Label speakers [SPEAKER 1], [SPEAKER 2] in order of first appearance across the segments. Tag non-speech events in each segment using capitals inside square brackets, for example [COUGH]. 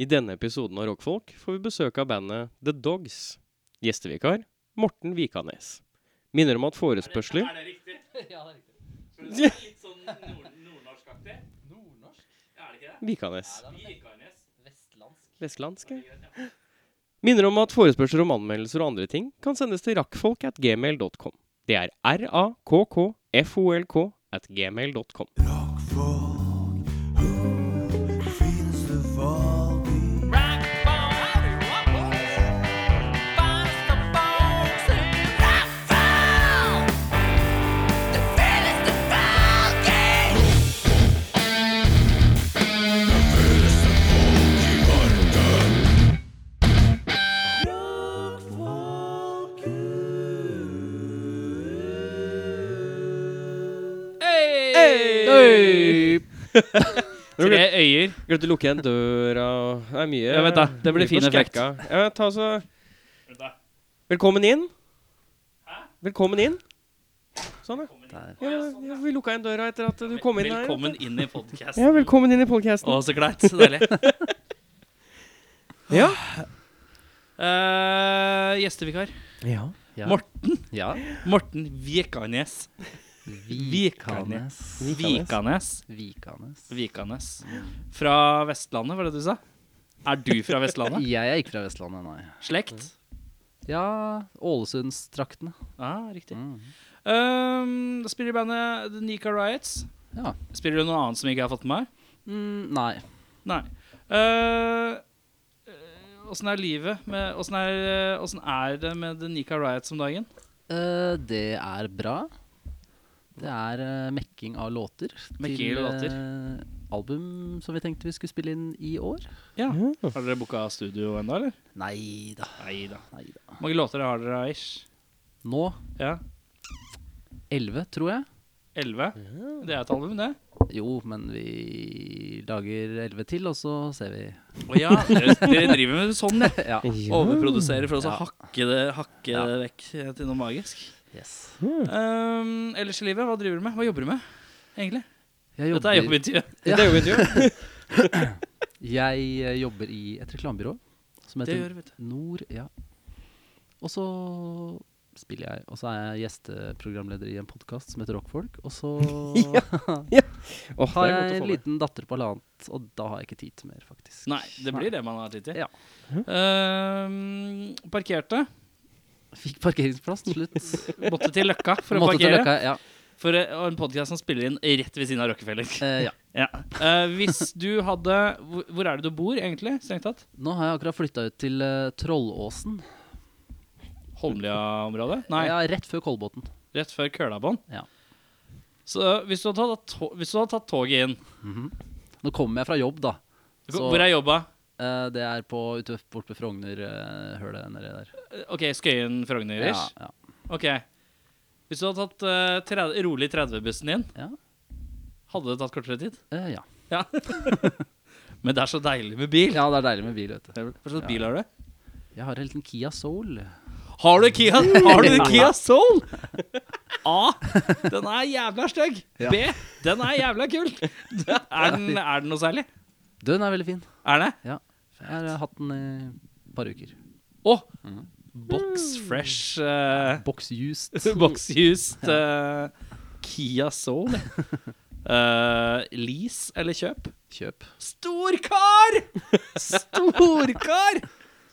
[SPEAKER 1] I denne episoden av Rockfolk får vi besøk av bandet The Dogs. Gjestevikar Morten Vikanes. Minner om at forespørsler
[SPEAKER 2] Er det riktig?
[SPEAKER 3] [LAUGHS] Ja, det er riktig.
[SPEAKER 2] Tror du det er litt sånn nord nordnorskaktig?
[SPEAKER 3] Nordnorsk?
[SPEAKER 2] Er det ikke det?
[SPEAKER 1] Vikanes.
[SPEAKER 3] Ja, det er nok
[SPEAKER 2] Vikanes.
[SPEAKER 3] Vestlandsk.
[SPEAKER 1] Vestlandsk, ja.
[SPEAKER 2] er greit, ja.
[SPEAKER 1] Minner om at forespørsler om anmeldelser og andre ting kan sendes til rakkfolk at gmail.com. Det er r-a-k-k-f-o-l-k at gmail.com.
[SPEAKER 4] Tre øyer.
[SPEAKER 1] Glemte å lukke igjen døra og Det er mye
[SPEAKER 4] Ja, vent da. Det blir
[SPEAKER 1] mye på
[SPEAKER 4] fin effekt.
[SPEAKER 1] skrekka. Ja, ta så
[SPEAKER 2] Vent da.
[SPEAKER 1] Velkommen inn.
[SPEAKER 2] Hæ?
[SPEAKER 1] Velkommen inn. Sånn, ja.
[SPEAKER 4] Der.
[SPEAKER 1] ja, ja vi lukka igjen døra etter at du kom inn her.
[SPEAKER 4] Velkommen inn i podkasten.
[SPEAKER 1] Ja, velkommen inn i podkasten.
[SPEAKER 4] Å, så greit. Så deilig.
[SPEAKER 1] [LAUGHS] Ja.
[SPEAKER 4] Eh, gjestevikar.
[SPEAKER 1] ja.
[SPEAKER 3] Ja.
[SPEAKER 4] Morten.
[SPEAKER 3] Ja.
[SPEAKER 4] Morten Vikanes.
[SPEAKER 3] Vikanes.
[SPEAKER 4] Vikanes.
[SPEAKER 3] Vikanes. Mm.
[SPEAKER 4] Vikanes. Fra Vestlandet, var det du sa? Er du fra Vestlandet?
[SPEAKER 3] [LAUGHS] Jeg er ikke fra Vestlandet, nei.
[SPEAKER 4] Slekt?
[SPEAKER 3] Ja, Ålesundstraktene.
[SPEAKER 4] Ja, ah, riktig.
[SPEAKER 3] Mm.
[SPEAKER 4] Um, da spiller bandet The Nika Riots.
[SPEAKER 3] Ja.
[SPEAKER 4] Spiller du noe annet som jeg ikke har fått med meg?
[SPEAKER 3] Mm, nei.
[SPEAKER 4] Nei. Eh, eh, Åssen er livet med Åssen er, eh, åssen er det med The Nika Riots om dagen?
[SPEAKER 3] Eh, det er bra. Det er eh, mekking av låter.
[SPEAKER 4] Mekking av låter.
[SPEAKER 3] eh, album som vi tenkte vi skulle spille inn i år.
[SPEAKER 4] Ja. Har dere booka studio ennå, eller?
[SPEAKER 3] Nei da.
[SPEAKER 4] Nei da.
[SPEAKER 3] Nei da.
[SPEAKER 4] Hvor mange låter har dere, ish?
[SPEAKER 3] Nå
[SPEAKER 4] Ja.
[SPEAKER 3] 11, tror jeg.
[SPEAKER 4] Elleve? Det er et album, det?
[SPEAKER 3] Jo, men vi lager 11 til, og så ser vi.
[SPEAKER 4] Å ja, dere, dere driver med sånn, ja.
[SPEAKER 3] [LAUGHS] Ja.
[SPEAKER 4] Overproduserer for å
[SPEAKER 3] Ja.
[SPEAKER 4] så hakke det, hakke
[SPEAKER 3] Ja.
[SPEAKER 4] det vekk til noe magisk.
[SPEAKER 3] Yes.
[SPEAKER 4] Um, ellers i livet, hva driver du med? Hva jobber du med, egentlig?
[SPEAKER 3] Jeg
[SPEAKER 4] [LAUGHS] Dette er jobbintervjuet.
[SPEAKER 3] Ja.
[SPEAKER 1] Det er jo intervju.
[SPEAKER 3] [LAUGHS] Jeg eh, jobber i et reklamebyrå som
[SPEAKER 4] Det
[SPEAKER 3] heter
[SPEAKER 4] gjør du, vet du.
[SPEAKER 3] Nord. Ja. Og så spiller jeg, og så er jeg gjesteprogramleder i en podkast som heter Rockfolk. Og så
[SPEAKER 1] [LAUGHS]
[SPEAKER 3] [LAUGHS]
[SPEAKER 1] Åh,
[SPEAKER 3] har
[SPEAKER 1] det er godt å få
[SPEAKER 3] jeg en
[SPEAKER 1] med.
[SPEAKER 3] liten datter på halvannet, og da har jeg ikke tid til mer, faktisk.
[SPEAKER 4] Nei, det blir det man har tid til.
[SPEAKER 3] Ja.
[SPEAKER 4] Um, parkerte.
[SPEAKER 3] Fikk parkeringsplass til slutt.
[SPEAKER 4] [LAUGHS] Måtte til Løkka
[SPEAKER 3] [LAUGHS]
[SPEAKER 4] for å
[SPEAKER 3] Måtte til
[SPEAKER 4] parkere.
[SPEAKER 3] Løkka, ja.
[SPEAKER 4] For eh, og en podkast som spiller inn rett ved siden av Rockefeller.
[SPEAKER 3] Eh, ja.
[SPEAKER 4] [LAUGHS] Ja. Eh, hvis du hadde hvor, hvor er det du bor, egentlig? Strengt tatt?
[SPEAKER 3] Nå har jeg akkurat flytta ut til eh, Trollåsen.
[SPEAKER 4] Holmlia-området? Nei,
[SPEAKER 3] Ja, rett før Kolbotn.
[SPEAKER 4] rett før Kølabånd.
[SPEAKER 3] Ja.
[SPEAKER 4] Så eh, hvis du hadde tatt, to- hvis du hadde tatt toget inn
[SPEAKER 3] Mhm. Nå kommer jeg fra jobb, da. Så-
[SPEAKER 4] Hvor er jobba?
[SPEAKER 3] Eh, det er på, ute bort ved Frogner-hølet nedi der.
[SPEAKER 4] Eh, OK, Skøyen, Frogner-ish?
[SPEAKER 3] Ja, ja.
[SPEAKER 4] OK. Hvis du hadde tatt eh, 30, rolig 30-bussen inn,
[SPEAKER 3] Ja.
[SPEAKER 4] hadde det tatt kortere tid?
[SPEAKER 3] Eh, ja.
[SPEAKER 4] Ja.
[SPEAKER 3] [LAUGHS]
[SPEAKER 4] Men det er så deilig med bil.
[SPEAKER 3] ja, det er deilig med bil, vet du.
[SPEAKER 4] Hva slags bil har du?
[SPEAKER 3] Jeg har en liten Kia Soul.
[SPEAKER 4] Har du
[SPEAKER 3] [LAUGHS]
[SPEAKER 4] Kia, har du Kia Soul? A. Den er jævla stygg.
[SPEAKER 3] Ja.
[SPEAKER 4] B. Den er jævla kul. Er den, er den noe særlig?
[SPEAKER 3] Den er veldig fin.
[SPEAKER 4] Er det?
[SPEAKER 3] Jeg har eh, hatt den i et par uker. Mhm.
[SPEAKER 4] Å!
[SPEAKER 3] [LAUGHS]
[SPEAKER 4] Box Fresh eh,
[SPEAKER 3] Box
[SPEAKER 4] [LAUGHS]
[SPEAKER 3] used.
[SPEAKER 4] Box Used eh, Kia Soul. Eh, lease eller kjøp?
[SPEAKER 3] Kjøp.
[SPEAKER 4] Storkar! Storkar!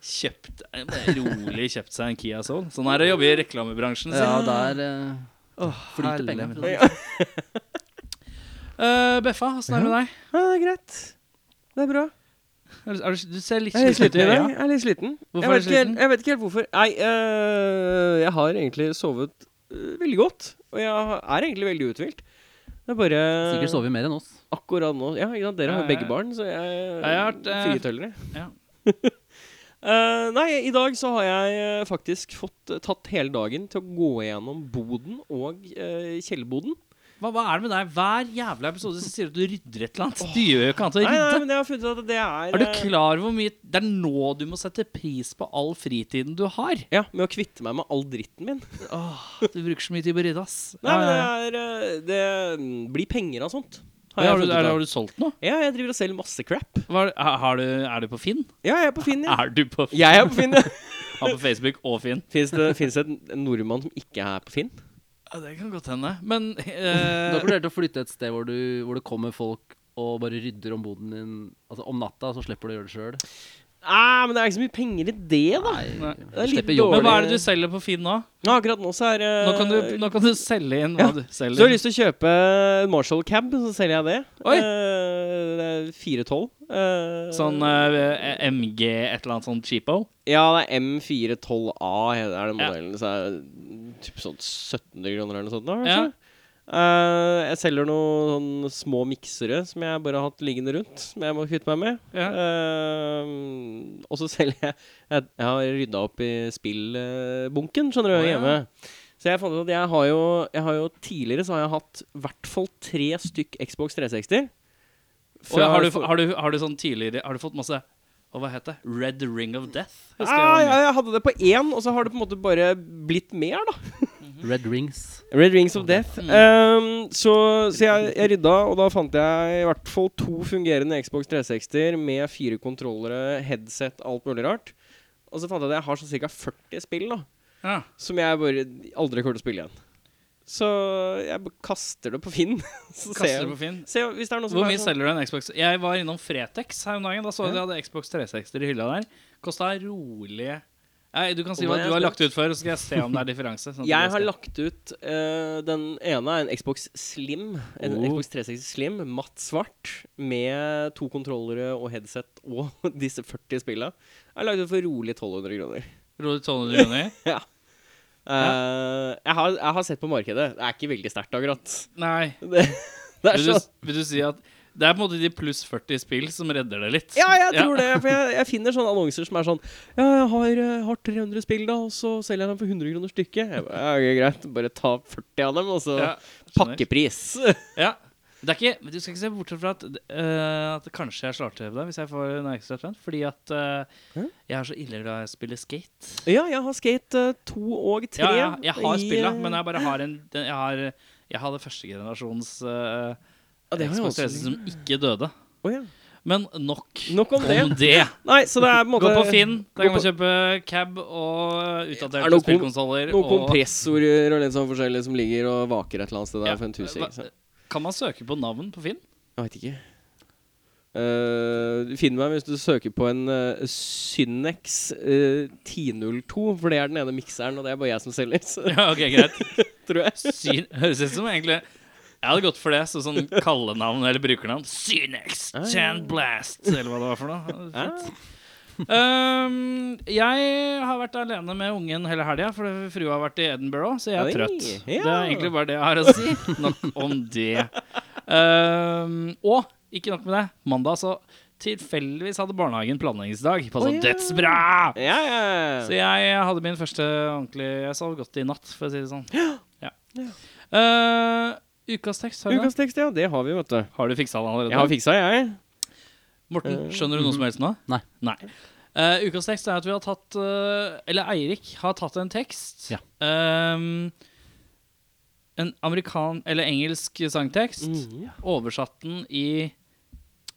[SPEAKER 4] Kjøpt eh, Rolig kjøpt seg en Kia Soul. Sånn er det å jobbe i reklamebransjen. sier
[SPEAKER 3] Ja, det er eh, flyter
[SPEAKER 4] herlig.
[SPEAKER 3] penger. for å si det
[SPEAKER 4] [LAUGHS] Eh, Beffa, åssen er det med deg?
[SPEAKER 1] Ja, det er greit. Det er bra.
[SPEAKER 4] Er du- er du, du ser litt
[SPEAKER 1] Jeg er litt sliten i dag.
[SPEAKER 4] øya.
[SPEAKER 1] Jeg er litt sliten.
[SPEAKER 4] Hvorfor
[SPEAKER 1] jeg,
[SPEAKER 4] er
[SPEAKER 1] vet
[SPEAKER 4] du
[SPEAKER 1] ikke helt-
[SPEAKER 4] sliten?
[SPEAKER 1] jeg vet ikke helt hvorfor. Nei, øh, jeg har egentlig sovet øh, veldig godt. Og jeg har- er egentlig veldig uthvilt. Det er bare
[SPEAKER 3] sånn. Sikkert sover vi mer enn oss.
[SPEAKER 1] akkurat nå Ja, ikke sant? dere har jo
[SPEAKER 4] Ja, ja.
[SPEAKER 1] begge barn, så jeg
[SPEAKER 4] jeg har vært, eh,
[SPEAKER 1] Fritøllere.
[SPEAKER 4] ja.
[SPEAKER 1] [LAUGHS] Eh, nei, i dag så har jeg eh, faktisk fått eh, tatt hele dagen til å gå gjennom boden og eh, kjellerboden.
[SPEAKER 4] Hva, hva er det med deg? Hver jævla episode så sier du at du rydder et eller annet. Du gjør jo ikke annet enn å
[SPEAKER 1] Nei, nei,
[SPEAKER 4] rydde.
[SPEAKER 1] men jeg har funnet ut at det er
[SPEAKER 4] Er du
[SPEAKER 1] eh,
[SPEAKER 4] klar over hvor mye Det er nå du må sette pris på all fritiden du har.
[SPEAKER 1] Ja, med å kvitte meg med all dritten
[SPEAKER 4] [LAUGHS]
[SPEAKER 1] min.
[SPEAKER 4] Åh, du bruker så mye tid på å rydde, ass.
[SPEAKER 1] Nei,
[SPEAKER 4] Ja, ja, ja.
[SPEAKER 1] men det er eh, Det mm, blir penger av sånt. Har jeg
[SPEAKER 4] har, du,
[SPEAKER 1] funnet
[SPEAKER 4] er,
[SPEAKER 1] ut
[SPEAKER 4] har
[SPEAKER 1] av.
[SPEAKER 4] du solgt noe?
[SPEAKER 1] Ja, jeg driver og selger masse crap.
[SPEAKER 4] Hva er- ha- har du, er du på Finn?
[SPEAKER 1] Ja, jeg er på Finn, ja.
[SPEAKER 4] Er du på, Finn?
[SPEAKER 1] Jeg er på Finn, ja.
[SPEAKER 4] [LAUGHS] Ja, på Facebook og Finn?
[SPEAKER 1] Fins det, finnes det en- en nordmann som ikke er på Finn?
[SPEAKER 4] Ja, det kan godt hende. Men
[SPEAKER 3] [LAUGHS] Du har
[SPEAKER 4] eh,
[SPEAKER 3] vurdert å flytte et sted hvor, du, hvor det kommer folk og bare rydder om boden din altså om natta, så slipper du å gjøre det sjøl?
[SPEAKER 1] Nei, Ah, men det er ikke så mye penger i det, da.
[SPEAKER 4] Nei.
[SPEAKER 1] Det er litt
[SPEAKER 3] Slipper jobben.
[SPEAKER 4] Men hva er det du selger på Finn nå?
[SPEAKER 1] Ja, akkurat nå så er det
[SPEAKER 4] Nå kan du, nå kan du selge inn hva
[SPEAKER 1] Ja.
[SPEAKER 4] du
[SPEAKER 1] Hvis du har
[SPEAKER 4] selger.
[SPEAKER 1] lyst til å kjøpe en Marshall cab, så selger jeg det.
[SPEAKER 4] Oi.
[SPEAKER 1] Eh, det er 412. eh,
[SPEAKER 4] Sånn eh, MG, et eller annet sånn cheapo.
[SPEAKER 1] Ja, det er M412A er den modellen. Så er det typ sånn 1700 kroner eller noe sånt. Da,
[SPEAKER 4] Ja.
[SPEAKER 1] kanskje. Eh, jeg selger noen sånne små miksere som jeg bare har hatt liggende rundt. Som jeg må kvitte meg med.
[SPEAKER 4] Ja.
[SPEAKER 1] Eh, og så [LAUGHS] selger jeg Jeg, jeg har rydda opp i spillbunken, skjønner du,
[SPEAKER 4] Å, ja.
[SPEAKER 1] hjemme. Så jeg fant ut at jeg har jo, jeg har jo tidligere så har jeg hatt i hvert fall tre stykk Xbox 360.
[SPEAKER 4] Og har, du, har, du, har du sånn tidligere Har du fått masse og hva het det? Red Ring of Death? Husker jeg
[SPEAKER 1] ah,
[SPEAKER 4] var
[SPEAKER 1] ja,
[SPEAKER 4] med.
[SPEAKER 1] jeg hadde det på én, og så har det på en måte bare blitt mer, da.
[SPEAKER 3] [LAUGHS] Red rings.
[SPEAKER 1] Red Rings of Death.
[SPEAKER 4] Mm.
[SPEAKER 1] Ehm, så så jeg, jeg rydda, og da fant jeg i hvert fall to fungerende Xbox 360-er med fire kontrollere, headset, alt mulig rart. Og så fant jeg at jeg har sånn ca. 40 spill da
[SPEAKER 4] Ja.
[SPEAKER 1] som jeg bare aldri kommer til å spille igjen. Så jeg bare kaster det på Finn. [LAUGHS] Så ser
[SPEAKER 4] Kaster det
[SPEAKER 1] jeg,
[SPEAKER 4] på Finn.
[SPEAKER 1] ser jeg hvis det er noe som
[SPEAKER 4] Hvor
[SPEAKER 1] er
[SPEAKER 4] mye
[SPEAKER 1] sånn-
[SPEAKER 4] selger du en Xbox? Jeg var innom Fretex her om dagen. Da så jeg
[SPEAKER 1] Ja.
[SPEAKER 4] de hadde Xbox 360 i hylla der. Kosta rolig Nei, Du kan si
[SPEAKER 1] Og nå
[SPEAKER 4] hva
[SPEAKER 1] er
[SPEAKER 4] du har
[SPEAKER 1] jeg
[SPEAKER 4] lagt ut før, så skal jeg se om det er differanse. sånn at
[SPEAKER 1] Jeg har
[SPEAKER 4] du skal-
[SPEAKER 1] lagt ut eh, Den ene er en Xbox Slim. En
[SPEAKER 4] Oh.
[SPEAKER 1] Xbox 360 Slim, matt svart, med to kontrollere og headset og [LAUGHS] disse 40 spilla. Jeg har lagt ut for rolig 1200 kroner.
[SPEAKER 4] Rolig 1200 kroner?
[SPEAKER 1] [LAUGHS] ja. Eh, jeg, har, jeg har sett på markedet. Det er ikke veldig sterkt, akkurat.
[SPEAKER 4] Nei.
[SPEAKER 1] [LAUGHS] Det, det er
[SPEAKER 4] Vil du,
[SPEAKER 1] sånn
[SPEAKER 4] vil du si at det er på en måte de pluss 40 spill som redder det litt?
[SPEAKER 1] Ja, jeg tror det. For jeg, jeg finner sånne annonser som er sånn Ja, jeg har, eh, har 300 spill, da, og så selger jeg dem for 100 kroner stykket. Jeg bare, ja, ok, greit, bare ta 40 av dem, og så
[SPEAKER 4] Ja, skjønner.
[SPEAKER 1] pakkepris.
[SPEAKER 4] Ja. Det er ikke, men Du skal ikke se bort fra at, eh, at kanskje jeg slår til deg hvis jeg får en ekstra trend. Fordi at eh,
[SPEAKER 1] Hæ?
[SPEAKER 4] jeg er så ille glad i å spille skate.
[SPEAKER 1] Ja, jeg har skate 2 og eh, 3.
[SPEAKER 4] Ja, ja, jeg har spilla, men jeg bare har en den- Jeg har, jeg har det første generasjons eh,
[SPEAKER 1] Ja, det har jeg
[SPEAKER 4] Xbox
[SPEAKER 1] også.
[SPEAKER 4] 360 som ikke døde.
[SPEAKER 1] Å, ja.
[SPEAKER 4] Men nok
[SPEAKER 1] Nok om det.
[SPEAKER 4] om det.
[SPEAKER 1] Nei, så det er på en
[SPEAKER 4] Gå
[SPEAKER 1] måte
[SPEAKER 4] på Finn. Der
[SPEAKER 1] gå
[SPEAKER 4] kan
[SPEAKER 1] på-
[SPEAKER 4] man kjøpe cab og
[SPEAKER 1] Er det
[SPEAKER 4] utdaterte
[SPEAKER 1] noe
[SPEAKER 4] spillkonsoller.
[SPEAKER 1] Noen
[SPEAKER 4] og-
[SPEAKER 1] kompressorer og litt sånn forskjellig som ligger og vaker et eller annet sted der
[SPEAKER 4] Ja,
[SPEAKER 1] for en tusing.
[SPEAKER 4] hva-
[SPEAKER 1] så.
[SPEAKER 4] Kan man søke på navn på Finn?
[SPEAKER 1] Jeg veit ikke. Eh, finn meg hvis du søker på en eh, Synex eh, 1002, for det er den ene mikseren, og det er bare jeg som selger, så,
[SPEAKER 4] [LAUGHS] Ja, ok, greit
[SPEAKER 1] [LAUGHS] tror jeg.
[SPEAKER 4] Syn [LAUGHS] Høres ut som egentlig Jeg hadde gått for det som sånn kallenavn eller brukernavn. Synex
[SPEAKER 1] Ah, ja. Ah.
[SPEAKER 4] Chanblast, eller hva det var for noe.
[SPEAKER 1] Ja.
[SPEAKER 4] Ehm, jeg har vært alene med ungen hele helga, for frua har vært i Edinburgh, så jeg er
[SPEAKER 1] Oi,
[SPEAKER 4] trøtt.
[SPEAKER 1] ja.
[SPEAKER 4] Det er egentlig bare det jeg har å si. Nok om det. Ehm, og ikke nok med det. Mandag så tilfeldigvis hadde barnehagen planleggingsdag på
[SPEAKER 1] Å,
[SPEAKER 4] sånn
[SPEAKER 1] ja.
[SPEAKER 4] dødsbra!
[SPEAKER 1] Ja, ja,
[SPEAKER 4] Så
[SPEAKER 1] ja.
[SPEAKER 4] jeg hadde min første ordentlig Jeg sov godt i natt, for å si det sånn. Ja.
[SPEAKER 1] Ja.
[SPEAKER 4] Eh, ukas tekst, har du, det?
[SPEAKER 1] Ukas tekst, ja. Det har vi, vet du.
[SPEAKER 4] har du fiksa den allerede?
[SPEAKER 1] Jeg har fiksa, jeg.
[SPEAKER 4] Morten, skjønner du noe som helst nå?
[SPEAKER 3] Nei.
[SPEAKER 4] Eh, ukas tekst er at vi har tatt eh, Eller Eirik har tatt en tekst.
[SPEAKER 3] Ja.
[SPEAKER 4] Ehm, en amerikan... Eller engelsk sangtekst. Oversatt den i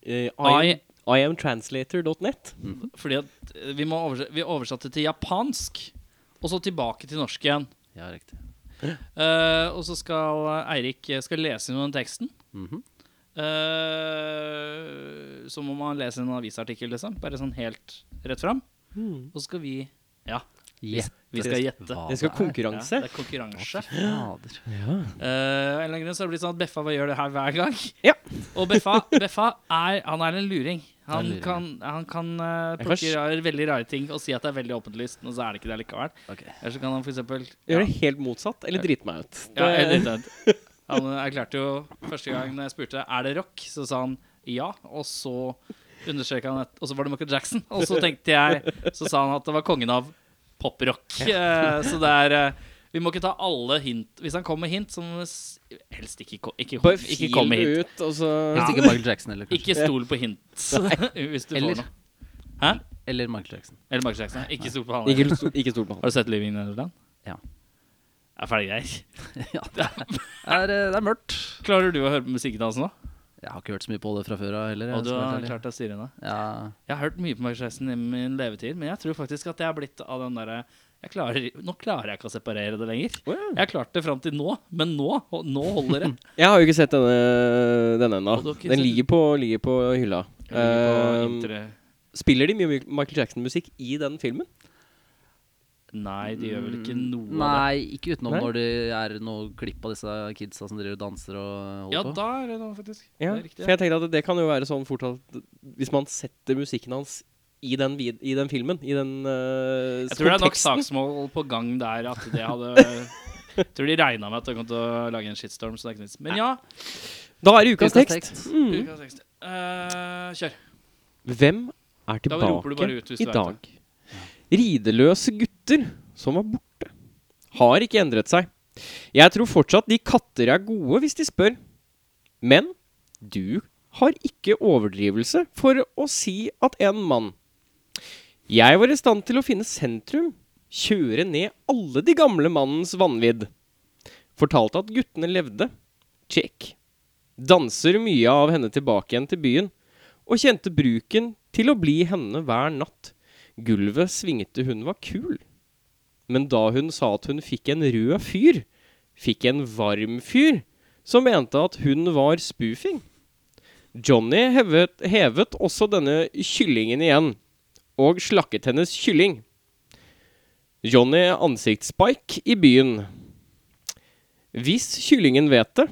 [SPEAKER 1] Eh, I,
[SPEAKER 4] I,
[SPEAKER 1] Iamtranslator.net.
[SPEAKER 4] Fordi at vi, må oversette, vi oversatte til japansk, og så tilbake til norsk igjen.
[SPEAKER 3] Ja, riktig.
[SPEAKER 4] Eh, og så skal Eirik eh, skal lese inn den teksten.
[SPEAKER 3] Mhm.
[SPEAKER 4] Eh, som om han leser en avisartikkel, liksom. Bare sånn helt rett fram.
[SPEAKER 1] Hmm.
[SPEAKER 4] Og så skal vi Ja,
[SPEAKER 3] Gjett
[SPEAKER 4] vi skal gjette.
[SPEAKER 3] hva
[SPEAKER 1] Jeg skal ha
[SPEAKER 4] Ja,
[SPEAKER 1] konkurranse.
[SPEAKER 4] det er konkurranse.
[SPEAKER 3] Fader.
[SPEAKER 4] Eh, av en eller annen grunn så har det blitt sånn at Beffa bare gjør det her hver gang.
[SPEAKER 1] Ja.
[SPEAKER 4] Og Beffa, Beffa er, han er en luring. Han
[SPEAKER 3] Han er en luring.
[SPEAKER 4] kan, han kan eh,
[SPEAKER 1] Jeg kan
[SPEAKER 4] plukke
[SPEAKER 1] s-
[SPEAKER 4] rar- veldig rare ting og si at det er veldig åpenlyst, men så er det ikke det likevel.
[SPEAKER 3] Ok.
[SPEAKER 4] Eller så kan han for eksempel
[SPEAKER 1] Gjøre det helt motsatt, eller drite meg ut.
[SPEAKER 4] Ja,
[SPEAKER 1] Det-
[SPEAKER 4] helt riktig.
[SPEAKER 1] [LAUGHS]
[SPEAKER 4] Han erklærte jo første gang jeg spurte er det rock, så sa han ja. Og så understreka han at Og så var det Michael Jackson. Og så tenkte jeg Så sa han at det var kongen av poprock. Eh, Så det er eh, Vi må ikke ta alle hint. Hvis han kommer med hint, så må vi s- helst ikke, ko- ikke,
[SPEAKER 1] Bare
[SPEAKER 4] ikke
[SPEAKER 1] fil
[SPEAKER 4] komme med hint.
[SPEAKER 1] ut, og så
[SPEAKER 4] Ja.
[SPEAKER 3] Hvis ikke Michael Jackson eller kanskje.
[SPEAKER 4] Ikke stol på hint [LAUGHS] hvis du
[SPEAKER 3] Eller-
[SPEAKER 4] får noe. Hæ?
[SPEAKER 3] Eller Michael Jackson.
[SPEAKER 4] Eller Michael Jackson. Ikke stol på han.
[SPEAKER 1] Ikke, sto- ikke stol på han.
[SPEAKER 4] Har du sett Living Nederland?
[SPEAKER 3] Ja.
[SPEAKER 4] Er ferdig greier.
[SPEAKER 3] [LAUGHS] ja, det, er, eh, det er mørkt.
[SPEAKER 4] Klarer du å høre på musikkdansen nå?
[SPEAKER 3] Jeg har ikke hørt så mye på det fra før av heller. jeg,
[SPEAKER 4] Og du
[SPEAKER 3] skal
[SPEAKER 4] har
[SPEAKER 3] være helt ærlig.
[SPEAKER 4] klart deg styre unna.
[SPEAKER 3] Ja,
[SPEAKER 4] Jeg har hørt mye på Michael Jackson i min levetid, men jeg tror faktisk at jeg har blitt av den derre jeg klarer, Nå klarer jeg ikke å separere det lenger.
[SPEAKER 1] Å, ja.
[SPEAKER 4] Jeg har klart det fram til nå, men nå, nå holder det.
[SPEAKER 1] Jeg har jo ikke sett denne, denne
[SPEAKER 4] Og du
[SPEAKER 1] ennå.
[SPEAKER 4] har ikke
[SPEAKER 1] Den
[SPEAKER 4] sett-
[SPEAKER 1] ligger på, ligger på hylla.
[SPEAKER 4] Jeg lurer på
[SPEAKER 1] Ehm,
[SPEAKER 4] intre-
[SPEAKER 1] spiller de mye [LAUGHS] Michael Jackson-musikk i den filmen?
[SPEAKER 4] Nei, de gjør vel ikke
[SPEAKER 1] Mm.
[SPEAKER 4] noe av det.
[SPEAKER 3] Nei, ikke utenom
[SPEAKER 1] Nei.
[SPEAKER 3] når det er noe klipp av disse kidsa som driver og danser og holder
[SPEAKER 4] Ja,
[SPEAKER 3] på.
[SPEAKER 4] da er det noe, faktisk.
[SPEAKER 1] Ja,
[SPEAKER 4] Det er riktig.
[SPEAKER 1] for jeg tenkte at det kan jo være sånn fort at hvis man setter musikken hans i den, vid i den filmen, i den eh,
[SPEAKER 4] Jeg tror det er nok
[SPEAKER 1] konteksten.
[SPEAKER 4] saksmål på gang der at det hadde
[SPEAKER 1] [LAUGHS]
[SPEAKER 4] Jeg tror de regna med at det kom til å lage en shitstorm. Så det er ikke noe vits. Men ja.
[SPEAKER 1] Da er det ukas
[SPEAKER 3] Ukas
[SPEAKER 1] tekst.
[SPEAKER 3] tekst.
[SPEAKER 1] Mm.
[SPEAKER 4] ukas tekst. Eh, kjør.
[SPEAKER 1] Hvem er
[SPEAKER 4] Da roper du
[SPEAKER 1] tilbake
[SPEAKER 4] bare ut hvis du
[SPEAKER 1] i
[SPEAKER 4] vet det.
[SPEAKER 1] dag? Rideløse gutter som var borte, har ikke endret seg. Jeg tror fortsatt de katter er gode hvis de spør. Men du har ikke overdrivelse for å si at en mann Jeg var i stand til å finne sentrum, kjøre ned alle de gamle mannens vanvidd. Fortalte at guttene levde. Check. Danser mye av henne tilbake igjen til byen og kjente bruken til å bli henne hver natt. Gulvet svingte hun var kul. Men da hun sa at hun fikk en rød fyr, fikk en varm fyr, som mente at hun var spoofing. Johnny hevet, hevet også denne kyllingen igjen, og slakket hennes kylling. Johnny ansiktsspike i byen. Hvis kyllingen vet det,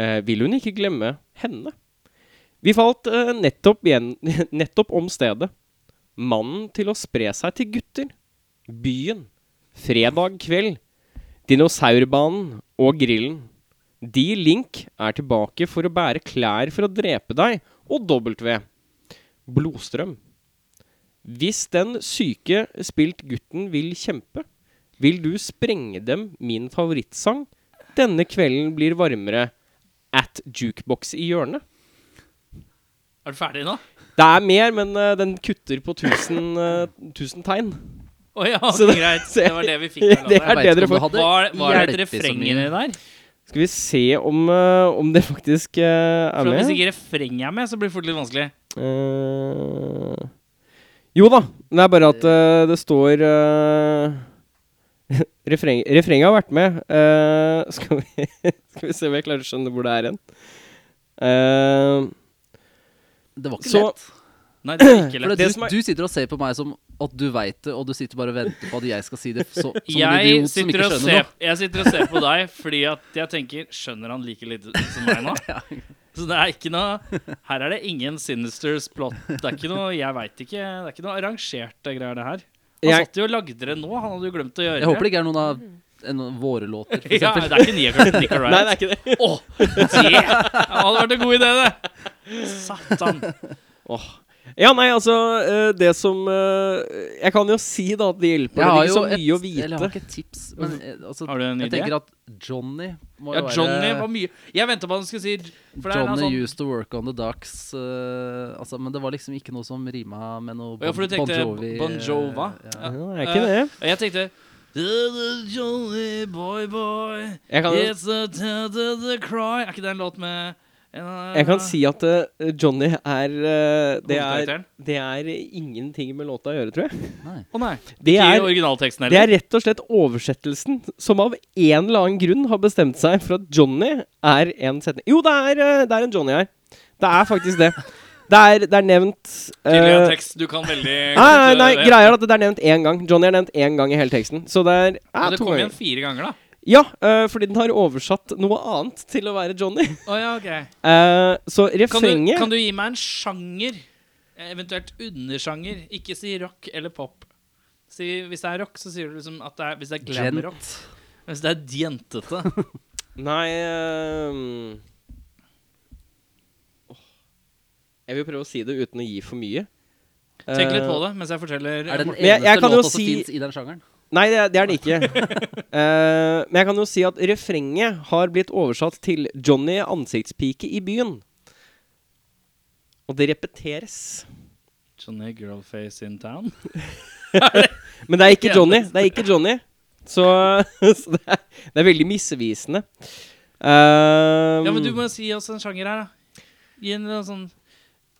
[SPEAKER 1] eh, vil hun ikke glemme henne. Vi falt eh, nettopp, igjen, [LAUGHS] nettopp om stedet. Mannen til å spre seg til gutter. Byen. Fredag kveld. Dinosaurbanen og grillen. De Link er tilbake for å bære klær for å drepe deg, og W. Blodstrøm. Hvis den syke spilt gutten vil kjempe, vil du sprenge dem min favorittsang. Denne kvelden blir varmere. At jukebox i hjørnet.
[SPEAKER 4] Er du ferdig nå?
[SPEAKER 1] Det er mer, men eh, den kutter på 1000 [LAUGHS] eh, 1000 tegn.
[SPEAKER 4] Å ja,
[SPEAKER 1] Så det- [LAUGHS]
[SPEAKER 4] greit.
[SPEAKER 1] så
[SPEAKER 4] Det
[SPEAKER 1] jeg-
[SPEAKER 4] var det vi fikk.
[SPEAKER 1] Det
[SPEAKER 4] av det.
[SPEAKER 1] er
[SPEAKER 3] vet
[SPEAKER 1] det
[SPEAKER 3] ikke
[SPEAKER 1] dere
[SPEAKER 3] om du
[SPEAKER 1] får.
[SPEAKER 3] hadde-
[SPEAKER 4] Var, var det et
[SPEAKER 3] hjelpet så
[SPEAKER 4] refreng
[SPEAKER 3] mye.
[SPEAKER 4] inni der?
[SPEAKER 1] Skal vi se om, eh, om det faktisk eh, er
[SPEAKER 4] For
[SPEAKER 1] med?
[SPEAKER 4] Hvis ikke refrenget er med, så blir det fort litt vanskelig.
[SPEAKER 1] Eh, jo da. Det er bare at eh, det står eh, [LAUGHS] refreng, Refrenget har vært med. Eh, [LAUGHS] skal, vi, skal vi se om jeg klarer å skjønne hvor det er hen. Eh,
[SPEAKER 3] Det var ikke
[SPEAKER 1] Så-
[SPEAKER 3] lett.
[SPEAKER 4] Nei, det er ikke
[SPEAKER 3] For det,
[SPEAKER 4] lett.
[SPEAKER 1] Det
[SPEAKER 3] du,
[SPEAKER 1] som er-
[SPEAKER 3] du sitter og ser på meg som at du veit det, og du sitter bare og venter på at jeg skal si det så, som en
[SPEAKER 4] Jeg
[SPEAKER 3] idiot som
[SPEAKER 4] sitter,
[SPEAKER 3] ikke
[SPEAKER 4] og
[SPEAKER 3] skjønner
[SPEAKER 4] ser,
[SPEAKER 3] noe.
[SPEAKER 4] jeg sitter og ser på deg fordi at jeg tenker Skjønner han like lite som meg nå?
[SPEAKER 3] [LAUGHS]
[SPEAKER 4] Så det er ikke noe Her er det ingen sinisters plot. Det er ikke noe jeg vet ikke Det er ikke noe arrangerte greier, det her. Han
[SPEAKER 1] Jeg-
[SPEAKER 4] satt jo og lagde det nå. Han hadde jo glemt å gjøre
[SPEAKER 3] Jeg håper det ikke er noen av en, våre låter,
[SPEAKER 4] [LAUGHS]
[SPEAKER 3] for
[SPEAKER 4] Ja,
[SPEAKER 3] eksempel.
[SPEAKER 4] det er ikke Nicolai Nick
[SPEAKER 1] nei, det er ikke det.
[SPEAKER 4] Åh, det hadde vært en god idé, det! Satan.
[SPEAKER 1] Åh. Ja, nei, altså eh, Det som eh, Jeg kan jo si, da, at det hjelper. Det
[SPEAKER 3] Jeg har
[SPEAKER 1] er ikke
[SPEAKER 3] jo
[SPEAKER 1] så
[SPEAKER 3] et,
[SPEAKER 1] mye å
[SPEAKER 3] Eller jeg
[SPEAKER 1] vite.
[SPEAKER 3] har ikke et tips, men eh, altså,
[SPEAKER 4] Har du en
[SPEAKER 3] jeg
[SPEAKER 4] idé?
[SPEAKER 3] tenker at Johnny må
[SPEAKER 4] Ja,
[SPEAKER 3] jo være
[SPEAKER 4] Johnny var mye Jeg venta på at han skulle si for det er en
[SPEAKER 3] Johnny
[SPEAKER 4] sånn,
[SPEAKER 3] used to work on the docks. eh, altså, men det var liksom ikke noe som rima med noe
[SPEAKER 4] Ja, for du tenkte
[SPEAKER 3] eh,
[SPEAKER 4] Bon Jova.
[SPEAKER 3] Ja. Eh,
[SPEAKER 1] Ja, det er ikke det.
[SPEAKER 4] Og jeg tenkte Little Johnny boy boy
[SPEAKER 1] Jeg kan,
[SPEAKER 4] It's a tender to cry Er ikke det en låt med en,
[SPEAKER 1] jeg kan si at eh, Johnny er eh, det, er
[SPEAKER 4] Hovedkarakteren?
[SPEAKER 1] det er ingenting med låta å gjøre, tror jeg.
[SPEAKER 3] Nei.
[SPEAKER 4] Å nei,
[SPEAKER 1] Det
[SPEAKER 4] ikke
[SPEAKER 1] er,
[SPEAKER 4] originalteksten
[SPEAKER 1] det
[SPEAKER 4] heller
[SPEAKER 1] er rett og slett oversettelsen som av en eller annen grunn har bestemt seg for at Johnny er en setning Jo, det er, eh, det er en Johnny her. Det er faktisk det. Det er, det er nevnt eh,
[SPEAKER 4] Tidligere tekst, du kan veldig eh,
[SPEAKER 1] Nei, nei, nei, greia er at det er nevnt én gang. Johnny er nevnt én gang i hele teksten. Så det er
[SPEAKER 4] Men
[SPEAKER 1] eh,
[SPEAKER 4] det
[SPEAKER 1] to
[SPEAKER 4] kom
[SPEAKER 1] ganger.
[SPEAKER 4] igjen fire ganger da
[SPEAKER 1] Ja, eh, fordi den har oversatt noe annet til å være Johnny.
[SPEAKER 4] Å ja, ok
[SPEAKER 1] Eh, så
[SPEAKER 4] kan du,
[SPEAKER 1] refrenget
[SPEAKER 4] kan du gi meg en sjanger? Eh, Eventuelt undersjanger Ikke si rock eller pop si, Hvis det er rock, så sier du liksom at det er Hvis det er glam rock
[SPEAKER 3] Gent.
[SPEAKER 4] Hvis det er djentete
[SPEAKER 1] [LAUGHS] Nei ehm. Åh. Jeg vil prøve å si det uten å gi for mye.
[SPEAKER 4] Tenk litt
[SPEAKER 1] Eh,
[SPEAKER 4] på det mens jeg
[SPEAKER 3] Er
[SPEAKER 4] forteller
[SPEAKER 3] det den
[SPEAKER 1] Men jeg-
[SPEAKER 3] eneste
[SPEAKER 1] jeg kan jo
[SPEAKER 3] låta som
[SPEAKER 1] si-
[SPEAKER 3] fins i den sjangeren?
[SPEAKER 1] Nei, det, er- det er det [LAUGHS] ikke. Eh, men jeg kan jo si at refrenget har blitt oversatt til 'Johnny ansiktspike i byen'. Og det repeteres.
[SPEAKER 4] Johnny Girlface in town
[SPEAKER 1] [LAUGHS] Men det er ikke Johnny. Det er ikke Johnny. Så, [LAUGHS] så det, er, det er veldig misvisende. Um,
[SPEAKER 4] Ja, men du må si oss en sjanger her da Gi en eller annen sånn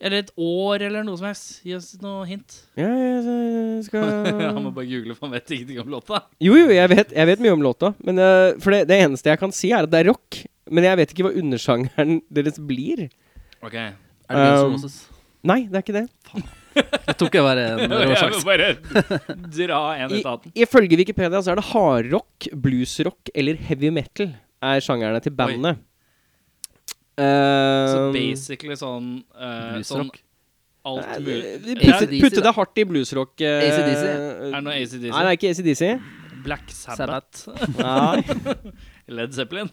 [SPEAKER 4] Eller et år eller noe som helst. Gi oss noe hint.
[SPEAKER 1] Ja, jeg, jeg
[SPEAKER 3] [LAUGHS]
[SPEAKER 4] Han
[SPEAKER 1] [LAUGHS]
[SPEAKER 4] må
[SPEAKER 1] skal
[SPEAKER 4] bare google, for han vet ingenting om låta.
[SPEAKER 1] Jo, jo, jeg vet, jeg vet mye om låta. Men eh, for det, det eneste jeg kan si, er at det er rock. Men jeg vet ikke hva undersjangeren deres blir.
[SPEAKER 4] Ok Jeg
[SPEAKER 3] Er det Guns N'
[SPEAKER 1] Um,
[SPEAKER 3] Roses?
[SPEAKER 1] Nei, det er ikke det.
[SPEAKER 3] [LAUGHS] Jeg tok jeg [LAUGHS]
[SPEAKER 4] [LAUGHS]
[SPEAKER 3] bare en rå
[SPEAKER 4] må
[SPEAKER 3] sjanse.
[SPEAKER 4] bare dra en
[SPEAKER 1] I,
[SPEAKER 4] ut av den.
[SPEAKER 1] ifølge Wikipedia så er det hardrock, bluesrock eller heavy metal er sjangerne til bandet.
[SPEAKER 4] Så
[SPEAKER 1] Um,
[SPEAKER 4] basically sånn, eh, sånn
[SPEAKER 3] Bluesrock.
[SPEAKER 4] alt
[SPEAKER 1] eh,
[SPEAKER 4] mulig.
[SPEAKER 1] de
[SPEAKER 3] AC/DC,
[SPEAKER 1] putte, putte
[SPEAKER 3] da.
[SPEAKER 1] det hardt i bluesrock. eh,
[SPEAKER 3] AC/DC?
[SPEAKER 1] eh,
[SPEAKER 4] Er det noe
[SPEAKER 1] Nei, det
[SPEAKER 4] ACDC?
[SPEAKER 1] er ikke ACDC.
[SPEAKER 4] Black Sabbath?
[SPEAKER 3] Sabbath.
[SPEAKER 1] Nei.
[SPEAKER 4] [LAUGHS] Led Zeppelin?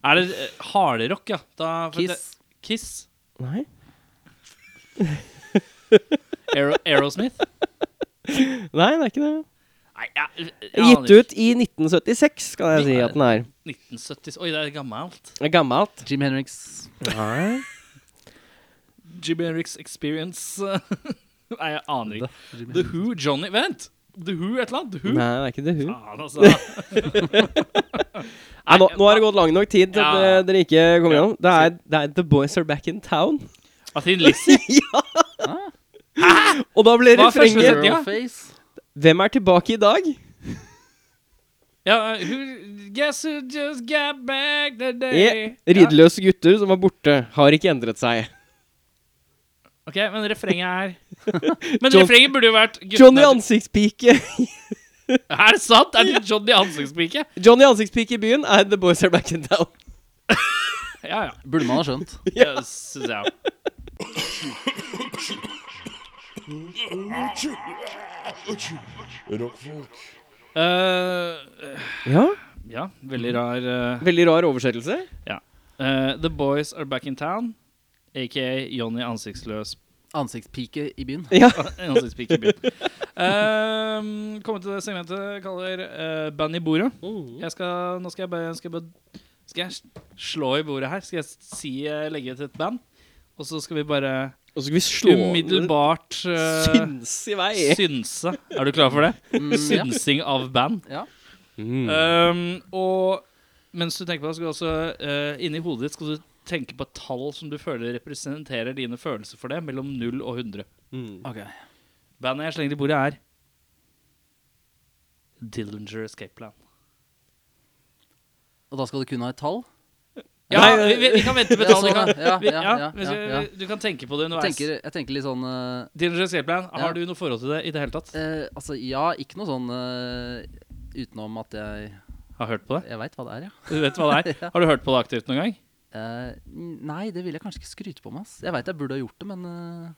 [SPEAKER 4] er det eh, hardrock, ja? Da, for
[SPEAKER 3] Kiss.
[SPEAKER 4] Det, Kiss?
[SPEAKER 1] [LAUGHS] Nei.
[SPEAKER 4] Aero, Aerosmith? [LAUGHS]
[SPEAKER 1] Nei, det er ikke det.
[SPEAKER 4] Nei, jeg, jeg
[SPEAKER 1] Gitt
[SPEAKER 4] aner ikke.
[SPEAKER 1] ut i 1976, skal jeg si at den er.
[SPEAKER 4] 1970s. Oi, det er gammelt.
[SPEAKER 1] Det er Gammelt.
[SPEAKER 3] Jim Henriks.
[SPEAKER 1] Nei.
[SPEAKER 4] Jimmy Henrik's Experience [LAUGHS] Nei, jeg aner ikke.
[SPEAKER 3] Jimi
[SPEAKER 4] The
[SPEAKER 3] Hendrix.
[SPEAKER 4] Who, Johnny Vent! The Who, et eller annet? The Who?
[SPEAKER 1] Nei, det er ikke The Who.
[SPEAKER 4] Faen, altså.
[SPEAKER 1] [LAUGHS] Nei, nå, nå har det gått lang nok tid til at
[SPEAKER 4] Ja.
[SPEAKER 1] eh, dere ikke kommer gjennom. Det er, det er The Boys Are Back In Town.
[SPEAKER 4] [LAUGHS] Atin
[SPEAKER 1] [LAUGHS]
[SPEAKER 4] Lizzie?
[SPEAKER 1] Og da ble
[SPEAKER 4] Hva er første
[SPEAKER 1] refrenget
[SPEAKER 4] setninga?
[SPEAKER 3] Face.
[SPEAKER 1] Hvem er tilbake i dag?
[SPEAKER 4] Ja, eh, who, guess who just got back the
[SPEAKER 1] Yeah.
[SPEAKER 4] day? Ja.
[SPEAKER 1] Riddeløse E. gutter som var borte, har ikke endret seg.
[SPEAKER 4] Ok, men
[SPEAKER 1] [LAUGHS]
[SPEAKER 4] refrenget er Men
[SPEAKER 1] John-
[SPEAKER 4] refrenget burde jo vært guttene-
[SPEAKER 1] Johnny Ansiktspike [LAUGHS]
[SPEAKER 4] Er det sant? Er det Johnny Ansiktspike?
[SPEAKER 1] Johnny Ansiktspike i byen er The Boys Are Back In Town.
[SPEAKER 4] [LAUGHS] Ja, ja.
[SPEAKER 3] Burde man ha skjønt.
[SPEAKER 1] [LAUGHS]
[SPEAKER 4] Det syns jeg òg.
[SPEAKER 1] Ja,
[SPEAKER 4] Eh, ja, veldig rar eh,
[SPEAKER 1] Veldig rar oversettelse.
[SPEAKER 4] eh, The Boys Are Back In Town, aka Johnny Ansiktsløs
[SPEAKER 3] Ansiktspike i byen.
[SPEAKER 1] Ja.
[SPEAKER 4] [LAUGHS] Ansiktspike i byen. Eh, Kommet til det segmentet jeg kaller eh, Band i bordet.
[SPEAKER 3] Uh.
[SPEAKER 4] Jeg skal, nå skal jeg bare skal jeg, bare, skal jeg slå i bordet her. Skal jeg si eh, legge til et band? Og så skal vi bare
[SPEAKER 1] Og så skal vi slå
[SPEAKER 4] umiddelbart eh,
[SPEAKER 1] Syns i vei.
[SPEAKER 4] synse. Er du klar for det?
[SPEAKER 3] [LAUGHS] Mm, ja.
[SPEAKER 4] Synsing av band.
[SPEAKER 3] ja.
[SPEAKER 1] Mm.
[SPEAKER 4] Um, og mens du tenker på det, skal du også eh, inni hodet ditt skal du tenke på et tall som du føler representerer dine følelser for det, mellom 0 og 100.
[SPEAKER 1] Mm.
[SPEAKER 3] Ok.
[SPEAKER 4] Bandet jeg slenger i bordet, er Dillinger Escape Plan.
[SPEAKER 3] Og da skal du kun ha et tall?
[SPEAKER 4] Ja,
[SPEAKER 1] Nei,
[SPEAKER 4] vi, vi, vi kan vente
[SPEAKER 3] [LAUGHS]
[SPEAKER 4] med
[SPEAKER 3] Ja,
[SPEAKER 4] tall. Vi
[SPEAKER 3] sånn,
[SPEAKER 4] kan,
[SPEAKER 3] ja.
[SPEAKER 4] vi,
[SPEAKER 3] Ja,
[SPEAKER 4] ja,
[SPEAKER 3] ja,
[SPEAKER 4] hvis
[SPEAKER 3] ja,
[SPEAKER 4] vi-
[SPEAKER 3] ja.
[SPEAKER 4] Du kan tenke på det
[SPEAKER 3] Jeg
[SPEAKER 4] underveis.
[SPEAKER 3] tenker, jeg tenker litt sånn eh,
[SPEAKER 4] Dillinger Escape Plan,
[SPEAKER 3] Ja.
[SPEAKER 4] har du noe forhold til det i det hele tatt?
[SPEAKER 3] eh, Altså, ja, ikke noe sånn eh, utenom at jeg
[SPEAKER 4] Har hørt på det?
[SPEAKER 3] Jeg veit hva det er, [LAUGHS] ja.
[SPEAKER 4] Du vet hva det er? Har du hørt på det aktivt noen gang?
[SPEAKER 3] Eh, nei, det vil jeg kanskje ikke skryte på meg. ass. Jeg veit jeg burde ha gjort det, men eh,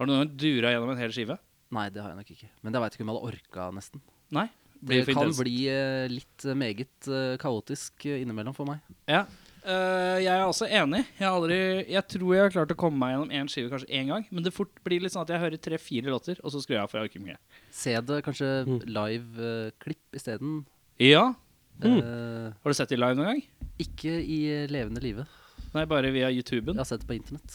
[SPEAKER 4] Har du noen gang dura gjennom en hel skive?
[SPEAKER 3] Nei, det har jeg nok ikke. Men jeg veit ikke om jeg hadde orka, nesten.
[SPEAKER 4] Nei?
[SPEAKER 3] Det
[SPEAKER 4] Blir for
[SPEAKER 3] kan
[SPEAKER 4] intenst.
[SPEAKER 3] bli eh, litt eh, meget eh, kaotisk eh, innimellom for meg.
[SPEAKER 4] Ja. Eh, jeg er også enig. Jeg, har aldri, jeg tror jeg har klart å komme meg gjennom én skive kanskje én gang. Men det fort blir litt sånn at jeg hører tre-fire låter, og så skrur jeg av. for jeg orker ikke mer.
[SPEAKER 3] Se det kanskje eh, live-klipp isteden.
[SPEAKER 4] Ja,
[SPEAKER 1] Mm.
[SPEAKER 3] Eh,
[SPEAKER 4] Har du sett de live noen gang?
[SPEAKER 3] ikke i eh, levende live.
[SPEAKER 4] Nei, bare via
[SPEAKER 3] Jeg
[SPEAKER 4] YouTuben.
[SPEAKER 3] har sett det på internett.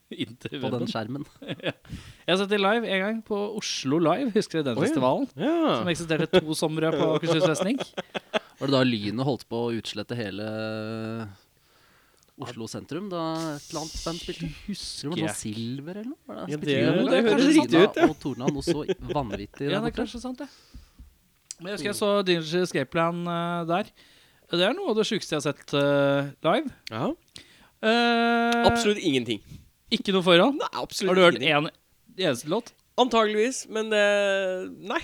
[SPEAKER 4] [LAUGHS] Inntil
[SPEAKER 3] På den
[SPEAKER 4] webben. [LAUGHS]
[SPEAKER 3] skjermen.
[SPEAKER 4] Jeg har sett de live en gang på Oslo Live. Husker du den
[SPEAKER 1] Oi, ja.
[SPEAKER 4] festivalen? Som
[SPEAKER 1] Ja.
[SPEAKER 4] eksisterte to somre på Akershus festning.
[SPEAKER 3] [LAUGHS] Var det da lynet holdt på å utslette hele eh, Oslo sentrum? Da et eller annet band spilte?
[SPEAKER 4] Husker
[SPEAKER 3] Tror det var sånn
[SPEAKER 4] jeg.
[SPEAKER 3] Silver eller noe? Var
[SPEAKER 1] Ja,
[SPEAKER 3] spilte
[SPEAKER 1] det-
[SPEAKER 3] de
[SPEAKER 4] det
[SPEAKER 3] med
[SPEAKER 4] høres
[SPEAKER 3] Torna
[SPEAKER 1] riktig ut, ja.
[SPEAKER 3] Og Torna noe så vanvittig. der
[SPEAKER 4] Ja, det er
[SPEAKER 3] borte?
[SPEAKER 4] kanskje sant, det. Men jeg husker jeg så Dillinger Escape Plan eh, der. Det er noe av det sjukeste jeg har sett eh, live.
[SPEAKER 1] ja.
[SPEAKER 4] Eh,
[SPEAKER 1] Absolutt ingenting.
[SPEAKER 4] Ikke noe forhold.
[SPEAKER 1] Nei, absolutt
[SPEAKER 4] Har du hørt
[SPEAKER 1] ingenting.
[SPEAKER 4] én eneste låt?
[SPEAKER 1] Antageligvis, men det Nei.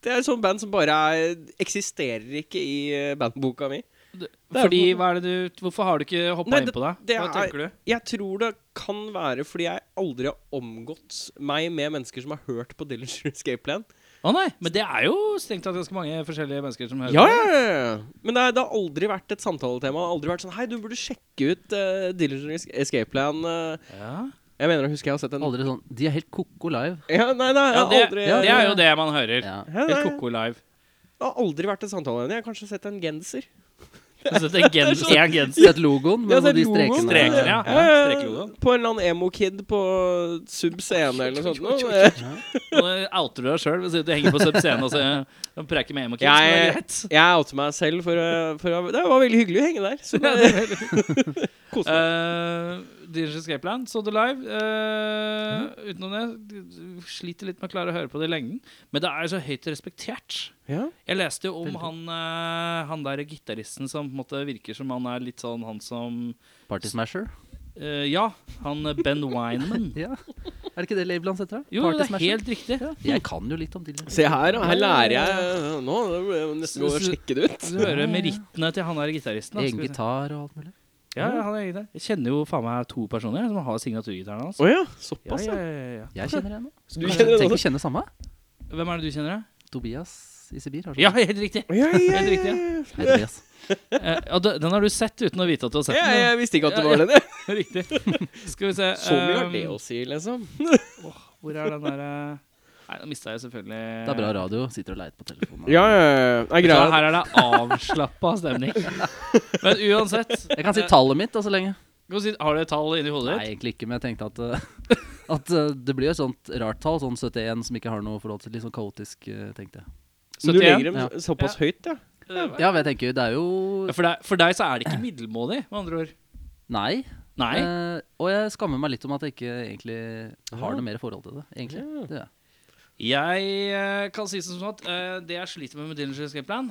[SPEAKER 1] Det er et sånt band som bare er, eksisterer ikke i eh, bandboka mi. Det er
[SPEAKER 4] Fordi,
[SPEAKER 1] på-
[SPEAKER 4] hva er det du, hvorfor har du ikke hoppa
[SPEAKER 1] Nei,
[SPEAKER 4] inn
[SPEAKER 1] det-
[SPEAKER 4] på det?
[SPEAKER 1] det
[SPEAKER 4] Hva
[SPEAKER 1] er-
[SPEAKER 4] tenker du?
[SPEAKER 1] Jeg tror det kan være fordi jeg aldri har omgått meg med mennesker som har hørt på Dillinger Escape Plan.
[SPEAKER 4] Å nei, men det er jo strengt tatt ganske mange forskjellige mennesker som hører
[SPEAKER 1] Ja,
[SPEAKER 4] på.
[SPEAKER 1] ja, ja, ja. Men det, er, det har aldri vært et samtaletema. Det har aldri vært sånn Hei, du burde sjekke ut uh, Dillinger Es- Escape Plan. eh.
[SPEAKER 4] Ja.
[SPEAKER 1] jeg mener å huske jeg har sett en
[SPEAKER 3] Aldri sånn De er helt ko-ko live.
[SPEAKER 1] Ja, nei, nei, jeg
[SPEAKER 4] Ja,
[SPEAKER 1] har
[SPEAKER 4] det,
[SPEAKER 1] aldri
[SPEAKER 4] det er jo det man hører.
[SPEAKER 3] Ja.
[SPEAKER 1] Ja,
[SPEAKER 4] Helt
[SPEAKER 1] nei,
[SPEAKER 4] koko live.
[SPEAKER 1] [LAUGHS] det har aldri vært et samtaleemne. Jeg har kanskje sett en genser.
[SPEAKER 4] Og så en genser, en genser.
[SPEAKER 3] Sett logoen med
[SPEAKER 1] Ja, sett
[SPEAKER 3] de
[SPEAKER 1] logoen.
[SPEAKER 3] strekene.
[SPEAKER 4] Strekene, ja.
[SPEAKER 1] Eh,
[SPEAKER 4] Strekelogoen.
[SPEAKER 1] på en eller annen emo-kid på Sub Scene eller noe sånt. noe.
[SPEAKER 4] Og nå outer du deg sjøl hvis du henger på subscenen og så- og preker med emokids.
[SPEAKER 1] Jeg-
[SPEAKER 4] greit.
[SPEAKER 1] Jeg outer meg selv for, å- for å- Det var veldig hyggelig å henge der. Så, [LAUGHS] Kose meg.
[SPEAKER 4] Uh, Digital Escape Plan, så det live. Eh, Utenom det, du sliter litt med å klare å høre på det i lengden. Men det er jo så høyt respektert.
[SPEAKER 1] ja.
[SPEAKER 4] Jeg leste jo om han, eh, han der gitaristen som på en måte virker som han er litt sånn han som
[SPEAKER 3] Party Smasher.
[SPEAKER 4] eh, Ja, han eh, Ben Wineman.
[SPEAKER 3] [LAUGHS] Ja. Er det ikke det labelet hans heter? da?
[SPEAKER 4] Jo,
[SPEAKER 3] Party
[SPEAKER 4] det er
[SPEAKER 3] Smasher?
[SPEAKER 4] helt riktig.
[SPEAKER 3] Jeg kan jo litt om Dylan.
[SPEAKER 1] Se her, da. Her lærer jeg øh, nå. Det ble jo nesten å sjekke det ut.
[SPEAKER 4] Du hører merittene til han der gitaristen. da,
[SPEAKER 3] Egen
[SPEAKER 4] skal vi si.
[SPEAKER 3] gitar og alt mulig.
[SPEAKER 4] Ja, ja, han er egen gitar. Jeg kjenner jo faen meg to personer som har signaturgitaren hans.
[SPEAKER 1] Å ja.
[SPEAKER 4] Ja,
[SPEAKER 1] Såpass,
[SPEAKER 4] ja,
[SPEAKER 1] ja.
[SPEAKER 4] ja, ja.
[SPEAKER 3] Jeg kjenner en nå.
[SPEAKER 1] Du kjenner den
[SPEAKER 3] Tenk
[SPEAKER 1] også?
[SPEAKER 3] å kjenne samme.
[SPEAKER 4] Hvem er det du kjenner? da?
[SPEAKER 3] Tobias i Sibir. har sånn.
[SPEAKER 4] Ja, helt riktig!
[SPEAKER 1] Å, Ja, ja,
[SPEAKER 4] Helt
[SPEAKER 1] ja,
[SPEAKER 4] riktig,
[SPEAKER 1] ja.
[SPEAKER 3] Hei, Tobias.
[SPEAKER 4] Eh, ja, d- den har du sett uten å vite at du har sett
[SPEAKER 1] Ja,
[SPEAKER 4] den. da.
[SPEAKER 1] jeg visste ikke at det
[SPEAKER 4] Ja,
[SPEAKER 1] var
[SPEAKER 4] ja.
[SPEAKER 1] den. jeg.
[SPEAKER 4] [LAUGHS] Riktig. Skal vi se
[SPEAKER 1] Så mye har
[SPEAKER 4] ehm,
[SPEAKER 1] det å si, liksom.
[SPEAKER 4] Hvor er den eh? derre Nei, nå mista jeg selvfølgelig
[SPEAKER 3] Det er bra radio. Sitter og leiter på telefonen.
[SPEAKER 1] Ja, ja, ja. Nei,
[SPEAKER 4] Så
[SPEAKER 1] greia.
[SPEAKER 4] her er det avslappa
[SPEAKER 3] [LAUGHS]
[SPEAKER 4] stemning. Men uansett
[SPEAKER 3] Jeg kan si tallet mitt da, så lenge.
[SPEAKER 4] kan du si, Har du et tall inni hodet
[SPEAKER 3] Nei,
[SPEAKER 4] ditt?
[SPEAKER 3] egentlig ikke, men jeg tenkte at, uh, [LAUGHS] at uh, det blir jo et sånt rart tall, sånn 71 som ikke har noe forhold til, litt sånn kaotisk, uh, tenkte jeg.
[SPEAKER 1] Du legger dem
[SPEAKER 3] Ja.
[SPEAKER 1] såpass høyt, ja.
[SPEAKER 4] Eh,
[SPEAKER 3] Ja, men jeg tenker jo, det er jo
[SPEAKER 4] For deg, for deg så er det ikke middelmådig, med andre ord.
[SPEAKER 3] Nei.
[SPEAKER 4] Nei.
[SPEAKER 3] Uh, og jeg skammer meg litt om at jeg ikke egentlig har noe mer forhold til det, egentlig.
[SPEAKER 1] Ja.
[SPEAKER 3] Det gjør jeg.
[SPEAKER 4] Jeg eh, kan si som sånn at eh, det jeg sliter med med Dillinger Escape Plan,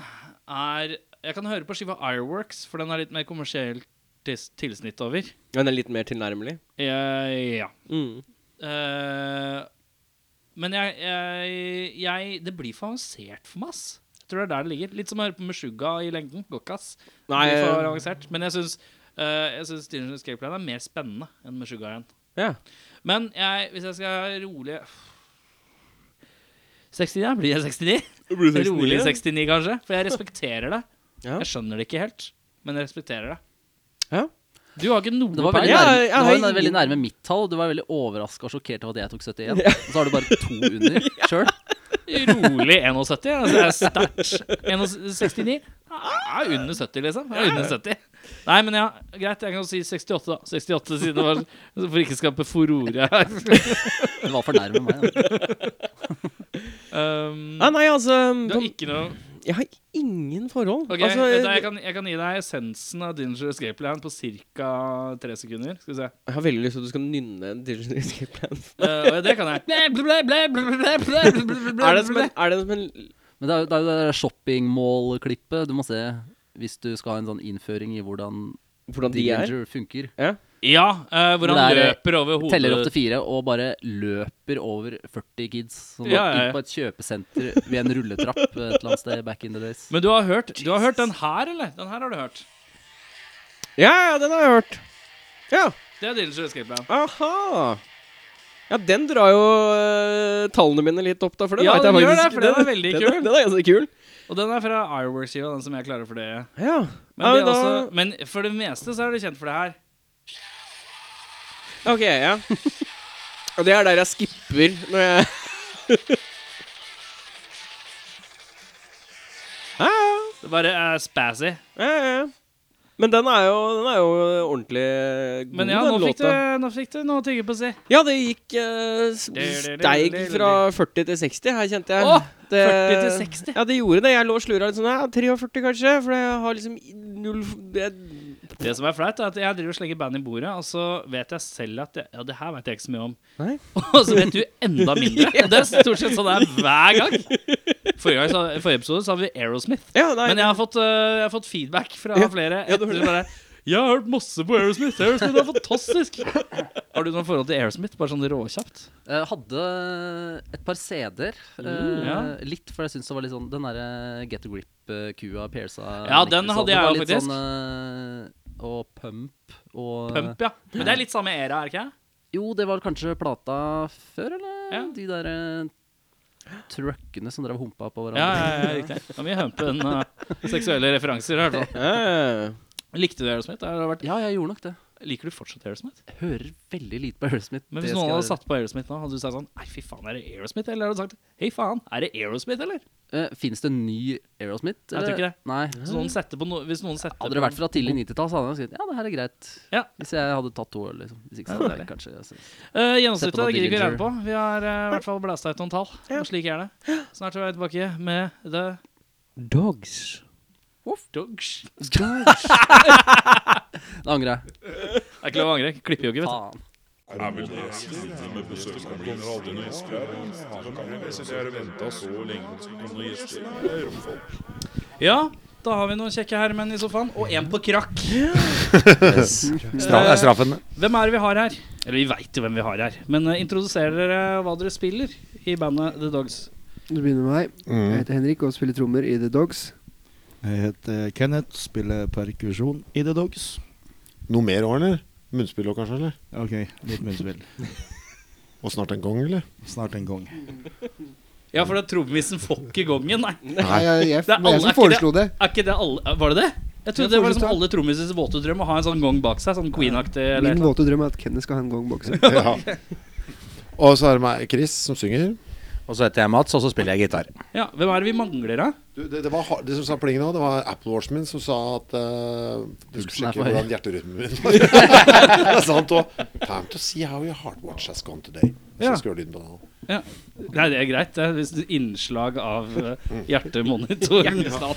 [SPEAKER 4] er Jeg kan høre på skiva Ireworks, for den er litt mer kommersielt tis- tilsnitt over.
[SPEAKER 1] Den er litt mer tilnærmelig.
[SPEAKER 4] Jeg- ja.
[SPEAKER 1] Mm.
[SPEAKER 4] Eh, men jeg, jeg, jeg Det blir for avansert for meg, ass. Jeg tror det er der det ligger. Litt som å høre på Meshuggah i lengden. Går ikke, ass. Det
[SPEAKER 1] Nei,
[SPEAKER 4] blir for
[SPEAKER 1] eh,
[SPEAKER 4] avansert. Men jeg syns uh, Stinger's Escape Plan er mer spennende enn Meshuggah igjen.
[SPEAKER 1] Ja.
[SPEAKER 4] Men jeg, hvis jeg skal rolig 69? ja. Blir jeg 69? Rolig 69, kanskje. For
[SPEAKER 1] [LAUGHS]
[SPEAKER 4] jeg respekterer det.
[SPEAKER 1] Ja.
[SPEAKER 4] Jeg skjønner det ikke helt, men jeg respekterer det.
[SPEAKER 1] Ja.
[SPEAKER 4] Du har ikke noe
[SPEAKER 3] Det var veldig,
[SPEAKER 1] Ja,
[SPEAKER 3] nærme,
[SPEAKER 1] jeg
[SPEAKER 3] det
[SPEAKER 1] har
[SPEAKER 3] var jo
[SPEAKER 1] ingen-
[SPEAKER 3] veldig nærme mitt tall. Du var veldig overraska og sjokkert over at jeg tok
[SPEAKER 1] [LAUGHS]
[SPEAKER 3] 71. Og så har du bare to under sjøl.
[SPEAKER 4] Rolig 71. Altså, det er sterkt. 69 er under 70, liksom. Er under 70. Nei, men ja, greit. Jeg kan jo si 68, da. 68 siden det var For ikke skape furore her.
[SPEAKER 3] Det var for nærme meg. Da.
[SPEAKER 4] [LAUGHS] Um,
[SPEAKER 1] Ah, nei, altså
[SPEAKER 4] du har ikke noe
[SPEAKER 1] Jeg har ingen forhold.
[SPEAKER 4] Ok,
[SPEAKER 1] altså,
[SPEAKER 4] vet du, jeg, kan, jeg kan gi deg essensen av Dinger Escape Plan på ca. tre sekunder. Skal vi se.
[SPEAKER 1] jeg har veldig lyst til at du skal nynne Digital Escape Plan.
[SPEAKER 4] Eh, og det kan jeg.
[SPEAKER 1] Er
[SPEAKER 4] Er
[SPEAKER 1] det som en, er det som en
[SPEAKER 3] Men det er jo det, er jo det der shoppingmall-klippet du må se hvis du skal ha en sånn innføring i hvordan
[SPEAKER 1] Hvordan de er?
[SPEAKER 3] Dillinger funker.
[SPEAKER 4] Ja, eh, hvor han
[SPEAKER 3] Det er-
[SPEAKER 4] løper over hodet
[SPEAKER 3] Teller opp til fire og bare løper over 40 kids. Som
[SPEAKER 4] Ja,
[SPEAKER 3] ja,
[SPEAKER 4] ja, ja.
[SPEAKER 3] Inn på et kjøpesenter ved en rulletrapp eh, et eller annet sted back in the
[SPEAKER 4] [LAUGHS]
[SPEAKER 3] days.
[SPEAKER 4] Men du har hørt Du har hørt den her, eller? Den her har du hørt.
[SPEAKER 1] Ja, ja, den har jeg hørt. Ja.
[SPEAKER 4] Det er Dinger Escape Plan.
[SPEAKER 1] Aha. Ja, den drar jo øh, tallene mine litt opp, da. For den
[SPEAKER 4] Ja,
[SPEAKER 1] vet
[SPEAKER 4] den
[SPEAKER 1] jeg
[SPEAKER 4] gjør
[SPEAKER 1] faktisk
[SPEAKER 4] det, for den er veldig
[SPEAKER 1] den,
[SPEAKER 4] kul.
[SPEAKER 1] [LAUGHS] Den er ganske kul.
[SPEAKER 4] Og den er fra Ireworks-skiva, den som jeg klarer for det.
[SPEAKER 1] Ja.
[SPEAKER 4] Men,
[SPEAKER 1] ja,
[SPEAKER 4] det er
[SPEAKER 1] da,
[SPEAKER 4] også, men for det meste så er du kjent for det her.
[SPEAKER 1] Ok,
[SPEAKER 4] [LAUGHS]
[SPEAKER 1] ja. Og det er der jeg skipper når jeg [LAUGHS] Ja, ja.
[SPEAKER 4] Det bare er spazzy.
[SPEAKER 1] Ja, ja, ja. Men den er jo, den er jo ordentlig god,
[SPEAKER 4] Men ja, nå
[SPEAKER 1] den
[SPEAKER 4] fikk, du,
[SPEAKER 1] låta.
[SPEAKER 4] nå fikk du noe å tygge på, si.
[SPEAKER 1] Ja, det gikk eh, s- steig fra 40 til 60 her, kjente jeg.
[SPEAKER 4] Åh,
[SPEAKER 1] det,
[SPEAKER 4] 40 til 60.
[SPEAKER 1] Ja, det gjorde det. Jeg lå og slura litt sånn ja, 43 kanskje, for jeg har liksom i- null f- jeg,
[SPEAKER 4] Det som er flaut, er at jeg driver og slenger band i bordet, og så vet jeg selv at jeg, Ja, det her vet jeg ikke så mye om.
[SPEAKER 1] Nei.
[SPEAKER 4] [LAUGHS] Og så vet du enda
[SPEAKER 1] [LAUGHS]
[SPEAKER 4] mindre. Og det er stort sett sånn det er hver gang. Forrige, gang, så- forrige episode så hadde vi Aerosmith.
[SPEAKER 1] Ja, nei.
[SPEAKER 4] Men jeg har fått, øh, jeg har fått feedback fra flere.
[SPEAKER 1] ja, du
[SPEAKER 4] etter bare, jeg har hørt masse på Aerosmith. Aerosmith er fantastisk. Har du noe forhold til Aerosmith? Bare sånn råkjapt.
[SPEAKER 3] Eh, hadde et par CD-er. eh,
[SPEAKER 4] Mm. ja.
[SPEAKER 3] Litt, for jeg syns det var litt sånn Den derre Get eh, a Grip-kua, Piersa
[SPEAKER 4] Ja, den hadde jeg jo faktisk.
[SPEAKER 3] Sånn, eh, og Pump og
[SPEAKER 4] Pump, ja. Men det er litt samme æra, er det ikke?
[SPEAKER 3] Jo, det var kanskje plata før, eller?
[SPEAKER 4] Ja.
[SPEAKER 3] De der eh, truckene som drev og humpa på hverandre.
[SPEAKER 4] Ja, ja, ja, riktig. Det er mye humpe enn uh, eh, seksuelle referanser, i hvert fall.
[SPEAKER 1] Ja, ja, ja.
[SPEAKER 4] Likte du Aerosmith? Det har vært
[SPEAKER 3] Ja, jeg gjorde nok det.
[SPEAKER 4] Liker du fortsatt Aerosmith?
[SPEAKER 3] Jeg hører veldig lite på Aerosmith. det
[SPEAKER 4] Men hvis
[SPEAKER 3] skal
[SPEAKER 4] noen
[SPEAKER 3] jeg
[SPEAKER 4] hadde
[SPEAKER 3] gjøre.
[SPEAKER 4] satt på Aerosmith nå, hadde du sagt sånn Nei, fy faen, er det Aerosmith? Eller hadde du sagt Hei faen, er det Aerosmith, eller?
[SPEAKER 3] Eh, Fins det en ny Aerosmith?
[SPEAKER 4] Jeg tror
[SPEAKER 3] eller?
[SPEAKER 4] ikke det.
[SPEAKER 3] Nei.
[SPEAKER 4] Så noen setter på no, hvis noen setter
[SPEAKER 3] Hadde det vært fra tidlig 90-tall, så hadde jeg skrevet ja, det her er greit.
[SPEAKER 4] Ja.
[SPEAKER 3] Hvis jeg hadde tatt to øl, liksom. Hvis ikke, så
[SPEAKER 4] Ja,
[SPEAKER 3] hadde jeg
[SPEAKER 4] det
[SPEAKER 3] kanskje altså.
[SPEAKER 4] uh,
[SPEAKER 3] Sett på
[SPEAKER 4] Gjennomsnittet
[SPEAKER 3] noe
[SPEAKER 4] det gidder ikke å
[SPEAKER 3] Dillinger.
[SPEAKER 4] regne på. Vi har eh, i hvert fall blæsta ut noen tall. Og slik er det. Snart er vi tilbake med The
[SPEAKER 1] Dogs.
[SPEAKER 4] Dogs.
[SPEAKER 3] Da angrer jeg.
[SPEAKER 4] [LAUGHS] Det er ikke lov å angre. Klipper jo ikke, vet du.
[SPEAKER 3] Faen.
[SPEAKER 5] Er vel det siste med besøksmål.
[SPEAKER 4] Ja, da har vi noen kjekke herremenn i sofaen, og en på krakk. Eh,
[SPEAKER 6] Stra er straffen.
[SPEAKER 4] Hvem er det vi har her? Eller vi veit jo hvem vi har her. Men eh, introduserer dere hva dere spiller i bandet The Dogs.
[SPEAKER 7] Du begynner med meg.
[SPEAKER 6] Mm.
[SPEAKER 7] Jeg heter Henrik og spiller trommer i The Dogs.
[SPEAKER 8] Jeg heter Kenneth, spiller perkusjon i The Dogs.
[SPEAKER 6] Noe mer år, eller? Munnspill også, kanskje? eller?
[SPEAKER 8] OK, litt munnspill.
[SPEAKER 6] Og snart en gang, eller?
[SPEAKER 8] Snart en gang.
[SPEAKER 4] Ja, for det er trommisen får ikke gongen, nei.
[SPEAKER 7] Nei, jeg, jeg,
[SPEAKER 4] [LAUGHS] Det
[SPEAKER 7] det var
[SPEAKER 4] er alle-
[SPEAKER 7] jeg
[SPEAKER 4] er
[SPEAKER 7] som
[SPEAKER 4] ikke
[SPEAKER 7] foreslo det.
[SPEAKER 4] Er ikke det alle Var det det? Jeg trodde det var liksom alle trommisers våte drøm å ha en sånn gong bak seg, sånn queen-aktig eller
[SPEAKER 7] Min
[SPEAKER 4] noe.
[SPEAKER 7] våte drøm er at Kenneth skal ha en gongbokse.
[SPEAKER 6] [LAUGHS] Ja. Og så er det meg, Chris, som synger.
[SPEAKER 9] Og så heter jeg Mats, og så spiller jeg
[SPEAKER 4] [LAUGHS]
[SPEAKER 9] gitar.
[SPEAKER 4] Ja, hvem er det vi mangler, da?
[SPEAKER 6] Du, det, det var har- det som sa plingen nå, det var Apple Watchen min som sa at eh, du skulle
[SPEAKER 3] er
[SPEAKER 6] sjekke
[SPEAKER 3] for høy.
[SPEAKER 6] hvordan hjerterytmen min var. [LAUGHS] det er sant òg. Time to see how your heart watch has gone today. Så
[SPEAKER 4] Ja.
[SPEAKER 6] skrur lyden på den.
[SPEAKER 4] Nei, det er greit. Det er visst innslag av
[SPEAKER 7] [LAUGHS]
[SPEAKER 4] eh, hjertemonitor.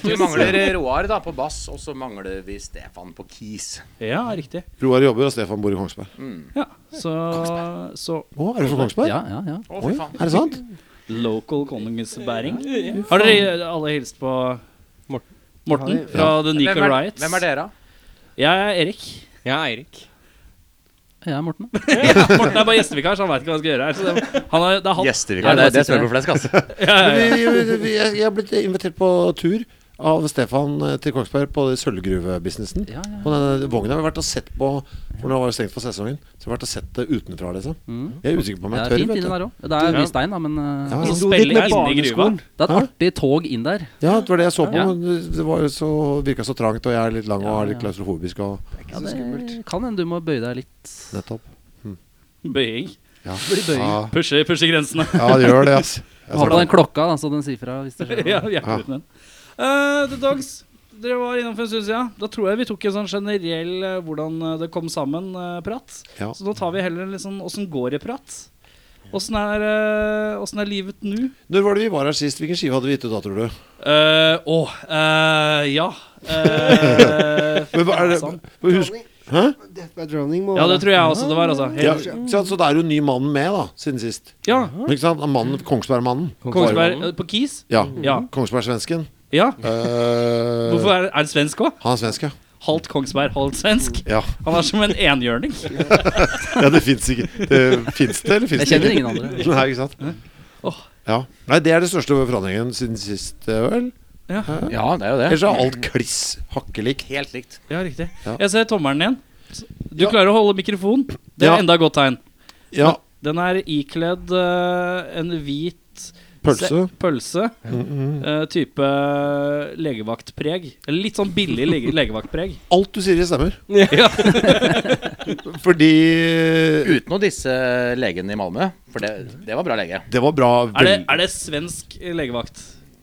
[SPEAKER 9] Vi mangler Roar da på bass, og så mangler vi Stefan på keys.
[SPEAKER 4] Ja, riktig.
[SPEAKER 6] Roar jobber, og Stefan bor i Kongsberg.
[SPEAKER 4] Ja, så, så
[SPEAKER 6] Å, er du fra Kongsberg?
[SPEAKER 3] Ja, ja, ja.
[SPEAKER 9] Å,
[SPEAKER 6] Oi,
[SPEAKER 9] fy faen.
[SPEAKER 6] er det sant?
[SPEAKER 4] Local konungsbæring. Har dere alle hilst på
[SPEAKER 1] Morten.
[SPEAKER 4] Morten fra The
[SPEAKER 9] Hvem
[SPEAKER 4] Nico
[SPEAKER 9] er,
[SPEAKER 4] Riots?
[SPEAKER 9] hvem er dere, da?
[SPEAKER 4] Jeg er Erik.
[SPEAKER 1] Jeg er Eirik.
[SPEAKER 3] Jeg er Morten.
[SPEAKER 4] Morten er bare gjestevikar, så han veit ikke hva han skal gjøre her. Så det, han er, det er han.
[SPEAKER 9] Gjestevikar. Det, det spør på flesk, altså.
[SPEAKER 6] Vi,
[SPEAKER 4] [LAUGHS]
[SPEAKER 6] vi, vi, jeg jeg er blitt invitert på tur av Stefan eh, til Kongsberg på det sølvgruvebusinessen.
[SPEAKER 3] Ja, ja.
[SPEAKER 6] På denne vogna har vi vært og sett på For nå var det stengt for sesongen. Så vi har vært og sett det utenfra, liksom. Jeg er usikker på om
[SPEAKER 3] Det
[SPEAKER 6] jeg
[SPEAKER 3] er
[SPEAKER 6] tør,
[SPEAKER 3] Mm. fint
[SPEAKER 6] vet
[SPEAKER 3] inni
[SPEAKER 6] du.
[SPEAKER 3] der òg. Det er mye stein, da, men eh,
[SPEAKER 6] Ja,
[SPEAKER 4] Så
[SPEAKER 6] ja.
[SPEAKER 4] spiller
[SPEAKER 8] med
[SPEAKER 4] jeg inni gruva.
[SPEAKER 8] barneskolen.
[SPEAKER 3] det er et
[SPEAKER 6] Hæ?
[SPEAKER 3] artig tog inn der.
[SPEAKER 6] ja, det var det jeg så på.
[SPEAKER 3] Ja.
[SPEAKER 6] men det- Det var jo så, virka så trangt, og jeg er litt lang og
[SPEAKER 3] Ja,
[SPEAKER 6] er litt
[SPEAKER 3] ja.
[SPEAKER 6] klaustrofobisk. Og
[SPEAKER 3] Ja, det kan hende du må bøye deg litt.
[SPEAKER 6] nettopp.
[SPEAKER 4] Bøying.
[SPEAKER 6] Ja.
[SPEAKER 3] bøying.
[SPEAKER 6] Ja.
[SPEAKER 4] Pushe, pushe grensene.
[SPEAKER 6] ja, det gjør det, ass. Jeg
[SPEAKER 3] Ha
[SPEAKER 6] så
[SPEAKER 3] på
[SPEAKER 6] det.
[SPEAKER 3] den klokka, da, så den sier fra hvis det skjer noe.
[SPEAKER 4] [LAUGHS] ja, hjertet uten den. Eh, The Dogs, dere var innom for en stund siden. Da tror jeg vi tok en sånn generell eh, hvordan eh, det kom sammen-prat.
[SPEAKER 6] Ja.
[SPEAKER 4] Så nå tar vi heller en litt sånn åssen går det-prat. Åssen er, eh, hvordan er livet nå?
[SPEAKER 6] Når var det vi var her sist? Hvilken skive hadde vi gitt ut da, tror du?
[SPEAKER 4] Eh, Å, eh, ja Eh,
[SPEAKER 6] [LAUGHS] Men hva er det,
[SPEAKER 4] faen.
[SPEAKER 6] husk, Hæ?
[SPEAKER 7] Death by Drowning må
[SPEAKER 4] Ja, det tror jeg også det var, altså.
[SPEAKER 6] Ja,
[SPEAKER 4] Helt,
[SPEAKER 6] ikke sant, så det er jo en ny mann med, da, siden sist.
[SPEAKER 4] ja.
[SPEAKER 6] Ikke sant? Mannen, Kongsberg-mannen.
[SPEAKER 4] Kongsberg eh, på Kis?
[SPEAKER 6] Ja.
[SPEAKER 4] Ja.
[SPEAKER 6] Kongsberg-svensken.
[SPEAKER 4] ja.
[SPEAKER 6] Eh,
[SPEAKER 4] Hvorfor er, er han svensk òg?
[SPEAKER 6] Han er svensk, ja.
[SPEAKER 4] Halvt Kongsberg, halvt svensk.
[SPEAKER 6] Ja,
[SPEAKER 4] Han er som en enhjørning.
[SPEAKER 6] [LAUGHS] ja det fins ikke. Det fins det, eller fins
[SPEAKER 3] Jeg
[SPEAKER 6] det
[SPEAKER 3] kjenner ingen andre.
[SPEAKER 6] Nei, ikke sant?
[SPEAKER 4] Åh.
[SPEAKER 6] Ja. Nei, det er det største forandringen siden sist, eh, vel. Eh,
[SPEAKER 9] Ja, det er jo det.
[SPEAKER 6] Ellers er alt kliss hakkelikt.
[SPEAKER 9] Helt likt.
[SPEAKER 4] Ja, riktig.
[SPEAKER 6] Ja.
[SPEAKER 4] Jeg ser tommelen igjen. Du klarer å holde mikrofon. Det er
[SPEAKER 6] Ja.
[SPEAKER 4] enda et godt tegn.
[SPEAKER 6] Ja.
[SPEAKER 4] Den er ikledd eh, en hvit
[SPEAKER 6] Pølse. Mm,
[SPEAKER 4] se- pølse eh, type legevaktpreg. Eller Litt sånn billig
[SPEAKER 6] [LAUGHS]
[SPEAKER 4] lege legevaktpreg.
[SPEAKER 6] Alt du sier, det stemmer.
[SPEAKER 4] [LAUGHS] Ja.
[SPEAKER 6] [LAUGHS] Fordi
[SPEAKER 9] Uten å disse legene i Malmö, for det, det var bra lege.
[SPEAKER 6] Det var bra.
[SPEAKER 4] Er, det, er det svensk legevakt?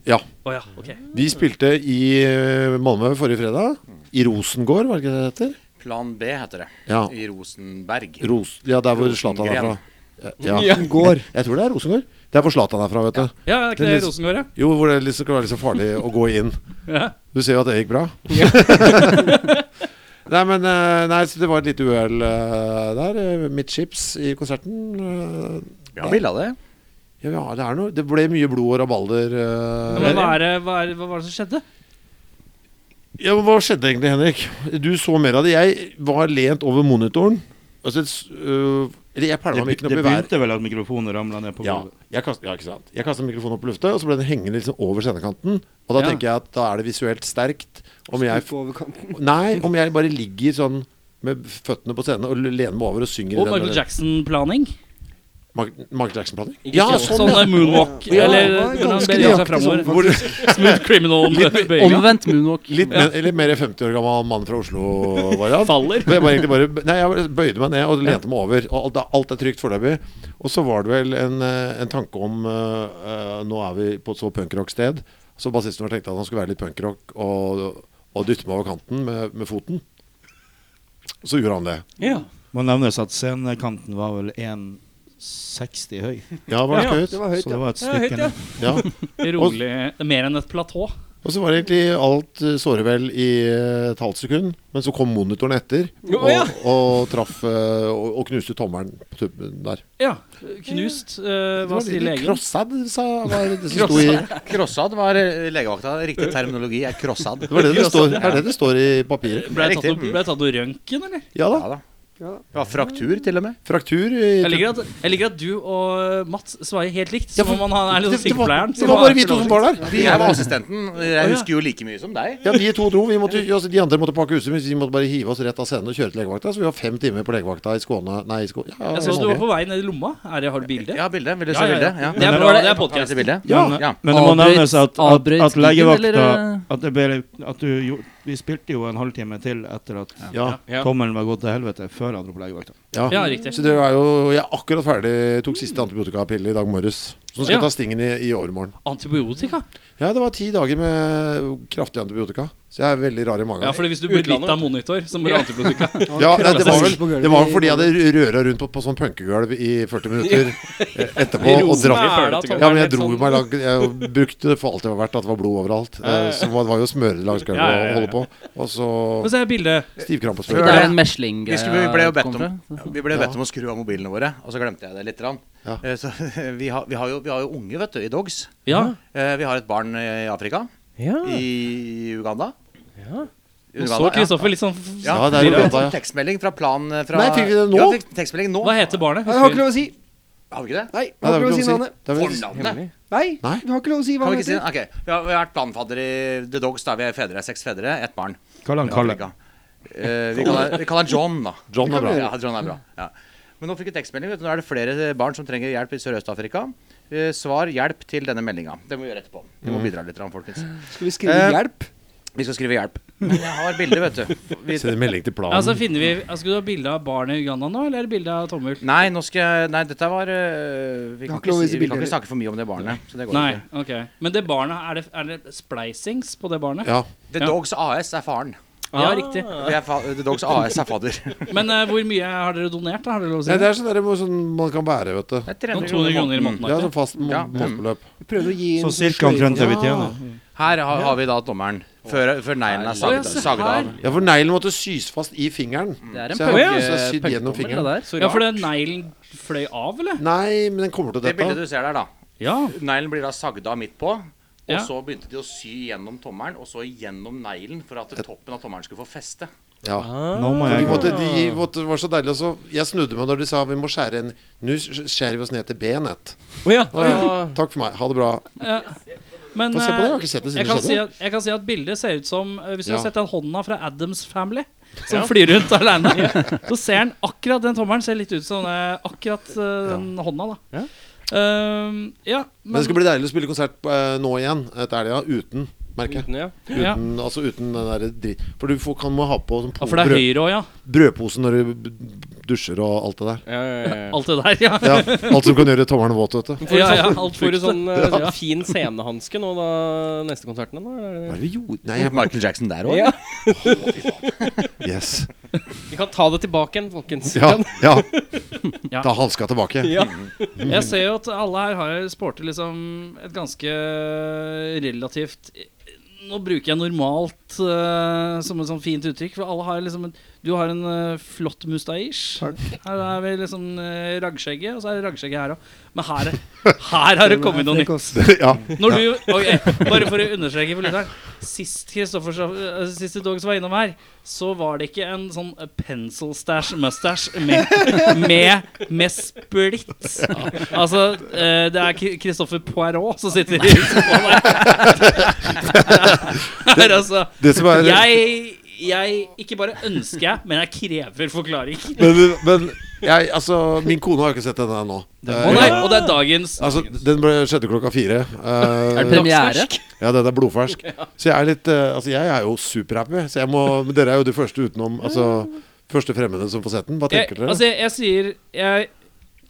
[SPEAKER 6] Ja. Eh,
[SPEAKER 4] Å ja, ok.
[SPEAKER 6] Vi spilte i eh, Malmö forrige fredag. I Rosengård, var det ikke det det heter?
[SPEAKER 9] Plan B heter det.
[SPEAKER 6] Ja.
[SPEAKER 9] I Rosenberg.
[SPEAKER 6] Ros ja, der hvor Zlatan er fra.
[SPEAKER 9] Rosengren.
[SPEAKER 6] Ja. Jeg tror det er Rosengård. Det er hvor Zlatan er fra, vet du.
[SPEAKER 4] Ja, er
[SPEAKER 6] Det er
[SPEAKER 4] ikke det
[SPEAKER 6] litt-
[SPEAKER 4] Rosengård, ja?
[SPEAKER 6] Jo, hvor det liksom kan være litt så farlig å gå inn.
[SPEAKER 4] [LAUGHS] ja?
[SPEAKER 6] Du ser jo at det gikk bra. [LAUGHS] nei, men eh, nei, så det var et lite uhell eh, der. eh, Midtskips i konserten. eh,
[SPEAKER 9] Ja, bilde av det.
[SPEAKER 6] Ja, ja, det er noe Det ble mye blod og rabalder. eh,
[SPEAKER 4] Men hva, er det, hva, er, hva var det som skjedde?
[SPEAKER 6] Ja, men Hva skjedde egentlig, Henrik? Du så mer av det. Jeg var lent over monitoren. [LAUGHS] Altså, et s- øh, eller jeg pælma
[SPEAKER 8] Det,
[SPEAKER 6] mikken opp
[SPEAKER 8] det
[SPEAKER 6] i været.
[SPEAKER 8] begynte vel at mikrofonen ramla ned på
[SPEAKER 6] Ja,
[SPEAKER 8] gulvet.
[SPEAKER 6] jeg kast, ja, ikke sant Jeg kastet mikrofonen opp i luftet, og så ble den hengende liksom over scenekanten. Og da
[SPEAKER 4] Ja.
[SPEAKER 6] tenker jeg at da er det visuelt sterkt. Om jeg,
[SPEAKER 7] Stupe over kanten.
[SPEAKER 6] [LAUGHS] nei, om jeg bare ligger sånn med føttene på scenen og lener meg over og synger i
[SPEAKER 4] Og
[SPEAKER 6] den-
[SPEAKER 4] Michael Jackson-planing?
[SPEAKER 6] Mark Mark Jackson-plater?
[SPEAKER 1] Ikke
[SPEAKER 6] Ja,
[SPEAKER 1] Kjell.
[SPEAKER 6] sånn,
[SPEAKER 4] Sånn
[SPEAKER 6] ja.
[SPEAKER 4] der moonwalk,
[SPEAKER 7] Ja,
[SPEAKER 4] eller
[SPEAKER 7] det var
[SPEAKER 4] hvordan
[SPEAKER 7] ganske
[SPEAKER 4] beveger han seg
[SPEAKER 7] nøyaktig sånn,
[SPEAKER 4] framover.
[SPEAKER 6] Hvor,
[SPEAKER 4] Smooth criminal bøyinga.
[SPEAKER 3] Omvendt moonwalk.
[SPEAKER 6] litt, men, litt mer 50 år gammel mann fra Oslo-variant.
[SPEAKER 4] Faller.
[SPEAKER 6] Men jeg var egentlig bare Nei, jeg bøyde meg ned og lente meg over. Og alt, er- alt er trygt foreløpig. Og så var det vel en, eh, en tanke om eh, eh, Nå er vi på et så punkrock-sted. Så bassisten vår tenkte at han skulle være litt punkrock og, og dytte meg over kanten med, med foten. Så gjorde han det.
[SPEAKER 1] Ja.
[SPEAKER 8] Må nevnes at scenekanten var vel 1,60 høy.
[SPEAKER 6] Ja, det var
[SPEAKER 1] Ja,
[SPEAKER 6] skøyt.
[SPEAKER 7] Det var høyt,
[SPEAKER 8] Så det
[SPEAKER 7] ja.
[SPEAKER 8] var et
[SPEAKER 1] Ja, høyt,
[SPEAKER 8] stykke
[SPEAKER 1] ja.
[SPEAKER 8] ned.
[SPEAKER 6] Ja.
[SPEAKER 8] [LAUGHS]
[SPEAKER 4] Rolig. Mer enn et platå.
[SPEAKER 6] Og så var det egentlig alt eh, såre vel i eh, et halvt sekund. Men så kom monitoren etter
[SPEAKER 1] Å,
[SPEAKER 6] og,
[SPEAKER 1] ja.
[SPEAKER 6] og traff eh, og, og knuste tommelen på tuppen der.
[SPEAKER 4] Ja. Knust. eh, hva sier legen?
[SPEAKER 6] Krossad, sa var det det som sto i Det
[SPEAKER 9] Krossad var eh, legevakta. Riktig terminologi er krossad.
[SPEAKER 6] var det det står, er det det står i papiret.
[SPEAKER 4] Ble jeg
[SPEAKER 9] Det er
[SPEAKER 4] tatt opp-
[SPEAKER 9] riktig.
[SPEAKER 4] ble jeg tatt opp røntgen, eller?
[SPEAKER 6] Ja da.
[SPEAKER 9] [LAUGHS] Ja da.
[SPEAKER 7] Ja da.
[SPEAKER 9] Det var fraktur, til og med.
[SPEAKER 6] Fraktur eh, i
[SPEAKER 4] Jeg liker, at, jeg liker at du og eh, Mats svarer helt likt. Som
[SPEAKER 6] Ja, for-
[SPEAKER 4] om han er
[SPEAKER 6] [LAUGHS] Det-
[SPEAKER 4] liksom
[SPEAKER 6] det var-
[SPEAKER 4] sykepleieren.
[SPEAKER 6] Det var bare vi to som var der. Vi,
[SPEAKER 9] Jeg var assistenten. Jeg husker jo like mye som deg.
[SPEAKER 6] ja, de to dro. Vi måtte, altså, de andre måtte pakke huset, mens vi måtte bare hive oss rett av scenen og kjøre til legevakta. Så vi var fem timer på legevakta i Skåne Nei, i Skåne. Ja,
[SPEAKER 4] Jeg så at du
[SPEAKER 6] Norge.
[SPEAKER 4] var på vei ned i lomma. Er det, har du bilde?
[SPEAKER 9] Ja, bildet. Vil du
[SPEAKER 4] Ja,
[SPEAKER 9] se
[SPEAKER 4] ja, ja.
[SPEAKER 9] bildet? Ja.
[SPEAKER 4] Det er
[SPEAKER 9] Men-
[SPEAKER 4] bra, det er
[SPEAKER 9] Kan jeg se
[SPEAKER 4] podcasten.
[SPEAKER 9] bildet?
[SPEAKER 8] Men,
[SPEAKER 9] ja.
[SPEAKER 8] men det må
[SPEAKER 3] Avbrøt-
[SPEAKER 8] nevnes at, at,
[SPEAKER 3] avbrøt
[SPEAKER 8] at
[SPEAKER 3] stigen,
[SPEAKER 8] legevakta
[SPEAKER 3] eller?
[SPEAKER 8] at, det ble, at du, jo- Vi spilte jo en halvtime til etter at
[SPEAKER 6] Ja,
[SPEAKER 1] Ja.
[SPEAKER 8] tommelen var gått til helvete, før han dro på legevakta.
[SPEAKER 6] ja.
[SPEAKER 4] Ja, riktig.
[SPEAKER 6] Så det er jo, jeg er akkurat ferdig Tok siste antibiotikapille i dag morges Så nå skal
[SPEAKER 4] Ja.
[SPEAKER 6] jeg ta stingen i, i overmorgen
[SPEAKER 4] Antibiotika?
[SPEAKER 6] Ja, det var ti dager med kraftig antibiotika Så jeg er veldig rar i magen
[SPEAKER 4] Ja, for hvis du blir bitt
[SPEAKER 1] Utlandet.
[SPEAKER 4] av monitor, så må du ha antibiotika. [LAUGHS]
[SPEAKER 6] Ja, nei, det, var
[SPEAKER 7] På
[SPEAKER 6] vel,
[SPEAKER 7] gulvet
[SPEAKER 6] det var vel
[SPEAKER 7] i-
[SPEAKER 6] fordi jeg hadde røra rundt på, på sånn punkegulv i 40 minutter eh, etterpå.
[SPEAKER 1] I
[SPEAKER 6] Og drakk.
[SPEAKER 1] Rosmæla, Tom,
[SPEAKER 6] Ja, men
[SPEAKER 1] er
[SPEAKER 6] jeg
[SPEAKER 1] det
[SPEAKER 6] dro
[SPEAKER 1] sånn-
[SPEAKER 6] meg langt Jeg brukte det for alt det var verdt, at det var blod overalt. Eh, Så det var jo å smøre det langs gulvet
[SPEAKER 4] Ja, ja, ja,
[SPEAKER 6] og holde på. Og så
[SPEAKER 4] Få se bildet.
[SPEAKER 6] stivkrampesmør.
[SPEAKER 9] Før
[SPEAKER 3] Det er
[SPEAKER 9] det-
[SPEAKER 3] en mesling
[SPEAKER 9] Vi, skulle, vi ble jo bedt om,
[SPEAKER 3] fra.
[SPEAKER 9] vi ble bedt om å skru av mobilene våre, og så glemte jeg det litt. grann.
[SPEAKER 6] Ja.
[SPEAKER 9] Eh, Så [LAUGHS] vi har, vi, har jo, vi har jo unge, vet du, i dogs.
[SPEAKER 4] Ja.
[SPEAKER 9] Eh, Vi har et barn eh, i Afrika.
[SPEAKER 1] Ja.
[SPEAKER 9] I Uganda. I
[SPEAKER 4] Og
[SPEAKER 9] Uganda,
[SPEAKER 4] så Kristoffer litt sånn f-
[SPEAKER 9] Ja,
[SPEAKER 6] Ja, det er
[SPEAKER 9] vi
[SPEAKER 6] Uganda,
[SPEAKER 9] fikk sånn
[SPEAKER 6] ja.
[SPEAKER 9] Tekstmelding fra plan eh, fra
[SPEAKER 6] Nei, fikk vi det nå?
[SPEAKER 9] Ja, fikk tekstmelding nå.
[SPEAKER 4] Hva heter barnet?
[SPEAKER 7] Nei, jeg har ikke
[SPEAKER 4] Husker
[SPEAKER 7] lov å si.
[SPEAKER 9] Har vi ikke det?
[SPEAKER 7] Nei, jeg
[SPEAKER 6] Nei,
[SPEAKER 7] har
[SPEAKER 6] det er vel
[SPEAKER 7] ikke lov å
[SPEAKER 6] ikke lov å
[SPEAKER 7] si
[SPEAKER 6] si.
[SPEAKER 7] navnet.
[SPEAKER 6] Det er vel-
[SPEAKER 9] Fornavnet?
[SPEAKER 7] Nei,
[SPEAKER 6] Nei.
[SPEAKER 7] du har ikke lov å si hva
[SPEAKER 9] Kan
[SPEAKER 7] han
[SPEAKER 9] vi ikke si det?
[SPEAKER 7] heter.
[SPEAKER 9] Ok, Vi har, vi har vært planfadder i The Dogs, da. Vi er fedre, seks fedre, ett barn.
[SPEAKER 8] Kall han
[SPEAKER 9] i
[SPEAKER 8] Kalle.
[SPEAKER 9] Afrika. Eh, vi, kaller, vi kaller han John, da.
[SPEAKER 6] John er bra.
[SPEAKER 9] Ja, John er bra. Ja. Men nå fikk vi tekstmelding. Vet du, nå er det flere barn som trenger hjelp i Sørøst-Afrika. Eh, svar 'hjelp' til denne meldinga. Det må vi gjøre etterpå. Vi
[SPEAKER 6] Mm.
[SPEAKER 9] må bidra litt, grann, folkens.
[SPEAKER 7] Skal vi skrive
[SPEAKER 9] Eh,
[SPEAKER 7] hjelp?
[SPEAKER 9] Vi skal skrive 'hjelp'. Men jeg har bildet, vet du. Vi,
[SPEAKER 6] Sender melding til
[SPEAKER 4] Ja, så
[SPEAKER 6] planen.
[SPEAKER 4] finner vi altså, Skal du ha bilde av barnet i Uganda nå, eller er det bilde av tommel?
[SPEAKER 9] nei, nå skal jeg Nei, dette var eh, vi,
[SPEAKER 7] Jeg har
[SPEAKER 9] kan
[SPEAKER 7] ikke lov å
[SPEAKER 9] ikke
[SPEAKER 7] vise
[SPEAKER 9] si, vi kan
[SPEAKER 7] bilder.
[SPEAKER 9] ikke snakke for mye om det barnet. Så det går
[SPEAKER 4] Nei,
[SPEAKER 9] ikke.
[SPEAKER 4] ok. Men det barnet, er det, er det spleisings på det barnet?
[SPEAKER 6] Ja.
[SPEAKER 9] The
[SPEAKER 4] Ja.
[SPEAKER 9] Dogs AS er faren.
[SPEAKER 4] Ja, riktig.
[SPEAKER 9] Vi er fa The Dogs AS er fadder.
[SPEAKER 4] [LAUGHS] Men eh, hvor mye har dere donert? da? Har dere lov å si
[SPEAKER 6] Nei, det
[SPEAKER 4] det?
[SPEAKER 6] er sånn, der, hvor sånn man kan bære, vet du.
[SPEAKER 9] Det er
[SPEAKER 4] Noen 200 kroner i mm. måneden.
[SPEAKER 6] Ja,
[SPEAKER 4] Arte.
[SPEAKER 6] sånn fast må-
[SPEAKER 9] Ja.
[SPEAKER 6] månedsbeløp.
[SPEAKER 7] Vi prøver å gi
[SPEAKER 8] Så
[SPEAKER 7] en
[SPEAKER 8] cirka omtrent det vi tjener.
[SPEAKER 9] Her har, har vi da tommeren. Før, før neglen er
[SPEAKER 4] Å, ja,
[SPEAKER 9] sagd
[SPEAKER 4] se
[SPEAKER 9] sagd av.
[SPEAKER 4] her.
[SPEAKER 6] Ja, for neglen måtte sys fast i fingeren.
[SPEAKER 3] Det er
[SPEAKER 6] Så
[SPEAKER 3] en
[SPEAKER 6] jeg- så
[SPEAKER 1] punke-
[SPEAKER 6] jeg har sydd gjennom
[SPEAKER 3] punkekommel,
[SPEAKER 6] fingeren.
[SPEAKER 3] det der.
[SPEAKER 1] Så
[SPEAKER 4] Ja, for
[SPEAKER 1] rart.
[SPEAKER 4] den neglen fløy av, eller?
[SPEAKER 6] Nei, men den kommer til å
[SPEAKER 9] Det
[SPEAKER 6] dette.
[SPEAKER 9] bildet du ser der, da.
[SPEAKER 4] Ja.
[SPEAKER 9] Neglen blir da sagd av midt på. Og
[SPEAKER 4] Ja.
[SPEAKER 9] så begynte de å sy gjennom tommelen, og så gjennom neglen, for at toppen av tommelen skulle få feste.
[SPEAKER 6] Ja.
[SPEAKER 8] Nå må
[SPEAKER 6] De
[SPEAKER 8] jeg gå.
[SPEAKER 6] måtte, de måtte, det var så deilig. og Så jeg snudde meg når de sa vi må skjære en Nå skjærer vi oss ned til benet.
[SPEAKER 1] Å ja.
[SPEAKER 6] Takk for meg. Ha det bra.
[SPEAKER 4] Men
[SPEAKER 6] Få se på det. Jeg
[SPEAKER 4] eh,
[SPEAKER 6] har ikke sett det
[SPEAKER 4] jeg
[SPEAKER 6] siden
[SPEAKER 4] kan,
[SPEAKER 6] det
[SPEAKER 4] si
[SPEAKER 6] skjedde.
[SPEAKER 4] at, jeg kan si at bildet ser ut som eh, Hvis du
[SPEAKER 6] Ja.
[SPEAKER 4] har sett den hånda fra Adams Family som flyr rundt alene,
[SPEAKER 7] [LAUGHS]
[SPEAKER 4] så ser den akkurat den tommelen ser litt ut som eh, akkurat eh, den hånda, da. Ehm, ja,
[SPEAKER 6] Men det
[SPEAKER 4] men
[SPEAKER 6] skal bli deilig å spille konsert eh, nå igjen etter helga uten, merker jeg.
[SPEAKER 1] Uten, ja.
[SPEAKER 6] Uten,
[SPEAKER 4] Ja.
[SPEAKER 6] Altså uten den der dritt For du får, kan må ha på sånn
[SPEAKER 4] ja, For det er
[SPEAKER 6] brød,
[SPEAKER 4] høyre òg, ja.
[SPEAKER 6] brødpose når du b- dusjer og alt det der.
[SPEAKER 1] Ja, ja, ja, ja.
[SPEAKER 4] [LAUGHS] Alt det der, ja.
[SPEAKER 6] Ja, alt som kan gjøre tommelen våt, vet du.
[SPEAKER 4] ja, ja alt
[SPEAKER 1] Får du
[SPEAKER 4] for
[SPEAKER 1] sånn eh,
[SPEAKER 4] Ja.
[SPEAKER 1] fin scenehanske nå, da, neste konserten? Da?
[SPEAKER 6] Hva
[SPEAKER 1] eller er
[SPEAKER 6] er det vi gjorde? Nei,
[SPEAKER 9] Tok
[SPEAKER 6] jeg,
[SPEAKER 9] Michael Jackson der
[SPEAKER 1] det-
[SPEAKER 9] òg?
[SPEAKER 1] Ja.
[SPEAKER 6] yes.
[SPEAKER 1] Vi kan ta det tilbake igjen, folkens.
[SPEAKER 6] Ja.
[SPEAKER 1] [LAUGHS]
[SPEAKER 6] ja.
[SPEAKER 4] [LAUGHS] Ja. Mm.
[SPEAKER 6] Ta hanska tilbake.
[SPEAKER 1] Ja.
[SPEAKER 4] Jeg ser jo at alle her har sporter liksom et ganske eh, relativt Nå bruker jeg normalt eh, som et sånn fint uttrykk, for alle har liksom en, Du har en eh, flott mustasje. Her er vi liksom eh, raggskjegget, og så er det raggskjegget her òg. Men her, her har det kommet noe nytt.
[SPEAKER 6] ja.
[SPEAKER 4] Når du, ok, bare for å understreke for lytteren. Sist Kristoffer Scha- eh, Siste Dogs var innom her, så var det ikke en sånn pencil stash mustache med, med, med splitt. Altså, eh, det er Kri- Kristoffer Poirot som sitter i sofaen der. Det er altså
[SPEAKER 6] Det som er
[SPEAKER 4] Jeg jeg ikke bare ønsker jeg, men jeg krever forklaring.
[SPEAKER 6] men, men Jeg, altså, min kone har jo ikke sett den her nå.
[SPEAKER 4] Å
[SPEAKER 6] Eh,
[SPEAKER 4] nei, og det er dagens
[SPEAKER 6] Altså, den ble skjedde klokka fire. Eh,
[SPEAKER 3] Premiere?
[SPEAKER 6] ja, den er blodfersk. Så jeg er litt eh, Altså, jeg er jo superhappy. Så jeg må Men dere er jo de første utenom Altså, første fremmede som får sett den. Hva
[SPEAKER 4] jeg,
[SPEAKER 6] tenker dere?
[SPEAKER 4] altså, jeg, jeg sier jeg,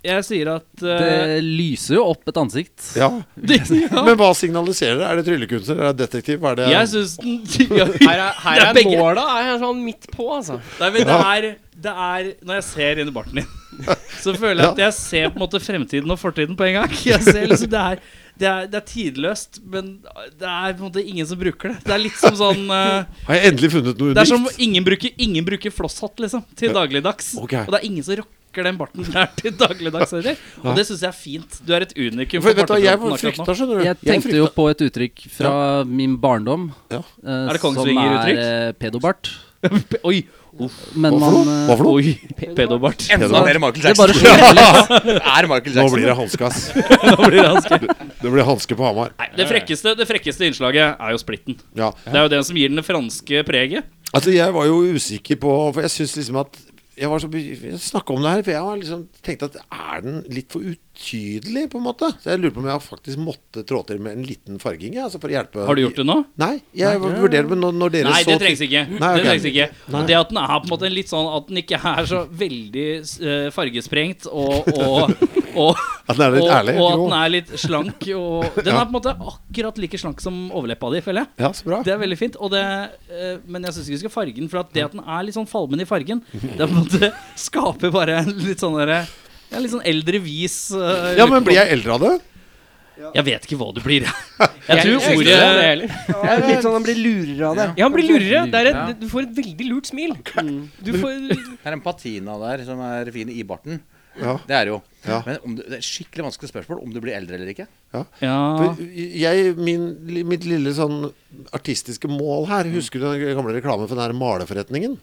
[SPEAKER 4] jeg sier at eh,
[SPEAKER 3] Det lyser jo opp et ansikt.
[SPEAKER 6] Ja.
[SPEAKER 4] [LAUGHS] det- ja.
[SPEAKER 6] Men hva signaliserer det? Er det tryllekunstner? Er det detektiv? Hva er det
[SPEAKER 4] Jeg
[SPEAKER 3] [LAUGHS]
[SPEAKER 4] syns den ja,
[SPEAKER 1] Her er, her
[SPEAKER 4] Det er
[SPEAKER 1] er,
[SPEAKER 4] begge-
[SPEAKER 1] nåla er sånn midt på, altså.
[SPEAKER 4] Nei, men det er, det er Når jeg ser inn i barten din, [LAUGHS] så føler jeg at jeg ser på en måte fremtiden og fortiden på en
[SPEAKER 6] [LAUGHS]
[SPEAKER 4] gang. Jeg ser liksom det er det er, det er tidløst, men det er på en måte ingen som bruker det. Det er litt som sånn eh,
[SPEAKER 6] Har jeg endelig funnet noe
[SPEAKER 4] Det er som
[SPEAKER 6] unikt?
[SPEAKER 4] ingen bruker, ingen bruker flosshatt liksom til dagligdags.
[SPEAKER 6] Ok.
[SPEAKER 4] Og det er ingen som rocker den barten der til dagligdags heller. Og det syns jeg er fint. Du er et unikum.
[SPEAKER 6] For, vet du, hva, jeg
[SPEAKER 4] bartefronten akkurat nå.
[SPEAKER 6] frykta, skjønner du.
[SPEAKER 3] Jeg tenkte jo på et uttrykk fra min barndom.
[SPEAKER 6] Ja.
[SPEAKER 3] eh,
[SPEAKER 4] Er det Kongsvinger-uttrykk?
[SPEAKER 3] Som er eh, pedobart.
[SPEAKER 4] Pe- [LAUGHS] Oi!
[SPEAKER 3] Men
[SPEAKER 6] Hva for
[SPEAKER 3] man
[SPEAKER 6] noe?
[SPEAKER 3] eh,
[SPEAKER 6] Hva for noe? [LAUGHS]
[SPEAKER 4] Pe- Pedobart.
[SPEAKER 9] Enda mer Michael
[SPEAKER 3] Det bare
[SPEAKER 9] Jackson.
[SPEAKER 4] [LAUGHS]
[SPEAKER 3] skjer litt.
[SPEAKER 9] Det er Michael
[SPEAKER 6] Nå
[SPEAKER 9] Jackson.
[SPEAKER 6] blir det hanske, ass.
[SPEAKER 4] Nå blir det hans.
[SPEAKER 6] Det blir hanske på Hamar.
[SPEAKER 4] Nei, det frekkeste, det frekkeste innslaget er jo splitten.
[SPEAKER 6] Ja.
[SPEAKER 4] Det er jo den som gir den det franske preget.
[SPEAKER 6] Altså, jeg var jo usikker på For jeg syns liksom at Jeg var så snakka om det her, for jeg har liksom tenkt at er den litt for utydelig, på en måte? Så jeg lurer på om jeg har faktisk måtte trå til med en liten farging, jeg, altså for å hjelpe
[SPEAKER 4] Har du gjort det nå?
[SPEAKER 6] Nei, jeg vurderer det når, når dere
[SPEAKER 4] Nei,
[SPEAKER 6] så
[SPEAKER 4] det trengs ikke.
[SPEAKER 6] Nei, ok.
[SPEAKER 4] Det trengs ikke Og det at den er på en måte litt sånn at den ikke er så veldig eh, fargesprengt og,
[SPEAKER 6] [LAUGHS]
[SPEAKER 4] og, og
[SPEAKER 6] At den er litt
[SPEAKER 4] og,
[SPEAKER 6] ærlig.
[SPEAKER 4] og at
[SPEAKER 6] jo.
[SPEAKER 4] den er litt slank.
[SPEAKER 6] [LAUGHS]
[SPEAKER 4] Og den er på en måte akkurat like slank som overleppa di, føler jeg.
[SPEAKER 6] Ja, så bra.
[SPEAKER 4] Det er veldig fint. Og det, eh, men jeg syns ikke vi skal farge den, for at det at den er litt sånn falmen i fargen, det er på en
[SPEAKER 6] [LAUGHS]
[SPEAKER 4] måte skaper bare en litt sånn derre ja, Litt sånn eldre vis eh,
[SPEAKER 6] Ja, men blir jeg eldre av det?
[SPEAKER 4] Jeg vet ikke hva du blir.
[SPEAKER 6] [LAUGHS]
[SPEAKER 4] Jeg, jeg tror
[SPEAKER 1] Jeg-
[SPEAKER 4] ordet
[SPEAKER 1] jeg-
[SPEAKER 7] Ja, litt sånn han blir lurere av det.
[SPEAKER 1] Ja, han blir lurere. Det er et, du får et veldig lurt
[SPEAKER 4] [LAUGHS]
[SPEAKER 1] smil.
[SPEAKER 4] Mm.
[SPEAKER 1] Du får
[SPEAKER 9] Det er en patina der som er fin i barten.
[SPEAKER 6] Ja.
[SPEAKER 9] Det er det jo.
[SPEAKER 6] Ja.
[SPEAKER 9] Men om du, det er et skikkelig vanskelig spørsmål om du blir eldre eller ikke.
[SPEAKER 4] Ja.
[SPEAKER 6] For Jeg, min, li- mitt lille sånn artistiske mål
[SPEAKER 9] Mm.
[SPEAKER 6] her Husker du den gamle reklamen for den her maleforretningen?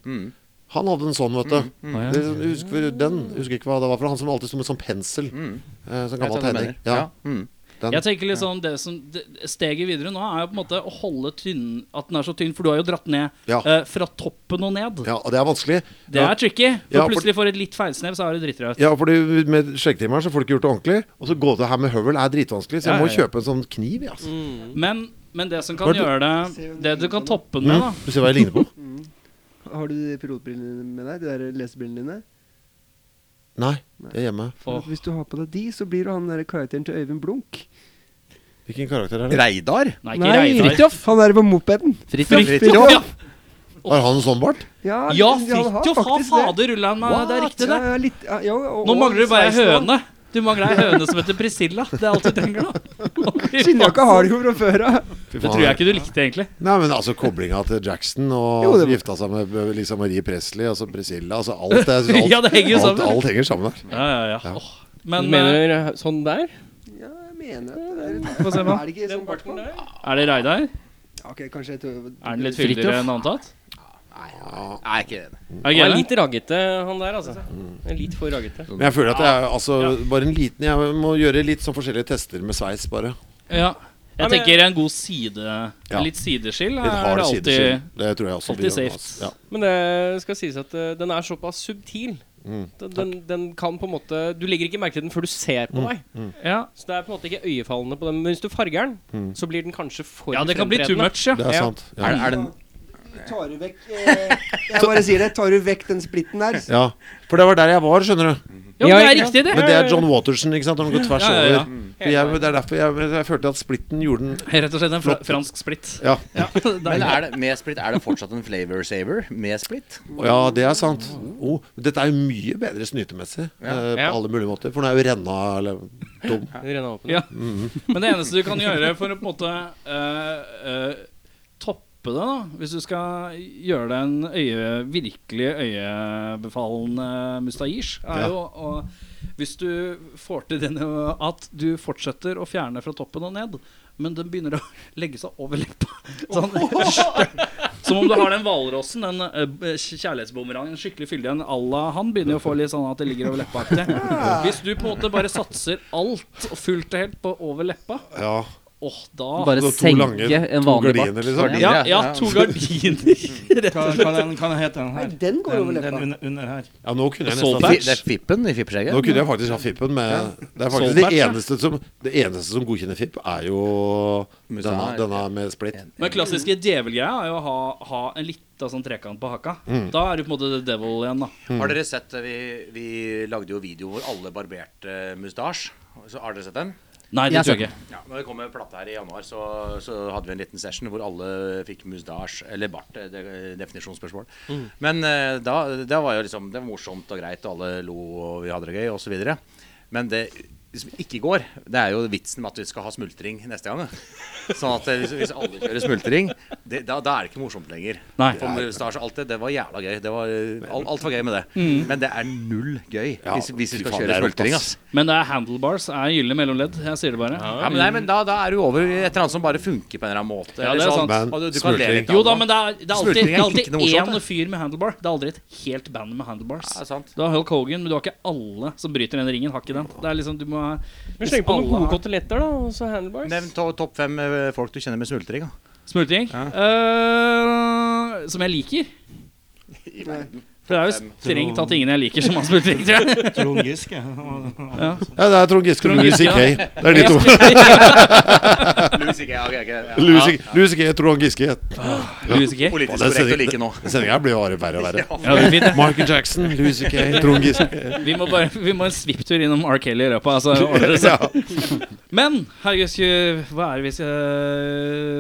[SPEAKER 6] Han hadde en sånn, vet
[SPEAKER 9] Mm.
[SPEAKER 6] du. Det er sånn- husker, den, husker ikke hva det var for Han som alltid sto med sånn pensel. Eh, sånn
[SPEAKER 9] Mm. Jeg
[SPEAKER 6] gammel
[SPEAKER 9] vet hva du
[SPEAKER 6] tegning.
[SPEAKER 9] mener.
[SPEAKER 6] Ja.
[SPEAKER 9] Ja. Mm.
[SPEAKER 6] Den.
[SPEAKER 4] Jeg tenker liksom det som det- Steget videre nå er jo på en måte å holde tynn At den er så tynn, for du har jo dratt ned
[SPEAKER 6] Ja.
[SPEAKER 4] eh, fra toppen og ned.
[SPEAKER 6] ja, og det er vanskelig.
[SPEAKER 4] Det
[SPEAKER 6] Ja.
[SPEAKER 4] er tricky. For
[SPEAKER 6] Ja, for-
[SPEAKER 4] plutselig får du et litt feilsnev, så er det drittraut.
[SPEAKER 6] Ja, fordi Med skjeggtrimeren så får du ikke gjort det ordentlig. Og så gå til her med høvel er dritvanskelig, så jeg
[SPEAKER 4] Ja,
[SPEAKER 6] må
[SPEAKER 4] ja, ja.
[SPEAKER 6] kjøpe en sånn kniv. jeg, Altså.
[SPEAKER 4] Men, men det som kan
[SPEAKER 6] Hva er det-
[SPEAKER 4] gjøre det Det du
[SPEAKER 7] sånn-
[SPEAKER 4] kan toppe den med, da
[SPEAKER 6] Du ser hva Mm. jeg ligner
[SPEAKER 4] [LAUGHS]
[SPEAKER 6] på?
[SPEAKER 7] Mm. Har du de pilotbrillene dine med deg? De der lesebrillene dine?
[SPEAKER 6] Nei, det er hjemme.
[SPEAKER 7] For at Hvis du har på deg de, så blir du han der karakteren til Øyvind Blunk.
[SPEAKER 6] Hvilken karakter er det?
[SPEAKER 9] Reidar?
[SPEAKER 4] Nei, ikke Reidar.
[SPEAKER 7] Fridtjof! Han er på mopeden.
[SPEAKER 3] Fritjof.
[SPEAKER 4] Fridtjof, ja.
[SPEAKER 6] Har han en sånn bart?
[SPEAKER 7] Ja,
[SPEAKER 4] ja,
[SPEAKER 7] han har
[SPEAKER 4] Fridtjof har
[SPEAKER 7] faktisk det.
[SPEAKER 4] fader rulla meg. Det er riktig, det.
[SPEAKER 7] Ja, ja, litt, ja, jo, og-
[SPEAKER 4] Nå
[SPEAKER 7] og
[SPEAKER 4] mangler du bare ei
[SPEAKER 7] 16 år. [LAUGHS]
[SPEAKER 4] høne. Du mangler ei høne som heter Priscilla. Det er alt du trenger nå.
[SPEAKER 7] Skinnjakka har du jo fra før av.
[SPEAKER 6] Fy
[SPEAKER 4] Det
[SPEAKER 6] faen.
[SPEAKER 4] tror jeg ikke du likte, egentlig.
[SPEAKER 6] Nei, men altså koblinga til Jackson og
[SPEAKER 7] Jo, det
[SPEAKER 6] han som
[SPEAKER 7] var-
[SPEAKER 6] gifta seg med Lisa Marie Presley, altså Priscilla altså alt, det, alt,
[SPEAKER 4] [LAUGHS] Ja, det henger jo
[SPEAKER 6] alt,
[SPEAKER 4] sammen.
[SPEAKER 6] alt henger sammen der.
[SPEAKER 4] Ja, ja, ja. Åh. Men eh,
[SPEAKER 1] Mener du sånn der?
[SPEAKER 7] Ja, jeg mener at det
[SPEAKER 4] Få se
[SPEAKER 7] er
[SPEAKER 4] på.
[SPEAKER 7] Er det ikke sånn bart på den?
[SPEAKER 4] er det Reidar?
[SPEAKER 7] Ok, kanskje jeg tror
[SPEAKER 4] Er den litt fyldigere enn antatt?
[SPEAKER 9] Nei, ikke det.
[SPEAKER 4] Er det
[SPEAKER 1] Han er
[SPEAKER 4] gøy,
[SPEAKER 1] litt raggete, han der, altså. Litt for raggete.
[SPEAKER 6] Men jeg føler at jeg altså bare en liten Jeg må gjøre litt sånn forskjellige tester med sveis, bare.
[SPEAKER 4] det? Ja.
[SPEAKER 1] Ja,
[SPEAKER 4] Jeg
[SPEAKER 1] men-
[SPEAKER 4] tenker en god side
[SPEAKER 6] Ja.
[SPEAKER 4] Litt sideskill
[SPEAKER 6] Litt
[SPEAKER 4] er
[SPEAKER 6] hard
[SPEAKER 4] det
[SPEAKER 6] sideskill.
[SPEAKER 4] alltid
[SPEAKER 6] Det tror jeg også
[SPEAKER 4] alltid
[SPEAKER 6] blir noe,
[SPEAKER 4] safe.
[SPEAKER 6] altså. Ja.
[SPEAKER 1] Men det skal sies at eh, den er såpass subtil.
[SPEAKER 6] Mm.
[SPEAKER 1] Den, den, den kan på en måte Du legger ikke merke til den før du ser
[SPEAKER 6] Mm.
[SPEAKER 1] på deg.
[SPEAKER 4] Ja,
[SPEAKER 1] Så det er på en måte ikke øyefallende på den. Men hvis du farger den, så blir den kanskje for
[SPEAKER 4] ja det kan bli too
[SPEAKER 1] fremtredende.
[SPEAKER 4] much, ja.
[SPEAKER 6] Mm. Det er sant. Ja.
[SPEAKER 9] Er, er det
[SPEAKER 7] Tar du vekk eh, Jeg bare sier det. Tar du vekk den splitten der
[SPEAKER 6] ja. For det var der jeg var, skjønner du.
[SPEAKER 4] Ja, men det er riktig, det.
[SPEAKER 6] Men det er John Waterson, ikke sant. Når han går tvers
[SPEAKER 4] Ja, ja, ja.
[SPEAKER 6] over. For Jeg, det er derfor jeg, jeg følte at splitten gjorde den
[SPEAKER 4] Rett og slett en fra fransk splitt. [LAUGHS]
[SPEAKER 6] Ja.
[SPEAKER 9] Men er det, med split, er det fortsatt en flavor saver med split?
[SPEAKER 6] Å ja, det er sant. Oh, dette er jo mye bedre snytemessig eh, på
[SPEAKER 4] Ja.
[SPEAKER 6] alle mulige måter. For den er jo renna eller dum. Mhm.
[SPEAKER 1] Det renner åpen.
[SPEAKER 4] Ja. Men det eneste du kan gjøre for å på en måte eh, eh, toppe det, da hvis du skal gjøre deg en øye, virkelig øyebefalende mustasjisj, er
[SPEAKER 6] Ja.
[SPEAKER 4] jo å Hvis du får til den eh, at du fortsetter å fjerne fra toppen og ned, men den begynner å legge seg
[SPEAKER 6] [LAUGHS]
[SPEAKER 4] over leppa. Sånn,
[SPEAKER 3] [LAUGHS]
[SPEAKER 4] som om du har den hvalrossen, den eh, kjærlighetsbumerangen, skikkelig fyldig en à la han, begynner jo å få litt sånn at det ligger over leppa. aktig. Hvis du på en måte bare satser alt og fullt og helt på over leppa,
[SPEAKER 6] Ja.
[SPEAKER 4] Åh, da
[SPEAKER 3] Bare
[SPEAKER 6] to
[SPEAKER 3] senke
[SPEAKER 6] lange-
[SPEAKER 3] en
[SPEAKER 6] to
[SPEAKER 3] vanlig
[SPEAKER 6] gardiner,
[SPEAKER 3] bart.
[SPEAKER 6] liksom.
[SPEAKER 4] ja,
[SPEAKER 9] Ja,
[SPEAKER 4] ja,
[SPEAKER 9] ja.
[SPEAKER 4] to
[SPEAKER 6] [LAUGHS]
[SPEAKER 4] gardiner.
[SPEAKER 8] Hva, hva, den, hva den heter den
[SPEAKER 7] Nei,
[SPEAKER 8] her?
[SPEAKER 7] den går over
[SPEAKER 8] den
[SPEAKER 7] leppa.
[SPEAKER 8] under, under her.
[SPEAKER 6] Ja, nå kunne jeg
[SPEAKER 4] Så
[SPEAKER 6] nesten
[SPEAKER 9] Fi- Det er fippen i fippskjegget.
[SPEAKER 6] Nå kunne jeg faktisk hatt fippen, men det er faktisk
[SPEAKER 4] Solbært,
[SPEAKER 6] det
[SPEAKER 4] ja.
[SPEAKER 6] eneste som, det eneste som godkjenner fipp, er jo denne,
[SPEAKER 9] Musa.
[SPEAKER 6] denne med splitt.
[SPEAKER 4] Men klassiske djevelgreia er jo å ha, ha en lita sånn trekant på haka.
[SPEAKER 6] Mm.
[SPEAKER 4] Da er du på en måte the devil igjen, da.
[SPEAKER 9] Har dere sett eh, vi, vi lagde jo video hvor alle barberte mustasj. Så har dere sett den?
[SPEAKER 4] Nei, det
[SPEAKER 3] Jeg
[SPEAKER 4] tror
[SPEAKER 3] ser
[SPEAKER 4] jeg ikke.
[SPEAKER 9] Ja, når det kom en plate her i januar, så, så hadde vi en liten session hvor alle fikk mustasj, eller bart, eh, det er definisjonsspørsmål. Men eh, da, det var jo liksom, det var morsomt og greit, og alle lo, og vi hadde det gøy, og så videre. Men det som ikke går, det er jo vitsen med at vi skal ha smultring neste gang. da. Sånn at eh, hvis, hvis alle kjører smultring, det, da, da er det ikke morsomt lenger.
[SPEAKER 4] Nei.
[SPEAKER 9] For mustasje og alt det, det var jævla gøy. Det var, eh, alt, alt var gøy med det. Men det er null gøy
[SPEAKER 6] Ja,
[SPEAKER 9] hvis, hvis
[SPEAKER 6] fy
[SPEAKER 9] vi
[SPEAKER 6] faen,
[SPEAKER 9] skal
[SPEAKER 6] det
[SPEAKER 9] kjøre
[SPEAKER 6] er rått,
[SPEAKER 9] smultring,
[SPEAKER 6] ass.
[SPEAKER 9] ass.
[SPEAKER 4] Men det er handlebars er gylne mellomledd. Jeg sier det bare.
[SPEAKER 9] Ja, men, nei, men da, da er du over i et eller annet som bare funker på en eller annen måte.
[SPEAKER 4] Ja,
[SPEAKER 9] Eller
[SPEAKER 4] det er
[SPEAKER 9] sånn,
[SPEAKER 6] sant.
[SPEAKER 9] og du, du kan le
[SPEAKER 6] Smultring.
[SPEAKER 9] litt av
[SPEAKER 4] Jo da,
[SPEAKER 9] det.
[SPEAKER 4] men det er, det er alltid,
[SPEAKER 9] Smultring
[SPEAKER 4] det
[SPEAKER 9] er
[SPEAKER 4] er alltid
[SPEAKER 9] klikkende morsomt,
[SPEAKER 4] én
[SPEAKER 9] det.
[SPEAKER 4] fyr med handlebar. Det er aldri et helt band med handlebars.
[SPEAKER 9] Ja, det er sant.
[SPEAKER 4] Du har Hulk Hogan, men du har ikke alle som bryter den ringen. Har ikke den. Det er liksom, du må ha
[SPEAKER 1] Men sleng på noen gode koteletter, da, og så handlebars.
[SPEAKER 9] Nevn to, topp fem eh, folk du kjenner med smultring. Da.
[SPEAKER 4] Smultring. Eh, som jeg liker.
[SPEAKER 6] [LAUGHS]
[SPEAKER 4] For det er jo strengt tatt ingen jeg liker som har smultring,
[SPEAKER 9] [LAUGHS]
[SPEAKER 4] tror jeg.
[SPEAKER 8] Trond Giske.
[SPEAKER 6] Ja, det er Trond Giske og
[SPEAKER 4] Trond
[SPEAKER 6] Louis
[SPEAKER 4] Giske,
[SPEAKER 6] C.K. Det er de to.
[SPEAKER 9] Louis C.K., ja, ok, ok, ja.
[SPEAKER 6] Louis C.K., Louis C.K., Trond Giske.
[SPEAKER 4] Ah, Louis C.K.
[SPEAKER 6] Den
[SPEAKER 9] Politisk korrekt å
[SPEAKER 6] sendingen-
[SPEAKER 9] like nå.
[SPEAKER 6] den sendingen her blir jo bare verre og verre.
[SPEAKER 4] Ja, det er fint, det.
[SPEAKER 6] Michael Jackson, Louis C.K., Trond Giske.
[SPEAKER 4] Vi må, bare, vi må en svipptur innom R. Kelly i
[SPEAKER 6] [LAUGHS]
[SPEAKER 4] løpet av altså, ordner det seg.
[SPEAKER 6] Ja.
[SPEAKER 4] Men herregud, skulle- hva er det vi skal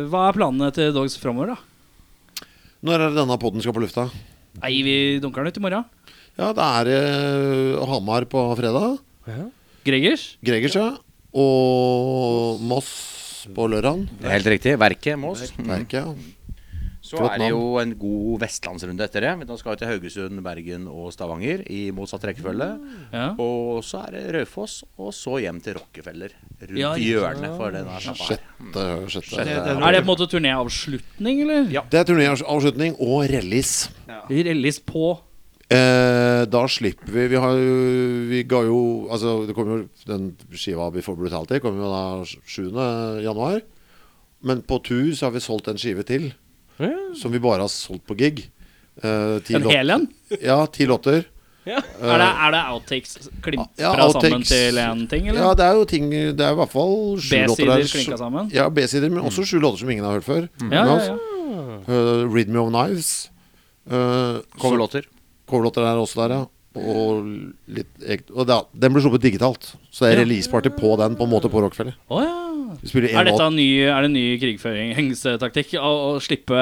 [SPEAKER 4] Hva er planene til Dogs framover, da?
[SPEAKER 6] Når er det denne podden skal på lufta?
[SPEAKER 4] Nei, vi dunker den ut i morgen.
[SPEAKER 6] Ja, det er eh, Hamar på fredag.
[SPEAKER 4] Gregers.
[SPEAKER 6] Gregers, ja. Og Moss på lørdag.
[SPEAKER 9] Det er Helt riktig. Verket Moss.
[SPEAKER 6] Merker jeg.
[SPEAKER 9] Så
[SPEAKER 6] Flott
[SPEAKER 9] er det
[SPEAKER 6] navn.
[SPEAKER 9] jo en god vestlandsrunde etter det. Men da skal vi til Haugesund, Bergen og Stavanger i motsatt rekkefølge.
[SPEAKER 4] Ja.
[SPEAKER 9] Og så er det Raufoss, og så hjem til Rockefeller. Rundt
[SPEAKER 4] Ja,
[SPEAKER 9] i
[SPEAKER 4] ja.
[SPEAKER 9] hjørnet for denne sjappa her.
[SPEAKER 6] Sjette, sjette.
[SPEAKER 4] Er det på en måte turnéavslutning, eller?
[SPEAKER 9] Ja.
[SPEAKER 6] Det er turnéavslutning og release.
[SPEAKER 4] Release på
[SPEAKER 6] Eh, da slipper vi Vi, har, jo- vi ga jo Altså, det kommer jo den skiva Before Brutality kommer jo da 7. januar. Men på tur så har vi solgt en skive til. Som vi bare har solgt på gig. Eh, ti
[SPEAKER 4] en
[SPEAKER 6] låt-
[SPEAKER 4] hel en?
[SPEAKER 6] Ja, ti låter.
[SPEAKER 4] Er det, er det outtakes klimpra
[SPEAKER 6] ja,
[SPEAKER 4] sammen
[SPEAKER 6] outtakes.
[SPEAKER 4] til en ting, eller?
[SPEAKER 6] Ja, det er jo ting Det er i hvert fall sju låter
[SPEAKER 4] B-sider
[SPEAKER 6] der.
[SPEAKER 4] klinka sammen?
[SPEAKER 6] Ja, B-sider, men også sju låter som ingen har hørt før.
[SPEAKER 4] Ja, ja, ja.
[SPEAKER 6] Eh, Read Me Of Knives. Eh, så-
[SPEAKER 9] Coverlåter.
[SPEAKER 6] Coverlåter er også der, ja. Og, litt, egt- og da, den blir sluppet digitalt. Så det er releaseparty på den, på en måte, på Rockefeller.
[SPEAKER 4] Å, ja.
[SPEAKER 6] Mm. Vi spiller
[SPEAKER 4] Er
[SPEAKER 6] en
[SPEAKER 4] dette
[SPEAKER 6] låt.
[SPEAKER 4] en ny, er det en ny krigføringstaktikk? Å, å slippe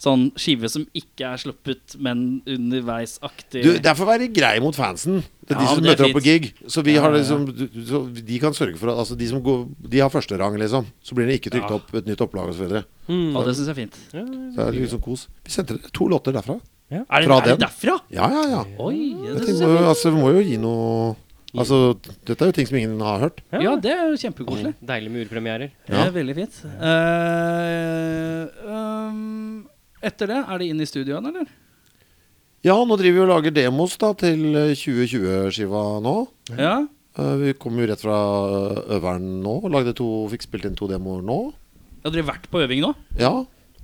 [SPEAKER 4] sånn skive som ikke er sluppet, men underveisaktig
[SPEAKER 6] Du, det er for å være grei mot fansen. Det er
[SPEAKER 4] Ja,
[SPEAKER 6] de som
[SPEAKER 4] det er
[SPEAKER 6] møter opp på
[SPEAKER 4] fint.
[SPEAKER 6] gig. Så vi har liksom du- så De kan sørge for at altså, de, som går, de har førsterang, liksom. Så blir det ikke trykt opp et nytt opplag osv. Det
[SPEAKER 4] Å, Hmm. det syns jeg er fint.
[SPEAKER 6] er liksom kos. Vi sendte dere to låter derfra.
[SPEAKER 4] Er det,
[SPEAKER 6] Fra
[SPEAKER 4] er det
[SPEAKER 6] den.
[SPEAKER 4] derfra?
[SPEAKER 6] Ja, ja, ja.
[SPEAKER 4] Oi, ja, det
[SPEAKER 6] Dette må,
[SPEAKER 4] synes jeg
[SPEAKER 6] jo-
[SPEAKER 4] er fint.
[SPEAKER 6] altså, vi må jo gi noe Altså, dette er jo ting som ingen har hørt.
[SPEAKER 4] Ja, det er jo kjempekoselig.
[SPEAKER 1] Mm. Deilig med urpremierer.
[SPEAKER 4] Det er veldig fint. Eh, um, etter det, er det inn i studioen, eller?
[SPEAKER 6] Ja, nå driver vi og lager demos da til eh, 2020-skiva nå.
[SPEAKER 4] Ja.
[SPEAKER 6] Eh, Vi kom jo rett fra eh, øveren nå. Lagde to, fikk spilt inn to demoer nå.
[SPEAKER 4] Har dere vært på øving nå?
[SPEAKER 6] Ja.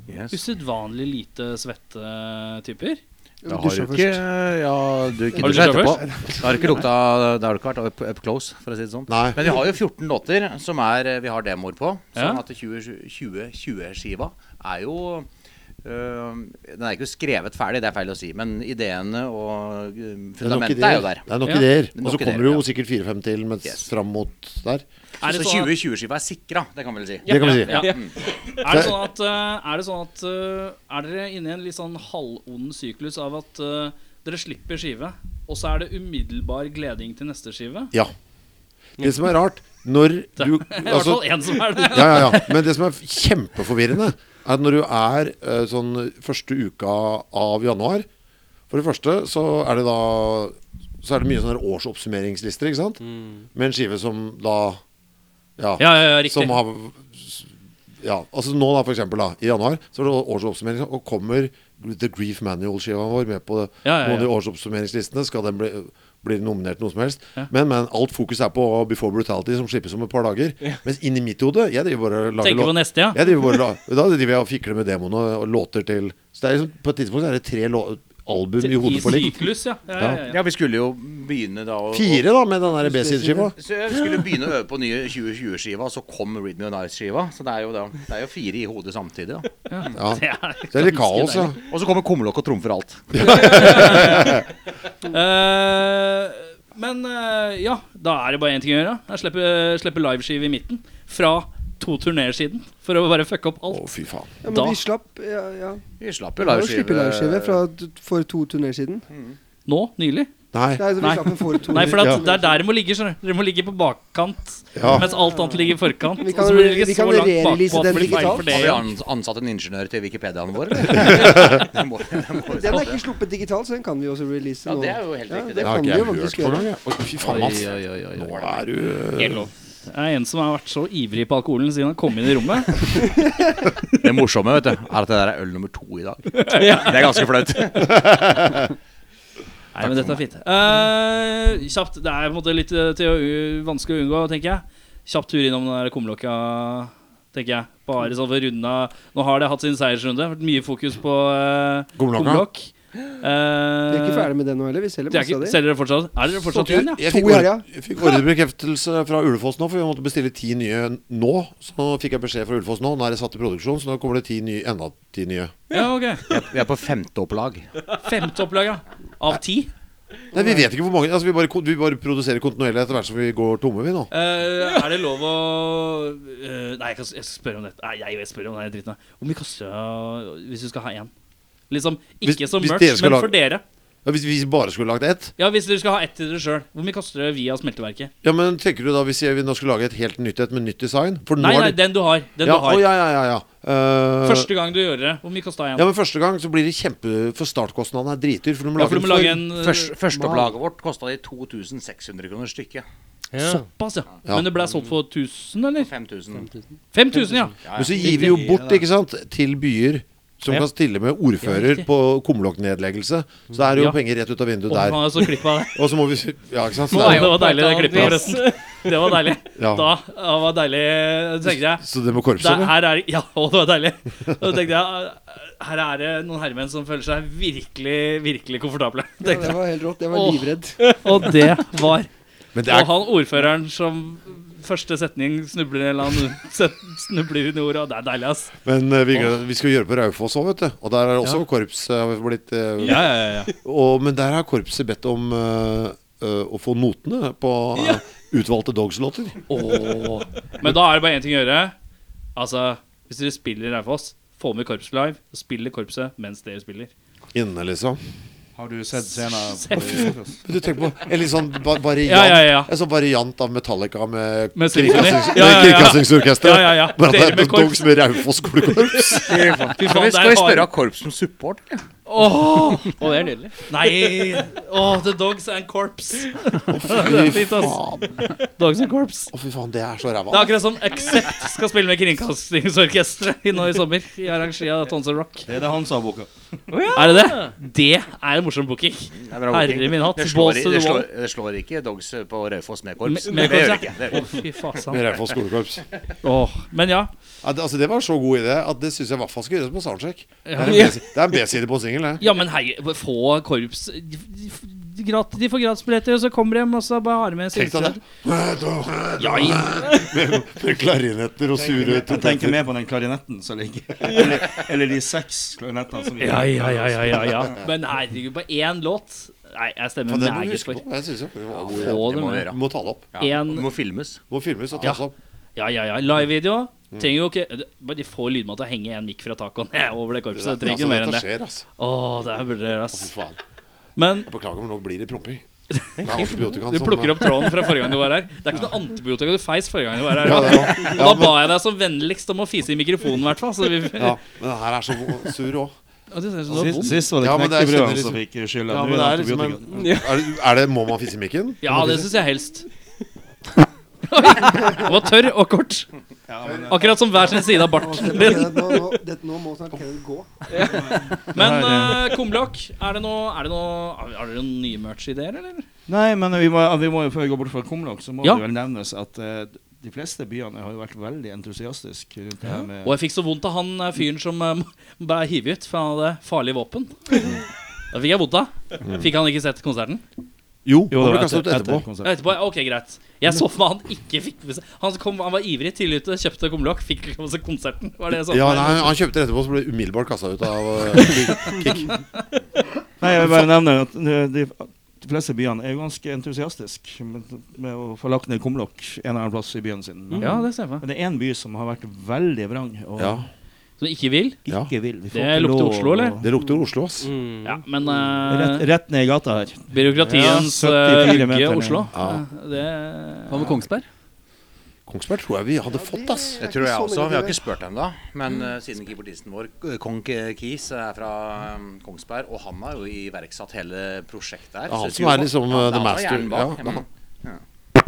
[SPEAKER 9] Yes.
[SPEAKER 4] Usedvanlig lite svette typer.
[SPEAKER 9] Da har
[SPEAKER 7] Dusja
[SPEAKER 9] du
[SPEAKER 7] først.
[SPEAKER 9] ikke Ja, du ikke
[SPEAKER 4] Har du
[SPEAKER 9] dusja
[SPEAKER 4] dusja
[SPEAKER 9] etterpå. Da har du ikke lukta Da har du ikke vært up, up close, for å si det sånn.
[SPEAKER 6] Nei.
[SPEAKER 9] Men vi har jo 14 låter som er, eh, vi har demoer på. Sånn
[SPEAKER 4] Ja.
[SPEAKER 9] at 2020-skiva er jo øh, Den er ikke skrevet ferdig, det er feil å si, men ideene og øh,
[SPEAKER 6] Det er nok
[SPEAKER 9] fundamentet er
[SPEAKER 6] ideer.
[SPEAKER 9] jo der.
[SPEAKER 6] Det er nok
[SPEAKER 4] Ja.
[SPEAKER 6] ideer.
[SPEAKER 9] Det er
[SPEAKER 6] Og så
[SPEAKER 9] nok
[SPEAKER 6] kommer
[SPEAKER 9] ideer,
[SPEAKER 6] det
[SPEAKER 9] ja.
[SPEAKER 6] jo sikkert fire-fem til mens
[SPEAKER 9] Yes.
[SPEAKER 6] fram mot der.
[SPEAKER 4] Er det
[SPEAKER 9] Så
[SPEAKER 4] sånn at-
[SPEAKER 9] 2020-skiva er sikra, det kan vi vel si.
[SPEAKER 6] Det kan vi si.
[SPEAKER 4] Ja. Er det sånn at, eh, er, det sånn at eh, er dere inne i en litt sånn halvond syklus av at eh, dere slipper skive, og så er det umiddelbar gleding til neste skive?
[SPEAKER 6] Ja. Det som er rart når du
[SPEAKER 4] I hvert
[SPEAKER 6] altså,
[SPEAKER 4] fall én som er
[SPEAKER 6] ja,
[SPEAKER 4] det.
[SPEAKER 6] ja, ja. Men det som er kjempeforvirrende, er at når du er eh, sånn første uka av januar For det første så er det da Så er det mye sånne årsoppsummeringslister, ikke sant? Med en skive som da Ja,
[SPEAKER 4] Mm. Ja, ja, ja, riktig.
[SPEAKER 6] som har ja, altså nå da for eksempel da, i januar Så er det årsoppsummering Og kommer The Grief Manual-skiva vår med på
[SPEAKER 4] Ja, ja, ja.
[SPEAKER 6] noen av de årsoppsummeringslistene Skal den bli blir nominert noe som helst.
[SPEAKER 4] Ja.
[SPEAKER 6] Men, men alt fokus er på Before Brutality, som slippes om et par dager. Mens inni mitt hode Jeg driver bare og lager
[SPEAKER 4] Tenker
[SPEAKER 6] låt-
[SPEAKER 4] på neste, ja.
[SPEAKER 6] jeg driver bare, la- da driver jeg og fikler med demoene og låter til Så det er liksom, på et tidspunkt så er det tre lå, album i hodet på litt.
[SPEAKER 4] syklus, ja. Ja, ja, ja.
[SPEAKER 9] Ja, vi skulle jo begynne da å
[SPEAKER 6] Fire, da, med den der B-sideskiva.
[SPEAKER 9] Så jeg skulle begynne å øve på nye 2020-skiva, så kom Read Me or Nice-skiva. Så det er, jo da, det er jo fire i hodet samtidig. Da.
[SPEAKER 6] Ja.
[SPEAKER 4] [LAUGHS] Det er
[SPEAKER 6] Så det er litt kaos, ja.
[SPEAKER 9] Og så kommer kumlokk og trumfer alt.
[SPEAKER 4] Eh, men eh, ja, da er det bare én ting å gjøre. Jeg slipper, slipper liveskive i midten. Fra to turneer siden. For å bare fucke opp
[SPEAKER 6] Å,
[SPEAKER 4] alt.
[SPEAKER 6] fy faen.
[SPEAKER 7] Ja, men
[SPEAKER 4] Da-
[SPEAKER 7] vi slapp ja, ja.
[SPEAKER 9] Vi slapp
[SPEAKER 7] Vi
[SPEAKER 9] jo
[SPEAKER 7] har jo sluppet liveskive
[SPEAKER 9] liveskive.
[SPEAKER 7] fra
[SPEAKER 6] eh,
[SPEAKER 7] t- for to turner siden.
[SPEAKER 6] Mm.
[SPEAKER 4] Nå, nylig.
[SPEAKER 6] Nei.
[SPEAKER 7] Nei, så vi
[SPEAKER 4] Nei.
[SPEAKER 7] slapp den for to
[SPEAKER 4] Nei, for at,
[SPEAKER 7] turner
[SPEAKER 4] det er der det må ligge. skjønner du Dere må ligge på bakkant,
[SPEAKER 6] Ja.
[SPEAKER 4] mens alt annet ligger i [LAUGHS] forkant.
[SPEAKER 7] Vi
[SPEAKER 4] Og
[SPEAKER 7] kan-
[SPEAKER 4] så må dere ligge
[SPEAKER 7] vi
[SPEAKER 4] så
[SPEAKER 7] kan
[SPEAKER 4] langt bakpå
[SPEAKER 7] release den
[SPEAKER 4] at det blir feil
[SPEAKER 7] digitalt.
[SPEAKER 4] for
[SPEAKER 9] Har vi
[SPEAKER 4] dere.
[SPEAKER 9] an- ansatt en ingeniør til Wikipediaen vår,
[SPEAKER 4] [LAUGHS]
[SPEAKER 9] eller? Den må- den må-
[SPEAKER 7] Den er ikke sluppet digitalt, så den kan vi også release
[SPEAKER 9] Ja,
[SPEAKER 7] nå.
[SPEAKER 9] det er jo helt
[SPEAKER 7] Ja,
[SPEAKER 9] riktig.
[SPEAKER 7] det
[SPEAKER 9] Det
[SPEAKER 6] Det har
[SPEAKER 7] kan vi
[SPEAKER 6] ikke
[SPEAKER 7] jo
[SPEAKER 6] jeg
[SPEAKER 7] faktisk
[SPEAKER 6] hørt på
[SPEAKER 7] gjøre.
[SPEAKER 6] engang. jeg. Oi, Fy faen,
[SPEAKER 3] Oi,
[SPEAKER 6] Mats.
[SPEAKER 3] oi, oi, oi,
[SPEAKER 6] Nå
[SPEAKER 3] oi.
[SPEAKER 6] er du
[SPEAKER 4] Helt lov. Jeg er en som har vært så ivrig på alkoholen siden han kom inn i rommet.
[SPEAKER 9] [LAUGHS] Det morsomme vet du, er at det der er øl nummer to i
[SPEAKER 4] [LAUGHS]
[SPEAKER 9] dag. Det er ganske flaut.
[SPEAKER 4] Nei, men dette er fint. Eh, kjapt. Det er på en måte litt eh, til å, u- vanskelig å unngå, tenker jeg. Kjapp tur innom den der kumlokka, tenker jeg. Bare sånn for å runde av. Nå har det hatt sin seiersrunde. Vært mye fokus på uh,
[SPEAKER 6] Kumlokka.
[SPEAKER 4] kumlokk.
[SPEAKER 7] Vi er ikke
[SPEAKER 4] Uh,
[SPEAKER 7] ferdig med det nå heller. Vi selger
[SPEAKER 4] det er
[SPEAKER 7] masse
[SPEAKER 4] ikke,
[SPEAKER 7] av det.
[SPEAKER 4] selger dere fortsatt? Er dere fortsatt
[SPEAKER 6] Jeg
[SPEAKER 4] igjen, ja?
[SPEAKER 6] jeg
[SPEAKER 7] To
[SPEAKER 6] fikk,
[SPEAKER 7] i
[SPEAKER 6] ord,
[SPEAKER 7] helga.
[SPEAKER 6] jeg fikk ordrebekreftelse fra Ulefoss nå, for vi måtte bestille ti nye nå. Så nå fikk jeg beskjed fra Ulefoss nå. Nå er det satt i produksjon, så nå kommer det ti nye, enda ti nye.
[SPEAKER 4] Ja, ok.
[SPEAKER 9] Vi er på femte opplag.
[SPEAKER 4] Femte opplag, ja. Av ti.
[SPEAKER 6] Nei, Vi vet ikke hvor mange. Altså, vi, bare, kon- vi bare produserer kontinuerlig etter hvert som vi går tomme, vi nå.
[SPEAKER 4] Eh, er det lov å eh, Nei, jeg, kan, jeg skal spørre om det. Nei, jeg, jeg spør om det dritten. her. Hvor mye koster det hvis du skal ha én? Liksom, ikke
[SPEAKER 6] Hvis-
[SPEAKER 4] som
[SPEAKER 6] hvis
[SPEAKER 4] merch,
[SPEAKER 6] dere skal
[SPEAKER 4] men
[SPEAKER 6] lage-
[SPEAKER 4] for dere.
[SPEAKER 6] Ja, hvis vi bare skulle lagd ett
[SPEAKER 4] Ja, Hvis dere skal ha ett til dere sjøl, hvor mye koster det via smelteverket?
[SPEAKER 6] Ja, men tenker du da hvis jeg, vi nå skulle lage et helt nytt et med nytt design? For nå
[SPEAKER 4] Nei, nei,
[SPEAKER 6] er det
[SPEAKER 4] den du har.
[SPEAKER 6] ja,
[SPEAKER 4] Den du har.
[SPEAKER 6] å, ja, ja, ja, ja. Eh,
[SPEAKER 4] Første gang du gjør det. Hvor mye kosta en?
[SPEAKER 6] ja, men første gang så blir det kjempe For startkostnadene er dritdyr. For du må
[SPEAKER 4] Ja,
[SPEAKER 6] lage,
[SPEAKER 4] for du må lage en eh,
[SPEAKER 9] Først, Førsteopplaget vårt kosta de 2600 kroner stykket.
[SPEAKER 4] Såpass, ja.
[SPEAKER 6] Ja.
[SPEAKER 4] Men det ble solgt for 1000, eller?
[SPEAKER 9] 5000.
[SPEAKER 4] 5000, ja.
[SPEAKER 6] Men så gir vi jo bort, ikke sant, til byer som
[SPEAKER 1] Ja.
[SPEAKER 6] kan stille med
[SPEAKER 4] Ja,
[SPEAKER 6] ordfører
[SPEAKER 4] riktig.
[SPEAKER 6] på kumlokknedleggelse. Så det er jo
[SPEAKER 4] Ja.
[SPEAKER 6] penger rett ut av vinduet
[SPEAKER 4] Å, faen,
[SPEAKER 6] der.
[SPEAKER 4] jeg så klipp av det.
[SPEAKER 6] Og så må vi Ja, ikke sant. Så det,
[SPEAKER 4] Å,
[SPEAKER 6] er
[SPEAKER 4] det
[SPEAKER 6] jo-
[SPEAKER 4] var deilig, det klippet,
[SPEAKER 1] Yes.
[SPEAKER 4] forresten. Det var deilig.
[SPEAKER 6] ja.
[SPEAKER 4] Da ja, det var deilig, tenkte jeg.
[SPEAKER 6] Så det med korpset,
[SPEAKER 4] Der,
[SPEAKER 6] eller?
[SPEAKER 4] her er, ja, [LAUGHS] å, det var deilig. Da tenkte jeg her er det noen herremenn som føler seg virkelig, virkelig komfortable.
[SPEAKER 7] Ja, det var helt rått. Jeg var
[SPEAKER 4] Åh.
[SPEAKER 7] livredd.
[SPEAKER 4] Og det var
[SPEAKER 6] [LAUGHS] Men det
[SPEAKER 4] Og
[SPEAKER 6] er
[SPEAKER 4] han ordføreren som første setning snubler eller han set- snubler under ordet. og Det er deilig, ass.
[SPEAKER 6] Men eh, vi, vi skal gjøre på Raufoss òg, vet du. Og der er det også korps. eh, har vi blitt, eh,
[SPEAKER 4] Ja, ja, ja, ja.
[SPEAKER 6] og, men der har korpset bedt om eh, eh, å få notene på eh, utvalgte Dogs-låter.
[SPEAKER 4] Åh. Men da er det bare én ting å gjøre. Altså, Hvis dere spiller Raufoss, få med Korps Live. Og spiller korpset mens dere spiller.
[SPEAKER 6] Inne, liksom.
[SPEAKER 8] Har du sett scenen?
[SPEAKER 6] Men du tenker på en litt sånn va- variant,
[SPEAKER 4] Ja, ja, ja.
[SPEAKER 6] En sånn variant av Metallica med,
[SPEAKER 4] Med symfoni.
[SPEAKER 6] kringkastings- med
[SPEAKER 4] Ja, ja, ja.
[SPEAKER 6] Kringkastingsorkesteret.
[SPEAKER 4] Ja, ja, ja.
[SPEAKER 6] Bare at det
[SPEAKER 4] Dere
[SPEAKER 6] er
[SPEAKER 4] med
[SPEAKER 6] med
[SPEAKER 4] korps.
[SPEAKER 6] Dogs med Raufoss
[SPEAKER 9] [LAUGHS]
[SPEAKER 6] skolekorps.
[SPEAKER 4] [LAUGHS] Fy
[SPEAKER 9] Skal vi, skal vi
[SPEAKER 4] faen, der
[SPEAKER 9] spørre
[SPEAKER 4] har
[SPEAKER 9] av korps som support? eller?
[SPEAKER 4] Åh,
[SPEAKER 1] Å, det er nydelig.
[SPEAKER 4] Nei! Åh, The Dogs and Corps. [LAUGHS] Det er
[SPEAKER 6] Fy
[SPEAKER 4] fint, ass.
[SPEAKER 6] faen.
[SPEAKER 4] Dogs and Corps.
[SPEAKER 6] Å, fy faen, det er så
[SPEAKER 4] Det er
[SPEAKER 6] ræva.
[SPEAKER 4] akkurat som Accept skal spille med Kringkastingsorkesteret i nå i sommer. I arrangi av Tons and Rock.
[SPEAKER 8] Det er det han sa, boka.
[SPEAKER 4] Er det det? Det er en morsom booking.
[SPEAKER 9] Det er bra
[SPEAKER 4] Herre
[SPEAKER 9] booking.
[SPEAKER 4] min hatt.
[SPEAKER 9] Det slår,
[SPEAKER 4] Balls
[SPEAKER 9] i-
[SPEAKER 4] to
[SPEAKER 9] det,
[SPEAKER 4] the wall.
[SPEAKER 9] slår, det slår ikke dogs på Raufoss med korps.
[SPEAKER 4] Med- med
[SPEAKER 9] det gjør
[SPEAKER 4] korps,
[SPEAKER 9] det ikke.
[SPEAKER 4] ja.
[SPEAKER 9] Det
[SPEAKER 4] Å, fy altså. fasan.
[SPEAKER 6] Med Raufoss skolekorps.
[SPEAKER 4] Åh, Men ja.
[SPEAKER 6] Ja, det, altså, det var en så god idé at det syns jeg i hvert fall skal gjøres på soundcheck. Det er en
[SPEAKER 4] Ja.
[SPEAKER 6] B- det er en B-side på en singel, det.
[SPEAKER 4] Ja, men hei, få korps de, de- gratis, de får gratisbilletter, og så kommer de hjem, og så bare har de med
[SPEAKER 6] Tenk deg det.
[SPEAKER 4] syltetøy. Ja, i-
[SPEAKER 6] Med klarinetter og sure
[SPEAKER 8] Jeg tenker mer på den klarinetten som
[SPEAKER 6] [LAUGHS]
[SPEAKER 8] ligger Eller, eller de seks klarinettene
[SPEAKER 9] altså.
[SPEAKER 8] som ligger
[SPEAKER 4] ja, ja, ja, ja, ja, ja. Men herregud, på én låt Nei, jeg stemmer
[SPEAKER 6] Faen, Det må du
[SPEAKER 4] meget
[SPEAKER 6] huske
[SPEAKER 4] for.
[SPEAKER 6] på. Jeg synes jo det var en god idé.
[SPEAKER 4] Få
[SPEAKER 9] det må
[SPEAKER 4] det
[SPEAKER 9] vi
[SPEAKER 4] med.
[SPEAKER 9] gjøre.
[SPEAKER 6] Vi må ta det opp.
[SPEAKER 9] Ja,
[SPEAKER 4] En-
[SPEAKER 9] det må filmes.
[SPEAKER 6] Må filmes og tas opp.
[SPEAKER 4] Ja, ja, ja. Livevideo. Trenger jo ikke Bare de får lydmann til å henge en mikk fra taket [LAUGHS] og ned over det korpset. Det trenger ikke mer enn
[SPEAKER 6] dette
[SPEAKER 4] det.
[SPEAKER 6] skjer, altså.
[SPEAKER 4] Å, det her burde dere gjøre,
[SPEAKER 6] Fy
[SPEAKER 4] ass.
[SPEAKER 6] faen.
[SPEAKER 4] Men
[SPEAKER 6] Jeg Beklager, men nå blir det promping. Det er altså, sånn, antibiotikaen
[SPEAKER 4] du
[SPEAKER 6] som-
[SPEAKER 4] plukker opp tråden fra forrige gang du var her. Det er ikke noe antibiotika du feis forrige gang du var her.
[SPEAKER 6] Ja, det er
[SPEAKER 4] Og
[SPEAKER 6] jo-
[SPEAKER 4] da ba jeg deg som vennligst om å fise i mikrofonen, i hvert fall. Så vi
[SPEAKER 6] ja, men den her er så vo- sur òg.
[SPEAKER 4] Å, det
[SPEAKER 9] sånn
[SPEAKER 4] synes jeg var
[SPEAKER 8] Sist,
[SPEAKER 4] vondt.
[SPEAKER 8] sist var det
[SPEAKER 6] Ja, men det er
[SPEAKER 8] knekkebrød
[SPEAKER 6] kjenner
[SPEAKER 8] som
[SPEAKER 6] liksom-
[SPEAKER 8] fikk skylda.
[SPEAKER 6] Ja,
[SPEAKER 8] Nå
[SPEAKER 6] men det er
[SPEAKER 8] det
[SPEAKER 6] liksom en,
[SPEAKER 4] [LAUGHS]
[SPEAKER 8] antibiotika.
[SPEAKER 6] er, det, er det Må man fisse i mikken?
[SPEAKER 4] Ja, det syns jeg helst. Den var tørr og kort. Akkurat som hver sin side av barten
[SPEAKER 7] Nå,
[SPEAKER 4] din.
[SPEAKER 7] nå, dette- nå må snart Kenneth gå.
[SPEAKER 4] Men
[SPEAKER 8] Det er-
[SPEAKER 4] uh, Kumlokk, er det noe, er det noe Har har dere noen nye merch-ideer, eller?
[SPEAKER 8] Nei, men vi må, vi må jo før vi går bort fra Kumlokk, så må
[SPEAKER 4] Ja.
[SPEAKER 8] det vel nevnes
[SPEAKER 4] [LAUGHS]
[SPEAKER 8] at eh, de fleste byene har jo vært veldig entusiastiske rundt det her med
[SPEAKER 4] Og jeg fikk så vondt av han eh, fyren som eh, [LAUGHS] ble hivet ut, for han hadde farlig våpen.
[SPEAKER 8] Mm.
[SPEAKER 4] Da fikk jeg vondt av. Fikk han ikke sett konserten?
[SPEAKER 6] Jo,
[SPEAKER 8] Jo,
[SPEAKER 6] han ble
[SPEAKER 8] det var
[SPEAKER 6] kastet ut
[SPEAKER 8] etter-
[SPEAKER 6] etterpå.
[SPEAKER 8] etter konserten.
[SPEAKER 4] Ja, Etterpå, ja, ok, greit. Jeg så for meg han ikke fikk med seg- han, kom, han var ivrig tidlig ute, kjøpte kumlokk, fikk ikke med seg konserten. Var det sånn. jeg så for
[SPEAKER 6] Ja,
[SPEAKER 4] meg?
[SPEAKER 6] nei, han kjøpte det etterpå, så ble det umiddelbart kasta ut av
[SPEAKER 4] [LAUGHS]
[SPEAKER 6] eh, Kick.
[SPEAKER 8] Nei, jeg vil bare nevne at de, de, de fleste byene er jo ganske entusiastiske med, med å få lagt ned Kumlokk en eller annen plass i byen sin. Men,
[SPEAKER 4] Ja, det stemmer.
[SPEAKER 8] men det er én by som har vært veldig vrang og
[SPEAKER 6] Ja,
[SPEAKER 4] Som ikke vil?
[SPEAKER 6] ja.
[SPEAKER 8] ikke vil. Vi får
[SPEAKER 4] Det
[SPEAKER 8] ikke
[SPEAKER 4] lukter
[SPEAKER 8] lov
[SPEAKER 4] Oslo, eller?
[SPEAKER 8] å-
[SPEAKER 6] Det lukter Oslo, ass.
[SPEAKER 1] Mm.
[SPEAKER 4] Ja, men
[SPEAKER 8] Rett,
[SPEAKER 4] eh,
[SPEAKER 8] rett ned i gata her.
[SPEAKER 4] byråkratiens
[SPEAKER 8] Ja,
[SPEAKER 4] eh,
[SPEAKER 8] 74
[SPEAKER 4] vugge
[SPEAKER 8] meter ned.
[SPEAKER 4] Oslo,
[SPEAKER 6] Ja.
[SPEAKER 4] eh, det
[SPEAKER 3] Hva med Kongsberg?
[SPEAKER 6] Kongsberg tror jeg vi hadde fått, ass.
[SPEAKER 9] Det tror jeg også. Vi har ikke spurt ennå. Men eh, siden keyboardisten vår, K- Kong K- Keys, er fra eh, Kongsberg, og han har jo iverksatt hele prosjektet her
[SPEAKER 6] Ja, han
[SPEAKER 9] så det
[SPEAKER 6] som
[SPEAKER 9] jo
[SPEAKER 6] er
[SPEAKER 9] sånn-
[SPEAKER 6] liksom,
[SPEAKER 9] Ja,
[SPEAKER 6] eh,
[SPEAKER 9] det
[SPEAKER 6] the
[SPEAKER 9] er han
[SPEAKER 6] master.
[SPEAKER 9] som er hjernen bak.
[SPEAKER 6] Ja, det er han.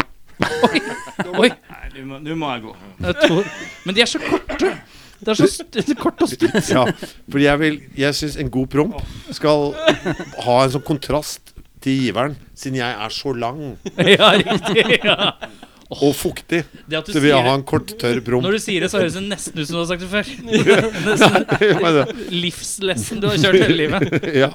[SPEAKER 4] Oi!
[SPEAKER 8] Nå må, nå må jeg gå.
[SPEAKER 4] eh, to- Men de er så korte! Det er så st kort og stutt.
[SPEAKER 6] [LAUGHS] Ja, fordi jeg vil Jeg syns en god promp skal ha en sånn kontrast til giveren, siden jeg er så lang
[SPEAKER 4] [LAUGHS] Ja, riktig. Ja.
[SPEAKER 6] og fuktig.
[SPEAKER 4] Det at du
[SPEAKER 6] Så vil jeg ha
[SPEAKER 4] sier
[SPEAKER 6] en kort, tørr promp.
[SPEAKER 4] når du sier det, så høres det nesten ut som du har sagt det
[SPEAKER 6] [LAUGHS]
[SPEAKER 4] før. [LAUGHS] Nesten
[SPEAKER 6] Men det-
[SPEAKER 4] Livslesson du har kjørt hele livet.
[SPEAKER 6] [LAUGHS] ja.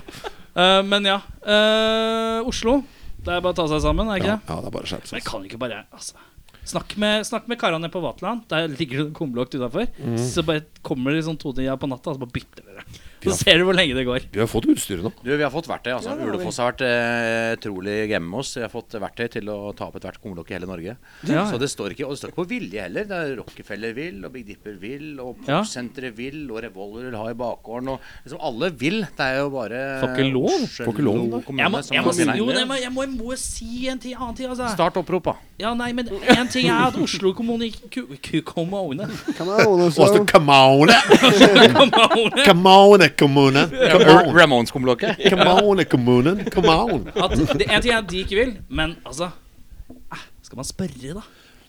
[SPEAKER 4] Eh, men ja. eh, Oslo. Det er bare å ta seg sammen, er det ikke
[SPEAKER 6] Ja,
[SPEAKER 4] det?
[SPEAKER 6] ja, det er bare å skjerpe
[SPEAKER 4] Men jeg
[SPEAKER 6] seg.
[SPEAKER 4] kan ikke bare altså. Snakk med, snakk med karene på Vaterland. Der ligger det en kumlokk utafor.
[SPEAKER 6] Mm.
[SPEAKER 4] Så bare kommer de sånn to-tida på natta, og så bare bytter dere. Så ser du hvor lenge det går.
[SPEAKER 6] Vi har fått utstyret nå.
[SPEAKER 9] Du, Vi har fått verktøy. altså. Ulefoss har vært eh, utrolig game med oss. Vi har fått verktøy til å ta opp ethvert kumlokk i hele Norge.
[SPEAKER 4] Ja.
[SPEAKER 9] Så det står ikke, Og det står ikke på vilje heller. Det er Rockefeller vil, og Big Dipper vil, og
[SPEAKER 4] Ja.
[SPEAKER 9] Popsenteret vil, og Revolver vil ha i bakgården. og liksom Alle vil. Det er jo bare
[SPEAKER 4] Får ikke lov.
[SPEAKER 9] Oslo
[SPEAKER 6] Får ikke lov.
[SPEAKER 9] kommune
[SPEAKER 4] Jeg må,
[SPEAKER 9] som
[SPEAKER 4] jeg må,
[SPEAKER 9] kan
[SPEAKER 4] si-
[SPEAKER 9] si nei.
[SPEAKER 4] jo, nei, men jeg må, jeg må si sånn- en ting, annen ting, altså.
[SPEAKER 9] Start opprop, da.
[SPEAKER 4] Ja, nei, men en ting er at Oslo kommune ikke ku- ku- kommune.
[SPEAKER 7] Kan jeg ordne
[SPEAKER 6] Og så
[SPEAKER 7] så-
[SPEAKER 6] come [LAUGHS] on,
[SPEAKER 4] Kommune.
[SPEAKER 6] come on, kommunen. Come on,
[SPEAKER 9] Ramones-kumlokket.
[SPEAKER 6] come on, kommunen. Come on.
[SPEAKER 4] At det, en ting er at de ikke vil, men altså eh, Skal man spørre, da?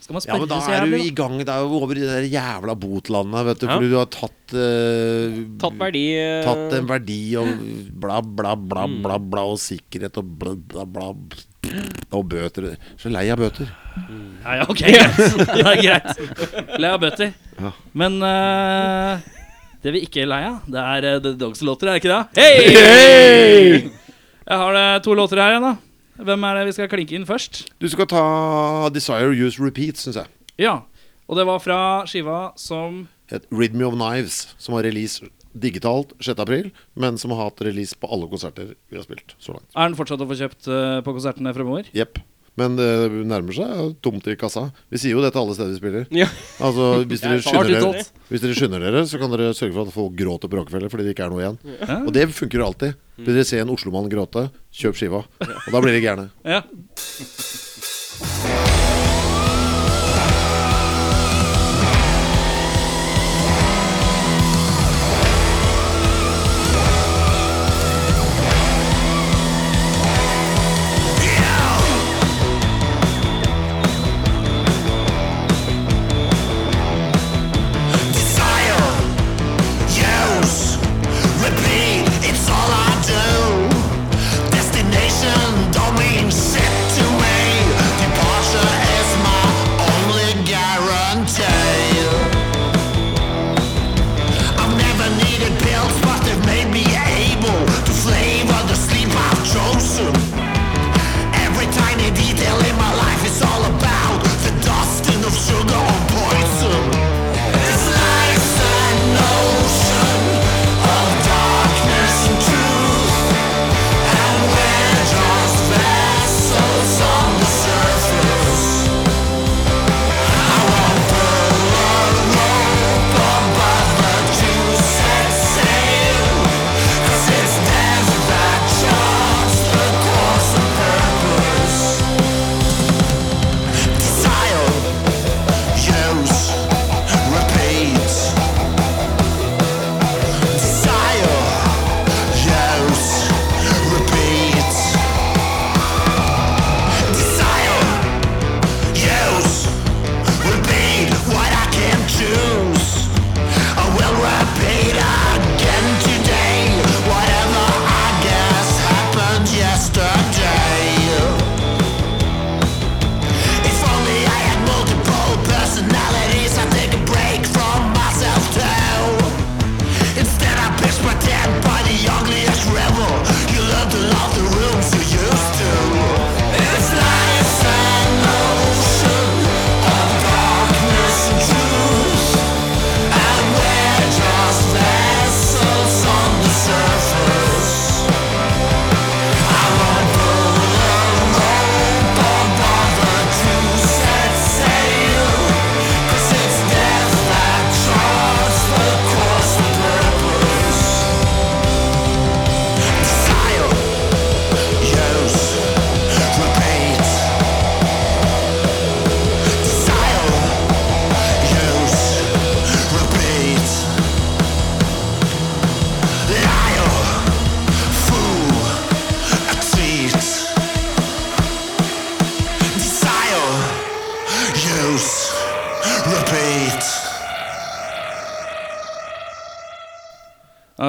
[SPEAKER 4] Skal man
[SPEAKER 6] Ja,
[SPEAKER 4] spørre
[SPEAKER 6] men da
[SPEAKER 4] så
[SPEAKER 6] er du
[SPEAKER 4] jævlig, da?
[SPEAKER 6] i gang. Det er jo over i det der jævla botlandet, vet du.
[SPEAKER 1] Ja.
[SPEAKER 6] Fordi du har tatt eh,
[SPEAKER 1] Tatt verdi eh,
[SPEAKER 6] Tatt en verdi og bla, bla, bla,
[SPEAKER 4] Mm.
[SPEAKER 6] bla, bla og sikkerhet og bla, bla, bla. Og bøter. Så lei av bøter.
[SPEAKER 4] Ja, ja, ok, greit. Det er greit. Lei av bøter.
[SPEAKER 6] Ja.
[SPEAKER 4] Men eh, det vi ikke er lei av, det er eh, The Dogs-låter, er det ikke det? Hei! Jeg har eh, to låter her igjen, da. Hvem er det vi skal klinke inn først?
[SPEAKER 6] Du skal ta Desire Use Repeat, syns jeg.
[SPEAKER 4] Ja. Og det var fra skiva som
[SPEAKER 6] Et Rhythm of Knives, som har release digitalt 6. april, men som har hatt release på alle konserter vi har spilt så langt.
[SPEAKER 4] Er den fortsatt å få kjøpt eh, på konsertene fremover?
[SPEAKER 6] Jepp. Men det nærmer seg tomt i kassa. Vi sier jo det til alle steder vi spiller.
[SPEAKER 1] Ja.
[SPEAKER 6] Altså, hvis dere,
[SPEAKER 4] Det er
[SPEAKER 6] skynder dere,
[SPEAKER 4] utsolgt.
[SPEAKER 6] hvis dere skynder dere, så kan dere sørge for at folk gråter på Rockefeller fordi det ikke er noe igjen. Og det funker jo alltid. Vil dere se en oslomann gråte, kjøp skiva. Og da blir de gærne.
[SPEAKER 4] [LAUGHS] Ja.
[SPEAKER 10] Destination don't mean shit to me. Departure
[SPEAKER 4] Jeg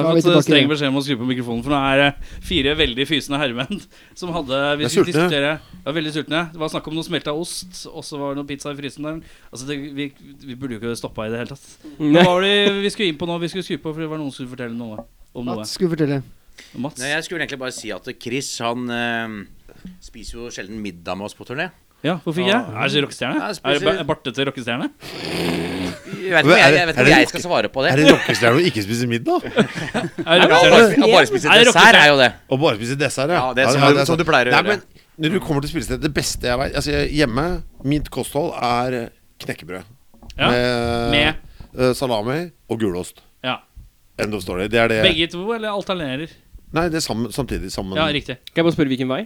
[SPEAKER 7] Da er
[SPEAKER 4] har
[SPEAKER 7] vi
[SPEAKER 4] fått eh,
[SPEAKER 7] tilbake
[SPEAKER 4] streng
[SPEAKER 7] igjen.
[SPEAKER 4] beskjed om å skru på mikrofonen, for nå er det fire veldig fysende herremenn [LAUGHS] som hadde eh, Vi
[SPEAKER 6] er
[SPEAKER 4] skulle
[SPEAKER 6] sultne.
[SPEAKER 4] diskutere Ja, veldig sultne. Det var snakk om noe smelta ost, og så var det noe pizza i fryseren. Altså, det, vi, vi burde jo ikke stoppa i det hele tatt. Hva var det vi skulle inn på nå? Vi skulle skru på fordi det var noen som skulle fortelle noe om noe.
[SPEAKER 7] Mats skulle fortelle.
[SPEAKER 4] Mats.
[SPEAKER 9] Nei, jeg skulle egentlig bare si at Chris han eh, spiser jo sjelden middag med oss på turné.
[SPEAKER 4] Ja, hvorfor ikke? Er det rockestjerne?
[SPEAKER 9] Ja,
[SPEAKER 4] Er
[SPEAKER 9] spiser-
[SPEAKER 4] det ba- bartete rockestjerne?
[SPEAKER 9] Jeg vet ikke om
[SPEAKER 6] Er
[SPEAKER 9] jeg,
[SPEAKER 6] det-
[SPEAKER 9] jeg,
[SPEAKER 6] er
[SPEAKER 9] vet ikke om
[SPEAKER 6] det
[SPEAKER 9] jeg skal svare på det.
[SPEAKER 6] Er det rockestjerne å ikke spise middag?
[SPEAKER 4] [LAUGHS] Er det
[SPEAKER 9] Han
[SPEAKER 4] rockestjerne?
[SPEAKER 9] bare, han bare spiser
[SPEAKER 4] Er det
[SPEAKER 9] dessert, er jo det.
[SPEAKER 6] Og bare spise dessert, ja.
[SPEAKER 9] Ja, det er sånn- sånn du pleier å
[SPEAKER 6] Nei,
[SPEAKER 9] gjøre.
[SPEAKER 6] men Når du kommer til spillestedet Det beste jeg vet altså, jeg- Hjemme, mitt kosthold er knekkebrød.
[SPEAKER 4] Ja,
[SPEAKER 6] Med,
[SPEAKER 4] med-
[SPEAKER 6] eh, salami og gulost.
[SPEAKER 4] Ja.
[SPEAKER 6] End of story. Det er det
[SPEAKER 4] Begge to, eller alternerer?
[SPEAKER 6] Nei, det er sammen, samtidig. Sammen.
[SPEAKER 4] Ja, riktig.
[SPEAKER 1] Kan jeg bare spørre hvilken vei?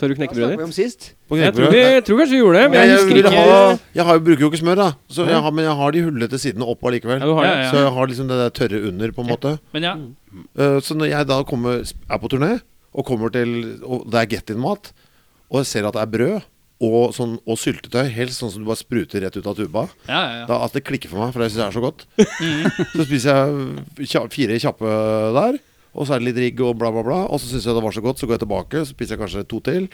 [SPEAKER 1] Tar du
[SPEAKER 7] Hva snakket vi
[SPEAKER 1] knekkebrødet ditt?
[SPEAKER 7] om sist?
[SPEAKER 6] På
[SPEAKER 1] Jeg tror,
[SPEAKER 6] knekkebrød.
[SPEAKER 1] vi, jeg tror kanskje vi gjorde det, men
[SPEAKER 6] Jeg,
[SPEAKER 1] jeg
[SPEAKER 6] jeg,
[SPEAKER 1] husker
[SPEAKER 6] vil
[SPEAKER 1] ikke
[SPEAKER 6] ha, jeg har, bruker jo ikke smør, da. Så jeg har, men jeg har de hullete sidene opp allikevel.
[SPEAKER 1] Ja, du har
[SPEAKER 4] Ja,
[SPEAKER 1] det.
[SPEAKER 4] ja.
[SPEAKER 6] Så jeg har liksom det der tørre under, på en måte.
[SPEAKER 4] Men ja.
[SPEAKER 6] Eh, Så når jeg da kommer, er på turné og kommer til Og det er get in-mat, og jeg ser at det er brød og, sånn, og syltetøy, helst sånn som du bare spruter rett ut av tuba
[SPEAKER 4] Ja, ja, ja.
[SPEAKER 6] da, At det klikker for meg, for jeg syns det er så godt.
[SPEAKER 4] Mm.
[SPEAKER 6] Så spiser jeg kja- fire kjappe der, og så er det litt rigg og bla, bla, bla. Og så syns jeg det var så godt, så går jeg tilbake, så spiser jeg kanskje to til.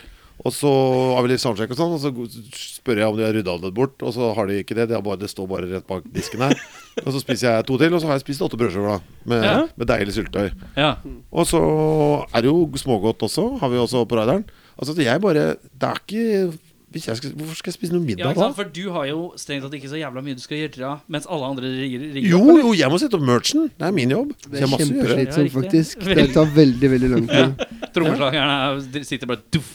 [SPEAKER 6] Og så har vi litt soundcheck og sånn, og så go- spør jeg om de har rydda det bort. Og så har de ikke det, det, er bare, det står bare rett bak disken her. Og så spiser jeg to til, og så har jeg spist åtte brødskiver, da. Med,
[SPEAKER 4] Ja.
[SPEAKER 6] med deilig syltetøy.
[SPEAKER 4] ja.
[SPEAKER 6] Og så er det jo smågodt også, har vi også på radaren. Altså så jeg bare Det er ikke hvis jeg skal, Hvorfor skal jeg spise noe
[SPEAKER 4] ja
[SPEAKER 6] middag
[SPEAKER 4] ikke
[SPEAKER 6] da?
[SPEAKER 4] sant? For du har jo strengt tatt ikke så jævla mye du skal gjøre, mens alle andre rigger. rigger
[SPEAKER 6] Jo,
[SPEAKER 4] opp, eller?
[SPEAKER 6] jo, jeg må sette opp merchen. Det er min jobb. Så
[SPEAKER 7] Det
[SPEAKER 6] jeg
[SPEAKER 7] er
[SPEAKER 6] har masse å gjøre.
[SPEAKER 7] kjempeslitsomt,
[SPEAKER 4] Ja, riktig.
[SPEAKER 7] faktisk. Det tar veldig, veldig lang tid.
[SPEAKER 4] Trommeslageren er- sitter bare duff,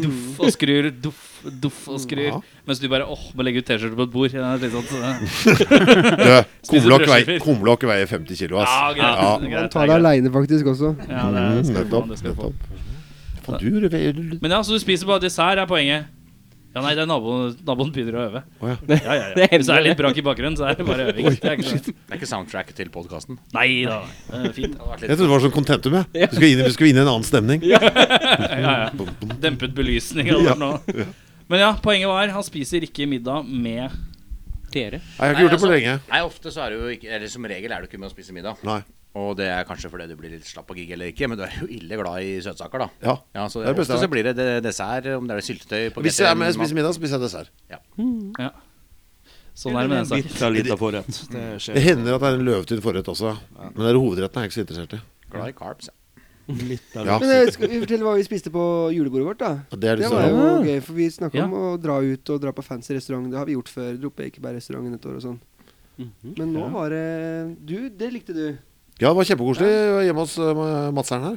[SPEAKER 4] duff og skrur, duff, duff og skrur. Mens du bare åh, må legge ut T-skjorte på et bord. Ja, det er litt sånn,
[SPEAKER 6] [LAUGHS]
[SPEAKER 4] så- [LAUGHS]
[SPEAKER 6] Du, kumlokk
[SPEAKER 4] brødskiver.
[SPEAKER 6] veier, kumlokk veier 50 kilo,
[SPEAKER 4] Ja,
[SPEAKER 6] ass.
[SPEAKER 4] greit.
[SPEAKER 6] Ja,
[SPEAKER 4] greit,
[SPEAKER 7] Han
[SPEAKER 4] greit,
[SPEAKER 7] tar det aleine, faktisk, også.
[SPEAKER 4] Ja, det skal du få,
[SPEAKER 6] nettopp.
[SPEAKER 4] det skal du få.
[SPEAKER 6] nettopp. Fondur veier-
[SPEAKER 4] Men ja, så du spiser bare dessert, er poenget. Ja, nei, det er naboen, naboen begynner å øve.
[SPEAKER 6] Å
[SPEAKER 4] Ja, ja, ja.
[SPEAKER 1] Det
[SPEAKER 4] Hvis det
[SPEAKER 1] hender
[SPEAKER 4] er litt brak i bakgrunnen, så er det bare øving. Det er ikke
[SPEAKER 9] [LAUGHS]
[SPEAKER 4] sånn.
[SPEAKER 9] Det er ikke soundtracket til podkasten.
[SPEAKER 4] Nei da. Det er fint.
[SPEAKER 6] Jeg trodde det var sånn kontentum, jeg. Du skal inn, i- du skal inn i en annen stemning.
[SPEAKER 4] [LAUGHS] Ja, ja. Dempet belysning. Eller noe. Men ja, poenget var han spiser ikke middag med
[SPEAKER 1] Dere.
[SPEAKER 6] Nei, jeg har ikke gjort det på
[SPEAKER 3] altså-
[SPEAKER 6] lenge.
[SPEAKER 9] Nei, ofte så er det jo ikke Eller som regel er du ikke med å spise middag.
[SPEAKER 6] Nei.
[SPEAKER 9] Og det er kanskje fordi du blir litt slapp av gig eller ikke, men du er jo ille glad i søtsaker, da.
[SPEAKER 6] Ja.
[SPEAKER 9] Ja, så
[SPEAKER 6] Det er det beste
[SPEAKER 9] ofte
[SPEAKER 6] jeg
[SPEAKER 9] så blir det de- dessert, om det er syltetøy på
[SPEAKER 6] [LAUGHS] Hvis jeg er med og spiser middag, spiser jeg dessert.
[SPEAKER 4] Sånn er det med den saken.
[SPEAKER 8] Bitte lita forrett. Det
[SPEAKER 6] Det
[SPEAKER 8] skjer.
[SPEAKER 6] hender at det er en løvetynn forrett også, men det er hovedretten jeg er ikke så interessert i.
[SPEAKER 9] Glad i carbs. Ja.
[SPEAKER 8] Litt av
[SPEAKER 6] Ja.
[SPEAKER 7] Men eh, skal vi fortelle hva vi spiste på julebordet vårt, da?
[SPEAKER 6] Og Det er
[SPEAKER 7] Det
[SPEAKER 6] liksom
[SPEAKER 7] var jo
[SPEAKER 1] Ja.
[SPEAKER 7] gøy, for vi snakka
[SPEAKER 4] Ja.
[SPEAKER 7] om å dra ut og dra på fancy restaurant. Det har vi gjort før. Dro på Ekebergrestauranten et år og sånn.
[SPEAKER 4] Mhm.
[SPEAKER 7] Men nå var det Du, det likte du.
[SPEAKER 6] Ja, det var kjempekoselig Jeg var hjemme hos eh, Madseren her.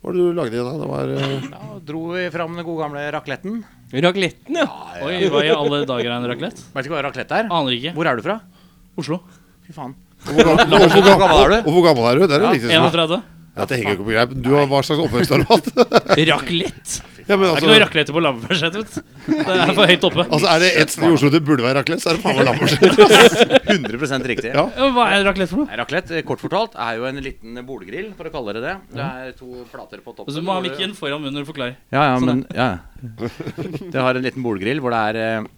[SPEAKER 6] Hva var det du lagde igjen da? Det var eh,
[SPEAKER 9] Da dro vi fram den gode gamle racletten.
[SPEAKER 1] Ragletten, ja.
[SPEAKER 4] Oi, hva i alle dager er en raclette?
[SPEAKER 9] Vet ikke hva raclette er?
[SPEAKER 4] Aner ikke.
[SPEAKER 9] Hvor er du fra?
[SPEAKER 4] Oslo.
[SPEAKER 9] [LAUGHS] Fy faen.
[SPEAKER 6] hvor, gammel, hvor, gammel, er du? Og hvor gammel er du? Det er det viktigste. som er.
[SPEAKER 4] 31.
[SPEAKER 6] Ja, det henger jo ikke på greip. Du har hva slags oppvekst har du hatt?
[SPEAKER 4] [LAUGHS] Raclette.
[SPEAKER 6] Ja, men
[SPEAKER 4] Det er ikke
[SPEAKER 6] altså,
[SPEAKER 4] noe raclette på Lambertseter, vet du. Det
[SPEAKER 9] [LAUGHS]
[SPEAKER 4] er for høyt oppe.
[SPEAKER 6] altså, er det ett sted i Oslo det burde være raclette, så er det faen meg
[SPEAKER 4] [LAUGHS]
[SPEAKER 6] Lambertseter.
[SPEAKER 9] [LAUGHS] 100 riktig.
[SPEAKER 6] Ja.
[SPEAKER 4] Ja, Hva er raclette for noe?
[SPEAKER 9] Nei, Raclette, kort fortalt, er jo en liten bolgrill, for å kalle det det. Det er to plater på toppen.
[SPEAKER 4] Så du må ha
[SPEAKER 9] hvor du-
[SPEAKER 4] mikken foran munnen når du forklarer.
[SPEAKER 9] Ja, ja,
[SPEAKER 4] Sånn,
[SPEAKER 9] men
[SPEAKER 4] [LAUGHS]
[SPEAKER 9] ja. ja. Det har en liten bolgrill hvor det er eh,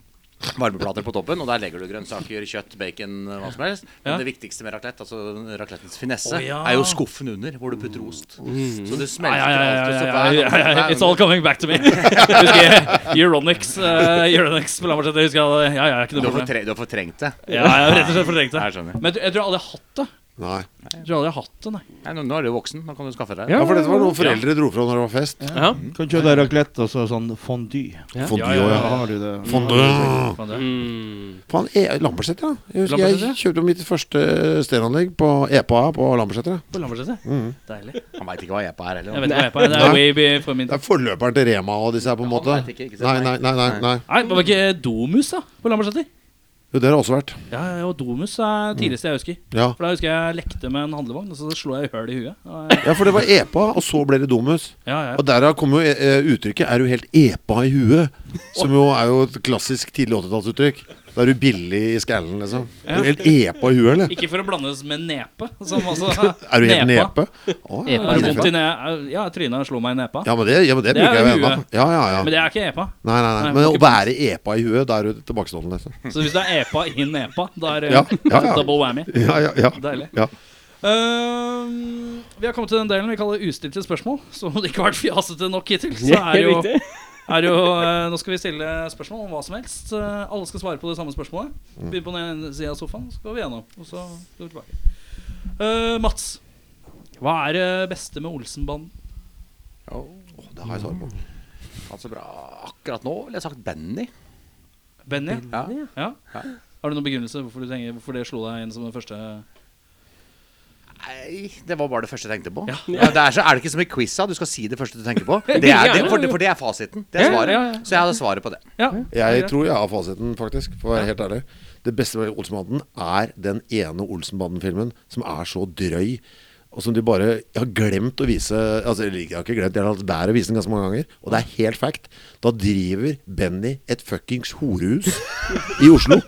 [SPEAKER 9] varmeplater på toppen, og der legger du grønnsaker, kjøtt, bacon, eh, hva som helst. Men
[SPEAKER 4] Ja.
[SPEAKER 9] det viktigste med raclette, altså raclettens finesse,
[SPEAKER 4] Å, ja. Mm.
[SPEAKER 9] er jo skuffen under, hvor du putter ost.
[SPEAKER 6] Mm.
[SPEAKER 9] Så det
[SPEAKER 4] Ja,
[SPEAKER 9] smelter
[SPEAKER 4] ja, ja,
[SPEAKER 9] alltid.
[SPEAKER 4] ja,
[SPEAKER 9] Så
[SPEAKER 4] ja,
[SPEAKER 9] hver
[SPEAKER 4] ja, ja, ja.
[SPEAKER 9] gang-
[SPEAKER 4] It's all coming back
[SPEAKER 9] [LAUGHS]
[SPEAKER 4] to me. Husker jeg Euronics, eh, Euronics på Lambertseter. Husker jeg hadde- Ja, ja, ikke
[SPEAKER 9] Du
[SPEAKER 4] noe
[SPEAKER 9] har,
[SPEAKER 4] problem.
[SPEAKER 9] fortre, du har fortrengt det.
[SPEAKER 4] Ja, jeg har rett og slett fortrengt
[SPEAKER 9] Jeg
[SPEAKER 4] det.
[SPEAKER 9] skjønner.
[SPEAKER 4] Men jeg tror- jeg tror aldri jeg har hatt det.
[SPEAKER 6] Nei.
[SPEAKER 4] Jeg tror aldri jeg har hatt det, nei.
[SPEAKER 9] Nei, nå, nå er du voksen, nå kan du skaffe deg det.
[SPEAKER 1] Ja,
[SPEAKER 6] Ja, for dette var noe foreldre dro fra når det var fest.
[SPEAKER 8] Kan kjøpe deg raclette og så sånn fondue.
[SPEAKER 6] Fondue,
[SPEAKER 4] Ja, ja,
[SPEAKER 8] Da
[SPEAKER 6] ja.
[SPEAKER 8] har du det.
[SPEAKER 6] Fondue.
[SPEAKER 4] Faen, det. Mm.
[SPEAKER 6] Faen, e Lambertseter, ja. Jeg husker jeg
[SPEAKER 4] Lambertseter?
[SPEAKER 6] kjøpte mitt første stereoanlegg på EPA på Lambertseter. ja. Mm.
[SPEAKER 4] På Lambertseter. Deilig.
[SPEAKER 9] Han veit ikke hva E jeg på her
[SPEAKER 4] Jeg
[SPEAKER 9] heller.
[SPEAKER 4] vet ikke hva jeg er på. Det er way before min
[SPEAKER 6] Det er forløperen til Rema og disse her, på en
[SPEAKER 9] Han
[SPEAKER 6] måte.
[SPEAKER 9] vet ikke, ikke
[SPEAKER 6] Nei,
[SPEAKER 9] sant?
[SPEAKER 6] nei, nei. nei, nei.
[SPEAKER 4] Nei, det var ikke Domus, da, på Lambertseter?
[SPEAKER 6] Jo, det har det også vært.
[SPEAKER 4] Ja, ja, og Domus er tidligste jeg husker.
[SPEAKER 6] Ja.
[SPEAKER 4] For da husker jeg jeg lekte med en handlevogn, og så slo jeg hull i huet. Og jeg-
[SPEAKER 6] ja, for det var e-
[SPEAKER 4] [LAUGHS]
[SPEAKER 6] EPA, og så ble det Domus.
[SPEAKER 4] Ja, ja.
[SPEAKER 6] Og derav kommer jo eh, uttrykket 'er du helt epa i huet', som jo er jo et klassisk tidlig 80-tallsuttrykk. Da er du billig i skallen, liksom. Er du helt epa i huet, eller?
[SPEAKER 4] Ikke for å blandes med nepe.
[SPEAKER 6] [LAUGHS]
[SPEAKER 4] Som altså,
[SPEAKER 6] Er du helt
[SPEAKER 4] nepa.
[SPEAKER 6] nepe? Å, ja,
[SPEAKER 4] Har du
[SPEAKER 6] nepe.
[SPEAKER 4] vondt i ne ja, trynet slo meg i nepa.
[SPEAKER 6] Ja, men det, ja, men det
[SPEAKER 4] Det er
[SPEAKER 6] bruker jeg jo
[SPEAKER 4] jo
[SPEAKER 6] ennå.
[SPEAKER 4] huet.
[SPEAKER 6] Ja, ja, ja.
[SPEAKER 4] Men det er ikke epa.
[SPEAKER 6] Nei, nei,
[SPEAKER 4] Nei,
[SPEAKER 6] nei. Men
[SPEAKER 4] ikke
[SPEAKER 6] å være epa i huet, da er du
[SPEAKER 4] E
[SPEAKER 6] tilbakestående, liksom.
[SPEAKER 4] Så hvis det er epa i nepa, da er det
[SPEAKER 6] Ja, ja, ja.
[SPEAKER 4] double whammy.
[SPEAKER 6] Ja, ja, ja.
[SPEAKER 4] Deilig.
[SPEAKER 6] ja.
[SPEAKER 4] Eh, Ehm, vi har kommet til den delen vi kaller ustilte spørsmål. Så om det ikke har vært fjasete nok hittil, så er det jo,
[SPEAKER 1] Riktig.
[SPEAKER 4] [LAUGHS] er det jo eh, Nå skal vi stille spørsmål om hva som helst. Eh, alle skal svare på det samme spørsmålet.
[SPEAKER 6] Mm.
[SPEAKER 4] Begynn på den ene sida av sofaen, så går vi gjennom. Og så går vi tilbake. Eh, Mats, hva er det beste med Olsenbanden?
[SPEAKER 6] Å, det har jeg svar på.
[SPEAKER 9] Altså bra Akkurat nå ville jeg sagt Benny.
[SPEAKER 4] Benny?
[SPEAKER 9] Ja.
[SPEAKER 4] Ja.
[SPEAKER 9] Ja.
[SPEAKER 4] Har du noen begrunnelse hvorfor, du tenker, hvorfor det slo deg inn som den første?
[SPEAKER 9] Nei, det var bare det første jeg tenkte på.
[SPEAKER 4] Ja.
[SPEAKER 9] Ja. det er, så, er det ikke som i quiza? Du skal si det første du tenker
[SPEAKER 4] [LAUGHS]
[SPEAKER 9] på. Det er, det, for, det, for det er fasiten. Det er
[SPEAKER 4] Ja,
[SPEAKER 9] svaret.
[SPEAKER 4] ja, ja.
[SPEAKER 9] Så jeg hadde svaret på det.
[SPEAKER 4] Ja,
[SPEAKER 6] Jeg
[SPEAKER 4] greit.
[SPEAKER 6] tror jeg har fasiten, faktisk. For å være helt ærlig. Det beste med Olsenbanden er den ene Olsenbanden-filmen som er så drøy, og som de bare har glemt å vise Altså, eller ikke- jeg har ikke glemt, jeg har latt være å vise den ganske mange ganger. Og det er helt fact. Da driver Benny et fuckings horehus i Oslo.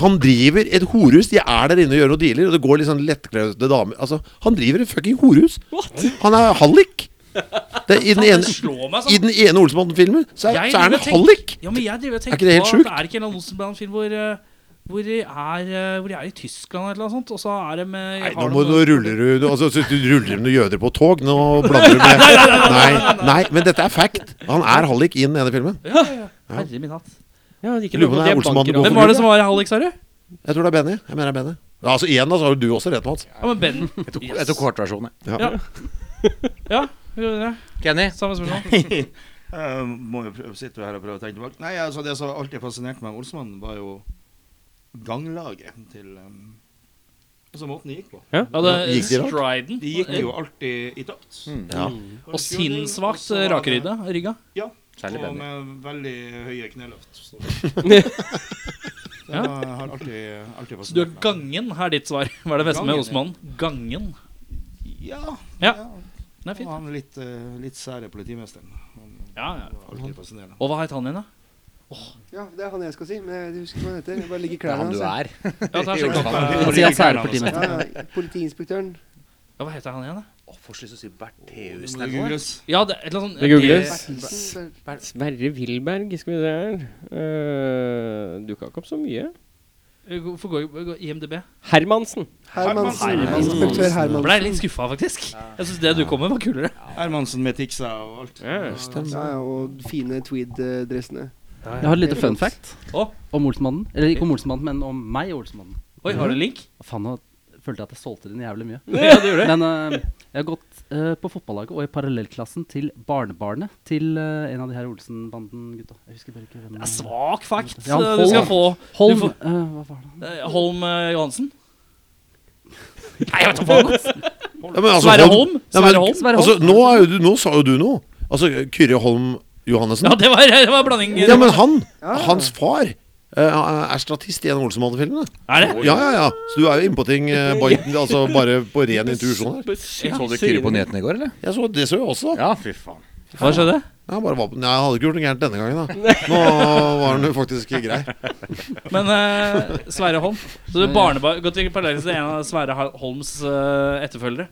[SPEAKER 6] Han driver et horehus. De er der inne og gjør noe dealer, og det går litt sånn lettkledde damer Altså, han driver et fucking horehus. Han er hallik. Det er i den
[SPEAKER 4] Faen,
[SPEAKER 6] ene
[SPEAKER 4] det slår meg sånn.
[SPEAKER 6] i den ene Olsenbanden-filmen så, er-
[SPEAKER 4] Jeg
[SPEAKER 6] så er han
[SPEAKER 4] driver
[SPEAKER 6] en
[SPEAKER 4] og tenker-
[SPEAKER 6] hallik!
[SPEAKER 4] Ja, men jeg driver og tenker
[SPEAKER 6] Er ikke det helt
[SPEAKER 4] på at
[SPEAKER 6] sjukt?
[SPEAKER 4] det er ikke en eller annen Olsenband-film hvor, eh, hvor, de er, eh, hvor de er i Tyskland eller noe sånt, og så er de med
[SPEAKER 6] Nei, nå, må, nå ruller du nå- altså, så du ruller med noen jøder på tog. Nå blander du med [LAUGHS] Nei, nei, men dette er fact. Han er hallik i den ene filmen.
[SPEAKER 4] Herre min hatt.
[SPEAKER 1] Ja, det gikk
[SPEAKER 6] Lurer på om det er Olsenbanden
[SPEAKER 4] Hvem var det som var i Hallik, sa du?
[SPEAKER 6] Jeg tror det er Benny. Jeg mener det er Benny. Ja, Altså igjen, da, så har jo du også rett, Mats.
[SPEAKER 4] Ja, men Ben.
[SPEAKER 9] Jeg tok, jeg tok kortversjonen. jeg.
[SPEAKER 4] Ja, vi går videre.
[SPEAKER 9] Kenny?
[SPEAKER 4] Samme spørsmål. [LAUGHS]
[SPEAKER 8] Jeg må jo prøve, sitte her og prøve å tenke tilbake. Nei, altså Det som alltid fascinerte meg med Olsmannen, var jo ganglaget til um, Altså måten de gikk på.
[SPEAKER 4] Ja, det
[SPEAKER 6] Gikk de rart? Hmm.
[SPEAKER 4] Striden.
[SPEAKER 8] De gikk jo alltid i takt.
[SPEAKER 6] Ja.
[SPEAKER 4] Og sinnssvakt eh, rakrydda. Rygga.
[SPEAKER 8] Ja.
[SPEAKER 9] Særlig
[SPEAKER 8] Og
[SPEAKER 9] Benny.
[SPEAKER 8] med veldig høye kneløft. Så.
[SPEAKER 4] [LAUGHS] Ja.
[SPEAKER 8] Det har alltid, alltid
[SPEAKER 4] Så du har
[SPEAKER 8] fascinert meg.
[SPEAKER 4] gangen, er ditt svar. [LAUGHS] Hva er det beste med
[SPEAKER 8] Gangen,
[SPEAKER 4] Olsenbanden? Gangen.
[SPEAKER 8] Ja.
[SPEAKER 4] Ja.
[SPEAKER 8] ja.
[SPEAKER 4] Den er fin.
[SPEAKER 8] Og han litt, eh, litt sære politimesteren. Han
[SPEAKER 4] Ja, ja.
[SPEAKER 8] var alltid fascinerende.
[SPEAKER 4] Og hva het han igjen, da?
[SPEAKER 7] Ja, det er han jeg skal si, men jeg husker ikke hva han heter. Jeg bare ligger i
[SPEAKER 9] Det er
[SPEAKER 7] klærne
[SPEAKER 9] han du
[SPEAKER 7] hans,
[SPEAKER 9] er. [LAUGHS]
[SPEAKER 4] Ja, ta og sjekk opp. eh,
[SPEAKER 3] Han sier sære
[SPEAKER 7] jeg.
[SPEAKER 3] partimester.
[SPEAKER 7] Ja, ja, politiinspektøren.
[SPEAKER 4] Ja, hva heter han igjen, da?
[SPEAKER 9] Å, Får så lyst til å si Bertheus.
[SPEAKER 8] Det googles.
[SPEAKER 4] Ja, det, et eller annet sånt-
[SPEAKER 1] Det googles.
[SPEAKER 7] Bertelsen, Ber-
[SPEAKER 1] Sverre Wilberg, skal vi se her. Uh, Dukka ikke opp så mye.
[SPEAKER 4] Eh, Hvorfor går går IMDb?
[SPEAKER 1] Hermansen.
[SPEAKER 7] Hermansen. Inspektør
[SPEAKER 4] Jeg ble
[SPEAKER 7] Hermansen.
[SPEAKER 4] litt skuffa, faktisk. Jeg syns det du kom med, var kulere.
[SPEAKER 8] Hermansen med tiksa og alt.
[SPEAKER 1] Ja,
[SPEAKER 7] Ja, ja, og fine tweed-dressene.
[SPEAKER 3] Jeg har et lite fun fact
[SPEAKER 4] Å.
[SPEAKER 3] om Olsenmannen. Eller ikke om Olsenmannen, men om meg og Olsenmannen.
[SPEAKER 4] Oi, har du en link?
[SPEAKER 3] Å, Faen, nå følte jeg at jeg solgte den jævlig mye.
[SPEAKER 4] Ja, det gjorde
[SPEAKER 3] Men eh, jeg har gått eh, på fotballaget og i parallellklassen til barnebarnet til eh, en av de her Olsen-banden-gutta. Jeg husker bare ikke hvem
[SPEAKER 4] Det er svak fact
[SPEAKER 3] Ja,
[SPEAKER 4] eh, du
[SPEAKER 3] Holm.
[SPEAKER 4] skal få.
[SPEAKER 3] Holm!
[SPEAKER 4] Du
[SPEAKER 3] eh, hva var det?
[SPEAKER 4] Eh, Holm eh,
[SPEAKER 6] [LAUGHS]
[SPEAKER 4] Johansen? Nei, jeg vet ikke hva faen.
[SPEAKER 6] Ja, men altså,
[SPEAKER 4] Sverre Holm?
[SPEAKER 6] Nei, men,
[SPEAKER 4] Sverre Holm?
[SPEAKER 3] Sverre
[SPEAKER 6] Altså, nå, er jo du, nå sa jo du noe. Altså Kyrre Holm Johannessen.
[SPEAKER 4] Ja, det var, det var blanding.
[SPEAKER 6] Ja, men han, hans far, eh, er statist i en Olsenbanden-film.
[SPEAKER 4] Er det?
[SPEAKER 6] Ja, ja, ja. Så du er jo innpå ting, eh, bare- altså bare på ren intuisjon her.
[SPEAKER 9] Så du Kyrre på nyhetene i går, eller?
[SPEAKER 6] Jeg så det så jeg også.
[SPEAKER 9] Ja, fy faen.
[SPEAKER 4] Hva skjedde?
[SPEAKER 6] Jeg, bare var på, nei, jeg hadde ikke gjort noe gærent denne gangen,
[SPEAKER 9] [LAUGHS]
[SPEAKER 6] da. Nå var den jo faktisk grei.
[SPEAKER 4] [LAUGHS] Men eh, Sverre Holm Så du barnebar Gå til parallellen til en av Sverre Ha- Holms eh, etterfølgere.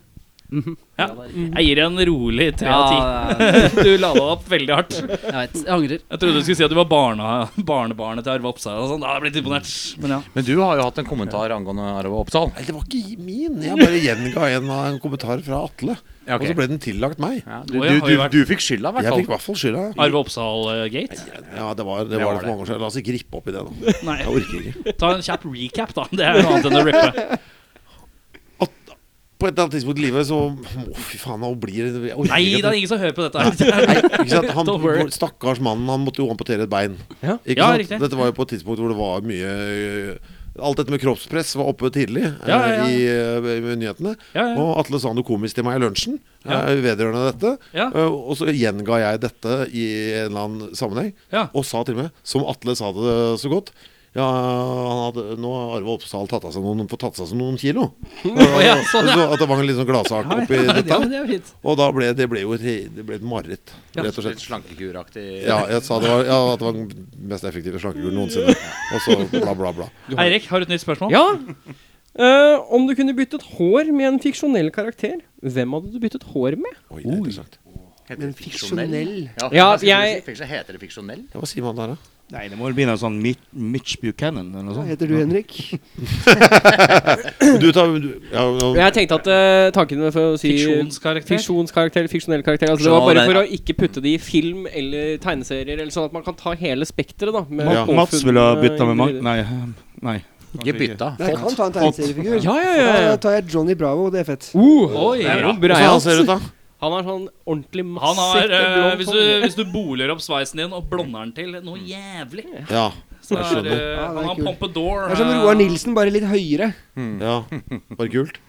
[SPEAKER 3] Mhm.
[SPEAKER 4] Ja.
[SPEAKER 3] det er-
[SPEAKER 4] Jeg gir deg en rolig tre av ti.
[SPEAKER 3] Ja, det er-
[SPEAKER 4] [LAUGHS] Du lada opp veldig hardt.
[SPEAKER 3] jeg vet. Jeg angrer.
[SPEAKER 4] Jeg trodde du skulle si at du var barna, barnebarnet til Arve Oppsal. og sånn. Da hadde jeg blitt imponert. Men ja.
[SPEAKER 9] Men du har jo hatt en kommentar angående Arve Oppsal.
[SPEAKER 6] Nei, det var ikke min. Jeg bare gjenga en, av- en kommentar fra Atle.
[SPEAKER 9] Ja, ok.
[SPEAKER 6] Og så ble den tillagt meg.
[SPEAKER 9] Ja, du,
[SPEAKER 4] Å,
[SPEAKER 9] du,
[SPEAKER 4] ja, har
[SPEAKER 9] du,
[SPEAKER 4] jo vært-
[SPEAKER 9] du fikk skylda, i
[SPEAKER 6] Jeg fikk i
[SPEAKER 9] hvert fall.
[SPEAKER 6] hvert fall skylda.
[SPEAKER 4] Arve Oppsal-gate?
[SPEAKER 6] Ja, det var det, var det
[SPEAKER 9] var det.
[SPEAKER 6] for mange år siden. La oss ikke rippe opp i det, da.
[SPEAKER 4] Nei.
[SPEAKER 6] Jeg orker ikke.
[SPEAKER 4] Ta en kjapp recap, da. Det er noe annet enn å rippe.
[SPEAKER 6] På et eller annet tidspunkt i livet så Å, fy faen, nå blir det jeg orker
[SPEAKER 4] Nei,
[SPEAKER 6] ikke
[SPEAKER 4] det er ingen som hører på dette. her
[SPEAKER 6] Ikke
[SPEAKER 4] [LAUGHS]
[SPEAKER 6] sant? Han,
[SPEAKER 4] Don't worry.
[SPEAKER 6] stakkars mannen, han måtte jo amputere et bein.
[SPEAKER 1] Ja.
[SPEAKER 6] Ikke
[SPEAKER 4] Ja,
[SPEAKER 6] sant?
[SPEAKER 4] riktig.
[SPEAKER 6] Dette var jo på et tidspunkt hvor det var mye øh, Alt dette med kroppspress var oppe tidlig eh,
[SPEAKER 4] Ja, ja, ja.
[SPEAKER 6] I, øh, i nyhetene.
[SPEAKER 4] Ja, ja.
[SPEAKER 6] Og Atle sa noe komisk til meg i lunsjen
[SPEAKER 4] Ja.
[SPEAKER 6] eh, vedrørende dette.
[SPEAKER 4] Ja.
[SPEAKER 6] Eh, og så gjenga jeg dette i en eller annen sammenheng,
[SPEAKER 4] Ja.
[SPEAKER 6] og sa til og med, som Atle sa det så godt ja, han hadde, nå har Arve Oppsal tatt av seg noen, fått tatt seg noen kilo.
[SPEAKER 4] [LAUGHS] Å, ja,
[SPEAKER 6] så,
[SPEAKER 4] sånn, ja.
[SPEAKER 6] at det var en litt sånn gladsak oppi dette.
[SPEAKER 4] Ja, men det er fint.
[SPEAKER 6] Og da ble det ble jo et, det ble et mareritt, rett og slett.
[SPEAKER 9] Litt slankekuraktig.
[SPEAKER 6] Ja, jeg sa det var, ja, at det var den mest effektive slankekuren noensinne. Og så bla, bla, bla.
[SPEAKER 4] Eirik, har du et nytt spørsmål?
[SPEAKER 1] Ja. Eh, om du kunne byttet hår med en fiksjonell karakter, hvem hadde du byttet hår med?
[SPEAKER 6] Oi, det er interessant.
[SPEAKER 9] Heter det
[SPEAKER 7] Men fiksjonell?
[SPEAKER 9] Ja,
[SPEAKER 1] Ja,
[SPEAKER 9] hva skal du
[SPEAKER 1] jeg-
[SPEAKER 9] si? Fiksjon- Heter det fiksjonell?
[SPEAKER 6] Ja, hva sier man der, da?
[SPEAKER 8] Nei, det må vel bli noe sånn Mi- Mitch Buchanan eller noe
[SPEAKER 7] Hva
[SPEAKER 8] sånt.
[SPEAKER 7] heter du, Henrik?
[SPEAKER 6] [LAUGHS] Du tar du, ja, nå-
[SPEAKER 1] Jeg tenkte at eh, tanken med for å si
[SPEAKER 4] Fiksjonskarakter.
[SPEAKER 1] Fiksjonskarakter, fiksjonell karakter. Altså, det var
[SPEAKER 9] Skjønner,
[SPEAKER 1] bare
[SPEAKER 9] men-
[SPEAKER 1] for å ikke putte det i film eller tegneserier, eller sånn at man kan ta hele spekteret, da. med
[SPEAKER 6] Ja.
[SPEAKER 1] påfunn-
[SPEAKER 8] Mats ville ha bytta med Mag...
[SPEAKER 1] individer.
[SPEAKER 8] Nei. eh, nei
[SPEAKER 9] Ikke bytta.
[SPEAKER 7] Nei, jeg kan ta en tegneseriefigur.
[SPEAKER 1] Ja, ja, ja.
[SPEAKER 7] Da
[SPEAKER 1] ja.
[SPEAKER 7] tar jeg Johnny Bravo, det er fett.
[SPEAKER 1] Uh,
[SPEAKER 4] Oi.
[SPEAKER 1] det er jo
[SPEAKER 6] Hvordan
[SPEAKER 1] breialt.
[SPEAKER 6] han ser ut, da?
[SPEAKER 1] [LAUGHS] Han har sånn ordentlig
[SPEAKER 4] Han har,
[SPEAKER 1] massivt
[SPEAKER 4] eh,
[SPEAKER 1] blondt
[SPEAKER 4] hvis, du,
[SPEAKER 1] hår.
[SPEAKER 4] hvis du boler opp sveisen din og blonder den til noe jævlig
[SPEAKER 6] Ja.
[SPEAKER 4] så
[SPEAKER 6] Jeg
[SPEAKER 4] er,
[SPEAKER 6] skjønner.
[SPEAKER 7] Ja, det
[SPEAKER 4] eh,
[SPEAKER 7] er
[SPEAKER 4] Han har
[SPEAKER 7] kult.
[SPEAKER 4] pompadour.
[SPEAKER 7] Det er som
[SPEAKER 4] eh,
[SPEAKER 7] Roar Nilsen, bare litt høyere.
[SPEAKER 4] Hmm.
[SPEAKER 6] ja. Bare kult.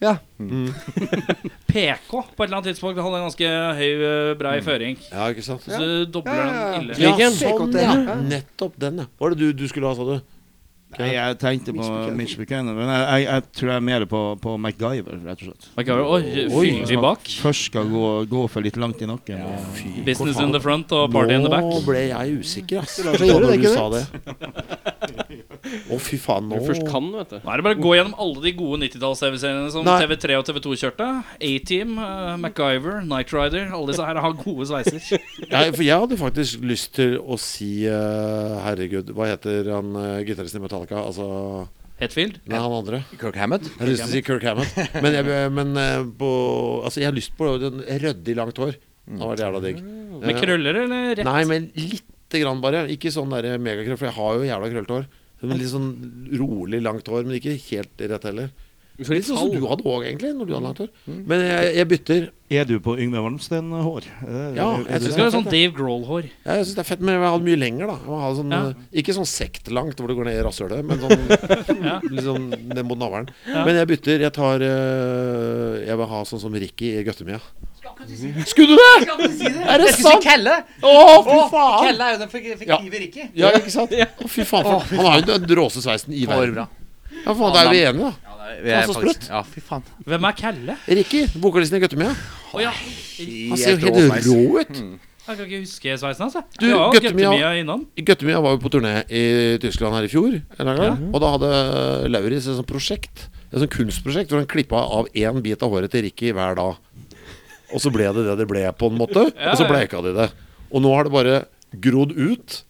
[SPEAKER 6] Hmm.
[SPEAKER 7] Ja.
[SPEAKER 4] PK på et eller annet tidspunkt. Han hadde en ganske høy, eh, brei føring.
[SPEAKER 6] Mm. Ja, ikke sant?
[SPEAKER 4] Så du dobler
[SPEAKER 7] Ja, ja, ja.
[SPEAKER 4] den ille.
[SPEAKER 6] Ja,
[SPEAKER 1] Hvilken?
[SPEAKER 6] sånn,
[SPEAKER 7] PKT,
[SPEAKER 6] ja.
[SPEAKER 7] ja.
[SPEAKER 6] Nettopp den, ja. Hva var det du, du skulle ha, sa du?
[SPEAKER 8] Nei, jeg tenkte på
[SPEAKER 7] Mitch Buchanan.
[SPEAKER 8] Mitch Buchanan, men jeg, jeg, jeg tror jeg er mer på, på MacGyver, rett og slett.
[SPEAKER 4] MacGyver, oi,
[SPEAKER 8] Oi.
[SPEAKER 4] fyldig bak.
[SPEAKER 8] Først skal gå, gå for litt langt i nakken. og-
[SPEAKER 4] Business in the front og party in the back.
[SPEAKER 6] Nå ble jeg usikker, ass.
[SPEAKER 7] Det lar seg gjøre,
[SPEAKER 6] når
[SPEAKER 7] det,
[SPEAKER 6] du
[SPEAKER 7] ikke
[SPEAKER 6] sa det. Å, fy faen.
[SPEAKER 1] Når
[SPEAKER 6] Nå
[SPEAKER 1] du først kan, vet du.
[SPEAKER 4] Nå er det bare å gå gjennom alle de gode 90-talls-TV-seriene som
[SPEAKER 6] Nei.
[SPEAKER 4] TV3 og TV2 kjørte. A-Team, eh, MacGyver, Knight Rider. Alle disse her har gode
[SPEAKER 6] [LAUGHS]
[SPEAKER 4] sveiser.
[SPEAKER 6] jeg, for jeg hadde faktisk lyst til å si eh, Herregud, hva heter han uh, gitaristen i Metallica? Altså
[SPEAKER 4] Hetfield.
[SPEAKER 6] Nei, han andre.
[SPEAKER 9] Kirk Hammett.
[SPEAKER 6] Jeg har lyst til å si Kirk Hammett. Men, jeg, men eh, på Altså, jeg har lyst på den ryddig langt hår. Det var jævla digg.
[SPEAKER 4] Mm. Med
[SPEAKER 6] Eh,
[SPEAKER 4] krøller eller rett?
[SPEAKER 6] Nei, men lite grann bare. Ikke sånn der megakrøll, for jeg har jo jævla krøllete hår. Men Litt sånn rolig langt hår, men ikke helt rett heller. Litt sånn som du hadde òg, egentlig, når du hadde langt hår.
[SPEAKER 4] Mm.
[SPEAKER 6] Men jeg, jeg bytter.
[SPEAKER 8] Er du på Yngve Eh, Malmsten-hår? Er-
[SPEAKER 6] Ja,
[SPEAKER 8] er-
[SPEAKER 6] jeg
[SPEAKER 8] er du
[SPEAKER 4] Du
[SPEAKER 6] synes
[SPEAKER 8] det?
[SPEAKER 4] skal ha sånn Dave Grohl-hår.
[SPEAKER 6] Ja, Jeg syns det er fett, men jeg vil ha det mye lenger, da. Jeg vil ha sånn,
[SPEAKER 4] Ja.
[SPEAKER 6] eh, Ikke sånn sektlangt hvor det går ned i rasshølet, men sånn
[SPEAKER 4] Ja.
[SPEAKER 6] liksom ned mot navlen. Men jeg bytter. Jeg tar eh, Jeg vil ha sånn som Ricky i Gøttemia. Skulle du det?!
[SPEAKER 9] sånn?
[SPEAKER 6] Er det sant?!
[SPEAKER 9] Kelle!
[SPEAKER 6] Å, fy faen!
[SPEAKER 9] Kelle er jo den fiktive Ricky.
[SPEAKER 6] Ja, ikke sant? Å, fy faen. For, han har jo den råeste sveisen i
[SPEAKER 9] For
[SPEAKER 6] verden.
[SPEAKER 9] bra.
[SPEAKER 6] Ja, faen, da er vi enige, da.
[SPEAKER 9] Ja,
[SPEAKER 6] er så sprøtt.
[SPEAKER 9] Ja, fy faen.
[SPEAKER 4] Hvem er Kalle?
[SPEAKER 6] Ricky, vokalisten i Gøttemia.
[SPEAKER 4] Å ja.
[SPEAKER 6] Han ser jo helt rå ut.
[SPEAKER 4] Jeg kan ikke huske sveisen hans. jeg.
[SPEAKER 6] Du,
[SPEAKER 4] ja,
[SPEAKER 6] Guttemia-
[SPEAKER 4] Guttemia innom.
[SPEAKER 6] Gøttemia var jo på turné i Tyskland her i fjor. en eller annen gang, Og da hadde Lauritz et sånt prosjekt, et sånt kunstprosjekt, hvor han klippa av én bit av håret til Ricky hver dag. Og så ble det det det ble, på en måte.
[SPEAKER 4] Ja,
[SPEAKER 6] Og så
[SPEAKER 4] ja.
[SPEAKER 6] bleika de det. Og nå har det bare grodd ut.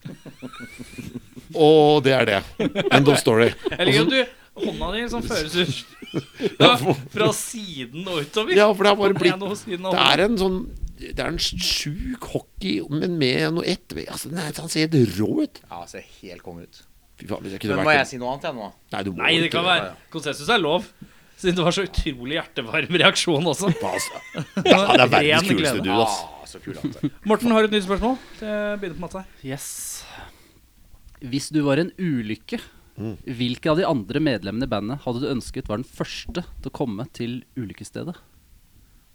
[SPEAKER 6] Og det er det. [LAUGHS] End of story.
[SPEAKER 4] Jeg liker at du Hånda di som føres ut ja, fra siden og utover.
[SPEAKER 6] Ja, for det har bare
[SPEAKER 4] På
[SPEAKER 6] blitt
[SPEAKER 4] ene og siden av
[SPEAKER 6] Det
[SPEAKER 4] andre.
[SPEAKER 6] er en sånn det er en sjuk hockey, men med noe ett altså, nei, Han ser helt rå ut.
[SPEAKER 9] Ja, ser helt konge ut.
[SPEAKER 6] Fy faen, hvis jeg kunne
[SPEAKER 9] Men må jeg
[SPEAKER 6] vært
[SPEAKER 9] si noe annet, jeg, nå?
[SPEAKER 6] Nei, du må
[SPEAKER 4] Nei, det
[SPEAKER 6] ikke
[SPEAKER 4] kan være Konsensus er lov. Siden det var så utrolig hjertevarm reaksjon
[SPEAKER 7] [LAUGHS]
[SPEAKER 4] også.
[SPEAKER 6] Altså. Ja, det er verdens
[SPEAKER 4] Ren
[SPEAKER 6] kuleste
[SPEAKER 4] glede.
[SPEAKER 6] dude, ass.
[SPEAKER 9] Ah, så kul han er.
[SPEAKER 4] Morten har et nytt spørsmål. Det begynner på matte.
[SPEAKER 3] Yes. Hvis du var en ulykke,
[SPEAKER 9] Mm.
[SPEAKER 3] hvilke av de andre medlemmene i bandet hadde du ønsket var den første til å komme til ulykkesstedet?
[SPEAKER 9] Å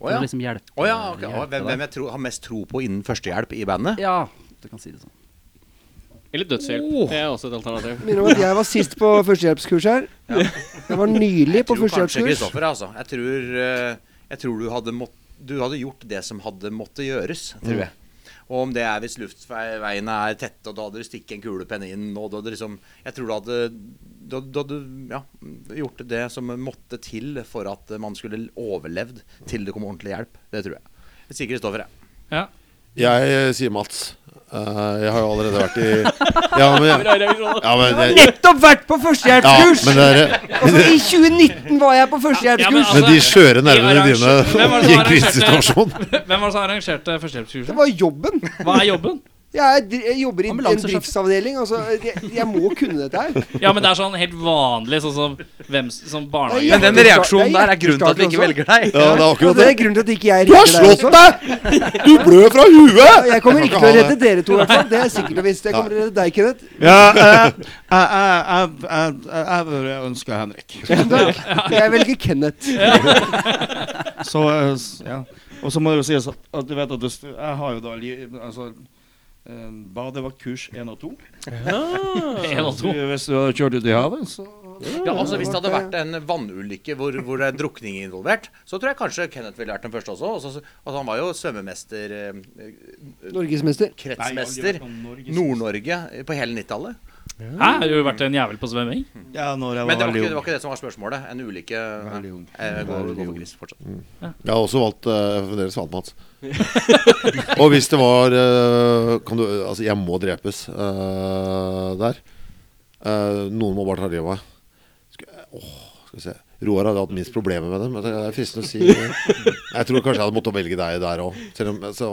[SPEAKER 9] ja.
[SPEAKER 3] For å liksom hjelpe,
[SPEAKER 9] Å ja, ok. Å,
[SPEAKER 3] hjelpe
[SPEAKER 9] hvem, hvem
[SPEAKER 3] deg.
[SPEAKER 9] jeg tror, har mest tro på innen førstehjelp i bandet?
[SPEAKER 3] Ja, du kan si det sånn.
[SPEAKER 1] Eller dødshjelp. Det er også et alternativ.
[SPEAKER 7] Minner om at jeg var sist på førstehjelpskurs her. Jeg var nylig på
[SPEAKER 9] tror kanskje
[SPEAKER 7] førstehjelpskurs.
[SPEAKER 9] Kristoffer, altså. Jeg tror, eh, jeg tror du, hadde mått, du hadde gjort det som hadde måttet gjøres,
[SPEAKER 7] Mm.
[SPEAKER 9] tror jeg. Og om det er hvis luftveiene er tette, og da hadde du stikket en kulepenn inn og da hadde liksom, Jeg tror du hadde da, da hadde du ja, gjort det som måtte til for at man skulle overlevd til det kom ordentlig hjelp. Det tror jeg. Jeg sier Kristoffer, jeg.
[SPEAKER 6] Jeg eh, sier Mats. Eh, jeg har jo allerede vært [LAUGHS] i Ja, men jeg, ja, men, jeg,
[SPEAKER 7] Nettopp vært på
[SPEAKER 6] ja,
[SPEAKER 7] førstehjelpskurs!
[SPEAKER 6] men dere
[SPEAKER 7] Altså, I 2019 var jeg på
[SPEAKER 4] Ja, men
[SPEAKER 7] førstehjelpskurs!
[SPEAKER 4] altså-
[SPEAKER 6] Men de skjøre nervene
[SPEAKER 4] De
[SPEAKER 6] dine
[SPEAKER 4] arrangerte- Hvem var det
[SPEAKER 6] i
[SPEAKER 4] som
[SPEAKER 6] en krisesituasjon
[SPEAKER 4] arrangerte- [LAUGHS] Hvem var det som arrangerte
[SPEAKER 7] Det
[SPEAKER 4] førstehjelpskurset?
[SPEAKER 7] var jobben.
[SPEAKER 4] Hva er jobben?
[SPEAKER 7] Jeg, er, dri- jeg jobber i en
[SPEAKER 3] Ambulansesjef.
[SPEAKER 7] driftsavdeling. Altså, jeg, jeg må kunne dette her.
[SPEAKER 4] Ja, men det er sånn helt vanlig, sånn som hvem s- som barnehage...
[SPEAKER 7] Nei, Men den reaksjonen der er grunnen til at vi ikke
[SPEAKER 9] velger deg.
[SPEAKER 6] Ja, det er
[SPEAKER 7] Og
[SPEAKER 6] akkurat
[SPEAKER 7] det
[SPEAKER 6] det.
[SPEAKER 7] er grunnen til at ikke jeg
[SPEAKER 6] Du har
[SPEAKER 7] redder deg
[SPEAKER 6] slått
[SPEAKER 7] også.
[SPEAKER 6] deg! Du blør fra huet!
[SPEAKER 7] Jeg kommer
[SPEAKER 6] Jeg kan
[SPEAKER 7] ikke til å
[SPEAKER 6] ikke ha
[SPEAKER 7] redde dere to, i hvert fall. Det er sikkert og visst. Jeg kommer til å redde deg, Kenneth.
[SPEAKER 8] Ja, eh, jeg- jeg- jeg- jeg- jeg- eh, jeg ønsker [LAUGHS] Henrik.
[SPEAKER 7] Tusen takk. Jeg velger Kenneth.
[SPEAKER 8] [LAUGHS] Så, eh, s- ja. Og så må det jo sies at, at du vet at du, st- jeg har jo da li- altså, eh, badevaktkurs 1 og 2. [LAUGHS]
[SPEAKER 4] En og
[SPEAKER 8] Så
[SPEAKER 4] to.
[SPEAKER 8] hvis du hadde kjørt ut i havet, så
[SPEAKER 9] Ja, altså Hvis det hadde vært en vannulykke hvor, hvor det er drukning involvert, så tror jeg kanskje Kenneth ville vært den første også. også altså, han var jo svømmemester, eh,
[SPEAKER 7] Norgesmester.
[SPEAKER 9] kretsmester,
[SPEAKER 8] Nei, jeg har aldri vært noen Norges-
[SPEAKER 9] Nord-Norge eh, på hele 90-tallet.
[SPEAKER 4] Hæ, har du vært en jævel på svømming?
[SPEAKER 8] Ja, når jeg
[SPEAKER 9] Men det var,
[SPEAKER 8] var veldig
[SPEAKER 9] ikke, det
[SPEAKER 8] ung.
[SPEAKER 9] var ikke det som var spørsmålet. En ulykke
[SPEAKER 8] Veldig ung.
[SPEAKER 9] Jeg går, går
[SPEAKER 8] Veldig
[SPEAKER 9] for
[SPEAKER 8] ung.
[SPEAKER 9] gris fortsatt.
[SPEAKER 7] Mm.
[SPEAKER 6] Jeg har også valgt eh, fremdeles valgt Mats.
[SPEAKER 4] [LAUGHS]
[SPEAKER 6] og hvis det var eh, kan du, Altså, jeg må drepes eh, der. Eh, noen må bare ta livet av meg. Skal- åh, Skal vi se Roar hadde hatt minst problemer med det. Men det er fristende
[SPEAKER 4] [LAUGHS]
[SPEAKER 6] å si Jeg tror kanskje jeg hadde måttet velge deg der òg. Selv om så,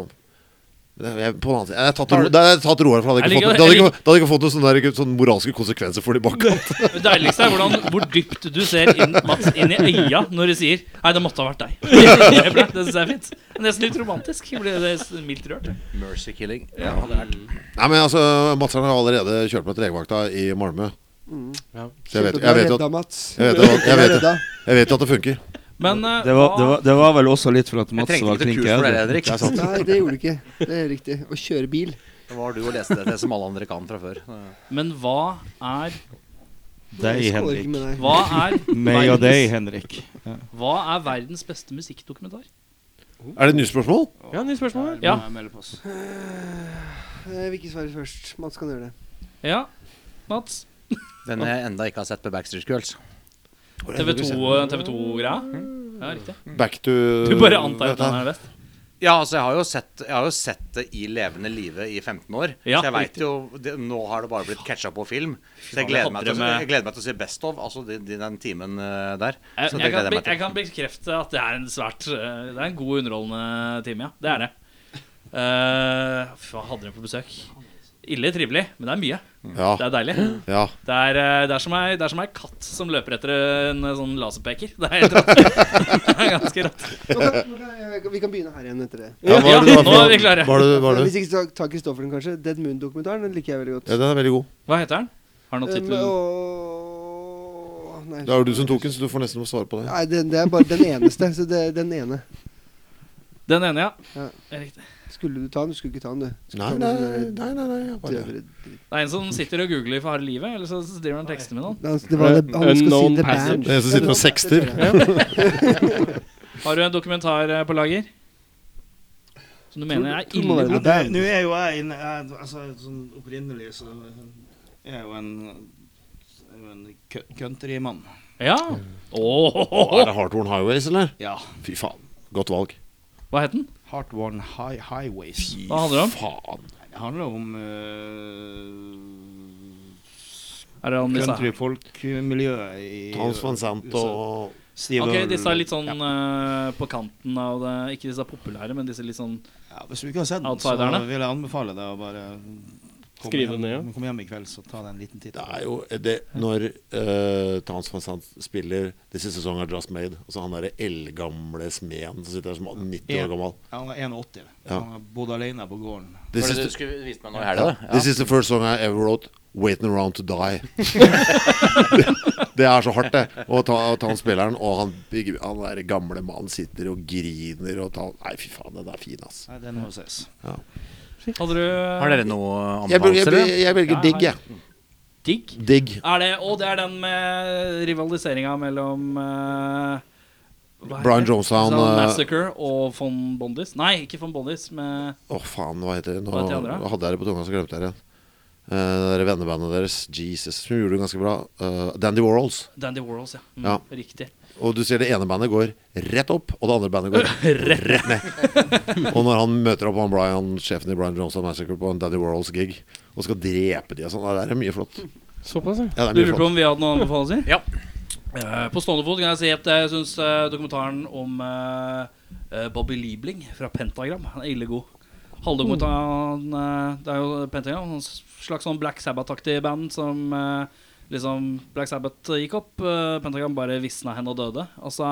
[SPEAKER 6] Men jeg, på den annen side Jeg hadde tatt, Ro- jeg hadde tatt Roar, for det hadde ikke
[SPEAKER 4] Jeg liker-
[SPEAKER 6] fått, det hadde
[SPEAKER 4] jeg
[SPEAKER 6] ikke, det hadde ikke fått noen sånne, der, sånne moralske konsekvenser for de bak.
[SPEAKER 4] [LAUGHS] Det deiligste er hvordan, hvor dypt du ser inn, Mats inn i øya når du sier 'Nei, det måtte ha vært deg'. [LAUGHS] Det, ble- det synes jeg er fint. Det er Nesten litt romantisk. Jeg ble det er mildt rørt.
[SPEAKER 9] Mercy killing. Ja, det er
[SPEAKER 4] Mm.
[SPEAKER 6] Nei, men altså, Mats har allerede kjørt meg til legevakta i Malmö. Mm. Så jeg vet, jeg vet, at,
[SPEAKER 7] redda, Mats.
[SPEAKER 6] jeg vet at- jeg vet at-
[SPEAKER 7] redda.
[SPEAKER 6] jeg vet at det funker.
[SPEAKER 4] Men eh,
[SPEAKER 8] Det var, det, var, det var vel også litt for at
[SPEAKER 9] Jeg
[SPEAKER 8] Mats
[SPEAKER 9] trengte
[SPEAKER 8] var
[SPEAKER 9] ikke noe
[SPEAKER 8] klink
[SPEAKER 9] kurs for det,
[SPEAKER 8] edru.
[SPEAKER 9] Henrik.
[SPEAKER 6] Det er
[SPEAKER 9] [LAUGHS]
[SPEAKER 6] sant.
[SPEAKER 7] Nei, det gjorde du ikke. Det er riktig. Å kjøre bil.
[SPEAKER 9] Det var du og leste det som alle andre kan fra før.
[SPEAKER 4] Men hva er
[SPEAKER 8] Deg,
[SPEAKER 7] Jeg skåler ikke
[SPEAKER 8] Henrik.
[SPEAKER 7] med deg.
[SPEAKER 4] Hva er
[SPEAKER 8] Meg og deg,
[SPEAKER 4] verdens,
[SPEAKER 8] Henrik.
[SPEAKER 4] hva er verdens beste musikkdokumentar?
[SPEAKER 6] Er det et nytt spørsmål?
[SPEAKER 1] Ja, nye spørsmål.
[SPEAKER 4] Ja.
[SPEAKER 7] Eh, Jeg vil ikke svare først. Mats kan gjøre det.
[SPEAKER 4] Ja, Mats.
[SPEAKER 9] Den jeg enda ikke har sett på Backstreet Girls.
[SPEAKER 4] TV2-greia? eh, ja, riktig.
[SPEAKER 6] Mm. Back to
[SPEAKER 4] Du bare antar at den er best?
[SPEAKER 9] Ja, altså, jeg har jo sett, jeg har jo sett det i levende live i 15 år.
[SPEAKER 4] Ja,
[SPEAKER 9] så jeg
[SPEAKER 4] riktig.
[SPEAKER 9] vet jo det, Nå har det bare blitt catcha på film. Så jeg gleder, meg til, å- jeg gleder meg til å se Best of, altså de, de, den timen eh, der.
[SPEAKER 4] Jeg,
[SPEAKER 9] Så det
[SPEAKER 4] jeg, kan,
[SPEAKER 9] gleder jeg
[SPEAKER 4] be-
[SPEAKER 9] meg
[SPEAKER 4] jeg
[SPEAKER 9] til.
[SPEAKER 4] kan bekrefte at det er en svært eh, Det er en god underholdende time, ja. Det er det. Eh, Fy faen, hadde den på besøk. Ille trivelig, men det er mye. Det
[SPEAKER 6] Ja.
[SPEAKER 4] er deilig.
[SPEAKER 6] ja.
[SPEAKER 4] Det er, eh, det er som ei, det er som ei katt som løper etter en eh, sånn laserpeker. Det er helt rått. [LAUGHS] Det er ganske rått.
[SPEAKER 7] Nå
[SPEAKER 6] [LAUGHS]
[SPEAKER 7] kan, nå kan, jeg- vi kan begynne her igjen etter det.
[SPEAKER 6] ja hva er
[SPEAKER 4] Ja,
[SPEAKER 6] det, du har for-
[SPEAKER 4] nå er vi klare.
[SPEAKER 6] Hva er det, hva er det?
[SPEAKER 7] Hvis ikke så ta Kristoffer den, kanskje. Dead Moon-dokumentaren den liker jeg veldig godt.
[SPEAKER 6] Ja, den er veldig god.
[SPEAKER 4] Hva heter den? Har den noe
[SPEAKER 7] Um,
[SPEAKER 4] tittel?
[SPEAKER 7] og- nei,
[SPEAKER 6] Det er jo du som tok den, så du får nesten svare på det.
[SPEAKER 7] Nei, det, det er bare den eneste. Så det, den ene.
[SPEAKER 4] Den ene, ja.
[SPEAKER 7] Ja.
[SPEAKER 4] Riktig.
[SPEAKER 7] Skulle du ta den? Du skulle ikke ta den, du. Du
[SPEAKER 6] Nei,
[SPEAKER 7] skulle ta den
[SPEAKER 6] nei,
[SPEAKER 7] som,
[SPEAKER 6] nei. nei, nei jeg
[SPEAKER 7] eh,
[SPEAKER 6] bare.
[SPEAKER 7] døvere dritt.
[SPEAKER 4] Det er en som sitter og googler for harde livet, eller så så driver han og tekster med noen.
[SPEAKER 7] Han- altså, Det var det, han skulle
[SPEAKER 1] Unknown
[SPEAKER 7] si The
[SPEAKER 1] passage.
[SPEAKER 7] Band.
[SPEAKER 6] Det er en som sitter og sekster.
[SPEAKER 7] [LAUGHS]
[SPEAKER 4] Har du en dokumentar eh, på lager? Som du mener er
[SPEAKER 7] tror det må
[SPEAKER 4] ille
[SPEAKER 7] være
[SPEAKER 4] god?
[SPEAKER 7] det. det-
[SPEAKER 8] Nå er jo jeg inne jeg- Altså, sånn opprinnelig så er jeg jo en jeg er jo en kø- countrymann.
[SPEAKER 4] Ja.
[SPEAKER 6] Å, Er
[SPEAKER 4] Åh,
[SPEAKER 6] det Hardworn Highways, eller?
[SPEAKER 8] Ja.
[SPEAKER 6] Fy faen. Godt valg.
[SPEAKER 4] hva het den?
[SPEAKER 8] Heartworn high Highways.
[SPEAKER 4] Hva handler det om?
[SPEAKER 6] Faen.
[SPEAKER 8] Det handler om eh, uh,
[SPEAKER 4] Er det om disse?
[SPEAKER 8] countryfolkmiljøet i
[SPEAKER 6] Towns Van Sant og
[SPEAKER 8] Steve
[SPEAKER 4] Ok,
[SPEAKER 8] Earle.
[SPEAKER 4] disse er litt sånn eh, på kanten av det Ikke disse populære, men disse litt sånn
[SPEAKER 8] ja, Hvis du ikke har sett den, så
[SPEAKER 4] Outsiderne.
[SPEAKER 8] vil jeg anbefale deg å bare komme
[SPEAKER 1] Skrive
[SPEAKER 8] hjem,
[SPEAKER 1] ned, ja.
[SPEAKER 8] Kom hjem i kveld, så ta deg en liten titt.
[SPEAKER 6] Det er jo det når uh, Towns Van Sant spiller This is a song I just made, og så han derre eldgamle smeden som sitter der som er 90 år gammel.
[SPEAKER 8] Han var 81.
[SPEAKER 6] Ja.
[SPEAKER 8] Han bodde alene på gården.
[SPEAKER 6] This is
[SPEAKER 9] Var det
[SPEAKER 6] the,
[SPEAKER 9] du skulle vise meg nå i helga, det?
[SPEAKER 6] This is the first song I ever wrote Waiting around to
[SPEAKER 9] [LAUGHS]
[SPEAKER 6] die [LAUGHS] Det er så hardt det Å ta, å ta han spilleren Og han, han der gamle mannen sitter og griner og tar, Nei fy faen, den er fin ass
[SPEAKER 8] Nei, den må ses.
[SPEAKER 4] Hadde du
[SPEAKER 9] Har dere noe
[SPEAKER 6] Jeg, bel- jeg,
[SPEAKER 9] anbefalelser?
[SPEAKER 6] bel- jeg velger
[SPEAKER 4] Ja,
[SPEAKER 6] digg
[SPEAKER 4] jeg
[SPEAKER 6] jeg
[SPEAKER 4] digg?
[SPEAKER 6] Digg
[SPEAKER 4] Er det Og det er den med rivaliseringa mellom eh, hva heter
[SPEAKER 6] Brian
[SPEAKER 4] det?
[SPEAKER 6] Jonestown
[SPEAKER 4] Sånn
[SPEAKER 6] eh,
[SPEAKER 4] Massacre og von Bondis. Nei, ikke von Bondis, men
[SPEAKER 6] Åh faen, hva heter det? Nå
[SPEAKER 4] Hva heter de andre, da?
[SPEAKER 6] hadde jeg det på tunga så glemte jeg det Eh, Det der vennebandet deres Jesus, som gjorde det ganske bra Eh, Dandy Warhols
[SPEAKER 4] Dandy Warhols, ja. Mm,
[SPEAKER 6] Ja.
[SPEAKER 4] Riktig.
[SPEAKER 6] Og du ser det ene bandet går rett opp, og det andre bandet
[SPEAKER 4] [LAUGHS]
[SPEAKER 6] går rett ned. og når han møter opp han Brian, sjefen i Brian Johnson Massacre på en Daddy Warhols gig og skal drepe de og sånn, det er mye flott.
[SPEAKER 1] Såpass, ja.
[SPEAKER 6] Ja, det er mye
[SPEAKER 4] Du lurer på
[SPEAKER 6] flott.
[SPEAKER 4] om vi hadde noen anbefalinger?
[SPEAKER 9] Ja.
[SPEAKER 4] Eh, på stående fot kan jeg si at jeg syns dokumentaren om eh, eh, Bobby Liebling fra Pentagram han er ille god. Halve dokumentaren eh, Det er jo Pentagram, en slags sånn Black Sabbath-aktig band som eh, liksom Black Sabbath gikk opp. eh, Pentagram bare visna hen og døde. Altså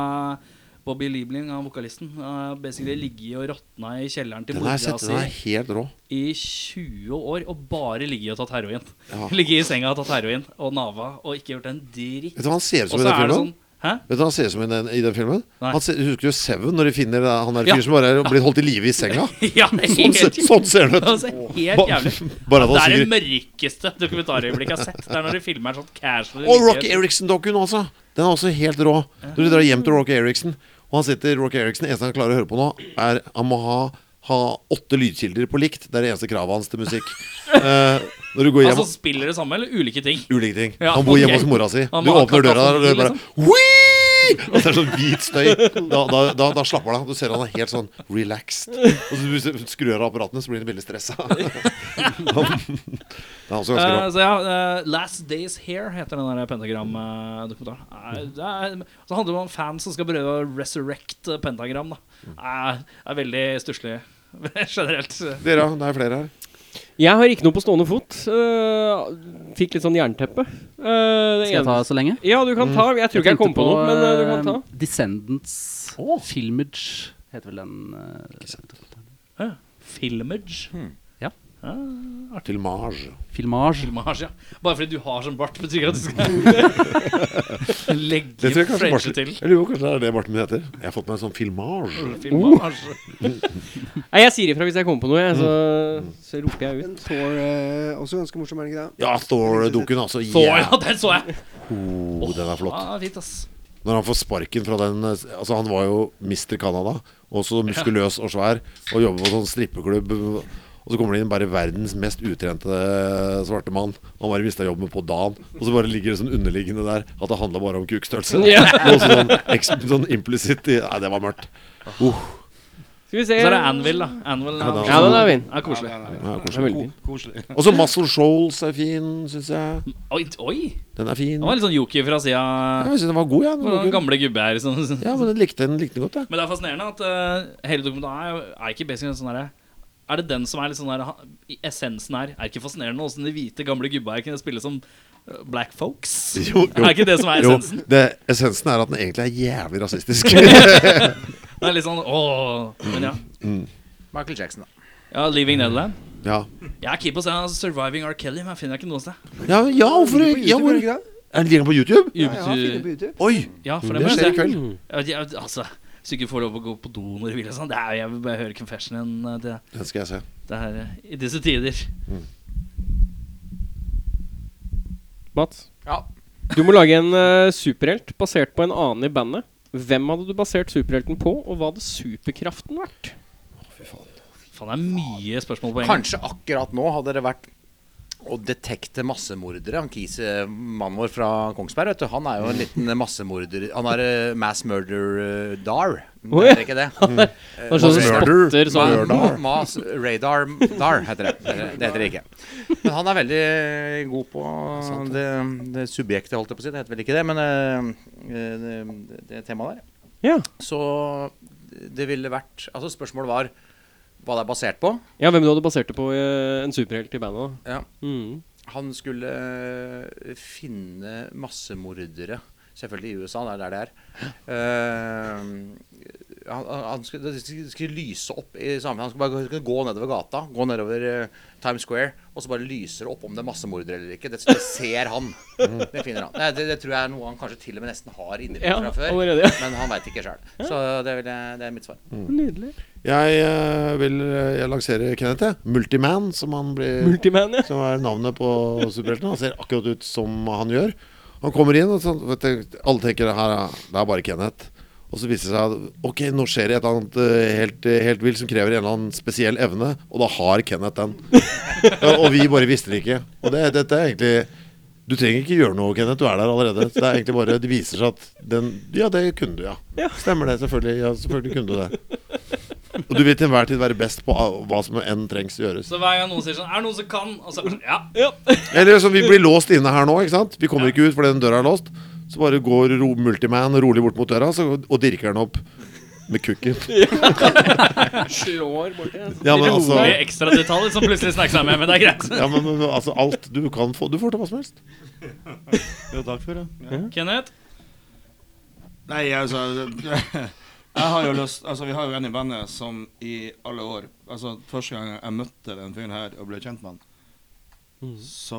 [SPEAKER 4] Bobby Liebling, han vokalisten, har basically ligget og råtna i kjelleren til
[SPEAKER 6] Den har
[SPEAKER 4] mora
[SPEAKER 6] jeg sett,
[SPEAKER 4] si
[SPEAKER 6] den er helt rå.
[SPEAKER 4] i 20 år og bare ligget og tatt heroin. [LAUGHS]
[SPEAKER 6] Ja.
[SPEAKER 4] Ligget i senga og tatt heroin og nava og ikke gjort en dritt.
[SPEAKER 6] Vet du hva han ser ut
[SPEAKER 4] Og
[SPEAKER 6] som i den
[SPEAKER 4] så er det
[SPEAKER 6] filmen?
[SPEAKER 4] sånn Hæ?
[SPEAKER 6] Vet du hva han ser ut som i den, i den filmen?
[SPEAKER 4] Nei.
[SPEAKER 6] Han ser, husker du Seven, når de finner eh, han der
[SPEAKER 4] Ja.
[SPEAKER 6] fyren som bare er blitt holdt i live i senga?
[SPEAKER 4] [LAUGHS] Ja,
[SPEAKER 6] Sånn, ser-
[SPEAKER 4] helt,
[SPEAKER 6] sånn ser han ut.
[SPEAKER 4] altså, helt jævlig. [LAUGHS]
[SPEAKER 6] [LAUGHS] Bare at han
[SPEAKER 4] Det er det
[SPEAKER 6] synger
[SPEAKER 4] mørkeste dokumentarøyeblikket jeg har sett. Det er når de filmer en sånn casual
[SPEAKER 6] Og Rocky Eriksen-dokken også! Den er også helt rå. Du drar hjem til Rocky Eriksen, og han sitter Rocky Eriksen Eneste han klarer å høre på nå, er
[SPEAKER 4] [LAUGHS]
[SPEAKER 6] han må ha, ha åtte lydkilder på likt. Det er det eneste kravet hans til musikk. Eh, Når du går hjem
[SPEAKER 4] Altså spiller det samme, eller ulike ting?
[SPEAKER 6] Ulike ting.
[SPEAKER 4] Ja,
[SPEAKER 6] han bor hjemme
[SPEAKER 4] ok.
[SPEAKER 6] hos mora si.
[SPEAKER 4] Han
[SPEAKER 6] Du
[SPEAKER 4] må ha liksom.
[SPEAKER 6] åpner døra der, og du
[SPEAKER 4] katastrofe,
[SPEAKER 6] bare «Wii!» Og så er det sånn hvit støy. Da, da, da, da slapper han av. Du ser han er helt sånn relaxed. Og så hvis du skrur av apparatene, så blir han veldig
[SPEAKER 4] [LAUGHS]
[SPEAKER 6] stressa. Det er også ganske
[SPEAKER 4] Eh,
[SPEAKER 6] rart.
[SPEAKER 4] så ja, eh, 'Last Days Here' heter den der pentagram-dokumentaren. Eh, det er, så handler det om fans som skal prøve å resurrect eh, pentagram. Da. Eh, det er veldig stusslig [LAUGHS] generelt.
[SPEAKER 6] Dere, ja, det er flere her.
[SPEAKER 1] Jeg har ikke noe på stående fot. Eh, fikk litt sånn jernteppe. Eh, det
[SPEAKER 3] Skal jeg ta
[SPEAKER 1] eneste-
[SPEAKER 3] så lenge?
[SPEAKER 1] Ja, du kan ta. Jeg tror ikke jeg kom på, noe, men eh, du kan ta.
[SPEAKER 3] eh, Descendants Filmage heter vel den. eh,
[SPEAKER 4] Filmage.
[SPEAKER 9] Hmm.
[SPEAKER 4] Ah,
[SPEAKER 6] Til Marge.
[SPEAKER 3] Filmage.
[SPEAKER 4] Filmage, ja. Bare fordi du har sånn bart, betyr ikke at du skal
[SPEAKER 6] [LAUGHS]
[SPEAKER 4] Eh,
[SPEAKER 6] Det
[SPEAKER 4] legge
[SPEAKER 6] tror jeg kanskje
[SPEAKER 4] fleisje
[SPEAKER 6] Martin
[SPEAKER 4] til. Mm,
[SPEAKER 6] Jeg lurer på kanskje det er det Martin heter. Jeg har fått meg en sånn Filmage.
[SPEAKER 4] Filmage.
[SPEAKER 1] Nei, jeg sier ifra hvis jeg kommer på noe, jeg,
[SPEAKER 3] Mm.
[SPEAKER 1] så, så roper jeg ut.
[SPEAKER 7] Men Thor eh, også ganske morsom, er den ikke
[SPEAKER 6] [LAUGHS]
[SPEAKER 7] det?
[SPEAKER 6] Ja, Thor-dukken, altså.
[SPEAKER 4] Så
[SPEAKER 6] Yeah.
[SPEAKER 4] ja, den så jeg!
[SPEAKER 6] Oh, den er flott.
[SPEAKER 4] Ja, fint, ass.
[SPEAKER 6] Når han får sparken fra den eh, Altså Han var jo Mr. Canada. Og så muskuløs og svær. Og jobber på sånn strippeklubb. Og så kommer det inn bare verdens mest utrente eh, svarte mann. Han bare mista jobben på dagen. Og så bare ligger det sånn underliggende der at det handla bare om kukstørrelse. [LAUGHS]
[SPEAKER 1] Ja.
[SPEAKER 6] Og så sånn, eks- sånn implisitt i- Nei, det var mørkt. Uh,
[SPEAKER 1] Skal vi se
[SPEAKER 4] Så er det Anvil, da. Anvil
[SPEAKER 6] Ja, da.
[SPEAKER 1] Ja, den er fin.
[SPEAKER 4] Det er koselig.
[SPEAKER 6] ja,
[SPEAKER 1] Den er
[SPEAKER 6] koselig.
[SPEAKER 1] veldig fin.
[SPEAKER 8] Koselig.
[SPEAKER 6] Og så Muscle Shoals er fin, syns jeg.
[SPEAKER 4] Oi, oi!
[SPEAKER 6] Den er fin.
[SPEAKER 4] Det var litt sånn Yoki fra sida.
[SPEAKER 6] Ja, Jeg syns den var god, jeg. Den var
[SPEAKER 4] Noen
[SPEAKER 6] god.
[SPEAKER 4] gamle gubbe her. Sånn.
[SPEAKER 6] Ja, men den likte den likte den godt, jeg.
[SPEAKER 4] Men det er fascinerende at eh, hele dokumentaren er, jo- er ikke basically en sånn derre Er det den som er litt sånn der ha- i Essensen her er ikke fascinerende åssen de hvite, gamle gubba her kunne spille som eh, black folks?
[SPEAKER 6] Jo, jo.
[SPEAKER 4] Er ikke det som er
[SPEAKER 6] Jo,
[SPEAKER 4] essensen? [LAUGHS]
[SPEAKER 6] det, essensen er at den egentlig er jævlig rasistisk.
[SPEAKER 4] Det er litt sånn åh Men ja.
[SPEAKER 6] Mm.
[SPEAKER 9] Michael Jackson, da.
[SPEAKER 4] ja Leaving Nederland.
[SPEAKER 6] ja.
[SPEAKER 4] Jeg er keen på å se Surviving R. Kelly, men jeg finner jeg ikke noe sted.
[SPEAKER 6] Ja, ja hvorfor
[SPEAKER 7] På
[SPEAKER 6] ja,
[SPEAKER 7] YouTube,
[SPEAKER 6] hvor,
[SPEAKER 7] er det ikke det?
[SPEAKER 6] Er den ligger på YouTube?
[SPEAKER 7] Ja, jeg har funnet på YouTube.
[SPEAKER 6] Oi!
[SPEAKER 4] Ja, for
[SPEAKER 6] Det
[SPEAKER 4] det, må
[SPEAKER 6] skjer i
[SPEAKER 4] jeg se.
[SPEAKER 6] kveld.
[SPEAKER 4] Jeg, jeg, altså, hvis du ikke får lov å gå på do når du vil og sånn, det er jo Jeg vil bare høre confessionen eh, det,
[SPEAKER 6] Den skal jeg se.
[SPEAKER 4] det her eh, i disse tider.
[SPEAKER 1] Mats,
[SPEAKER 9] Ja.
[SPEAKER 1] du må lage en eh, superhelt basert på en annen i bandet. Hvem hadde du basert superhelten på, og hva hadde superkraften vært?
[SPEAKER 4] Faen, det er mye spørsmål på en gang.
[SPEAKER 9] Kanskje akkurat nå hadde det vært å detekte massemordere. Han Kise, mannen vår fra Kongsberg, vet du, han er jo en liten massemorder. Han er eh, mass murder eh, dar.
[SPEAKER 1] Å, ja.
[SPEAKER 9] Er det ikke det?
[SPEAKER 1] [LAUGHS]
[SPEAKER 9] Eh,
[SPEAKER 1] Det er sånn som
[SPEAKER 6] Murder.
[SPEAKER 1] spotter sånn
[SPEAKER 9] Ma- Mas radar dar heter det. Eh, Det heter det ikke. Men han er veldig god på det, det subjektet, holdt jeg på å si. Det heter vel ikke det, men eh, det, det, det temaet der.
[SPEAKER 1] Ja.
[SPEAKER 9] Så det ville vært Altså, spørsmålet var hva det er basert på.
[SPEAKER 1] ja, hvem du hadde basert det på eh, en superhelt i bandet.
[SPEAKER 9] Ja.
[SPEAKER 1] da. Mm.
[SPEAKER 9] Han skulle eh, finne massemordere. Selvfølgelig i USA, det er der det er. Eh, han, han skulle, det skulle skulle lyse opp i samfunnet. Han skulle bare kunne gå nedover gata, gå nedover eh, Times Square, og så bare lyser det opp om det er massemordere eller ikke. Det, det ser han. Det finner han. Nei, det, det tror jeg er noe han kanskje til og med nesten har inni
[SPEAKER 1] Ja,
[SPEAKER 9] fra før.
[SPEAKER 1] allerede, ja.
[SPEAKER 9] Men han veit ikke sjøl. Så det, vil jeg, det er mitt svar.
[SPEAKER 4] Mm.
[SPEAKER 7] Mm.
[SPEAKER 1] Nydelig.
[SPEAKER 6] Jeg eh, vil eh, jeg lanserer Kenneth, jeg. Multiman, som han blir
[SPEAKER 1] Multiman, ja.
[SPEAKER 6] Som er navnet på superhelten. Han ser akkurat ut som han gjør. Han kommer inn, og sånn, vet du, alle tenker det her er- det er bare Kenneth. Og så viser det seg at ok, nå skjer det et eller annet eh, helt, eh, helt vilt som krever en eller annen spesiell evne, og da har Kenneth
[SPEAKER 1] [LAUGHS]
[SPEAKER 6] den. Ja, og vi bare visste det ikke. Og det, dette er egentlig Du trenger ikke gjøre noe, Kenneth. Du er der allerede. Så det er egentlig bare Det viser seg at den Ja, det kunne du, ja. Stemmer det, selvfølgelig. Ja, selvfølgelig kunne du det. Og du vil til enhver tid være best på ah, hva som enn trengs gjøres.
[SPEAKER 4] Så hver gang noen sier sånn Er det noen som kan? Og så er det sånn, ja.
[SPEAKER 6] Eller som vi blir låst inne her nå, ikke sant? Vi kommer ikke ut fordi den døra er låst. Så bare går ro Multiman rolig bort mot døra så, og dirker den opp med kukken.
[SPEAKER 1] Slår borti. altså.
[SPEAKER 6] Ja, men altså,
[SPEAKER 4] Rolige ekstra detaljer som plutselig snakker seg med, men det er greit.
[SPEAKER 6] ja, men, men altså alt du kan få Du får til hva som helst.
[SPEAKER 8] [LAUGHS] Jo, takk for det. Ja.
[SPEAKER 4] Kenneth?
[SPEAKER 8] Nei, altså [LAUGHS] Jeg har jo lyst Altså, vi har jo en i bandet som i alle år Altså, første gang jeg møtte den fyren her og ble kjent med han,
[SPEAKER 9] Mm.
[SPEAKER 8] så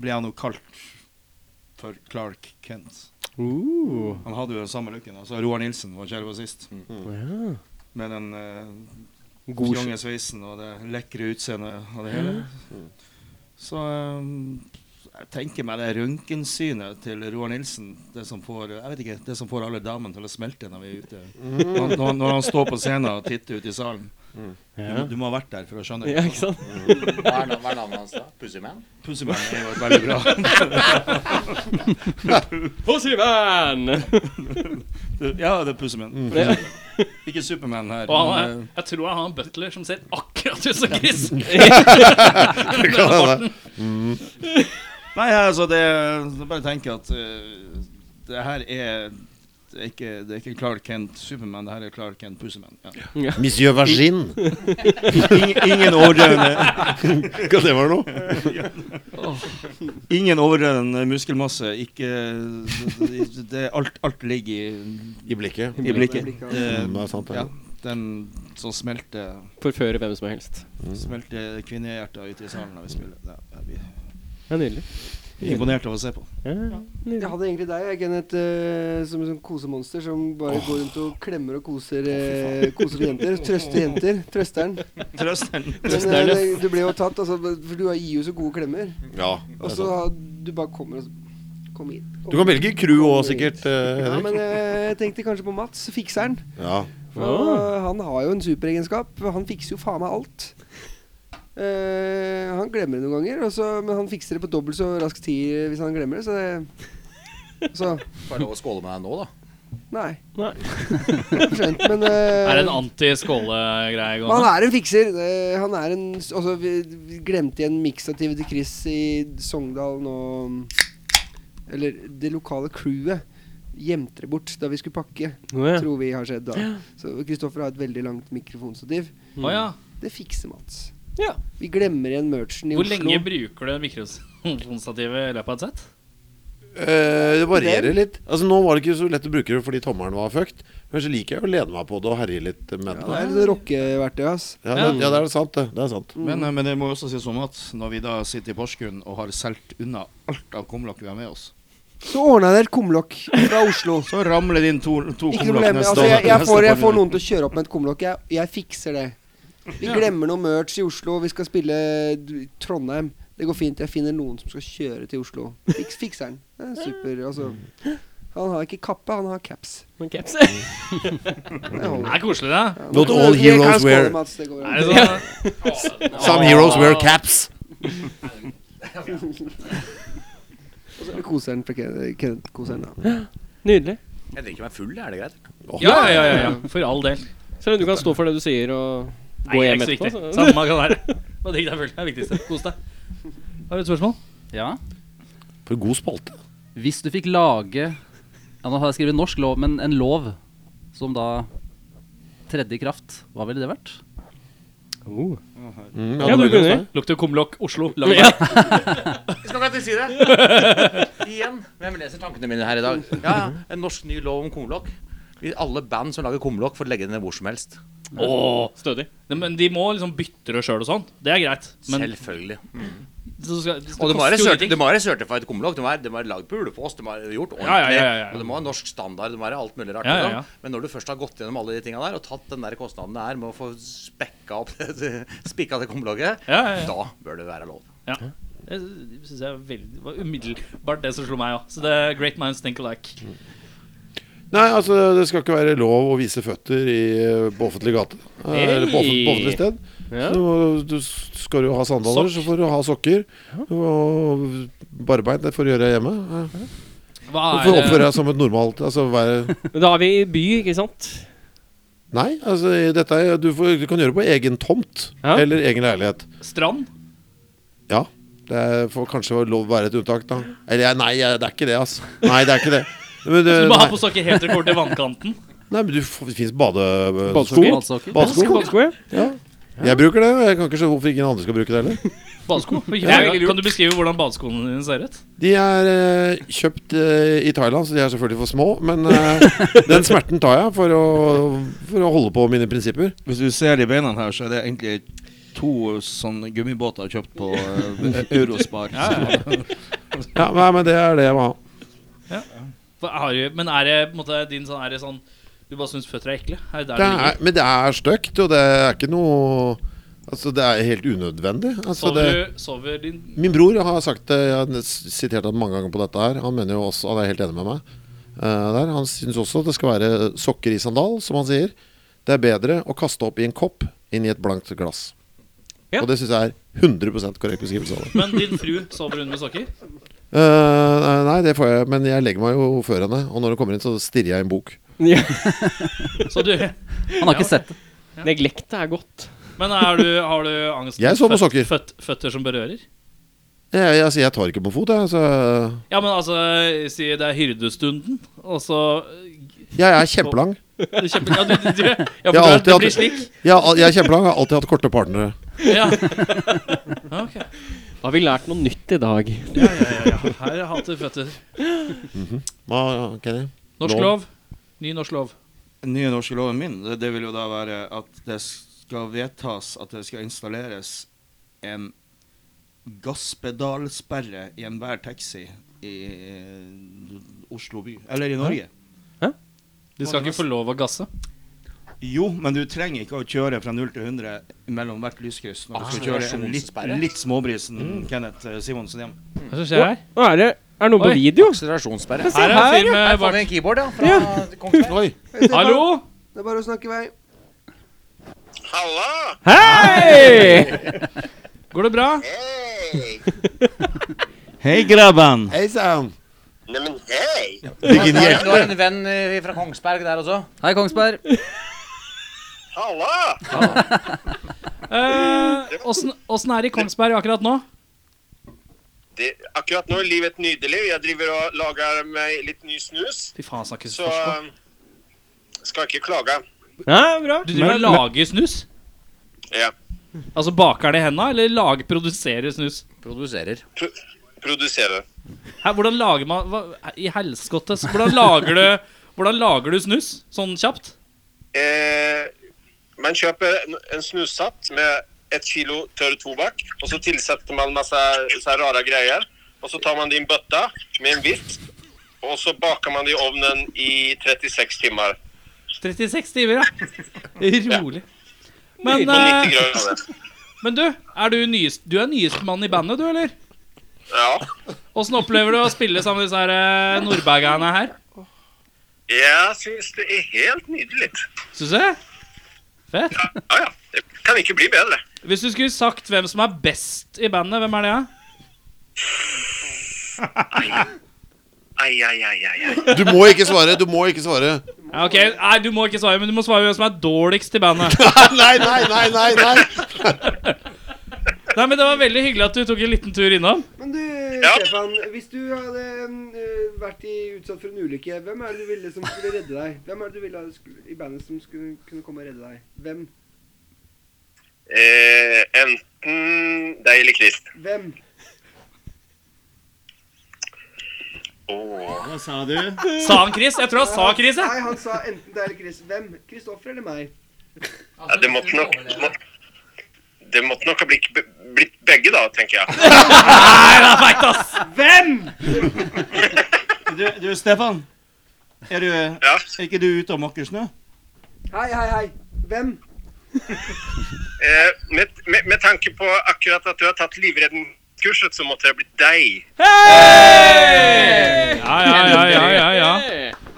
[SPEAKER 8] ble han jo kalt for Clark Kent.
[SPEAKER 1] Uh.
[SPEAKER 8] Han hadde jo samme looken. Altså Roar Nilsen var ikke her sist.
[SPEAKER 1] Mm.
[SPEAKER 8] Med den uh,
[SPEAKER 1] God
[SPEAKER 8] fjonge sveisen og det lekre utseendet og det hele. Så eh, jeg tenker meg det røntgensynet til Roar Nilsen. Det som får jeg vet ikke, det som får alle damene til å smelte når vi er ute. Når, når, når han står på scenen og titter ut i salen. Du, må- du må ha vært der for å skjønne
[SPEAKER 1] Ja,
[SPEAKER 8] det.
[SPEAKER 1] ikke sant?
[SPEAKER 9] Hva er na- hva er navnet hans da? Pussyman?
[SPEAKER 8] Pussyman er jo et veldig
[SPEAKER 9] [LAUGHS]
[SPEAKER 8] bra
[SPEAKER 1] Pussyman!
[SPEAKER 8] [LAUGHS] Ja, det er Pussyman. Ikke Superman her.
[SPEAKER 4] Og han er,
[SPEAKER 8] men,
[SPEAKER 7] eh,
[SPEAKER 4] jeg tror han har en butler som ser akkurat ut som
[SPEAKER 7] [LAUGHS]
[SPEAKER 4] Chris. [LAUGHS]
[SPEAKER 8] eh, Nei, altså, det Jeg bare tenker at eh, det her er det er, ikke, det er ikke Clark Kent Superman, det her er Clark Kent Pussyman. Ja.
[SPEAKER 6] Monsieur
[SPEAKER 8] [LAUGHS]
[SPEAKER 6] Vagin.
[SPEAKER 8] Ingen, ingen overdrevne
[SPEAKER 6] [LAUGHS] Hva det var noe?
[SPEAKER 8] [LAUGHS] Ingen overdreven muskelmasse. Ikke det, det, alt, alt ligger i,
[SPEAKER 6] I blikket.
[SPEAKER 8] i blikket.
[SPEAKER 7] blikket.
[SPEAKER 8] Det-
[SPEAKER 6] Mm, det er sant, det.
[SPEAKER 8] ja, den som smelter
[SPEAKER 1] Forføre hvem som helst.
[SPEAKER 8] Mm. Smelter kvinnehjerter ute i salen når vi spiller. Ja, jeg blir
[SPEAKER 1] Det er nydelig.
[SPEAKER 8] imponert av å se på.
[SPEAKER 1] Ja.
[SPEAKER 7] Jeg hadde egentlig deg, jeg, Kenneth, eh, som et sånt kosemonster som bare går rundt og klemmer og koser, eh, koser jenter. Trøster jenter. Trøsteren.
[SPEAKER 8] Trøsteren.
[SPEAKER 7] Men eh, det, du ble jo tatt, altså, for du gir jo så gode klemmer.
[SPEAKER 6] Ja,
[SPEAKER 7] Og så har- du bare kommer og s- Kom hit. Kom.
[SPEAKER 6] Du kan velge crew òg, sikkert. eh,
[SPEAKER 7] Ja,
[SPEAKER 6] Henrik.
[SPEAKER 7] men eh, jeg tenkte kanskje på Mats, fikseren.
[SPEAKER 6] Ja.
[SPEAKER 7] For han- Han har jo en superegenskap. Han fikser jo faen meg alt. Eh, han glemmer det noen ganger, og så, men han fikser det på dobbelt så rask tid hvis han glemmer det, så det
[SPEAKER 4] [LAUGHS]
[SPEAKER 7] Så
[SPEAKER 9] Får jeg lov å skåle med deg nå, da?
[SPEAKER 7] nei.
[SPEAKER 1] Nei.
[SPEAKER 7] [LAUGHS] Skjønt, men eh,
[SPEAKER 4] Er det en anti-skålegreie
[SPEAKER 7] men han
[SPEAKER 4] gående?
[SPEAKER 7] er en fikser. Eh, han er en Altså, vi, vi glemte igjen mikstativet til Chris i Sogndal nå mm, Eller det lokale crewet gjemte det bort da vi skulle pakke,
[SPEAKER 1] Nå, ja.
[SPEAKER 7] tror vi har skjedd da. Så Kristoffer har et veldig langt mikrofonstativ.
[SPEAKER 4] Å ja.
[SPEAKER 7] Det fikser Mats.
[SPEAKER 1] Ja.
[SPEAKER 7] Vi glemmer igjen merchen i
[SPEAKER 4] Hvor
[SPEAKER 7] Oslo.
[SPEAKER 4] lenge bruker du mikrofonstativet i løpet av et sett?
[SPEAKER 6] Eh, det varierer litt. Altså Nå var det ikke så lett å bruke det fordi tommelen var fucked. Men så liker jeg å lene meg på det og herje litt med
[SPEAKER 7] Ja,
[SPEAKER 6] det.
[SPEAKER 7] det er det rockeverktøyet hans.
[SPEAKER 6] Ja, det, ja, det er sant, det. Det er sant.
[SPEAKER 8] Men, eh, men det må også sies om at når vi da sitter i Porsgrunn og har solgt unna alt av kumlokk vi har med oss,
[SPEAKER 7] Så ordna jeg deg et kumlokk fra Oslo.
[SPEAKER 6] [LAUGHS]
[SPEAKER 8] så ramler det inn to, to
[SPEAKER 7] Ikke noe
[SPEAKER 8] kumlokk
[SPEAKER 7] problem.
[SPEAKER 8] neste
[SPEAKER 7] Altså,
[SPEAKER 8] år.
[SPEAKER 7] jeg, jeg,
[SPEAKER 8] Neste
[SPEAKER 7] får, jeg
[SPEAKER 8] par-
[SPEAKER 7] får noen til å kjøre opp med et kumlokk. Jeg, jeg fikser det. Vi glemmer noe merch i Oslo. Vi skal spille d- Trondheim. Det går fint. Jeg finner noen som skal kjøre til Oslo. Fiks, fikser den. Det er super. Altså. Han har ikke kappe, han har caps.
[SPEAKER 1] Men caps.
[SPEAKER 7] [LAUGHS] Det holder.
[SPEAKER 4] Det er koselig, det.
[SPEAKER 7] Ja,
[SPEAKER 6] Not
[SPEAKER 7] nå-
[SPEAKER 6] all
[SPEAKER 7] vi kan
[SPEAKER 6] heroes
[SPEAKER 7] skåle,
[SPEAKER 6] wear-
[SPEAKER 7] Mats, det går bra.
[SPEAKER 4] Er det sånn,
[SPEAKER 6] Some heroes wear
[SPEAKER 7] [LAUGHS]
[SPEAKER 6] caps.
[SPEAKER 7] Og så koser han for Ken- Kenneth. Koser han, da.
[SPEAKER 1] Nydelig.
[SPEAKER 9] Jeg drikker meg full, er det greit?
[SPEAKER 4] ja, ja, ja, ja. For all del.
[SPEAKER 1] Selv om du kan stå for det du sier, og
[SPEAKER 4] Nei,
[SPEAKER 1] gå
[SPEAKER 4] det er
[SPEAKER 1] hjem
[SPEAKER 4] ikke så viktig.
[SPEAKER 1] etterpå. Så.
[SPEAKER 4] Samme kan være. Bare drikk deg full. Det er det viktigste. Kos deg. Har du et spørsmål?
[SPEAKER 3] Ja.
[SPEAKER 6] For god spalte.
[SPEAKER 3] Hvis du fikk lage ja, Nå har jeg skrevet norsk lov, men en lov som da tredde i kraft, hva ville det vært?
[SPEAKER 1] Oh.
[SPEAKER 6] Mm,
[SPEAKER 1] Ja, du kunne.
[SPEAKER 4] Lukter kumlokk Oslo.
[SPEAKER 9] [LAUGHS]
[SPEAKER 1] Ja.
[SPEAKER 9] Jeg skal ikke [LAUGHS] si det! Igjen. Hvem leser tankene mine her i dag? Ja, ja. En norsk ny lov om kumlokk. Vi- Alle band som lager kumlokk, får legge det ned hvor som helst.
[SPEAKER 4] Åh.
[SPEAKER 1] Stødig.
[SPEAKER 4] Nei, Men de må liksom bytte det sjøl og sånn. Det er greit. Men
[SPEAKER 9] Selvfølgelig.
[SPEAKER 4] Mm. så skal, det
[SPEAKER 9] Og det må
[SPEAKER 4] koster
[SPEAKER 9] være
[SPEAKER 4] jo
[SPEAKER 9] certi-
[SPEAKER 4] ingenting.
[SPEAKER 9] det må være certified kumlokk. Det må være, det må være lagd på Ulefoss. Det må være gjort ordentlig.
[SPEAKER 4] Ja, ja, ja, ja, ja.
[SPEAKER 9] Og det må være norsk standard. Det må være alt mulig rart.
[SPEAKER 4] Ja, ja,
[SPEAKER 9] liksom.
[SPEAKER 4] ja.
[SPEAKER 9] Men når du først har gått gjennom alle de tinga der, og tatt den der kostnaden det er med å få spekka opp [LAUGHS] det- spikka det kumlokket,
[SPEAKER 4] Ja, ja, ja.
[SPEAKER 9] da bør det være lov.
[SPEAKER 4] Ja. Det syns jeg er veldig var umiddelbart det som slo meg òg. Så det er Great Minds Think Alike.
[SPEAKER 6] Nei, altså det skal ikke være lov å vise føtter i, eh, på offentlig gate. Eh, Eller på offentlig, på offentlig sted.
[SPEAKER 1] Ja.
[SPEAKER 6] Så må- du, s- skal du ha sandaler, så får du ha sokker. Og barbeint, det får du gjøre hjemme. Eh,
[SPEAKER 4] Hva
[SPEAKER 6] Du får
[SPEAKER 4] er
[SPEAKER 6] oppføre deg som et normalt altså, være,
[SPEAKER 1] [LAUGHS] Men da er vi i by, ikke sant?
[SPEAKER 6] Nei, altså i dette er, du, får, du kan gjøre det på egen tomt
[SPEAKER 1] Ja.
[SPEAKER 6] eller egen leilighet.
[SPEAKER 4] eh, strand?
[SPEAKER 6] Ja. Det er, får kanskje lov å være et unntak, da. Eller jeg- nei, jeg- det er ikke det, altså. Nei, det er ikke det. Men,
[SPEAKER 4] Du
[SPEAKER 6] eh,
[SPEAKER 4] må ha
[SPEAKER 6] nei,
[SPEAKER 4] på sokker helt til du kommer til vannkanten.
[SPEAKER 6] nei, men du, får- det fins bade, badesko.
[SPEAKER 3] Badsokker?
[SPEAKER 6] Badesko.
[SPEAKER 1] Skoleskoe?
[SPEAKER 6] Ja. Jeg bruker det, og jeg kan ikke se hvorfor ingen andre skal bruke det heller.
[SPEAKER 4] [LAUGHS]
[SPEAKER 6] [LAUGHS]
[SPEAKER 4] Badesko. Kan du beskrive hvordan badeskoene dine ser ut?
[SPEAKER 6] De er eh, kjøpt eh, i Thailand, så de er selvfølgelig for små. Men eh, [LAUGHS] den smerten tar jeg for å, for å holde på mine prinsipper.
[SPEAKER 8] Hvis du ser i beina her, så er det egentlig to sånne gummibåter kjøpt på eh, Eurospar. [LAUGHS]
[SPEAKER 6] Ja, nei, men det er det jeg må ha.
[SPEAKER 4] Hva Har du, men er det på en måte din sånn Er det sånn du bare syns føtter er ekle? Er det der
[SPEAKER 6] Det
[SPEAKER 4] det ligger?
[SPEAKER 6] er, men det er stygt, og det er ikke noe Altså, det er helt unødvendig. Altså, det,
[SPEAKER 4] Sover, du, sover din
[SPEAKER 6] min bror har sagt det, jeg har nes- sitert ham mange ganger på dette her. Han mener jo også, han er helt enig med meg eh, der. Han syns også at det skal være sokker i sandal, som han sier. Det er bedre å kaste opp i en kopp inn i et blankt glass.
[SPEAKER 1] Ja.
[SPEAKER 6] Og det syns jeg er 100 korrekt beskrivelse av det.
[SPEAKER 4] Men din fru sover hun med sokker?
[SPEAKER 6] Eh, nei, det får jeg, men jeg legger meg jo før henne. Og når hun kommer inn, så stirrer jeg i en bok.
[SPEAKER 1] Ja.
[SPEAKER 4] Så du,
[SPEAKER 3] Han har ikke sett det.
[SPEAKER 1] Neglektet er godt.
[SPEAKER 4] men er du, har du angst
[SPEAKER 6] Jeg sover med
[SPEAKER 4] føt-
[SPEAKER 6] sokker.
[SPEAKER 4] føt- føtter som berører?
[SPEAKER 6] Jeg, jeg, altså, jeg tar ikke på fot, jeg. Så
[SPEAKER 4] Ja, men altså, si det er hyrdestunden, og så
[SPEAKER 6] jeg er kjempelang.
[SPEAKER 4] Det er kjempe... Ja, [LAUGHS] du, du, du, ja,
[SPEAKER 6] Jeg har
[SPEAKER 4] for det,
[SPEAKER 6] alltid
[SPEAKER 4] det
[SPEAKER 6] hatt-
[SPEAKER 4] blir slik.
[SPEAKER 6] Jeg, er al- jeg er kjempelang, jeg har alltid hatt korte partnere.
[SPEAKER 4] Ja. [LAUGHS] Ok.
[SPEAKER 1] Da har vi lært noe nytt i dag.
[SPEAKER 4] Ja, [LAUGHS] ja, ja, ja. Her hater føtter.
[SPEAKER 6] Hva, Kenny?
[SPEAKER 4] Norsk
[SPEAKER 6] Lov.
[SPEAKER 4] lov. Ny norsk lov.
[SPEAKER 8] Den nye norske loven min, det, det vil jo da være at det skal vedtas at det skal installeres en gasspedalsperre i enhver taxi i eh, Oslo by. Eller i Norge.
[SPEAKER 4] De skal ikke få lov å gasse.
[SPEAKER 8] Jo, men du trenger ikke å kjøre fra 0 til 100 mellom hvert lyskryss når
[SPEAKER 9] Ah,
[SPEAKER 8] du skal kjøre en litt,
[SPEAKER 9] akselerasjonssperre.
[SPEAKER 8] litt småbrisen Kenneth eh, Simonsen hjem.
[SPEAKER 4] Hva er det som skjer her?
[SPEAKER 1] Nå er det er det noe på
[SPEAKER 4] Oi.
[SPEAKER 1] video.
[SPEAKER 9] Akselerasjonssperre.
[SPEAKER 1] Se
[SPEAKER 4] Her er en
[SPEAKER 1] her,
[SPEAKER 4] fyr
[SPEAKER 9] Her
[SPEAKER 4] med
[SPEAKER 9] får
[SPEAKER 4] bart.
[SPEAKER 9] vi en keyboard, ja. Fra Kongsberg.
[SPEAKER 6] Oi.
[SPEAKER 4] Eh, Hallo?
[SPEAKER 7] Det er bare å snakke i vei.
[SPEAKER 1] Hei!
[SPEAKER 4] Går det bra?
[SPEAKER 8] Hei, grabben!
[SPEAKER 6] Hei sann.
[SPEAKER 10] Neimen, hei!
[SPEAKER 9] Nå er det en venn eh, fra Kongsberg der også.
[SPEAKER 3] Hei, Kongsberg.
[SPEAKER 10] Halla!
[SPEAKER 6] [LAUGHS]
[SPEAKER 4] Eh, Åssen åssen er det i Kongsberg akkurat nå?
[SPEAKER 10] Det, akkurat nå er livet nydelig. Jeg driver og lager meg litt ny snus,
[SPEAKER 4] Fy faen, han snakker
[SPEAKER 10] så
[SPEAKER 4] forsk.
[SPEAKER 10] um, skal ikke klage.
[SPEAKER 1] Ja, bra.
[SPEAKER 4] Du driver og lager snus?
[SPEAKER 10] Ja.
[SPEAKER 4] Altså baker det i henda, eller lager, produserer snus?
[SPEAKER 9] Produserer.
[SPEAKER 10] Pro produserer.
[SPEAKER 4] Hæ, hvordan lager man hva, I helskottes hvordan, lager du- hvordan lager du snus sånn kjapt?
[SPEAKER 10] Eh, man kjøper en, en snussatt med ett kilo tørr tobakk, og så tilsetter man masse så här rare greier. Og så tar man det i en bøtte med en vift, og så baker man det i ovnen i 36 timer.
[SPEAKER 4] 36 timer, ja. Rolig. Men,
[SPEAKER 10] På 90
[SPEAKER 4] eh,
[SPEAKER 10] grader.
[SPEAKER 4] men du, er du, nyest, du er nyeste mann i bandet, du, eller?
[SPEAKER 10] Ja.
[SPEAKER 4] Åssen opplever du å spille sammen med disse her, eh, nordbergerne her?
[SPEAKER 10] Jeg syns det er helt nydelig.
[SPEAKER 4] Syns du? Fett.
[SPEAKER 10] Ja, ja. Det kan ikke bli bedre.
[SPEAKER 4] Hvis du skulle sagt hvem som er best i bandet, hvem er det? da?
[SPEAKER 10] Ai, ai, ai, ai, ai.
[SPEAKER 6] Du må ikke svare. Du må ikke svare.
[SPEAKER 4] Ja, ok, Nei, du må ikke svare, men du må svare hvem som er dårligst i bandet.
[SPEAKER 6] [LAUGHS] nei, nei, nei, nei, nei.
[SPEAKER 4] [LAUGHS] Nei, men Det var veldig hyggelig at du tok en liten tur innom.
[SPEAKER 7] Men du,
[SPEAKER 10] Ja.
[SPEAKER 7] Stefan. Hvis du hadde eh, vært i, utsatt for en ulykke, hvem er det du ville som skulle redde deg? Hvem er det du ville skulle, i bandet som skulle kunne komme og redde deg? Hvem?
[SPEAKER 10] Eh, enten deg eller Chris.
[SPEAKER 7] Hvem?
[SPEAKER 10] Åh.
[SPEAKER 8] Hva sa du?
[SPEAKER 4] Sa han Chris? Jeg tror han sa Chris. jeg.
[SPEAKER 7] Nei, han sa enten deg eller Chris. Hvem? Kristoffer eller meg?
[SPEAKER 10] Ja, det måtte nok må, Det måtte nok ha blitt, blitt begge, da, tenker
[SPEAKER 4] [LAUGHS]
[SPEAKER 10] jeg.
[SPEAKER 4] Nei, det er feit, ass!
[SPEAKER 7] Hvem?!
[SPEAKER 8] Du, du Stefan. Er, du, er
[SPEAKER 10] Ja.
[SPEAKER 8] ikke du ute og måker snø?
[SPEAKER 7] Hei, hei, hei. Hvem?
[SPEAKER 10] Eh, med, med, med tanke på akkurat at du har tatt livredningskurset, så måtte det ha blitt deg.
[SPEAKER 4] Ja, ja, ja, ja, ja, ja.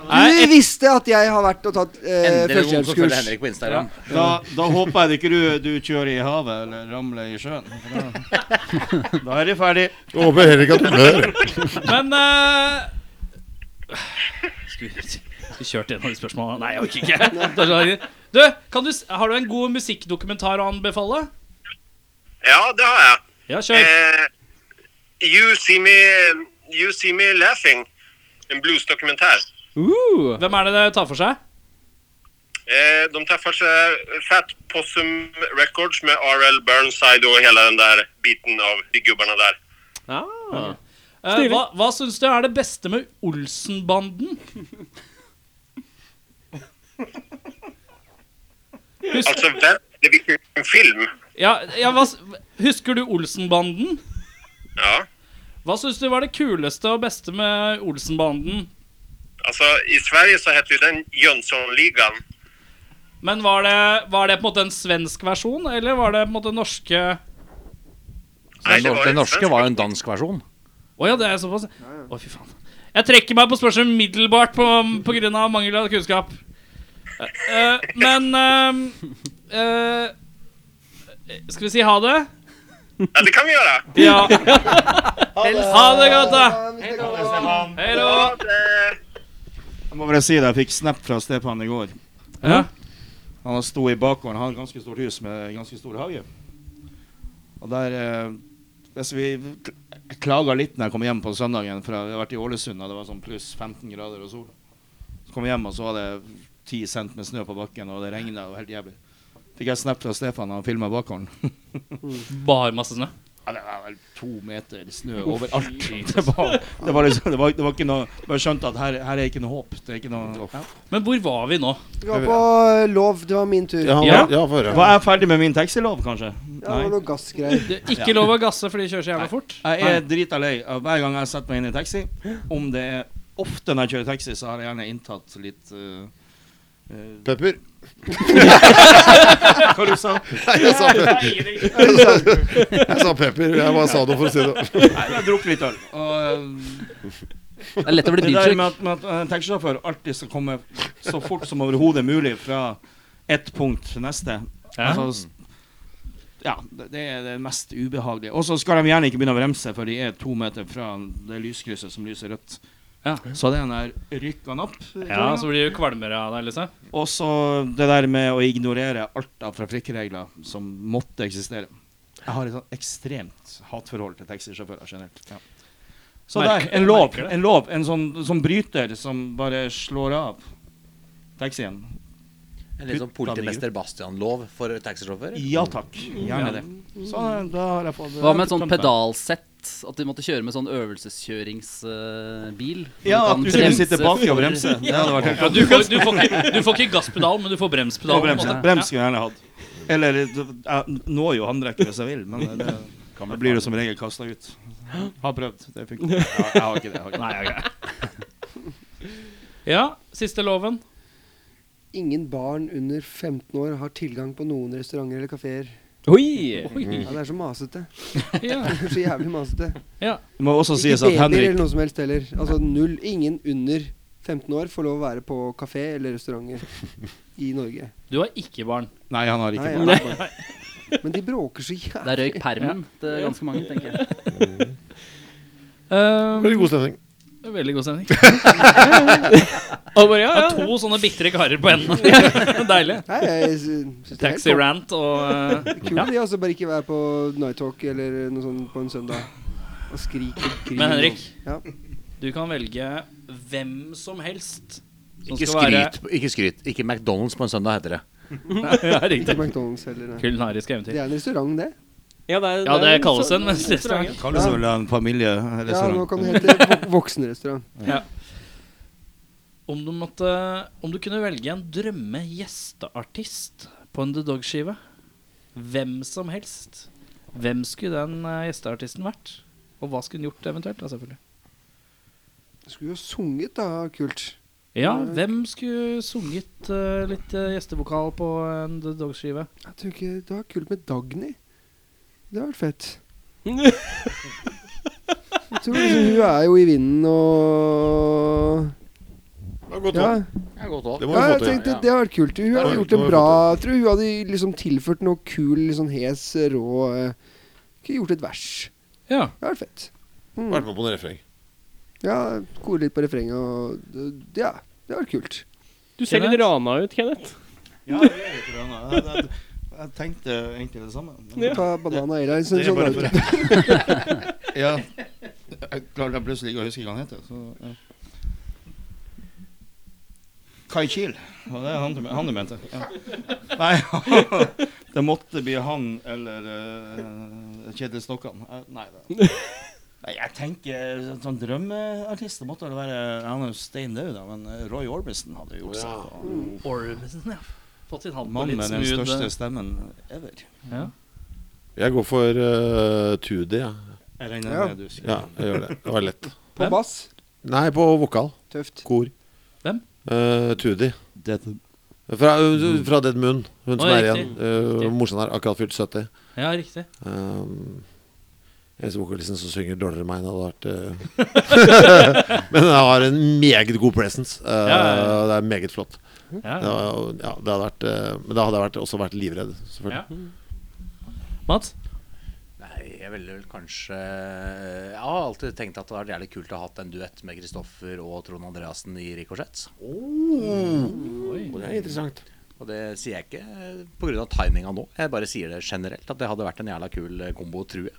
[SPEAKER 7] Du visste at jeg har vært og tatt eh,
[SPEAKER 9] Endelig noen som følger
[SPEAKER 7] førstehjelpskurs.
[SPEAKER 9] Henrik på Instagram.
[SPEAKER 8] Da, da håper jeg ikke du, du kjører i havet eller ramler i
[SPEAKER 9] [LAUGHS]
[SPEAKER 8] sjøen. for Da, da er de ferdig.
[SPEAKER 6] Jeg håper heller ikke at du blør.
[SPEAKER 9] [LAUGHS]
[SPEAKER 4] Men eh, Skulle skulle kjørt gjennom de spørsmålene. Nei, jeg
[SPEAKER 6] [LAUGHS]
[SPEAKER 4] orker ikke. [LAUGHS] Det er så langt. Du, kan du, s- har du en god musikkdokumentar å anbefale?
[SPEAKER 10] Ja, det har jeg.
[SPEAKER 4] Ja, kjør.
[SPEAKER 10] Eh, you, see me, you see me laughing. En bluesdokumentær.
[SPEAKER 1] Uh.
[SPEAKER 4] Hvem er det det tar for seg?
[SPEAKER 10] Eh, de tar for seg Fat Possum Records med RL Burnside og hele den der biten av de gubbene der.
[SPEAKER 1] Ah.
[SPEAKER 4] Eh, hva hva syns du er det beste med Olsenbanden?
[SPEAKER 10] Altså, vent, det blir ikke en film.
[SPEAKER 4] Ja, ja, hva, s- husker du Olsenbanden?
[SPEAKER 10] Ja.
[SPEAKER 4] Hva syns du var det kuleste og beste med Olsenbanden?
[SPEAKER 10] Altså, i Sverige så heter jo den Jönssonligan.
[SPEAKER 4] Men var det, var det på en måte en svensk versjon, eller var det på en måte norske Å
[SPEAKER 10] Nei,
[SPEAKER 9] Den,
[SPEAKER 10] det var
[SPEAKER 9] den
[SPEAKER 10] jo
[SPEAKER 9] norske
[SPEAKER 10] svensk.
[SPEAKER 9] var jo en dansk versjon.
[SPEAKER 4] ja, det er såpass? Å, fy faen. Jeg trekker meg på spørsmålet umiddelbart på, på grunn av mangel av kunnskap. Eh, eh, men eh, eh, Skal vi si ha det?
[SPEAKER 10] Ja, det kan vi gjøre.
[SPEAKER 4] Ja. Ha det godt, da. Hei da.
[SPEAKER 8] Jeg må bare si det, jeg fikk snap fra Stepan i går.
[SPEAKER 4] Ja.
[SPEAKER 8] Han sto i bakgården, han har et ganske stort hus med en ganske stor hage. Og der eh, hvis vi Jeg klaga litt når jeg kom hjem på søndagen, for jeg har vært i Ålesund, og det var sånn pluss 15 grader og sol. Så kom jeg hjem, og så var det 10 cent med snø på bakken, og det regna og helt jævlig. Fikk jeg snap fra Stefan, han filma bakgården.
[SPEAKER 4] Mm. Bare masse snø.
[SPEAKER 8] Ja, det var vel to meter snø overalt. [LAUGHS] Det var, det var, liksom, det var, det var ikke noe Bare skjønte at her, her er ikke noe håp. Det er ikke noe ja.
[SPEAKER 4] Men hvor var vi nå?
[SPEAKER 7] Vi var på eh, lov. Det var min tur.
[SPEAKER 6] Ja,
[SPEAKER 4] Ja.
[SPEAKER 6] ja få høre.
[SPEAKER 8] Var jeg ferdig med min taxilov, kanskje?
[SPEAKER 7] Ja, det var noe gassgreier.
[SPEAKER 4] Det er ikke lov å gasse, for de kjører så jævla fort.
[SPEAKER 8] Jeg er drita lei av hver gang jeg setter meg inn i taxi. Om det er ofte når jeg kjører taxi, så har jeg gjerne inntatt litt eh, eh,
[SPEAKER 6] Pepper.
[SPEAKER 8] Hva du sa
[SPEAKER 6] Nei, jeg sa,
[SPEAKER 2] Det er ingenting.
[SPEAKER 6] jeg sa pepper. Jeg bare sa noe for å si det.
[SPEAKER 8] Nei, jeg har drukket litt øl. Og eh,
[SPEAKER 3] Det er lett å bli
[SPEAKER 8] Det der
[SPEAKER 3] bilsjuk.
[SPEAKER 8] med at, med at en taxisjåfør alltid skal komme så fort som overhodet mulig fra ett punkt til neste
[SPEAKER 4] Ja.
[SPEAKER 8] altså, s- ja, det det er det mest ubehagelige. Og så skal de gjerne ikke begynne å bremse, for de er to meter fra det lyskrysset som lyser rødt.
[SPEAKER 4] Ja.
[SPEAKER 8] Så den der rykker han opp.
[SPEAKER 4] Ja, Så blir du kvalmere av deg, liksom.
[SPEAKER 8] Og så det der med å ignorere alt av trafikkregler som måtte eksistere. Jeg har et sånn ekstremt hatforhold til taxisjåfører generelt. Ja. Så
[SPEAKER 4] Merker-
[SPEAKER 8] der, en lov.
[SPEAKER 4] merker det.
[SPEAKER 8] En lov, en sånn, sånn bryter som bare slår av taxien.
[SPEAKER 9] En litt sånn politimester Bastian-lov for taxisjåfører?
[SPEAKER 8] Ja takk. Sånn Gjerne det.
[SPEAKER 4] Sånn
[SPEAKER 8] Så
[SPEAKER 7] Sånn,
[SPEAKER 8] da har jeg fått
[SPEAKER 3] Hva med et sånt
[SPEAKER 8] tømt meg.
[SPEAKER 3] pedalsett? At de måtte kjøre med sånn øvelseskjøringsbil? Sånn
[SPEAKER 8] Ja, at du skulle sitte baki og
[SPEAKER 3] [LAUGHS]
[SPEAKER 8] bremse. Det hadde vært helt
[SPEAKER 4] Ja, du, får, du, får ikke, du får ikke gasspedal, men du får bremspedal.
[SPEAKER 8] Og
[SPEAKER 4] på en
[SPEAKER 8] brems.
[SPEAKER 4] måte.
[SPEAKER 8] Brems skulle jeg gjerne hatt. Eller jeg når jo håndrekket hvis jeg vil, men eh, det, da blir du som regel kasta ut. Har prøvd. Det funker. Ja, jeg har ikke det. Jeg har ikke det.
[SPEAKER 4] Nei, jeg er grei.
[SPEAKER 8] [LAUGHS]
[SPEAKER 4] Ja, siste loven.
[SPEAKER 7] Ingen barn under 15 år har tilgang på noen restauranter eller kafeer.
[SPEAKER 1] Oi!
[SPEAKER 7] Ja, det er så masete.
[SPEAKER 4] [LAUGHS] Ja.
[SPEAKER 7] Det er [LAUGHS] så jævlig masete.
[SPEAKER 8] Det må også sies
[SPEAKER 7] Ikke
[SPEAKER 8] at
[SPEAKER 7] babyer
[SPEAKER 8] Henrik
[SPEAKER 7] eller noe som helst heller. Altså null. Ingen under 15 år får lov å være på kafé eller restauranter i Norge.
[SPEAKER 4] Du har ikke barn.
[SPEAKER 8] Nei, han har ikke
[SPEAKER 7] Nei,
[SPEAKER 8] barn.
[SPEAKER 7] jeg har
[SPEAKER 4] [LAUGHS]
[SPEAKER 7] barn. Men de bråker så jævlig.
[SPEAKER 3] Der røyk permen til ganske mange, tenker jeg.
[SPEAKER 4] Mm. [LAUGHS]
[SPEAKER 6] Veldig god stemning.
[SPEAKER 4] Eh, Veldig god stemning. Og bare, ja, ja. To sånne bitre karer på [LAUGHS] enden. Deilig.
[SPEAKER 7] Nei, jeg syns det er helt
[SPEAKER 4] Taxi rant og eh,
[SPEAKER 7] topp. [LAUGHS] Kul, de, altså. Bare ikke være på Night Talk eller noe sånt på en søndag og skrike krig.
[SPEAKER 4] Men Henrik,
[SPEAKER 7] Ja.
[SPEAKER 4] du kan velge hvem som helst. som
[SPEAKER 9] Ikke
[SPEAKER 4] skal være-
[SPEAKER 9] skryt, ikke skryt. Ikke McDonald's på en søndag, heter det.
[SPEAKER 4] [LAUGHS] Ja,
[SPEAKER 7] Ikke
[SPEAKER 4] riktig.
[SPEAKER 7] McDonald's heller, nei.
[SPEAKER 4] Kulinariske eventyr.
[SPEAKER 7] Det er en restaurant, det.
[SPEAKER 1] Ja, det, er,
[SPEAKER 4] Ja, det
[SPEAKER 1] er en
[SPEAKER 4] kalles
[SPEAKER 1] sånn-
[SPEAKER 4] en restaurant.
[SPEAKER 8] Kaller seg vel en
[SPEAKER 7] Ja, nå
[SPEAKER 8] familierestaurant.
[SPEAKER 7] kan det hete vok-
[SPEAKER 8] [LAUGHS]
[SPEAKER 7] voksenrestaurant.
[SPEAKER 4] Om du, måtte, om du kunne velge en drømme-gjesteartist på en The Dog-skive, hvem som helst, hvem skulle den eh, gjesteartisten vært? Og hva skulle den gjort eventuelt? Da, selvfølgelig.
[SPEAKER 7] Skulle jo sunget, da. Kult.
[SPEAKER 4] Ja, hvem skulle sunget eh, litt eh, gjestevokal på en The Dog-skive?
[SPEAKER 7] Jeg tror ikke Det var kult med Dagny. Det hadde vært fett.
[SPEAKER 1] [LAUGHS]
[SPEAKER 7] Jeg tror liksom, Hun er jo i vinden og
[SPEAKER 6] Det var godt
[SPEAKER 7] Ja,
[SPEAKER 6] valg.
[SPEAKER 9] Ja, godt valg.
[SPEAKER 6] Det må vi
[SPEAKER 7] ja
[SPEAKER 6] få
[SPEAKER 7] jeg
[SPEAKER 6] til.
[SPEAKER 7] tenkte det hadde vært kult. Hun hadde
[SPEAKER 6] Ja,
[SPEAKER 7] gjort
[SPEAKER 6] det
[SPEAKER 7] det
[SPEAKER 6] må vi
[SPEAKER 7] bra.
[SPEAKER 6] få
[SPEAKER 7] Jeg tror hun hadde liksom tilført noe kul, litt sånn hes, rå eh, Ikke gjort et vers. Det
[SPEAKER 4] Ja.
[SPEAKER 7] hadde vært fett. Mm.
[SPEAKER 6] Vært med på noen refreng.
[SPEAKER 7] Ja, Kore litt på refrenget og det- Ja, det hadde vært kult.
[SPEAKER 1] Du ser litt rana ut, Kenneth.
[SPEAKER 8] Ja, jeg er litt rød nå. Jeg- jeg- Jeg tenkte egentlig det samme.
[SPEAKER 7] Ta Banana Airlines.
[SPEAKER 8] Det
[SPEAKER 7] Sånn,
[SPEAKER 8] er bare
[SPEAKER 7] sånn,
[SPEAKER 8] for [LAUGHS] Ja. Jeg klarte plutselig ikke å huske hva han heter. Så, ja. Kai Kiel. Og det er han, du- han du mente. Ja. Nei, [LAUGHS] det måtte bli han eller eh, Kjetil Stokkan. Eh, Nei, det Nei, jeg tenker sånn drømmeartist det måtte vel være Han er jo stein død, da, men eh, Roy Orbison hadde jo juksa.
[SPEAKER 4] Ormesen, ja. Fått sin hand på
[SPEAKER 8] Mannen
[SPEAKER 4] litt
[SPEAKER 8] med den
[SPEAKER 4] smooth
[SPEAKER 8] største
[SPEAKER 4] eh,
[SPEAKER 8] stemmen ever.
[SPEAKER 6] Jeg går for uh, Tudy, jeg.
[SPEAKER 8] Jeg regner
[SPEAKER 7] Ja.
[SPEAKER 8] med du skal
[SPEAKER 6] Ja, jeg gjør det. Det var lett.
[SPEAKER 7] [LAUGHS] på bass.
[SPEAKER 6] Nei, på vokal.
[SPEAKER 7] Tøft.
[SPEAKER 6] Kor.
[SPEAKER 4] Hvem?
[SPEAKER 6] Eh, Tudy.
[SPEAKER 8] Det-
[SPEAKER 6] Fra, eh, fra Dead Moon. Hun som
[SPEAKER 4] Å,
[SPEAKER 6] er igjen.
[SPEAKER 4] riktig.
[SPEAKER 6] Uh, Morsan her, akkurat fylt 70.
[SPEAKER 4] Ja, riktig.
[SPEAKER 6] Um, Eneste vokalisten som synger dårligere enn meg, det hadde vært eh, [LAUGHS] Men hun har en meget god presence. eh,
[SPEAKER 4] ja, ja.
[SPEAKER 6] og Det er meget flott.
[SPEAKER 4] Ja.
[SPEAKER 6] Ja, og- ja, det hadde vært, eh, men da hadde jeg vært, også vært livredd, selvfølgelig.
[SPEAKER 4] Mats?
[SPEAKER 9] Nei, jeg ville vel kanskje eh, Jeg har alltid tenkt at det hadde vært jævlig kult å ha hatt en duett med Kristoffer og Trond Andreassen i Ricochet.
[SPEAKER 6] Oh! Det er interessant.
[SPEAKER 9] Og det sier jeg ikke pga. timinga nå, jeg bare sier det generelt. At det hadde vært en jævla kul eh, kombo, tror jeg.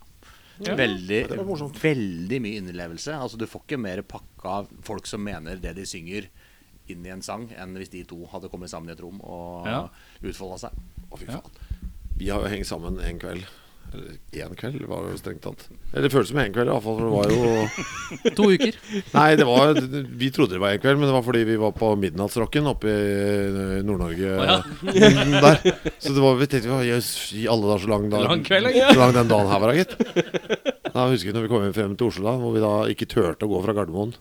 [SPEAKER 9] Veldig,
[SPEAKER 6] det var morsomt.
[SPEAKER 9] veldig mye innlevelse. Altså Du får ikke mer pakka av folk som mener det de synger, inn i en sang, enn hvis de to hadde kommet sammen i et rom og
[SPEAKER 4] Ja.
[SPEAKER 9] utfolda seg.
[SPEAKER 6] Å, fy faen. Vi har jo hengt sammen en kveld. Eller én kveld, var det jo strengt tatt. Eller det føles som en kveld, iallfall. For det var jo
[SPEAKER 3] To uker.
[SPEAKER 6] Nei, det var Vi trodde det var en kveld, men det var fordi vi var på midnattsrocken oppe i eh, Nord-Norge. [LAUGHS] Der. Så det var, vi tenkte ja, jøss, i alle dager så lang dag,
[SPEAKER 4] Lang kveld,
[SPEAKER 6] Så lang den dagen her var, da, gitt. Da husker jeg når vi kom hjem frem til Oslo, da hvor vi da ikke turte å gå fra Gardermoen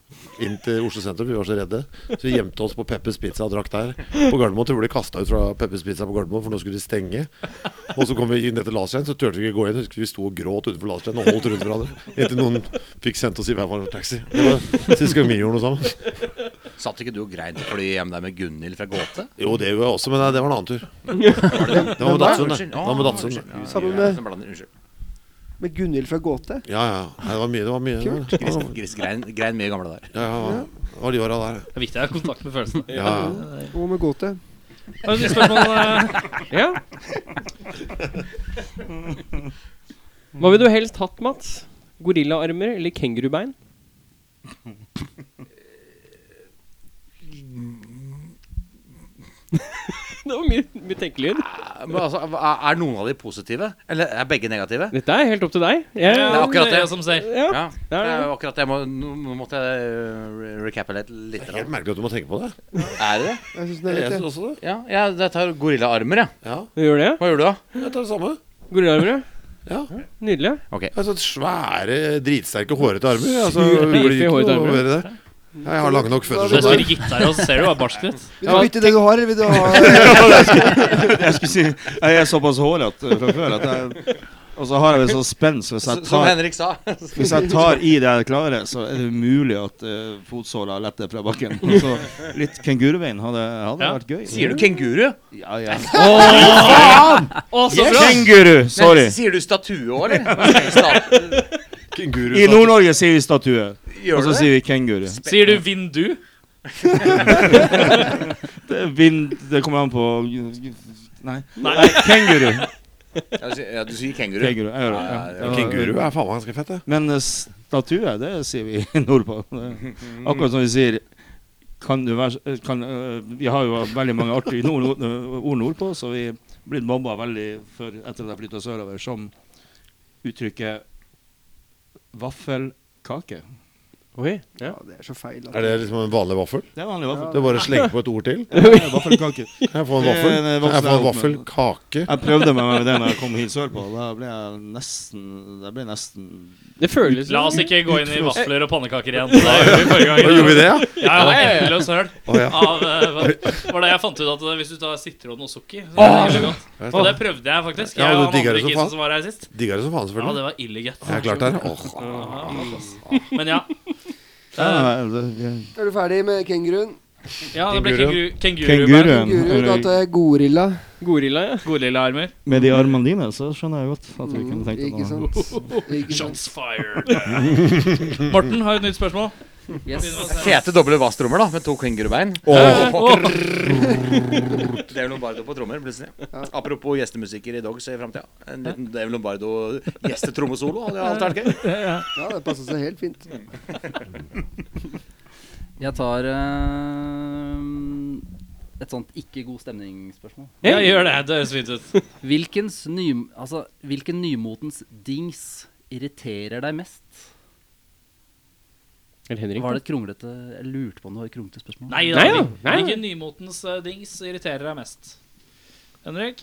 [SPEAKER 6] inn til Oslo sentrum. Vi var så redde. Så vi gjemte oss på Peppers Pizza og drakk der. På Gardermoen tror jeg vi ble kasta ut fra Peppers Pizza på Gardermoen, for nå skulle de stenge. Og så kom vi inn etter Laserstein, så turte vi ikke gå inn. Husker vi sto og gråt utenfor Laserstein og holdt rundt hverandre. Inntil noen fikk sendt oss i hver vår taxi. Det var sist gang vi gjorde noe sammen.
[SPEAKER 9] Satt ikke du og grein til å fly hjem der med Gunhild fra Gåte?
[SPEAKER 6] Jo, det gjorde jeg også, men nei, det var en annen tur. Det var med Datsun, det. det. var med Datsun, det.
[SPEAKER 7] Sammen
[SPEAKER 9] Ja,
[SPEAKER 7] med-
[SPEAKER 9] jeg blander, Unnskyld.
[SPEAKER 7] Med Gunhild fra Gåte?
[SPEAKER 6] Ja, ja. Nei, det var mye. Det var mye.
[SPEAKER 7] Kult.
[SPEAKER 6] Ja,
[SPEAKER 9] Gris, gris grein, grein mye gamle der.
[SPEAKER 6] ja, ja. Det var de åra der.
[SPEAKER 4] Det er viktig å ha kontakt med følelsene.
[SPEAKER 6] Ja, ja.
[SPEAKER 7] Og med Gåte.
[SPEAKER 4] Har du et spørsmål?
[SPEAKER 6] [LAUGHS]
[SPEAKER 4] eh?
[SPEAKER 1] [LAUGHS]
[SPEAKER 4] [LAUGHS]
[SPEAKER 1] Ja. Hva ville du helst hatt, Mats? Gorillaarmer eller kengurubein? det var mye, mye tenkelyd.
[SPEAKER 9] Men altså, er er noen av de positive? Eller er begge negative?
[SPEAKER 1] Dette er helt opp til deg. Jeg,
[SPEAKER 9] er akkurat det.
[SPEAKER 4] jeg som ser.
[SPEAKER 1] ja.
[SPEAKER 9] Ja, det
[SPEAKER 1] er
[SPEAKER 9] er
[SPEAKER 1] det.
[SPEAKER 9] jo akkurat det. Jeg må, nå måtte jeg eh, re- recapulate litt.
[SPEAKER 6] Det er
[SPEAKER 9] grann.
[SPEAKER 6] helt merkelig at du må tenke på det.
[SPEAKER 9] Er det det?
[SPEAKER 7] Jeg synes den er
[SPEAKER 6] Jeg
[SPEAKER 7] litt
[SPEAKER 6] synes også det.
[SPEAKER 9] Ja, jeg, jeg tar gorillaarmer, jeg.
[SPEAKER 6] Ja,
[SPEAKER 1] Du gjør det?
[SPEAKER 9] Hva gjør du da?
[SPEAKER 6] jeg tar det samme.
[SPEAKER 1] Gorillaarmer, ja.
[SPEAKER 6] Ja.
[SPEAKER 1] Nydelig.
[SPEAKER 6] Jeg har sånn svære, dritsterke, hårete armer. Altså,
[SPEAKER 1] Surt,
[SPEAKER 6] det blir
[SPEAKER 1] beefy,
[SPEAKER 6] ikke
[SPEAKER 1] hårete
[SPEAKER 6] noe
[SPEAKER 1] armer.
[SPEAKER 6] mer i det. Ja, Jeg har lange nok føtter
[SPEAKER 4] Du
[SPEAKER 6] som
[SPEAKER 4] spiller
[SPEAKER 6] deg.
[SPEAKER 4] gitar, og så ser du bare barsk ut.
[SPEAKER 7] Vil du bytte det du har, eller
[SPEAKER 6] [LAUGHS]
[SPEAKER 7] vil du
[SPEAKER 8] [LAUGHS]
[SPEAKER 7] ha
[SPEAKER 8] Jeg skulle si Jeg er såpass hårete fra før at jeg Og så har jeg vel sånn spenst hvis jeg
[SPEAKER 9] S- Som
[SPEAKER 8] tar
[SPEAKER 9] Henrik sa. Det
[SPEAKER 8] hvis jeg tar i det jeg klarer, så er det umulig at uh, fotsåla letter fra bakken. Så litt kenguruveien hadde, hadde
[SPEAKER 4] Ja.
[SPEAKER 8] vært gøy.
[SPEAKER 9] Sier du kenguru?
[SPEAKER 8] Ja, ja.
[SPEAKER 4] Å, så bra!
[SPEAKER 8] Kenguru! Sorry.
[SPEAKER 9] Men Sier du statue òg, eller? Hva sier du, stat-
[SPEAKER 6] Kenguru.
[SPEAKER 8] I Nord-Norge sier vi statue, og
[SPEAKER 9] Gjør
[SPEAKER 8] så
[SPEAKER 9] du det?
[SPEAKER 8] sier vi kenguru.
[SPEAKER 4] Sier du 'vindu'?
[SPEAKER 8] [LAUGHS] Det, er vind, det kommer an på Nei.
[SPEAKER 4] Nei.
[SPEAKER 8] Kenguru.
[SPEAKER 9] Ja, du sier- Ja, du sier kenguru.
[SPEAKER 8] kenguru. Jeg gjør det.
[SPEAKER 9] Ja,
[SPEAKER 8] Ja.
[SPEAKER 9] ja,
[SPEAKER 6] Kenguru er faen meg ganske fett, det.
[SPEAKER 8] Men eh, statue, det sier vi [LAUGHS] nordpå. Det- Akkurat som vi sier kan du være, s- kan, eh, Vi har jo veldig mange artige nord, nord- eh, ord nordpå, så vi er blitt mobba veldig for, etter at jeg flytta sørover, som uttrykket vaffelkake.
[SPEAKER 1] Oi. Ja.
[SPEAKER 7] Ja, det er så feil. altså. at-
[SPEAKER 6] Er det liksom en vanlig vaffel?
[SPEAKER 8] Det er vanlig vaffel.
[SPEAKER 6] Det er bare å slenge på et ord [LAUGHS] til.
[SPEAKER 8] [LAUGHS] Ja, det er vaffelkake.
[SPEAKER 6] Kan jeg få en
[SPEAKER 8] Det er
[SPEAKER 6] vaffel? Kan
[SPEAKER 8] en
[SPEAKER 6] jeg få en
[SPEAKER 8] voksen-
[SPEAKER 6] vaffelkake?
[SPEAKER 8] Jeg prøvde meg med det når jeg kom hit sørpå. Da ble jeg nesten Da ble jeg nesten
[SPEAKER 1] Det føles
[SPEAKER 4] La oss ikke gå inn i vafler og pannekaker
[SPEAKER 8] [LAUGHS]
[SPEAKER 4] igjen. Det gjorde vi forrige gang.
[SPEAKER 6] Hva gjorde vi det, ja?
[SPEAKER 4] Ja, jeg har endeløs høl.
[SPEAKER 6] Å, ja.
[SPEAKER 4] Av, eh, hva- var det jeg fant ut at eh, hvis du tar sitron og sukker så er det jævlig godt.
[SPEAKER 6] Jeg
[SPEAKER 4] Og
[SPEAKER 6] vet
[SPEAKER 4] det
[SPEAKER 6] det.
[SPEAKER 4] prøvde jeg faktisk.
[SPEAKER 6] Ja, du
[SPEAKER 4] Jeg og han
[SPEAKER 6] digger
[SPEAKER 4] andre
[SPEAKER 6] det som
[SPEAKER 4] kisen
[SPEAKER 6] faen.
[SPEAKER 4] som var her sist.
[SPEAKER 6] Digger det som faen,
[SPEAKER 4] Ja, det
[SPEAKER 6] selvfølgelig.
[SPEAKER 4] var ille gøtt.
[SPEAKER 6] Jeg er klart der. Åh,
[SPEAKER 4] Men ja.
[SPEAKER 8] [LAUGHS] Ja, det- det-
[SPEAKER 7] Er du ferdig med kenguruen?
[SPEAKER 4] ja det ble kenguru, kenguru.
[SPEAKER 8] Kenguruen.
[SPEAKER 7] Kenguru, da tar jeg Eh, gorilla.
[SPEAKER 1] Gorilla, ja.
[SPEAKER 4] Gorillaarmer.
[SPEAKER 8] Med de armene dine så skjønner jeg godt at vi
[SPEAKER 7] Mm,
[SPEAKER 8] kunne tenkt
[SPEAKER 7] ikke
[SPEAKER 8] oss noe.
[SPEAKER 7] sant? Ikke sant?
[SPEAKER 4] Shots fired. Morten har et nytt spørsmål.
[SPEAKER 9] Fete doble basstrommer, da, med to kengurubein.
[SPEAKER 4] Åh,
[SPEAKER 9] [LAUGHS] Dave Lombardo på trommer, plutselig. Apropos gjestemusikker i Dogs i framtida. En liten Dave Lombardo gjestetrommesolo hadde jo alt vært
[SPEAKER 4] [LAUGHS]
[SPEAKER 9] gøy.
[SPEAKER 7] Ja, det passer seg helt fint.
[SPEAKER 3] Jeg tar eh, et sånt ikke god stemning-spørsmål.
[SPEAKER 4] ja, gjør det. Det høres fint ut.
[SPEAKER 3] [LAUGHS] Hvilkens ny, altså, hvilken nymotens dings irriterer deg mest?
[SPEAKER 1] Eller Henrik.
[SPEAKER 3] Var det et kronglete Jeg lurte på om det var et kronglete spørsmål.
[SPEAKER 1] Nei,
[SPEAKER 4] Nei da.
[SPEAKER 1] ja. Nei, ja.
[SPEAKER 4] Hvilken nymotens eh, dings irriterer deg mest? Henrik?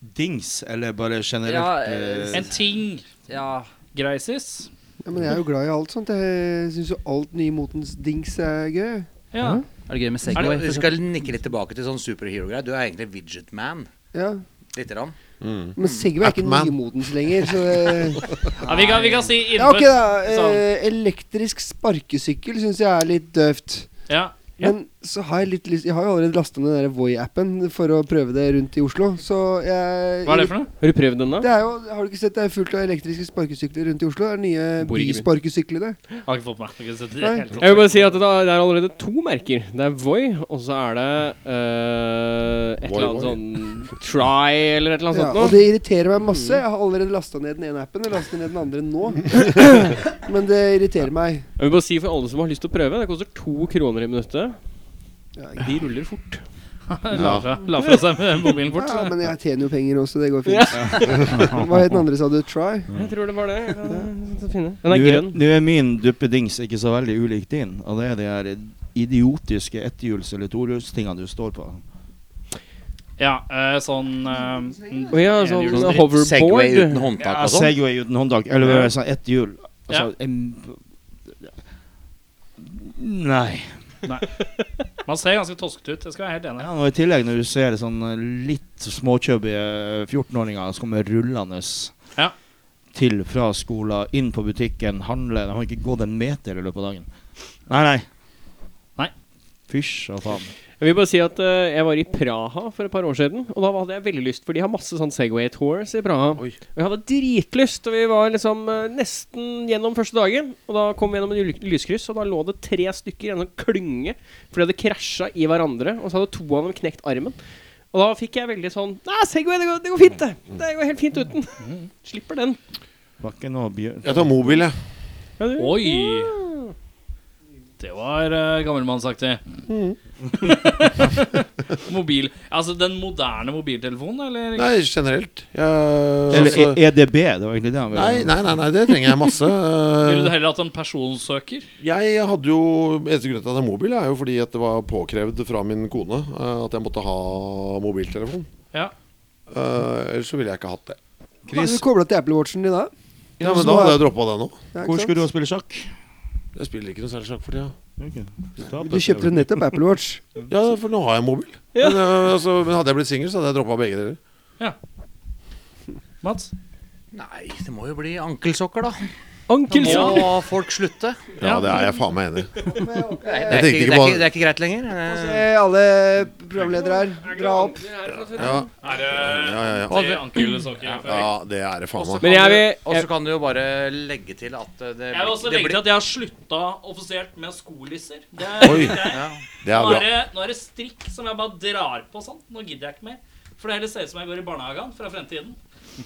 [SPEAKER 8] Dings, eller bare generelt
[SPEAKER 3] Ja,
[SPEAKER 8] eh,
[SPEAKER 4] En ting.
[SPEAKER 9] [LAUGHS]
[SPEAKER 3] Ja,
[SPEAKER 4] Greisis.
[SPEAKER 7] Ja, men jeg er jo glad i alt sånt. Jeg syns jo alt nymotens dings er gøy.
[SPEAKER 4] Ja.
[SPEAKER 3] Er det gøy med
[SPEAKER 9] Er
[SPEAKER 3] Segway?
[SPEAKER 9] det, vi skal nikke litt tilbake til sånn superhero-greier. Du er egentlig Widget Man.
[SPEAKER 7] Ja.
[SPEAKER 9] Lite grann.
[SPEAKER 6] Mm.
[SPEAKER 3] Mm.
[SPEAKER 7] Men Sigve er ikke
[SPEAKER 6] Atman.
[SPEAKER 7] nymotens lenger, så det
[SPEAKER 4] Ja, vi, kan, vi kan si
[SPEAKER 7] Ja,
[SPEAKER 4] innenfor
[SPEAKER 7] ok, da.
[SPEAKER 4] sånn.
[SPEAKER 7] Eh, elektrisk sparkesykkel syns jeg er litt døvt.
[SPEAKER 4] Ja.
[SPEAKER 7] Men så har jeg litt lyst Jeg har jo allerede lasta ned den der Voi-appen for å prøve det rundt i Oslo, så jeg
[SPEAKER 4] Hva er det for noe?
[SPEAKER 1] Har du prøvd den, da?
[SPEAKER 7] Det er jo, Har du ikke sett det er fullt av elektriske sparkesykler rundt i Oslo? Det er nye
[SPEAKER 1] Bor ikke i byen.
[SPEAKER 7] bysparkesyklene.
[SPEAKER 4] Har ikke fått med meg. Har ikke sett det i
[SPEAKER 7] Nei.
[SPEAKER 4] det hele tatt.
[SPEAKER 1] Jeg vil bare si at det da- det er allerede to merker. Det er Voi, og så er det eh, et
[SPEAKER 6] Voi,
[SPEAKER 1] eller annet
[SPEAKER 6] Voi.
[SPEAKER 1] sånn Try eller et eller annet
[SPEAKER 7] Ja, og
[SPEAKER 1] sånt noe.
[SPEAKER 7] det irriterer meg masse. Jeg har allerede lasta ned den ene appen. Jeg laster ned den andre
[SPEAKER 4] [LAUGHS]
[SPEAKER 7] nå. Men det irriterer meg.
[SPEAKER 1] Jeg vil bare si for alle som har lyst til å prøve, det koster to kroner i minuttet. De ruller fort.
[SPEAKER 4] [LAUGHS] La fra, la fra seg med mobilen fort.
[SPEAKER 7] Ja, men jeg tjener jo penger også, det går fint. [LAUGHS] Hva het den andre, sa du? Try?
[SPEAKER 1] Jeg tror det var det. Jeg kan finne. Den
[SPEAKER 11] Nå
[SPEAKER 1] er
[SPEAKER 11] er,
[SPEAKER 1] grønn.
[SPEAKER 11] nå er min duppedings ikke så veldig ulik din, og det er de her idiotiske etthjuls- eller tohjulstingene du står på.
[SPEAKER 4] Ja, eh, sånn eh,
[SPEAKER 1] Å ja, sånn
[SPEAKER 4] Enhjulsdrift.
[SPEAKER 9] Segway
[SPEAKER 1] hoverboard.
[SPEAKER 9] uten håndtak
[SPEAKER 11] Ja,
[SPEAKER 9] og sånn.
[SPEAKER 11] Segway uten håndtak, eller sånn ett hjul. Altså,
[SPEAKER 4] Ja.
[SPEAKER 11] em, Nei.
[SPEAKER 4] Man ser ganske toskete ut. Jeg skal være helt enig.
[SPEAKER 11] Ja, og I tillegg når du ser sånne litt småkjøbbige 14-åringer som kommer rullende
[SPEAKER 4] Ja.
[SPEAKER 11] til fra skolen, inn på butikken, handle De har ikke gått en meter i løpet av dagen. Nei, nei.
[SPEAKER 4] Nei.
[SPEAKER 11] Fysj og faen.
[SPEAKER 1] Jeg vil bare si at eh, jeg var i Praha for et par år siden, og da hadde jeg veldig lyst, for de har masse sånn Segway Tours i Praha. Og jeg hadde dritlyst, og vi var liksom eh, nesten gjennom første dagen, og da kom vi gjennom en ly- lyskryss, og da lå det tre stykker i en sånn klynge, for de hadde krasja i hverandre, og så hadde to av dem knekt armen. Og da fikk jeg veldig sånn Nei, Segway, det går, det går fint, det. Det går helt fint uten.
[SPEAKER 4] [LAUGHS]
[SPEAKER 1] Slipper den.
[SPEAKER 11] Var ikke noe bjørn...
[SPEAKER 6] Jeg tar mobil, jeg.
[SPEAKER 1] Ja, du-
[SPEAKER 4] Oi! Det var uh, gammelmannsaktig. [LAUGHS] Mobil Altså den moderne mobiltelefonen, eller?
[SPEAKER 6] Nei, generelt. Jeg,
[SPEAKER 11] Eller
[SPEAKER 6] [LAUGHS] altså,
[SPEAKER 11] E- EDB, det var egentlig det han ville
[SPEAKER 6] nei, nei, nei, nei, det trenger jeg
[SPEAKER 4] [LAUGHS]
[SPEAKER 8] [LAUGHS]
[SPEAKER 6] masse.
[SPEAKER 4] Ville du
[SPEAKER 6] Eh,
[SPEAKER 4] heller hatt en personsøker?
[SPEAKER 6] Jeg hadde jo Eneste grunn til at jeg hadde mobil, er jo fordi at det var påkrevd fra min kone eh, at jeg måtte ha mobiltelefon.
[SPEAKER 4] Ja.
[SPEAKER 6] Eh, Ellers så ville jeg ikke hatt det.
[SPEAKER 7] Hva er det du kobla til Apple Watchen din da?
[SPEAKER 6] Ja,
[SPEAKER 7] Så
[SPEAKER 6] Men da hadde jeg droppa det nå.
[SPEAKER 7] Ja, ikke
[SPEAKER 11] Hvor skulle du
[SPEAKER 7] sant?
[SPEAKER 11] ha spille sjakk?
[SPEAKER 6] Jeg spiller ikke noe særlig sjakk for tida.
[SPEAKER 7] Du kjøpte nettopp Apple Watch.
[SPEAKER 6] Ja, for nå har jeg mobil. Men, eh, altså, men hadde jeg blitt singel, så hadde jeg droppa begge deler.
[SPEAKER 4] Mats?
[SPEAKER 9] Nei, det må jo bli ankelsokker, da.
[SPEAKER 1] Ankel
[SPEAKER 9] Må
[SPEAKER 1] Sam.
[SPEAKER 9] folk slutte?
[SPEAKER 6] Ja, det er jeg faen meg enig i.
[SPEAKER 7] [LAUGHS]
[SPEAKER 9] Det er,
[SPEAKER 6] Jeg
[SPEAKER 9] ikke,
[SPEAKER 6] tenkte
[SPEAKER 9] det,
[SPEAKER 6] ikke
[SPEAKER 9] er
[SPEAKER 6] på-
[SPEAKER 9] ikke, det er ikke greit lenger. Eh,
[SPEAKER 3] Altså,
[SPEAKER 7] Se alle programledere her. Dra opp.
[SPEAKER 6] Ja,
[SPEAKER 4] Er det
[SPEAKER 6] ja, ja, ja.
[SPEAKER 4] tre ankelsokker?
[SPEAKER 6] ja, det er det faen meg.
[SPEAKER 1] Men jeg vil
[SPEAKER 9] Og så kan du jo bare legge til at eh, det,
[SPEAKER 4] Jeg vil også
[SPEAKER 9] det
[SPEAKER 4] legge til at jeg har slutta offisielt med skolisser. Det er,
[SPEAKER 6] Oi,
[SPEAKER 4] det er,
[SPEAKER 6] det er
[SPEAKER 4] nå, er
[SPEAKER 6] bra.
[SPEAKER 4] det, nå er det strikk som jeg bare drar på sånn. Nå gidder jeg ikke mer. For det heller ser ut som jeg går i barnehagen fra fremtiden.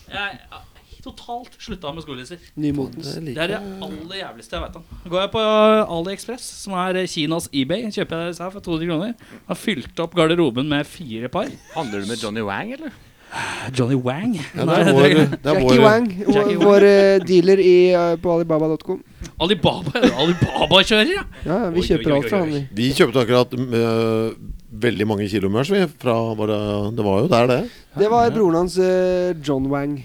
[SPEAKER 4] Jeg har totalt slutta med skolisser.
[SPEAKER 7] Nymotens.
[SPEAKER 4] Det er det aller jævligste jeg veit om. Går jeg på AliExpress, som er Kinas eBay, kjøper jeg disse her for 200 kroner. Har fylt opp garderoben med fire par.
[SPEAKER 9] Handler du med Johnny Wang, eller?
[SPEAKER 4] Johnny Wang.
[SPEAKER 6] Ja, det er vår, det er
[SPEAKER 7] Jackie
[SPEAKER 6] vår
[SPEAKER 7] Wang, vår,
[SPEAKER 4] Jackie Wang.
[SPEAKER 7] vår eh, dealer i, eh, på alibaba.com.
[SPEAKER 4] Alibaba er det Alibaba-kjører, ja.
[SPEAKER 7] Ja, ja, vi
[SPEAKER 4] Oi, oi,
[SPEAKER 7] kjøper
[SPEAKER 4] oi,
[SPEAKER 7] alt fra
[SPEAKER 4] oi,
[SPEAKER 7] han. vi.
[SPEAKER 6] Vi kjøpte akkurat øh, veldig mange kilo mørs, vi. Fra våre, det var jo der, det.
[SPEAKER 7] Det var broren hans, eh, John Wang.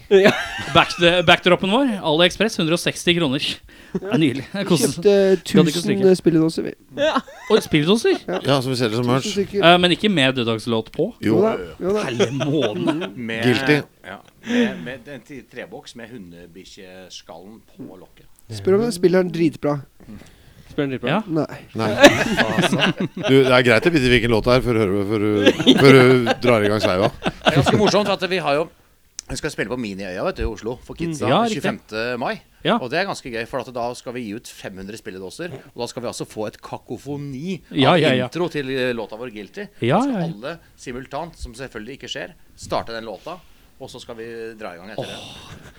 [SPEAKER 4] Back, backdroppen vår, AliExpress, 160 kroner. Det er nydelig. Det koster
[SPEAKER 7] Kjøpte
[SPEAKER 4] hadde ikke
[SPEAKER 7] 1000 spilledåser, vi.
[SPEAKER 4] Og spilldoser.
[SPEAKER 6] Ja, Som vi selger som
[SPEAKER 7] Tusen
[SPEAKER 6] mørs.
[SPEAKER 7] stykker.
[SPEAKER 4] Eh, men ikke med døddagslåt på.
[SPEAKER 6] Jo,
[SPEAKER 7] Jo da. Jo da.
[SPEAKER 4] [LAUGHS] Hele måneden.
[SPEAKER 9] Med,
[SPEAKER 6] Guilty.
[SPEAKER 9] Ja, med, med en t- treboks med hundebikkjeskallen på lokket.
[SPEAKER 7] Spør om den spiller den dritbra.
[SPEAKER 1] Spør en dritt bra.
[SPEAKER 4] Ja.
[SPEAKER 7] Nei.
[SPEAKER 6] nei. [LAUGHS] Du, det er greit å vite hvilken låt det er før du hører- før du- før du drar i gang seiva.
[SPEAKER 9] [LAUGHS] Det er ganske morsomt for at vi har jo vi skal spille på Miniøya vet du, i Oslo for kidsa
[SPEAKER 4] Mm. Ja, riktig.
[SPEAKER 9] 25. mai.
[SPEAKER 4] Ja.
[SPEAKER 9] Og det er ganske gøy, for at da skal vi gi ut 500 spilledåser. Og da skal vi altså få et kakofoni
[SPEAKER 4] Ja,
[SPEAKER 9] av
[SPEAKER 4] ja, ja.
[SPEAKER 9] intro til eh, låta vår 'Guilty'.
[SPEAKER 4] Ja,
[SPEAKER 9] så
[SPEAKER 4] ja, ja.
[SPEAKER 9] alle simultant, som selvfølgelig ikke skjer, starte den låta, og så skal vi dra i gang etter det. det,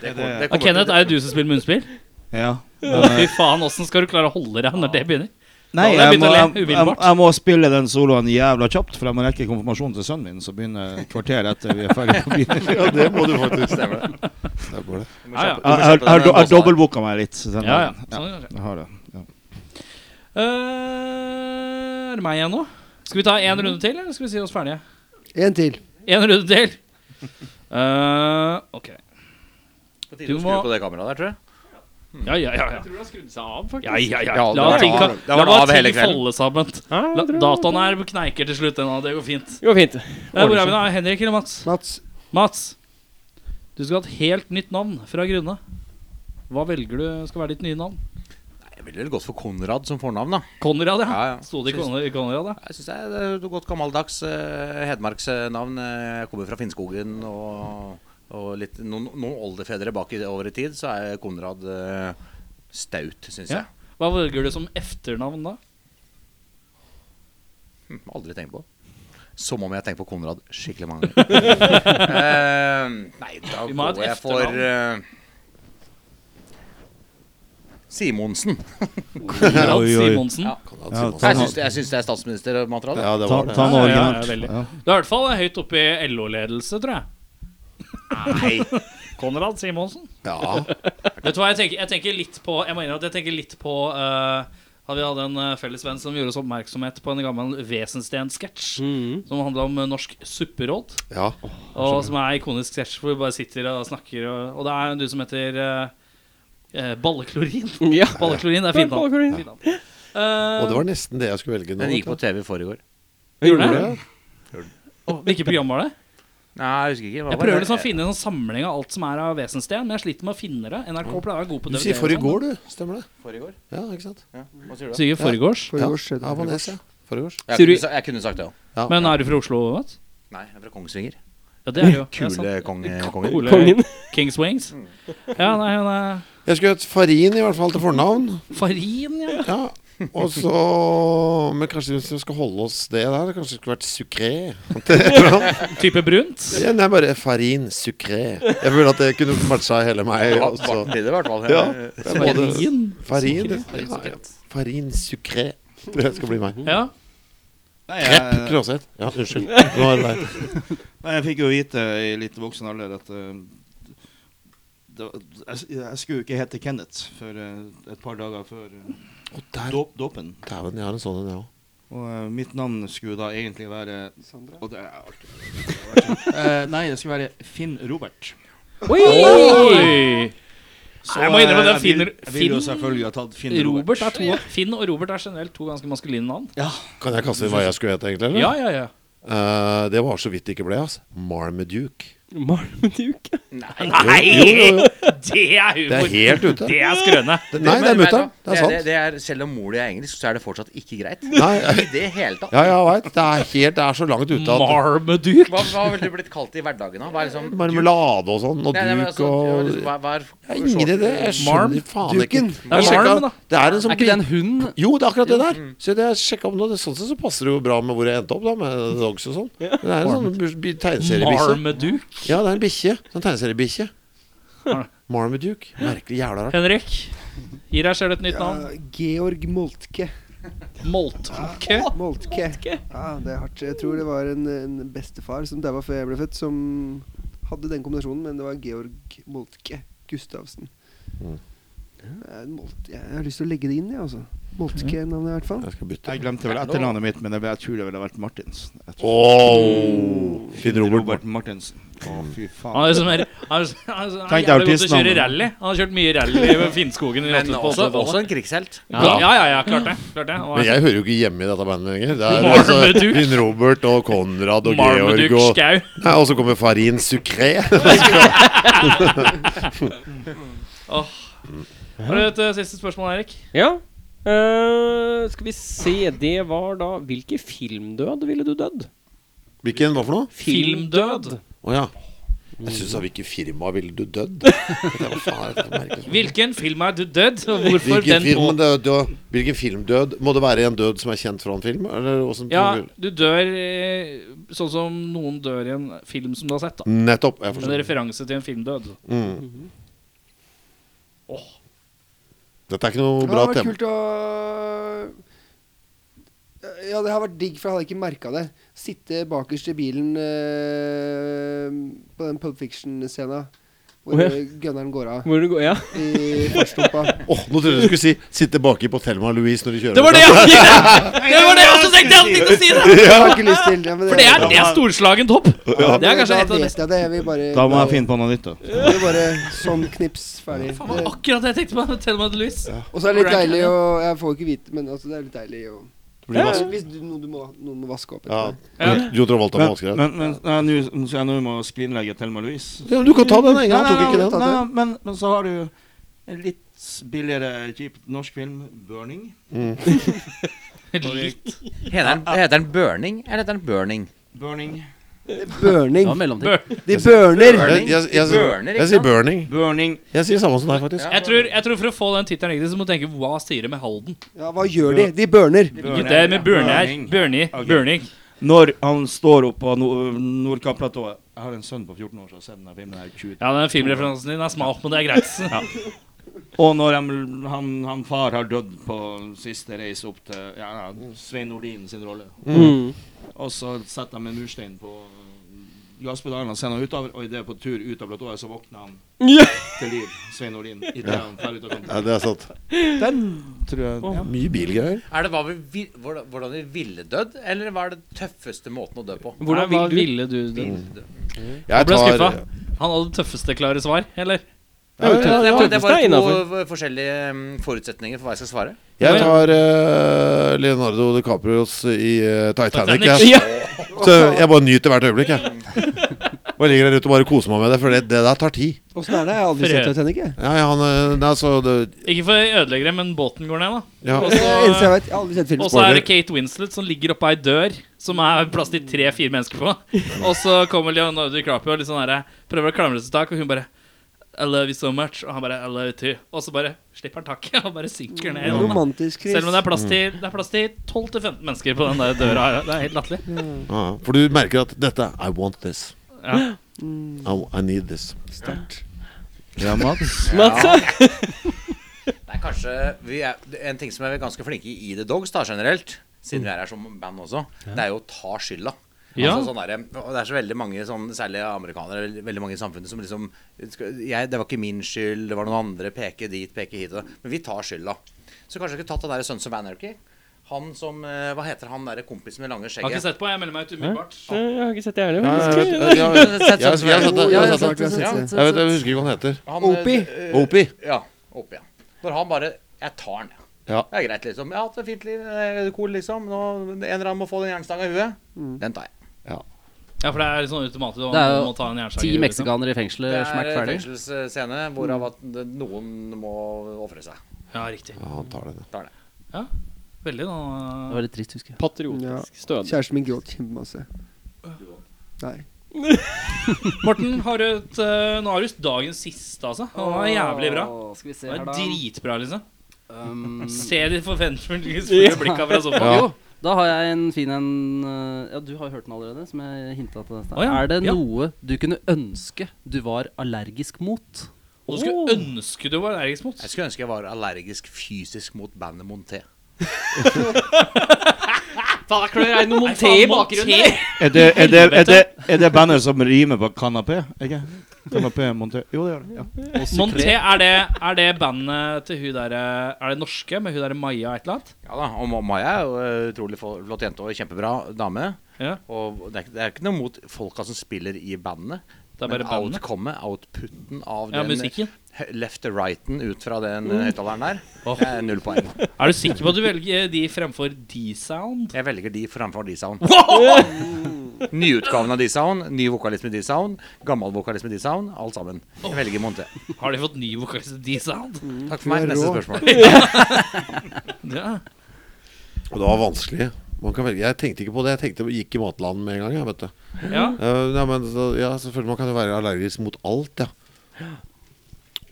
[SPEAKER 9] kommer, det
[SPEAKER 4] Ah,
[SPEAKER 9] kommer til-
[SPEAKER 4] Kenneth, er det du som spiller munnspill?
[SPEAKER 11] Ja. eh,
[SPEAKER 4] Fy faen, åssen skal du klare å holde deg når det begynner?
[SPEAKER 11] Nei,
[SPEAKER 4] Da hadde
[SPEAKER 11] jeg må,
[SPEAKER 4] jeg begynt å le
[SPEAKER 11] jeg, jeg,
[SPEAKER 4] umiddelbart.
[SPEAKER 11] jeg må spille den soloen jævla kjapt, for jeg må rekke konfirmasjonen til sønnen min, som begynner et kvarter etter vi er ferdig på byen.
[SPEAKER 6] [LAUGHS] Ja, det må du faktisk.
[SPEAKER 9] Stemmer det.
[SPEAKER 6] Stemmer det.
[SPEAKER 9] Du må kjappe- du
[SPEAKER 4] Ja, ja.
[SPEAKER 9] må
[SPEAKER 11] Jeg jeg-
[SPEAKER 9] kjappe
[SPEAKER 11] jeg-
[SPEAKER 9] den
[SPEAKER 11] jeg
[SPEAKER 9] låsa der.
[SPEAKER 11] dobbeltbooka meg litt. så den-
[SPEAKER 4] Ja, ja.
[SPEAKER 11] ja.
[SPEAKER 4] Sånn gjør jeg.
[SPEAKER 11] Jeg har det. Ja.
[SPEAKER 4] Eh, er det meg igjen nå? Skal vi ta én runde til, eller skal vi si oss ferdige?
[SPEAKER 7] En til.
[SPEAKER 4] Én runde til. Eh, ok.
[SPEAKER 9] På tide
[SPEAKER 4] Du
[SPEAKER 9] å skru
[SPEAKER 4] må-
[SPEAKER 9] på det kameraet der, tror jeg.
[SPEAKER 4] Ja, ja, ja. ja. Ja, ja, ja.
[SPEAKER 9] Ja, det
[SPEAKER 4] La
[SPEAKER 9] var
[SPEAKER 4] ting,
[SPEAKER 9] av.
[SPEAKER 4] kan-
[SPEAKER 9] Det var
[SPEAKER 4] la bare
[SPEAKER 9] av hele
[SPEAKER 4] ting
[SPEAKER 9] kvelden.
[SPEAKER 4] falle sammen.
[SPEAKER 1] Ja,
[SPEAKER 4] La,
[SPEAKER 1] jeg tror-
[SPEAKER 4] dataen her kneiker til slutt. den da. Det går fint.
[SPEAKER 1] Det går fint.
[SPEAKER 4] Eh, Hvor er vi da? Henrik eller Mats?
[SPEAKER 7] Mats.
[SPEAKER 4] Mats, du skal ha et helt nytt navn fra grunne. Hva velger du skal være ditt nye navn?
[SPEAKER 9] Det ville vel gått for Konrad som fornavn, da.
[SPEAKER 4] Konrad, ja.
[SPEAKER 9] Ja, ja.
[SPEAKER 4] Sto det i Kon- Konrad, da?
[SPEAKER 9] Jeg syns det er et godt gammeldags eh, hedmarksnavn. Eh, Jeg kommer fra Finnskogen, og, og litt, noen, noen oldefedre bakover i tid, så er Konrad eh, staut, syns
[SPEAKER 4] Ja.
[SPEAKER 9] jeg.
[SPEAKER 4] Hva velger du som efternavn, da?
[SPEAKER 9] Hm, Aldri tenkt på. Som om jeg tenker på Konrad skikkelig
[SPEAKER 4] [LAUGHS]
[SPEAKER 9] mange ganger. Eh, nei, da
[SPEAKER 4] Vi må ha et
[SPEAKER 9] går jeg for eh, Simonsen.
[SPEAKER 4] Konrad Oi, oi. Simonsen?
[SPEAKER 9] Ja.
[SPEAKER 4] Konrad
[SPEAKER 9] Ja,
[SPEAKER 4] Simonsen.
[SPEAKER 9] jeg syns det, jeg syns det er statsministermateriale.
[SPEAKER 6] Ja, det var Ta- det.
[SPEAKER 4] Ja,
[SPEAKER 6] ta
[SPEAKER 4] ja,
[SPEAKER 6] noe
[SPEAKER 4] ja,
[SPEAKER 6] originalt.
[SPEAKER 4] veldig.
[SPEAKER 6] Ja.
[SPEAKER 4] Du er i hvert fall høyt oppe i LO-ledelse, tror jeg.
[SPEAKER 9] Nei.
[SPEAKER 4] [LAUGHS] Konrad Simonsen.
[SPEAKER 6] Ja.
[SPEAKER 4] Vet du hva, jeg tenker, jeg tenker litt på Jeg må innrømme at jeg tenker litt på eh, at Vi hadde en eh, felles venn som gjorde oss oppmerksomhet på en gammel Wesensten-sketsj som handla om eh, norsk supperåd.
[SPEAKER 6] Ja.
[SPEAKER 4] Og som er en ikonisk sketsj hvor vi bare sitter og snakker, og, og det er en du som heter eh, eh, Balleklorin.
[SPEAKER 1] Ja.
[SPEAKER 4] Balleklorin er
[SPEAKER 1] Ja,
[SPEAKER 4] fint
[SPEAKER 1] Balleklorin.
[SPEAKER 4] navn. Fint navn. Eh,
[SPEAKER 6] Og det var nesten det jeg skulle velge nå.
[SPEAKER 9] Den gikk på
[SPEAKER 6] vet du.
[SPEAKER 9] TV i forrige år.
[SPEAKER 4] Gjorde
[SPEAKER 6] Gjorde
[SPEAKER 4] det? Åh, Hvilket program var det?
[SPEAKER 9] Nei, jeg husker ikke. Hva
[SPEAKER 4] Jeg
[SPEAKER 9] var det?
[SPEAKER 4] prøver liksom å finne en sånn samling av alt som er av Wesensten, men jeg sliter med å finne det. NRK
[SPEAKER 8] Mm.
[SPEAKER 4] pleier å være god på
[SPEAKER 6] Du
[SPEAKER 4] DVD.
[SPEAKER 6] sier for i går, du. Stemmer det?
[SPEAKER 9] Forrige år?
[SPEAKER 6] Ja, ikke sant?
[SPEAKER 9] Ja, hva sier du?
[SPEAKER 4] sånn. Sier foregårs?
[SPEAKER 6] Ja, ja, ja på Nes, ja. Foregårs.
[SPEAKER 9] Jeg,
[SPEAKER 4] Sier du-
[SPEAKER 9] kunne, sa- jeg kunne sagt det òg.
[SPEAKER 6] Ja.
[SPEAKER 4] Men er du fra Oslo, vet du?
[SPEAKER 9] Nei, jeg er fra Kongsvinger.
[SPEAKER 4] Ja, det er jo det er sant.
[SPEAKER 9] Kule konge, kongen.
[SPEAKER 4] Ole
[SPEAKER 1] Kongen.
[SPEAKER 4] Kings Wings.
[SPEAKER 8] Mm.
[SPEAKER 4] Ja, nei, hun er
[SPEAKER 6] Jeg skulle hett Farin i hvert fall til fornavn.
[SPEAKER 4] Farin, ja.
[SPEAKER 6] Ja. Og så Men kanskje hvis vi skal holde oss det der, det kanskje skulle vært Sucré.
[SPEAKER 4] [LAUGHS] Type brunt.
[SPEAKER 6] Ja, nei, bare Farin Sucré. Jeg føler at det kunne matcha hele meg.
[SPEAKER 9] Ja,
[SPEAKER 6] Også.
[SPEAKER 9] Barten i det, i hvert fall.
[SPEAKER 6] Ja, det er både
[SPEAKER 4] Farin?
[SPEAKER 6] Farin,
[SPEAKER 4] Sucré.
[SPEAKER 6] ja, ja. Farin Sucré. Tror jeg skal bli meg.
[SPEAKER 4] Ja.
[SPEAKER 8] Nei,
[SPEAKER 6] Krepp
[SPEAKER 8] jeg,
[SPEAKER 6] Kroseth. Ja,
[SPEAKER 11] [LAUGHS]
[SPEAKER 6] unnskyld. Nå er det deg.
[SPEAKER 8] nei, jeg fikk jo vite i litt voksen alder at eh, det, var- jeg, jeg skulle jo ikke hete Kenneth før eh, et par dager før eh,
[SPEAKER 6] Å, der.
[SPEAKER 8] dåp- dåpen.
[SPEAKER 6] Dæven, jeg har en sånn en, jeg òg.
[SPEAKER 8] Og eh, mitt navn skulle da egentlig være
[SPEAKER 7] Sandra?
[SPEAKER 8] Og det er artig. Eh, nei, det skulle være Finn Robert.
[SPEAKER 4] Oi!
[SPEAKER 8] Så,
[SPEAKER 4] Nei, jeg må innrømme
[SPEAKER 8] eh,
[SPEAKER 4] det, Finn-
[SPEAKER 8] jeg vil, jeg vil jo
[SPEAKER 4] Finn-
[SPEAKER 8] selvfølgelig ha tatt Finn Robert.
[SPEAKER 4] Robert er to, Finn og Robert er generelt to ganske maskuline navn.
[SPEAKER 6] Kan jeg kaste inn hva jeg skulle hete, egentlig? eller?
[SPEAKER 4] Ja, ja, ja.
[SPEAKER 6] Eh, det var så vidt det ikke ble, altså. Marmaduke.
[SPEAKER 1] Marmaduke.
[SPEAKER 6] Jo, jo, jo.
[SPEAKER 4] [LAUGHS]
[SPEAKER 9] [LAUGHS]
[SPEAKER 4] Det er
[SPEAKER 6] Det er
[SPEAKER 4] humor!
[SPEAKER 6] helt ute.
[SPEAKER 4] Det er
[SPEAKER 6] [LAUGHS]
[SPEAKER 4] skrøne.
[SPEAKER 6] Nei, det er
[SPEAKER 9] men-
[SPEAKER 6] mutter'n.
[SPEAKER 9] men-
[SPEAKER 6] Det er
[SPEAKER 9] Det,
[SPEAKER 6] sant.
[SPEAKER 9] det er, selv om mor di er engelsk, så er det fortsatt ikke greit.
[SPEAKER 6] [LAUGHS] Nei,
[SPEAKER 9] [LAUGHS] I det hele tatt.
[SPEAKER 6] ja, ja, veit. Det er helt Det er så langt ute at
[SPEAKER 4] Marmaduke.
[SPEAKER 9] Hva, hva ville du blitt kalt i hverdagen, da? Hva er liksom
[SPEAKER 6] Marmelade og sånn, og
[SPEAKER 9] Nei, nei,
[SPEAKER 6] duk
[SPEAKER 9] men altså,
[SPEAKER 6] og
[SPEAKER 9] liksom, hva, hva er,
[SPEAKER 6] Jeg har ingen idé. Jeg
[SPEAKER 4] Marm?
[SPEAKER 6] skjønner faen ikke.
[SPEAKER 7] Duken.
[SPEAKER 4] Det er
[SPEAKER 6] Jeg sjekka-
[SPEAKER 4] marm, da.
[SPEAKER 6] Det er en
[SPEAKER 3] Er
[SPEAKER 6] sånn
[SPEAKER 3] ikke det en hund?
[SPEAKER 6] Jo, det er akkurat det der. Så det jeg sjekket opp nå, det, sånn sett så passer det jo bra med hvor jeg endte opp, da, med dogs og sånn. Men Det er en sånn bu- bu- tegneseriebikkje.
[SPEAKER 4] Marmaduke.
[SPEAKER 6] Ja, det er en bikkje. Sånn tegneseriebikkje.
[SPEAKER 4] Har-
[SPEAKER 6] Marmaduke. Merkelig jævla rart.
[SPEAKER 4] Henrik, gi deg selv et nytt navn.
[SPEAKER 7] Ja, Georg Moltke.
[SPEAKER 4] Moltke.
[SPEAKER 7] Moltke. Ja, det er hardt. Jeg tror det var en, en bestefar som daua før jeg ble født, som hadde den kombinasjonen, men det var Georg Moltke Gustavsen. Det er en Molt jeg har lyst til å legge det inn, jeg, altså. Moltke-navnet, i hvert fall.
[SPEAKER 6] Jeg skal bytte.
[SPEAKER 8] Jeg glemte vel etternavnet mitt, men jeg, jeg tror det ville vært Martins. Jeg tror- Mm.
[SPEAKER 6] Oh, Finn
[SPEAKER 8] Robert
[SPEAKER 6] Robert.
[SPEAKER 8] Martinsen. Å, fy
[SPEAKER 4] Han
[SPEAKER 8] faen.
[SPEAKER 4] er, som
[SPEAKER 8] [LAUGHS]
[SPEAKER 4] er, altså, han er, han er, han er
[SPEAKER 8] Tenk deg
[SPEAKER 4] jævlig god til å
[SPEAKER 8] artisten,
[SPEAKER 4] kjøre
[SPEAKER 8] han.
[SPEAKER 4] rally. Han har kjørt mye rally i
[SPEAKER 6] [LAUGHS]
[SPEAKER 4] Finnskogen. i
[SPEAKER 9] Men
[SPEAKER 4] 80-tallet.
[SPEAKER 9] også, også en krigshelt.
[SPEAKER 4] ja, ja, ja, ja, klart det. Klart det. Og
[SPEAKER 6] Men jeg hører jo ikke hjemme i dette bandet lenger. Det er altså
[SPEAKER 4] Marmaduke.
[SPEAKER 6] Finn Robert og Konrad og Georg
[SPEAKER 4] Marmaduke
[SPEAKER 6] og
[SPEAKER 4] Skau.
[SPEAKER 6] Nei, Og så kommer Farin Sucré.
[SPEAKER 4] [LAUGHS]
[SPEAKER 6] [LAUGHS]
[SPEAKER 1] [LAUGHS]
[SPEAKER 4] Har du et eh, siste spørsmål, Erik?
[SPEAKER 1] Ja. Eh, skal vi se Det var da Hvilken filmdød ville du dødd?
[SPEAKER 6] Hvilken, hva for noe?
[SPEAKER 4] Filmdød.
[SPEAKER 6] Å ja.
[SPEAKER 7] Mm.
[SPEAKER 6] Jeg syns av hvilket firma ville du dødd?
[SPEAKER 7] [LAUGHS]
[SPEAKER 6] Det var faen, det var merkelig.
[SPEAKER 4] Hvilken film er du dødd, og hvorfor
[SPEAKER 6] Hvilken
[SPEAKER 4] den på?
[SPEAKER 6] film, død, død, hvilken filmdød? Må det være en død som er kjent fra en film? Eller hvordan-
[SPEAKER 4] Ja, du dør eh, sånn som noen dør i en film som du har sett. da
[SPEAKER 6] Nettopp. Jeg
[SPEAKER 4] En
[SPEAKER 6] forstår.
[SPEAKER 4] referanse til en filmdød.
[SPEAKER 6] Mm.
[SPEAKER 4] Åh.
[SPEAKER 6] Dette er ikke noe
[SPEAKER 7] Det
[SPEAKER 6] bra
[SPEAKER 7] hadde vært
[SPEAKER 6] tema.
[SPEAKER 7] kult å Ja, det hadde vært digg, for jeg hadde ikke merka det. Sitte bakerst i bilen eh, på den Pulp Fiction-scena hvor
[SPEAKER 1] Å, ja.
[SPEAKER 7] eh, gunneren går av
[SPEAKER 1] Hvor du går, ja.
[SPEAKER 7] i fartsdumpa.
[SPEAKER 8] [LAUGHS]
[SPEAKER 6] Åh, nå trodde jeg du skulle si 'sitte baki på Thelma Louise' når du kjører.
[SPEAKER 4] Det var det
[SPEAKER 6] [LAUGHS]
[SPEAKER 8] [LAUGHS]
[SPEAKER 4] jeg også Det var det jeg også tenkte! Jeg hadde tenkt å si det!
[SPEAKER 7] Jeg har ikke lyst til ja, men
[SPEAKER 4] For det er, det er storslagent hopp. Det er kanskje
[SPEAKER 7] da
[SPEAKER 4] et av de
[SPEAKER 7] vet jeg det. Jeg vil bare,
[SPEAKER 8] Da må jeg finne på noe nytt, da.
[SPEAKER 7] jeg vil bare Sånn knips, ferdig.
[SPEAKER 4] Det var
[SPEAKER 7] Det,
[SPEAKER 4] akkurat det jeg tenkte på. Tell meg et lys.
[SPEAKER 7] og så er det litt deilig å Jeg får ikke vite, men altså, det er litt deilig å
[SPEAKER 6] blir vask.
[SPEAKER 7] Hvis du, noen, du må, noen må vaske opp
[SPEAKER 6] Ja.
[SPEAKER 7] etterpå.
[SPEAKER 6] Jo Travolta med
[SPEAKER 8] Men,
[SPEAKER 6] vaskere.
[SPEAKER 8] men, men nei, nå- nå skal jeg nå må skrinlegge Thelma Louise.
[SPEAKER 6] Ja, men du kan ta den. Jeg
[SPEAKER 8] Nei,
[SPEAKER 6] tok
[SPEAKER 8] nei,
[SPEAKER 6] ikke
[SPEAKER 8] nei,
[SPEAKER 6] den.
[SPEAKER 8] nei, nei, men, men så har du en litt S- Billigere kjip norsk film, 'Burning'.
[SPEAKER 4] [LAUGHS]
[SPEAKER 9] Mm.
[SPEAKER 8] Og det-
[SPEAKER 9] Heter den, heter den Burning, eller heter den Burning?
[SPEAKER 8] Burning.
[SPEAKER 7] Burning.
[SPEAKER 9] Ja, mellomting.
[SPEAKER 7] De burner.
[SPEAKER 9] Burning. Jeg- jeg- jeg- De burner, ikke jeg sier sant? burning.
[SPEAKER 8] Burning.
[SPEAKER 6] Jeg sier samme som deg, faktisk.
[SPEAKER 4] Jeg tror, jeg tror For å få den tittelen riktig, så må du tenke hva sier det med Halden?
[SPEAKER 7] Ja, hva gjør de? De burner.
[SPEAKER 4] Gutta med burner.
[SPEAKER 8] Burning.
[SPEAKER 4] Burning.
[SPEAKER 8] Ok.
[SPEAKER 4] Burning.
[SPEAKER 8] Når han står oppe på Nord- Nordkapplatået Jeg har en sønn på 14 år som har sett denne filmen. her 20
[SPEAKER 4] Ja, den filmreferansen din er smal, men det er greit.
[SPEAKER 8] Og når han, han, han far har dødd på siste reis opp til ja, ja, Svein Nordin sin rolle.
[SPEAKER 1] Mm.
[SPEAKER 8] Og så setter han en murstein på gasspedalen og sender han utover. Og idet på tur ut av platået, så våkner han
[SPEAKER 1] Ja.
[SPEAKER 8] til liv, Svein Nordin. I det
[SPEAKER 6] Ja.
[SPEAKER 8] han fer ut av
[SPEAKER 6] Ja, det er sant.
[SPEAKER 8] Den tror jeg ja.
[SPEAKER 6] Mye bilgreier.
[SPEAKER 9] Er det hva vi, vil- hvordan hvordan vi ville dødd, eller hva er det tøffeste måten å dø på?
[SPEAKER 4] [LAUGHS] Hvordan
[SPEAKER 9] Nei, hva
[SPEAKER 4] ville du det?
[SPEAKER 9] Mm. Jeg
[SPEAKER 4] Han ble
[SPEAKER 9] tar-
[SPEAKER 4] skuffa. Han hadde det tøffeste klare svar, eller?
[SPEAKER 9] Ja, det, var- det, var- det var
[SPEAKER 4] Tøffeste altså. er
[SPEAKER 9] to
[SPEAKER 4] innenfor.
[SPEAKER 9] v- forskjellige mm, forutsetninger for hva jeg skal svare.
[SPEAKER 6] Jeg tar eh, Leonardo DiCaprios i eh, Titanic.
[SPEAKER 9] Titanic.
[SPEAKER 6] jeg.
[SPEAKER 9] Ja.
[SPEAKER 6] Så jeg bare nyter hvert øyeblikk. Jeg. Bare ligger der ute og bare koser meg med det, for det, det der tar tid.
[SPEAKER 7] Åssen er det? Jeg har aldri sett Titanic, jeg.
[SPEAKER 6] Nei, han, eh, nei, så det,
[SPEAKER 4] Ikke for å ødelegge det, men båten går ned, da.
[SPEAKER 6] Ja.
[SPEAKER 4] Og
[SPEAKER 6] Det
[SPEAKER 7] er det eneste jeg vet. Jeg har aldri sett
[SPEAKER 4] så-
[SPEAKER 7] film.
[SPEAKER 4] Og så er det Kate Winslet som ligger oppå ei dør som er plass til tre-fire mennesker på. Og så kommer Leonardo DiCaprio og litt sånn her, prøver å klamre seg tak, og hun bare I love you so much. Og han bare I love you too. Og så bare slipper han taket [LAUGHS] og bare synker ned. i vannet.
[SPEAKER 7] Romantisk, Chris.
[SPEAKER 4] Selv om det er plass til, det er plass til 12-15 mennesker på den der døra. her. Det er helt latterlig.
[SPEAKER 6] ja, for du merker at dette I want this.
[SPEAKER 4] Ja.
[SPEAKER 6] I, I need this.
[SPEAKER 11] Ja, Mats.
[SPEAKER 9] Mats, ja. Det er kanskje vi er, En ting som er ganske flinke i i The Dogs da, generelt, siden vi er her som band også, det er jo å ta skylda.
[SPEAKER 4] Ja.
[SPEAKER 9] Altså, sånn er, det. og det er så veldig mange, sånn, særlig amerikanere, veld- veldig mange i samfunnet som liksom skal- jeg, 'Det var ikke min skyld, det var noen andre. Peke dit, peke hit.' og da. Men vi tar skylda. Så kanskje jeg skulle tatt den der Sons of Anarchy. Han som eh, Hva heter han derre kompisen med lange skjegget?
[SPEAKER 4] Har ikke sett på, jeg melder meg ut umiddelbart.
[SPEAKER 1] Jeg har ikke sett det
[SPEAKER 6] Ja,
[SPEAKER 1] heller.
[SPEAKER 6] jeg, jeg, jeg, jeg, jeg, jeg, jeg, jeg, har sett det. jeg vet- jeg husker ikke hva han heter.
[SPEAKER 9] Han,
[SPEAKER 7] Opie.
[SPEAKER 9] eh,
[SPEAKER 6] Opie.
[SPEAKER 9] Ja. Opie, ja. Når han bare Jeg tar den, jeg.
[SPEAKER 6] Ja.
[SPEAKER 9] Det er greit, liksom. Jeg har hatt et fint liv. eh, Cool, liksom. Nå, en eller annen må få den jernstanga i huet. Den tar jeg.
[SPEAKER 4] Ja, for det er sånn automatisk.
[SPEAKER 3] Det er
[SPEAKER 4] man må ta en
[SPEAKER 3] jo
[SPEAKER 4] jernslange,
[SPEAKER 3] ti
[SPEAKER 4] liksom.
[SPEAKER 3] meksikanere i fengselet.
[SPEAKER 9] Det er
[SPEAKER 3] Smack
[SPEAKER 9] en
[SPEAKER 3] ferdig.
[SPEAKER 9] fengselsscene hvorav at noen må ofre seg.
[SPEAKER 4] Ja, riktig.
[SPEAKER 6] Ja, han tar det.
[SPEAKER 9] Tar det.
[SPEAKER 4] Ja, veldig da
[SPEAKER 3] Det var litt trist, husker jeg.
[SPEAKER 1] Patriotisk stødig.
[SPEAKER 7] Kjæresten min gråt kjempemasse. Nei.
[SPEAKER 4] [LAUGHS] Morten, har du et, eh, nå har du dagens siste, altså. Han var jævlig bra.
[SPEAKER 3] Skal vi se
[SPEAKER 4] Han
[SPEAKER 3] her,
[SPEAKER 4] var
[SPEAKER 3] da.
[SPEAKER 4] dritbra, liksom.
[SPEAKER 3] Um,
[SPEAKER 4] [LAUGHS] Se de
[SPEAKER 3] [LAUGHS]
[SPEAKER 4] forventningsfulle blikka fra sofaen.
[SPEAKER 3] Jo, da har jeg en fin en eh, Ja, du har jo hørt den allerede, som jeg hinta til. dette.
[SPEAKER 4] Å ja,
[SPEAKER 3] Er det
[SPEAKER 4] ja.
[SPEAKER 3] noe du kunne ønske du var allergisk mot? Oh.
[SPEAKER 4] Og du
[SPEAKER 1] Oh.
[SPEAKER 4] skulle ønske du var allergisk mot.
[SPEAKER 9] Jeg skulle ønske jeg var allergisk fysisk mot bandet
[SPEAKER 1] [LAUGHS]
[SPEAKER 9] Monté.
[SPEAKER 1] Er det noe monté i bakgrunnen?
[SPEAKER 11] Er det, er, det, er, det, er det bandet som rimer på kanapé? Ikke? Kanapé, monté Jo, det gjør det. Ja.
[SPEAKER 4] Monté, er det, er det bandet til hun derre Er det norske med hun derre Maja et eller annet?
[SPEAKER 9] Ja da, og Ma- Maja er jo eh, utrolig fo- flott jente og kjempebra dame.
[SPEAKER 4] Ja.
[SPEAKER 9] Og det er, ikke- det er ikke noe mot folka som spiller i bandet.
[SPEAKER 4] Det er bare
[SPEAKER 9] men
[SPEAKER 4] bandet.
[SPEAKER 9] outcomet, outputen av
[SPEAKER 4] Ja,
[SPEAKER 9] den
[SPEAKER 4] musikken. Mm.
[SPEAKER 9] eh, left to righten ut fra den eh, høyttaleren der, det er null poeng.
[SPEAKER 4] [LAUGHS] Er du sikker på at du velger eh, de fremfor D-sound?
[SPEAKER 9] Jeg velger de framfor D-Sound. [LAUGHS] Nyutgaven av D-Sound, ny vokalist med D-Sound, gammel vokalist med D-Sound, alt sammen. Jeg velger Monté.
[SPEAKER 4] Har de fått ny vokalist til D-sound?
[SPEAKER 3] Mm.
[SPEAKER 9] Takk for meg.
[SPEAKER 7] du er
[SPEAKER 9] Neste
[SPEAKER 7] rå.
[SPEAKER 9] spørsmål.
[SPEAKER 4] [LAUGHS] Ja.
[SPEAKER 6] Og det var vanskelig. Man kan velge. Jeg tenkte ikke på det. Jeg tenkte gikk i matland med en gang. Jeg, vet du.
[SPEAKER 4] ja.
[SPEAKER 6] Eh, nei, men, så, ja, selvfølgelig man kan jo være allergisk mot alt, ja.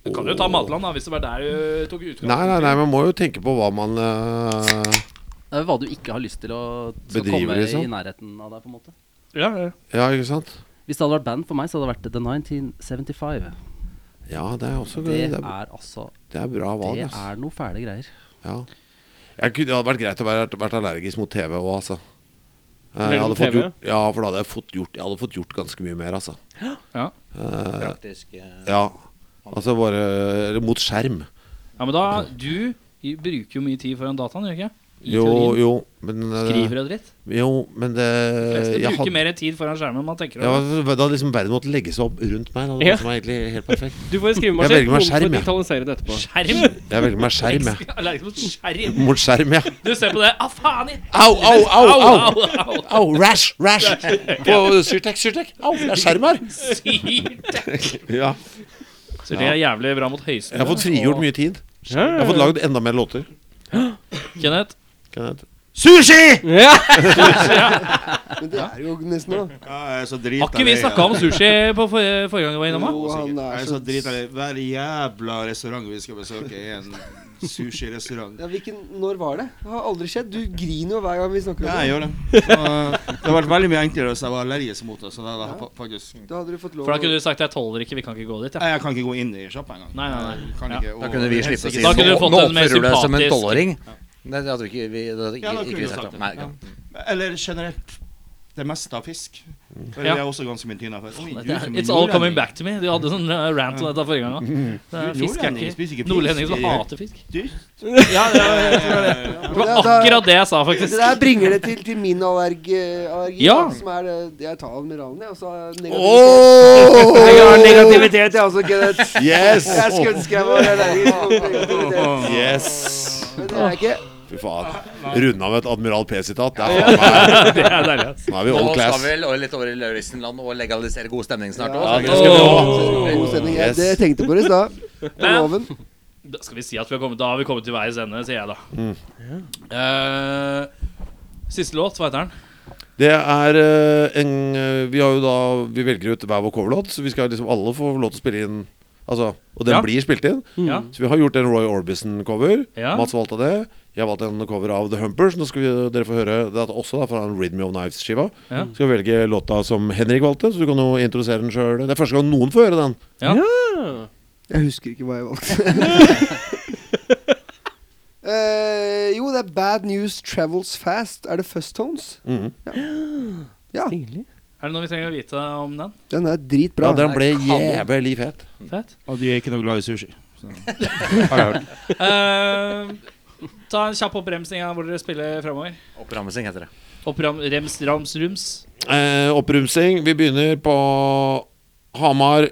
[SPEAKER 4] Du kan jo ta Matland, da, hvis det var der du tok utgangspunkt.
[SPEAKER 6] Nei, nei, nei, man må jo tenke på hva man eh,
[SPEAKER 3] Det er jo hva du ikke har lyst til å skal
[SPEAKER 6] Bedriver,
[SPEAKER 3] komme
[SPEAKER 6] liksom.
[SPEAKER 3] i nærheten av deg, på en måte.
[SPEAKER 4] Ja, ja.
[SPEAKER 6] Ja, ikke sant?
[SPEAKER 3] Hvis det hadde vært band for meg, så hadde det vært The 1975.
[SPEAKER 6] Ja, det er også
[SPEAKER 3] Det
[SPEAKER 6] det
[SPEAKER 3] er
[SPEAKER 6] er,
[SPEAKER 3] altså
[SPEAKER 6] det er bra valg,
[SPEAKER 3] Det
[SPEAKER 6] altså.
[SPEAKER 3] er noe fæle greier.
[SPEAKER 6] Ja. Jeg kunne, det hadde vært greit å være vært allergisk mot TV òg, altså. Eh, Jeg
[SPEAKER 1] Allergisk
[SPEAKER 6] hadde
[SPEAKER 1] mot
[SPEAKER 6] fått
[SPEAKER 1] TV?
[SPEAKER 6] gjort, ja, for da hadde jeg fått gjort Jeg hadde fått gjort ganske mye mer, altså.
[SPEAKER 4] Ja.
[SPEAKER 6] Eh,
[SPEAKER 9] Praktisk. eh,
[SPEAKER 6] ja. Altså bare Eller mot skjerm.
[SPEAKER 4] Ja, men da, du i- bruker jo mye tid foran dataen, gjør du ikke? I
[SPEAKER 6] Jo,
[SPEAKER 4] teorien.
[SPEAKER 6] jo, men eh,
[SPEAKER 4] Skriver og dritt.
[SPEAKER 6] Jo, men det
[SPEAKER 4] De fleste
[SPEAKER 6] jeg
[SPEAKER 4] bruker
[SPEAKER 6] hadde-
[SPEAKER 4] mer tid foran skjermen enn man tenker
[SPEAKER 6] Ja,
[SPEAKER 4] over.
[SPEAKER 6] da hadde liksom verden måtte legge seg opp rundt meg. Da hadde
[SPEAKER 1] Ja.
[SPEAKER 6] passet meg egentlig helt perfekt.
[SPEAKER 1] Du får en
[SPEAKER 6] Jeg
[SPEAKER 1] skrivemaskin.
[SPEAKER 6] velger meg
[SPEAKER 1] noen får
[SPEAKER 6] skjerm, jeg.
[SPEAKER 1] digitalisere det etterpå.
[SPEAKER 4] Skjerm!
[SPEAKER 6] Jeg velger meg skjerm,
[SPEAKER 4] [LAUGHS]
[SPEAKER 6] jeg.
[SPEAKER 4] Allergisk mot liksom skjerm.
[SPEAKER 6] Mot skjerm, ja.
[SPEAKER 4] Du ser på det. Å, faen! i-
[SPEAKER 6] Au, au, au! au,
[SPEAKER 4] Au, au.
[SPEAKER 6] au Rash, rash! På Syrtec, Syrtec. Au, det er
[SPEAKER 4] [LAUGHS]
[SPEAKER 6] skjerm her!
[SPEAKER 4] Sykt.
[SPEAKER 6] Ja.
[SPEAKER 4] Så det er jævlig bra mot
[SPEAKER 6] Jeg har
[SPEAKER 4] høyskolen.
[SPEAKER 6] fått frigjort mye tid. Jeg har fått lagd enda mer låter.
[SPEAKER 4] Kenneth?
[SPEAKER 6] Kenneth.
[SPEAKER 8] Sushi!
[SPEAKER 1] Ja!
[SPEAKER 7] [LAUGHS] Men det er jo nesten nå.
[SPEAKER 8] Ja, jeg er så
[SPEAKER 4] Har ikke vi snakka om sushi på for, forrige gang vi var innom? da?
[SPEAKER 7] Jo, han
[SPEAKER 8] Jeg
[SPEAKER 7] er
[SPEAKER 8] er så
[SPEAKER 7] så
[SPEAKER 8] drita i Hver jævla restaurant vi skal besøke, er en sushirestaurant.
[SPEAKER 7] ja, hvilken, Når var det? Det har aldri skjedd. Du griner jo hver gang vi snakker om
[SPEAKER 8] Ja, jeg
[SPEAKER 7] det.
[SPEAKER 8] gjør det. Så, eh, det har vært veldig mye enklere hvis jeg var allergisk mot det. Så da, da, fa- faktisk Nei,
[SPEAKER 7] Da hadde du fått lov
[SPEAKER 4] For da kunne du sagt 'jeg tåler ikke, vi kan ikke gå dit'. Ja.
[SPEAKER 8] Jeg kan ikke gå inn i sjappa engang.
[SPEAKER 4] Nei, nei, nei.
[SPEAKER 8] Jeg Kan
[SPEAKER 4] Ja.
[SPEAKER 8] ikke, og-
[SPEAKER 9] Da kunne vi slippe å si
[SPEAKER 4] Da kunne du fått
[SPEAKER 9] nå
[SPEAKER 4] en mer
[SPEAKER 9] oppfører du deg som en
[SPEAKER 4] sympatisk-
[SPEAKER 9] tolvåring. Det hadde vi ikke, vi, det hadde ikke,
[SPEAKER 8] Ja, da kunne
[SPEAKER 9] ikke
[SPEAKER 8] du
[SPEAKER 9] vi
[SPEAKER 8] sagt
[SPEAKER 9] sagt. om.
[SPEAKER 8] det.
[SPEAKER 9] Nei,
[SPEAKER 8] Ja.
[SPEAKER 9] ikke.
[SPEAKER 8] Eller generelt det meste av fisk.
[SPEAKER 6] Mm.
[SPEAKER 8] For
[SPEAKER 4] Ja.
[SPEAKER 8] Det er også ganske mye tynn av fisk. Oi, du som en
[SPEAKER 4] It's all
[SPEAKER 8] nordlending.
[SPEAKER 4] coming back to me. Du hadde sånn eh, rant om dette forrige gang
[SPEAKER 8] Mm.
[SPEAKER 4] òg. Fisk er
[SPEAKER 8] Nordlendinger spiser
[SPEAKER 4] ikke
[SPEAKER 8] ikke
[SPEAKER 4] Nordlendinger
[SPEAKER 8] fisk.
[SPEAKER 4] som hater fisk.
[SPEAKER 8] Dyrt.
[SPEAKER 4] Ja, det var,
[SPEAKER 8] Eh,
[SPEAKER 4] det
[SPEAKER 7] [LAUGHS]
[SPEAKER 4] var
[SPEAKER 7] Ja, da-
[SPEAKER 4] akkurat det jeg sa, faktisk.
[SPEAKER 7] Det der bringer det til, til min allerg, allergi,
[SPEAKER 4] Ja.
[SPEAKER 7] da, som er det Jeg tar Admiralen, jeg, og så har jeg negativitet. Jeg har negativitet, jeg også, Kenneth.
[SPEAKER 6] Yes!
[SPEAKER 7] Jeg skulle ønske jeg var
[SPEAKER 4] [LAUGHS]
[SPEAKER 7] allergisk mot negativitet.
[SPEAKER 6] Yes!
[SPEAKER 7] Men det er jeg ikke.
[SPEAKER 6] Fy faen. Runda med et Admiral P-sitat. [LAUGHS] Det er faen meg
[SPEAKER 4] [LAUGHS] Det er deilig. ass.
[SPEAKER 6] Nå er vi
[SPEAKER 9] Nå
[SPEAKER 6] old
[SPEAKER 9] skal
[SPEAKER 6] class.
[SPEAKER 9] vi vel litt over i Lauritzen-land og legalisere god stemning snart
[SPEAKER 7] Ja,
[SPEAKER 9] òg.
[SPEAKER 6] det skal vi også.
[SPEAKER 7] God stemning. Jeg,
[SPEAKER 6] Yes.
[SPEAKER 7] det jeg tenkte på det i stad.
[SPEAKER 4] Men-
[SPEAKER 7] Loven.
[SPEAKER 4] Da skal vi si at vi har kommet, da har vi kommet til veis ende, sier jeg da.
[SPEAKER 7] Mm.
[SPEAKER 4] Eh, siste låt, hva heter den?
[SPEAKER 6] Det er eh, en eh, Vi har jo da Vi velger ut hver vår coverlåt, så vi skal liksom alle få lov til å spille inn Altså, og den
[SPEAKER 4] Ja. Mm.
[SPEAKER 6] blir spilt inn.
[SPEAKER 4] Ja.
[SPEAKER 6] Så vi har gjort en Roy Orbison-cover.
[SPEAKER 4] Ja.
[SPEAKER 6] Mats valgte det. Jeg valgte en cover av The Humpers. Nå skal vi, dere få høre det er også da, fra en Rhythm of Knives-skiva.
[SPEAKER 4] Ja.
[SPEAKER 6] Skal vi velge låta som Henrik valgte, så du kan jo introdusere den sjøl. Det er første gang noen får høre den.
[SPEAKER 7] Jeg husker ikke hva jeg
[SPEAKER 4] [LAUGHS]
[SPEAKER 7] valgte. Eh, jo, det er Bad News Travels Fast. Er det Fuzz Tones?
[SPEAKER 6] Mhm.
[SPEAKER 7] Ja,
[SPEAKER 4] Er det noe vi trenger å vite om den?
[SPEAKER 7] den er
[SPEAKER 6] Ja,
[SPEAKER 7] dritbra.
[SPEAKER 6] den ble jævlig fet.
[SPEAKER 4] Fett.
[SPEAKER 8] Og de er ikke noe glad i sushi.
[SPEAKER 4] [LAUGHS] Eh, ta en kjapp oppbremsing av hvor dere spiller fremover.
[SPEAKER 9] Oppramsing heter det.
[SPEAKER 4] Oppram, rems, rams, rums.
[SPEAKER 6] Eh, opprumsing. Vi begynner på Hamar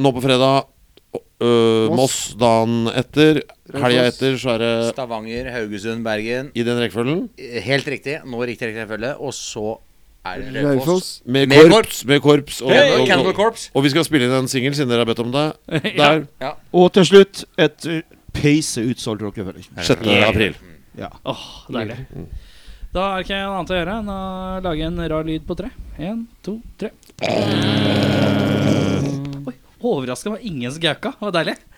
[SPEAKER 6] nå på fredag. Eh, Moss dagen etter. Helga etter så er det
[SPEAKER 9] Stavanger, Haugesund, Bergen. Eh,
[SPEAKER 6] i den rekkefølgen.
[SPEAKER 9] Helt riktig. Nå riktig rekkefølge. Og så er det Raufoss.
[SPEAKER 7] Raufoss.
[SPEAKER 6] Med
[SPEAKER 9] Med
[SPEAKER 6] korps. Med korps og,
[SPEAKER 9] Hey,
[SPEAKER 6] og,
[SPEAKER 9] Cannibal
[SPEAKER 6] og,
[SPEAKER 9] Corps.
[SPEAKER 6] og vi skal spille inn en singel, siden dere har bedt om det.
[SPEAKER 4] Ja.
[SPEAKER 6] Der.
[SPEAKER 11] Og til slutt et eh, peise utsolgt rockefeller.
[SPEAKER 6] 6. april.
[SPEAKER 4] Åh, deilig. Da er det ikke noe annet å gjøre enn å lage en rar lyd på tre. En, to, tre. Oi, overraska var ingen som gauka. Det var deilig.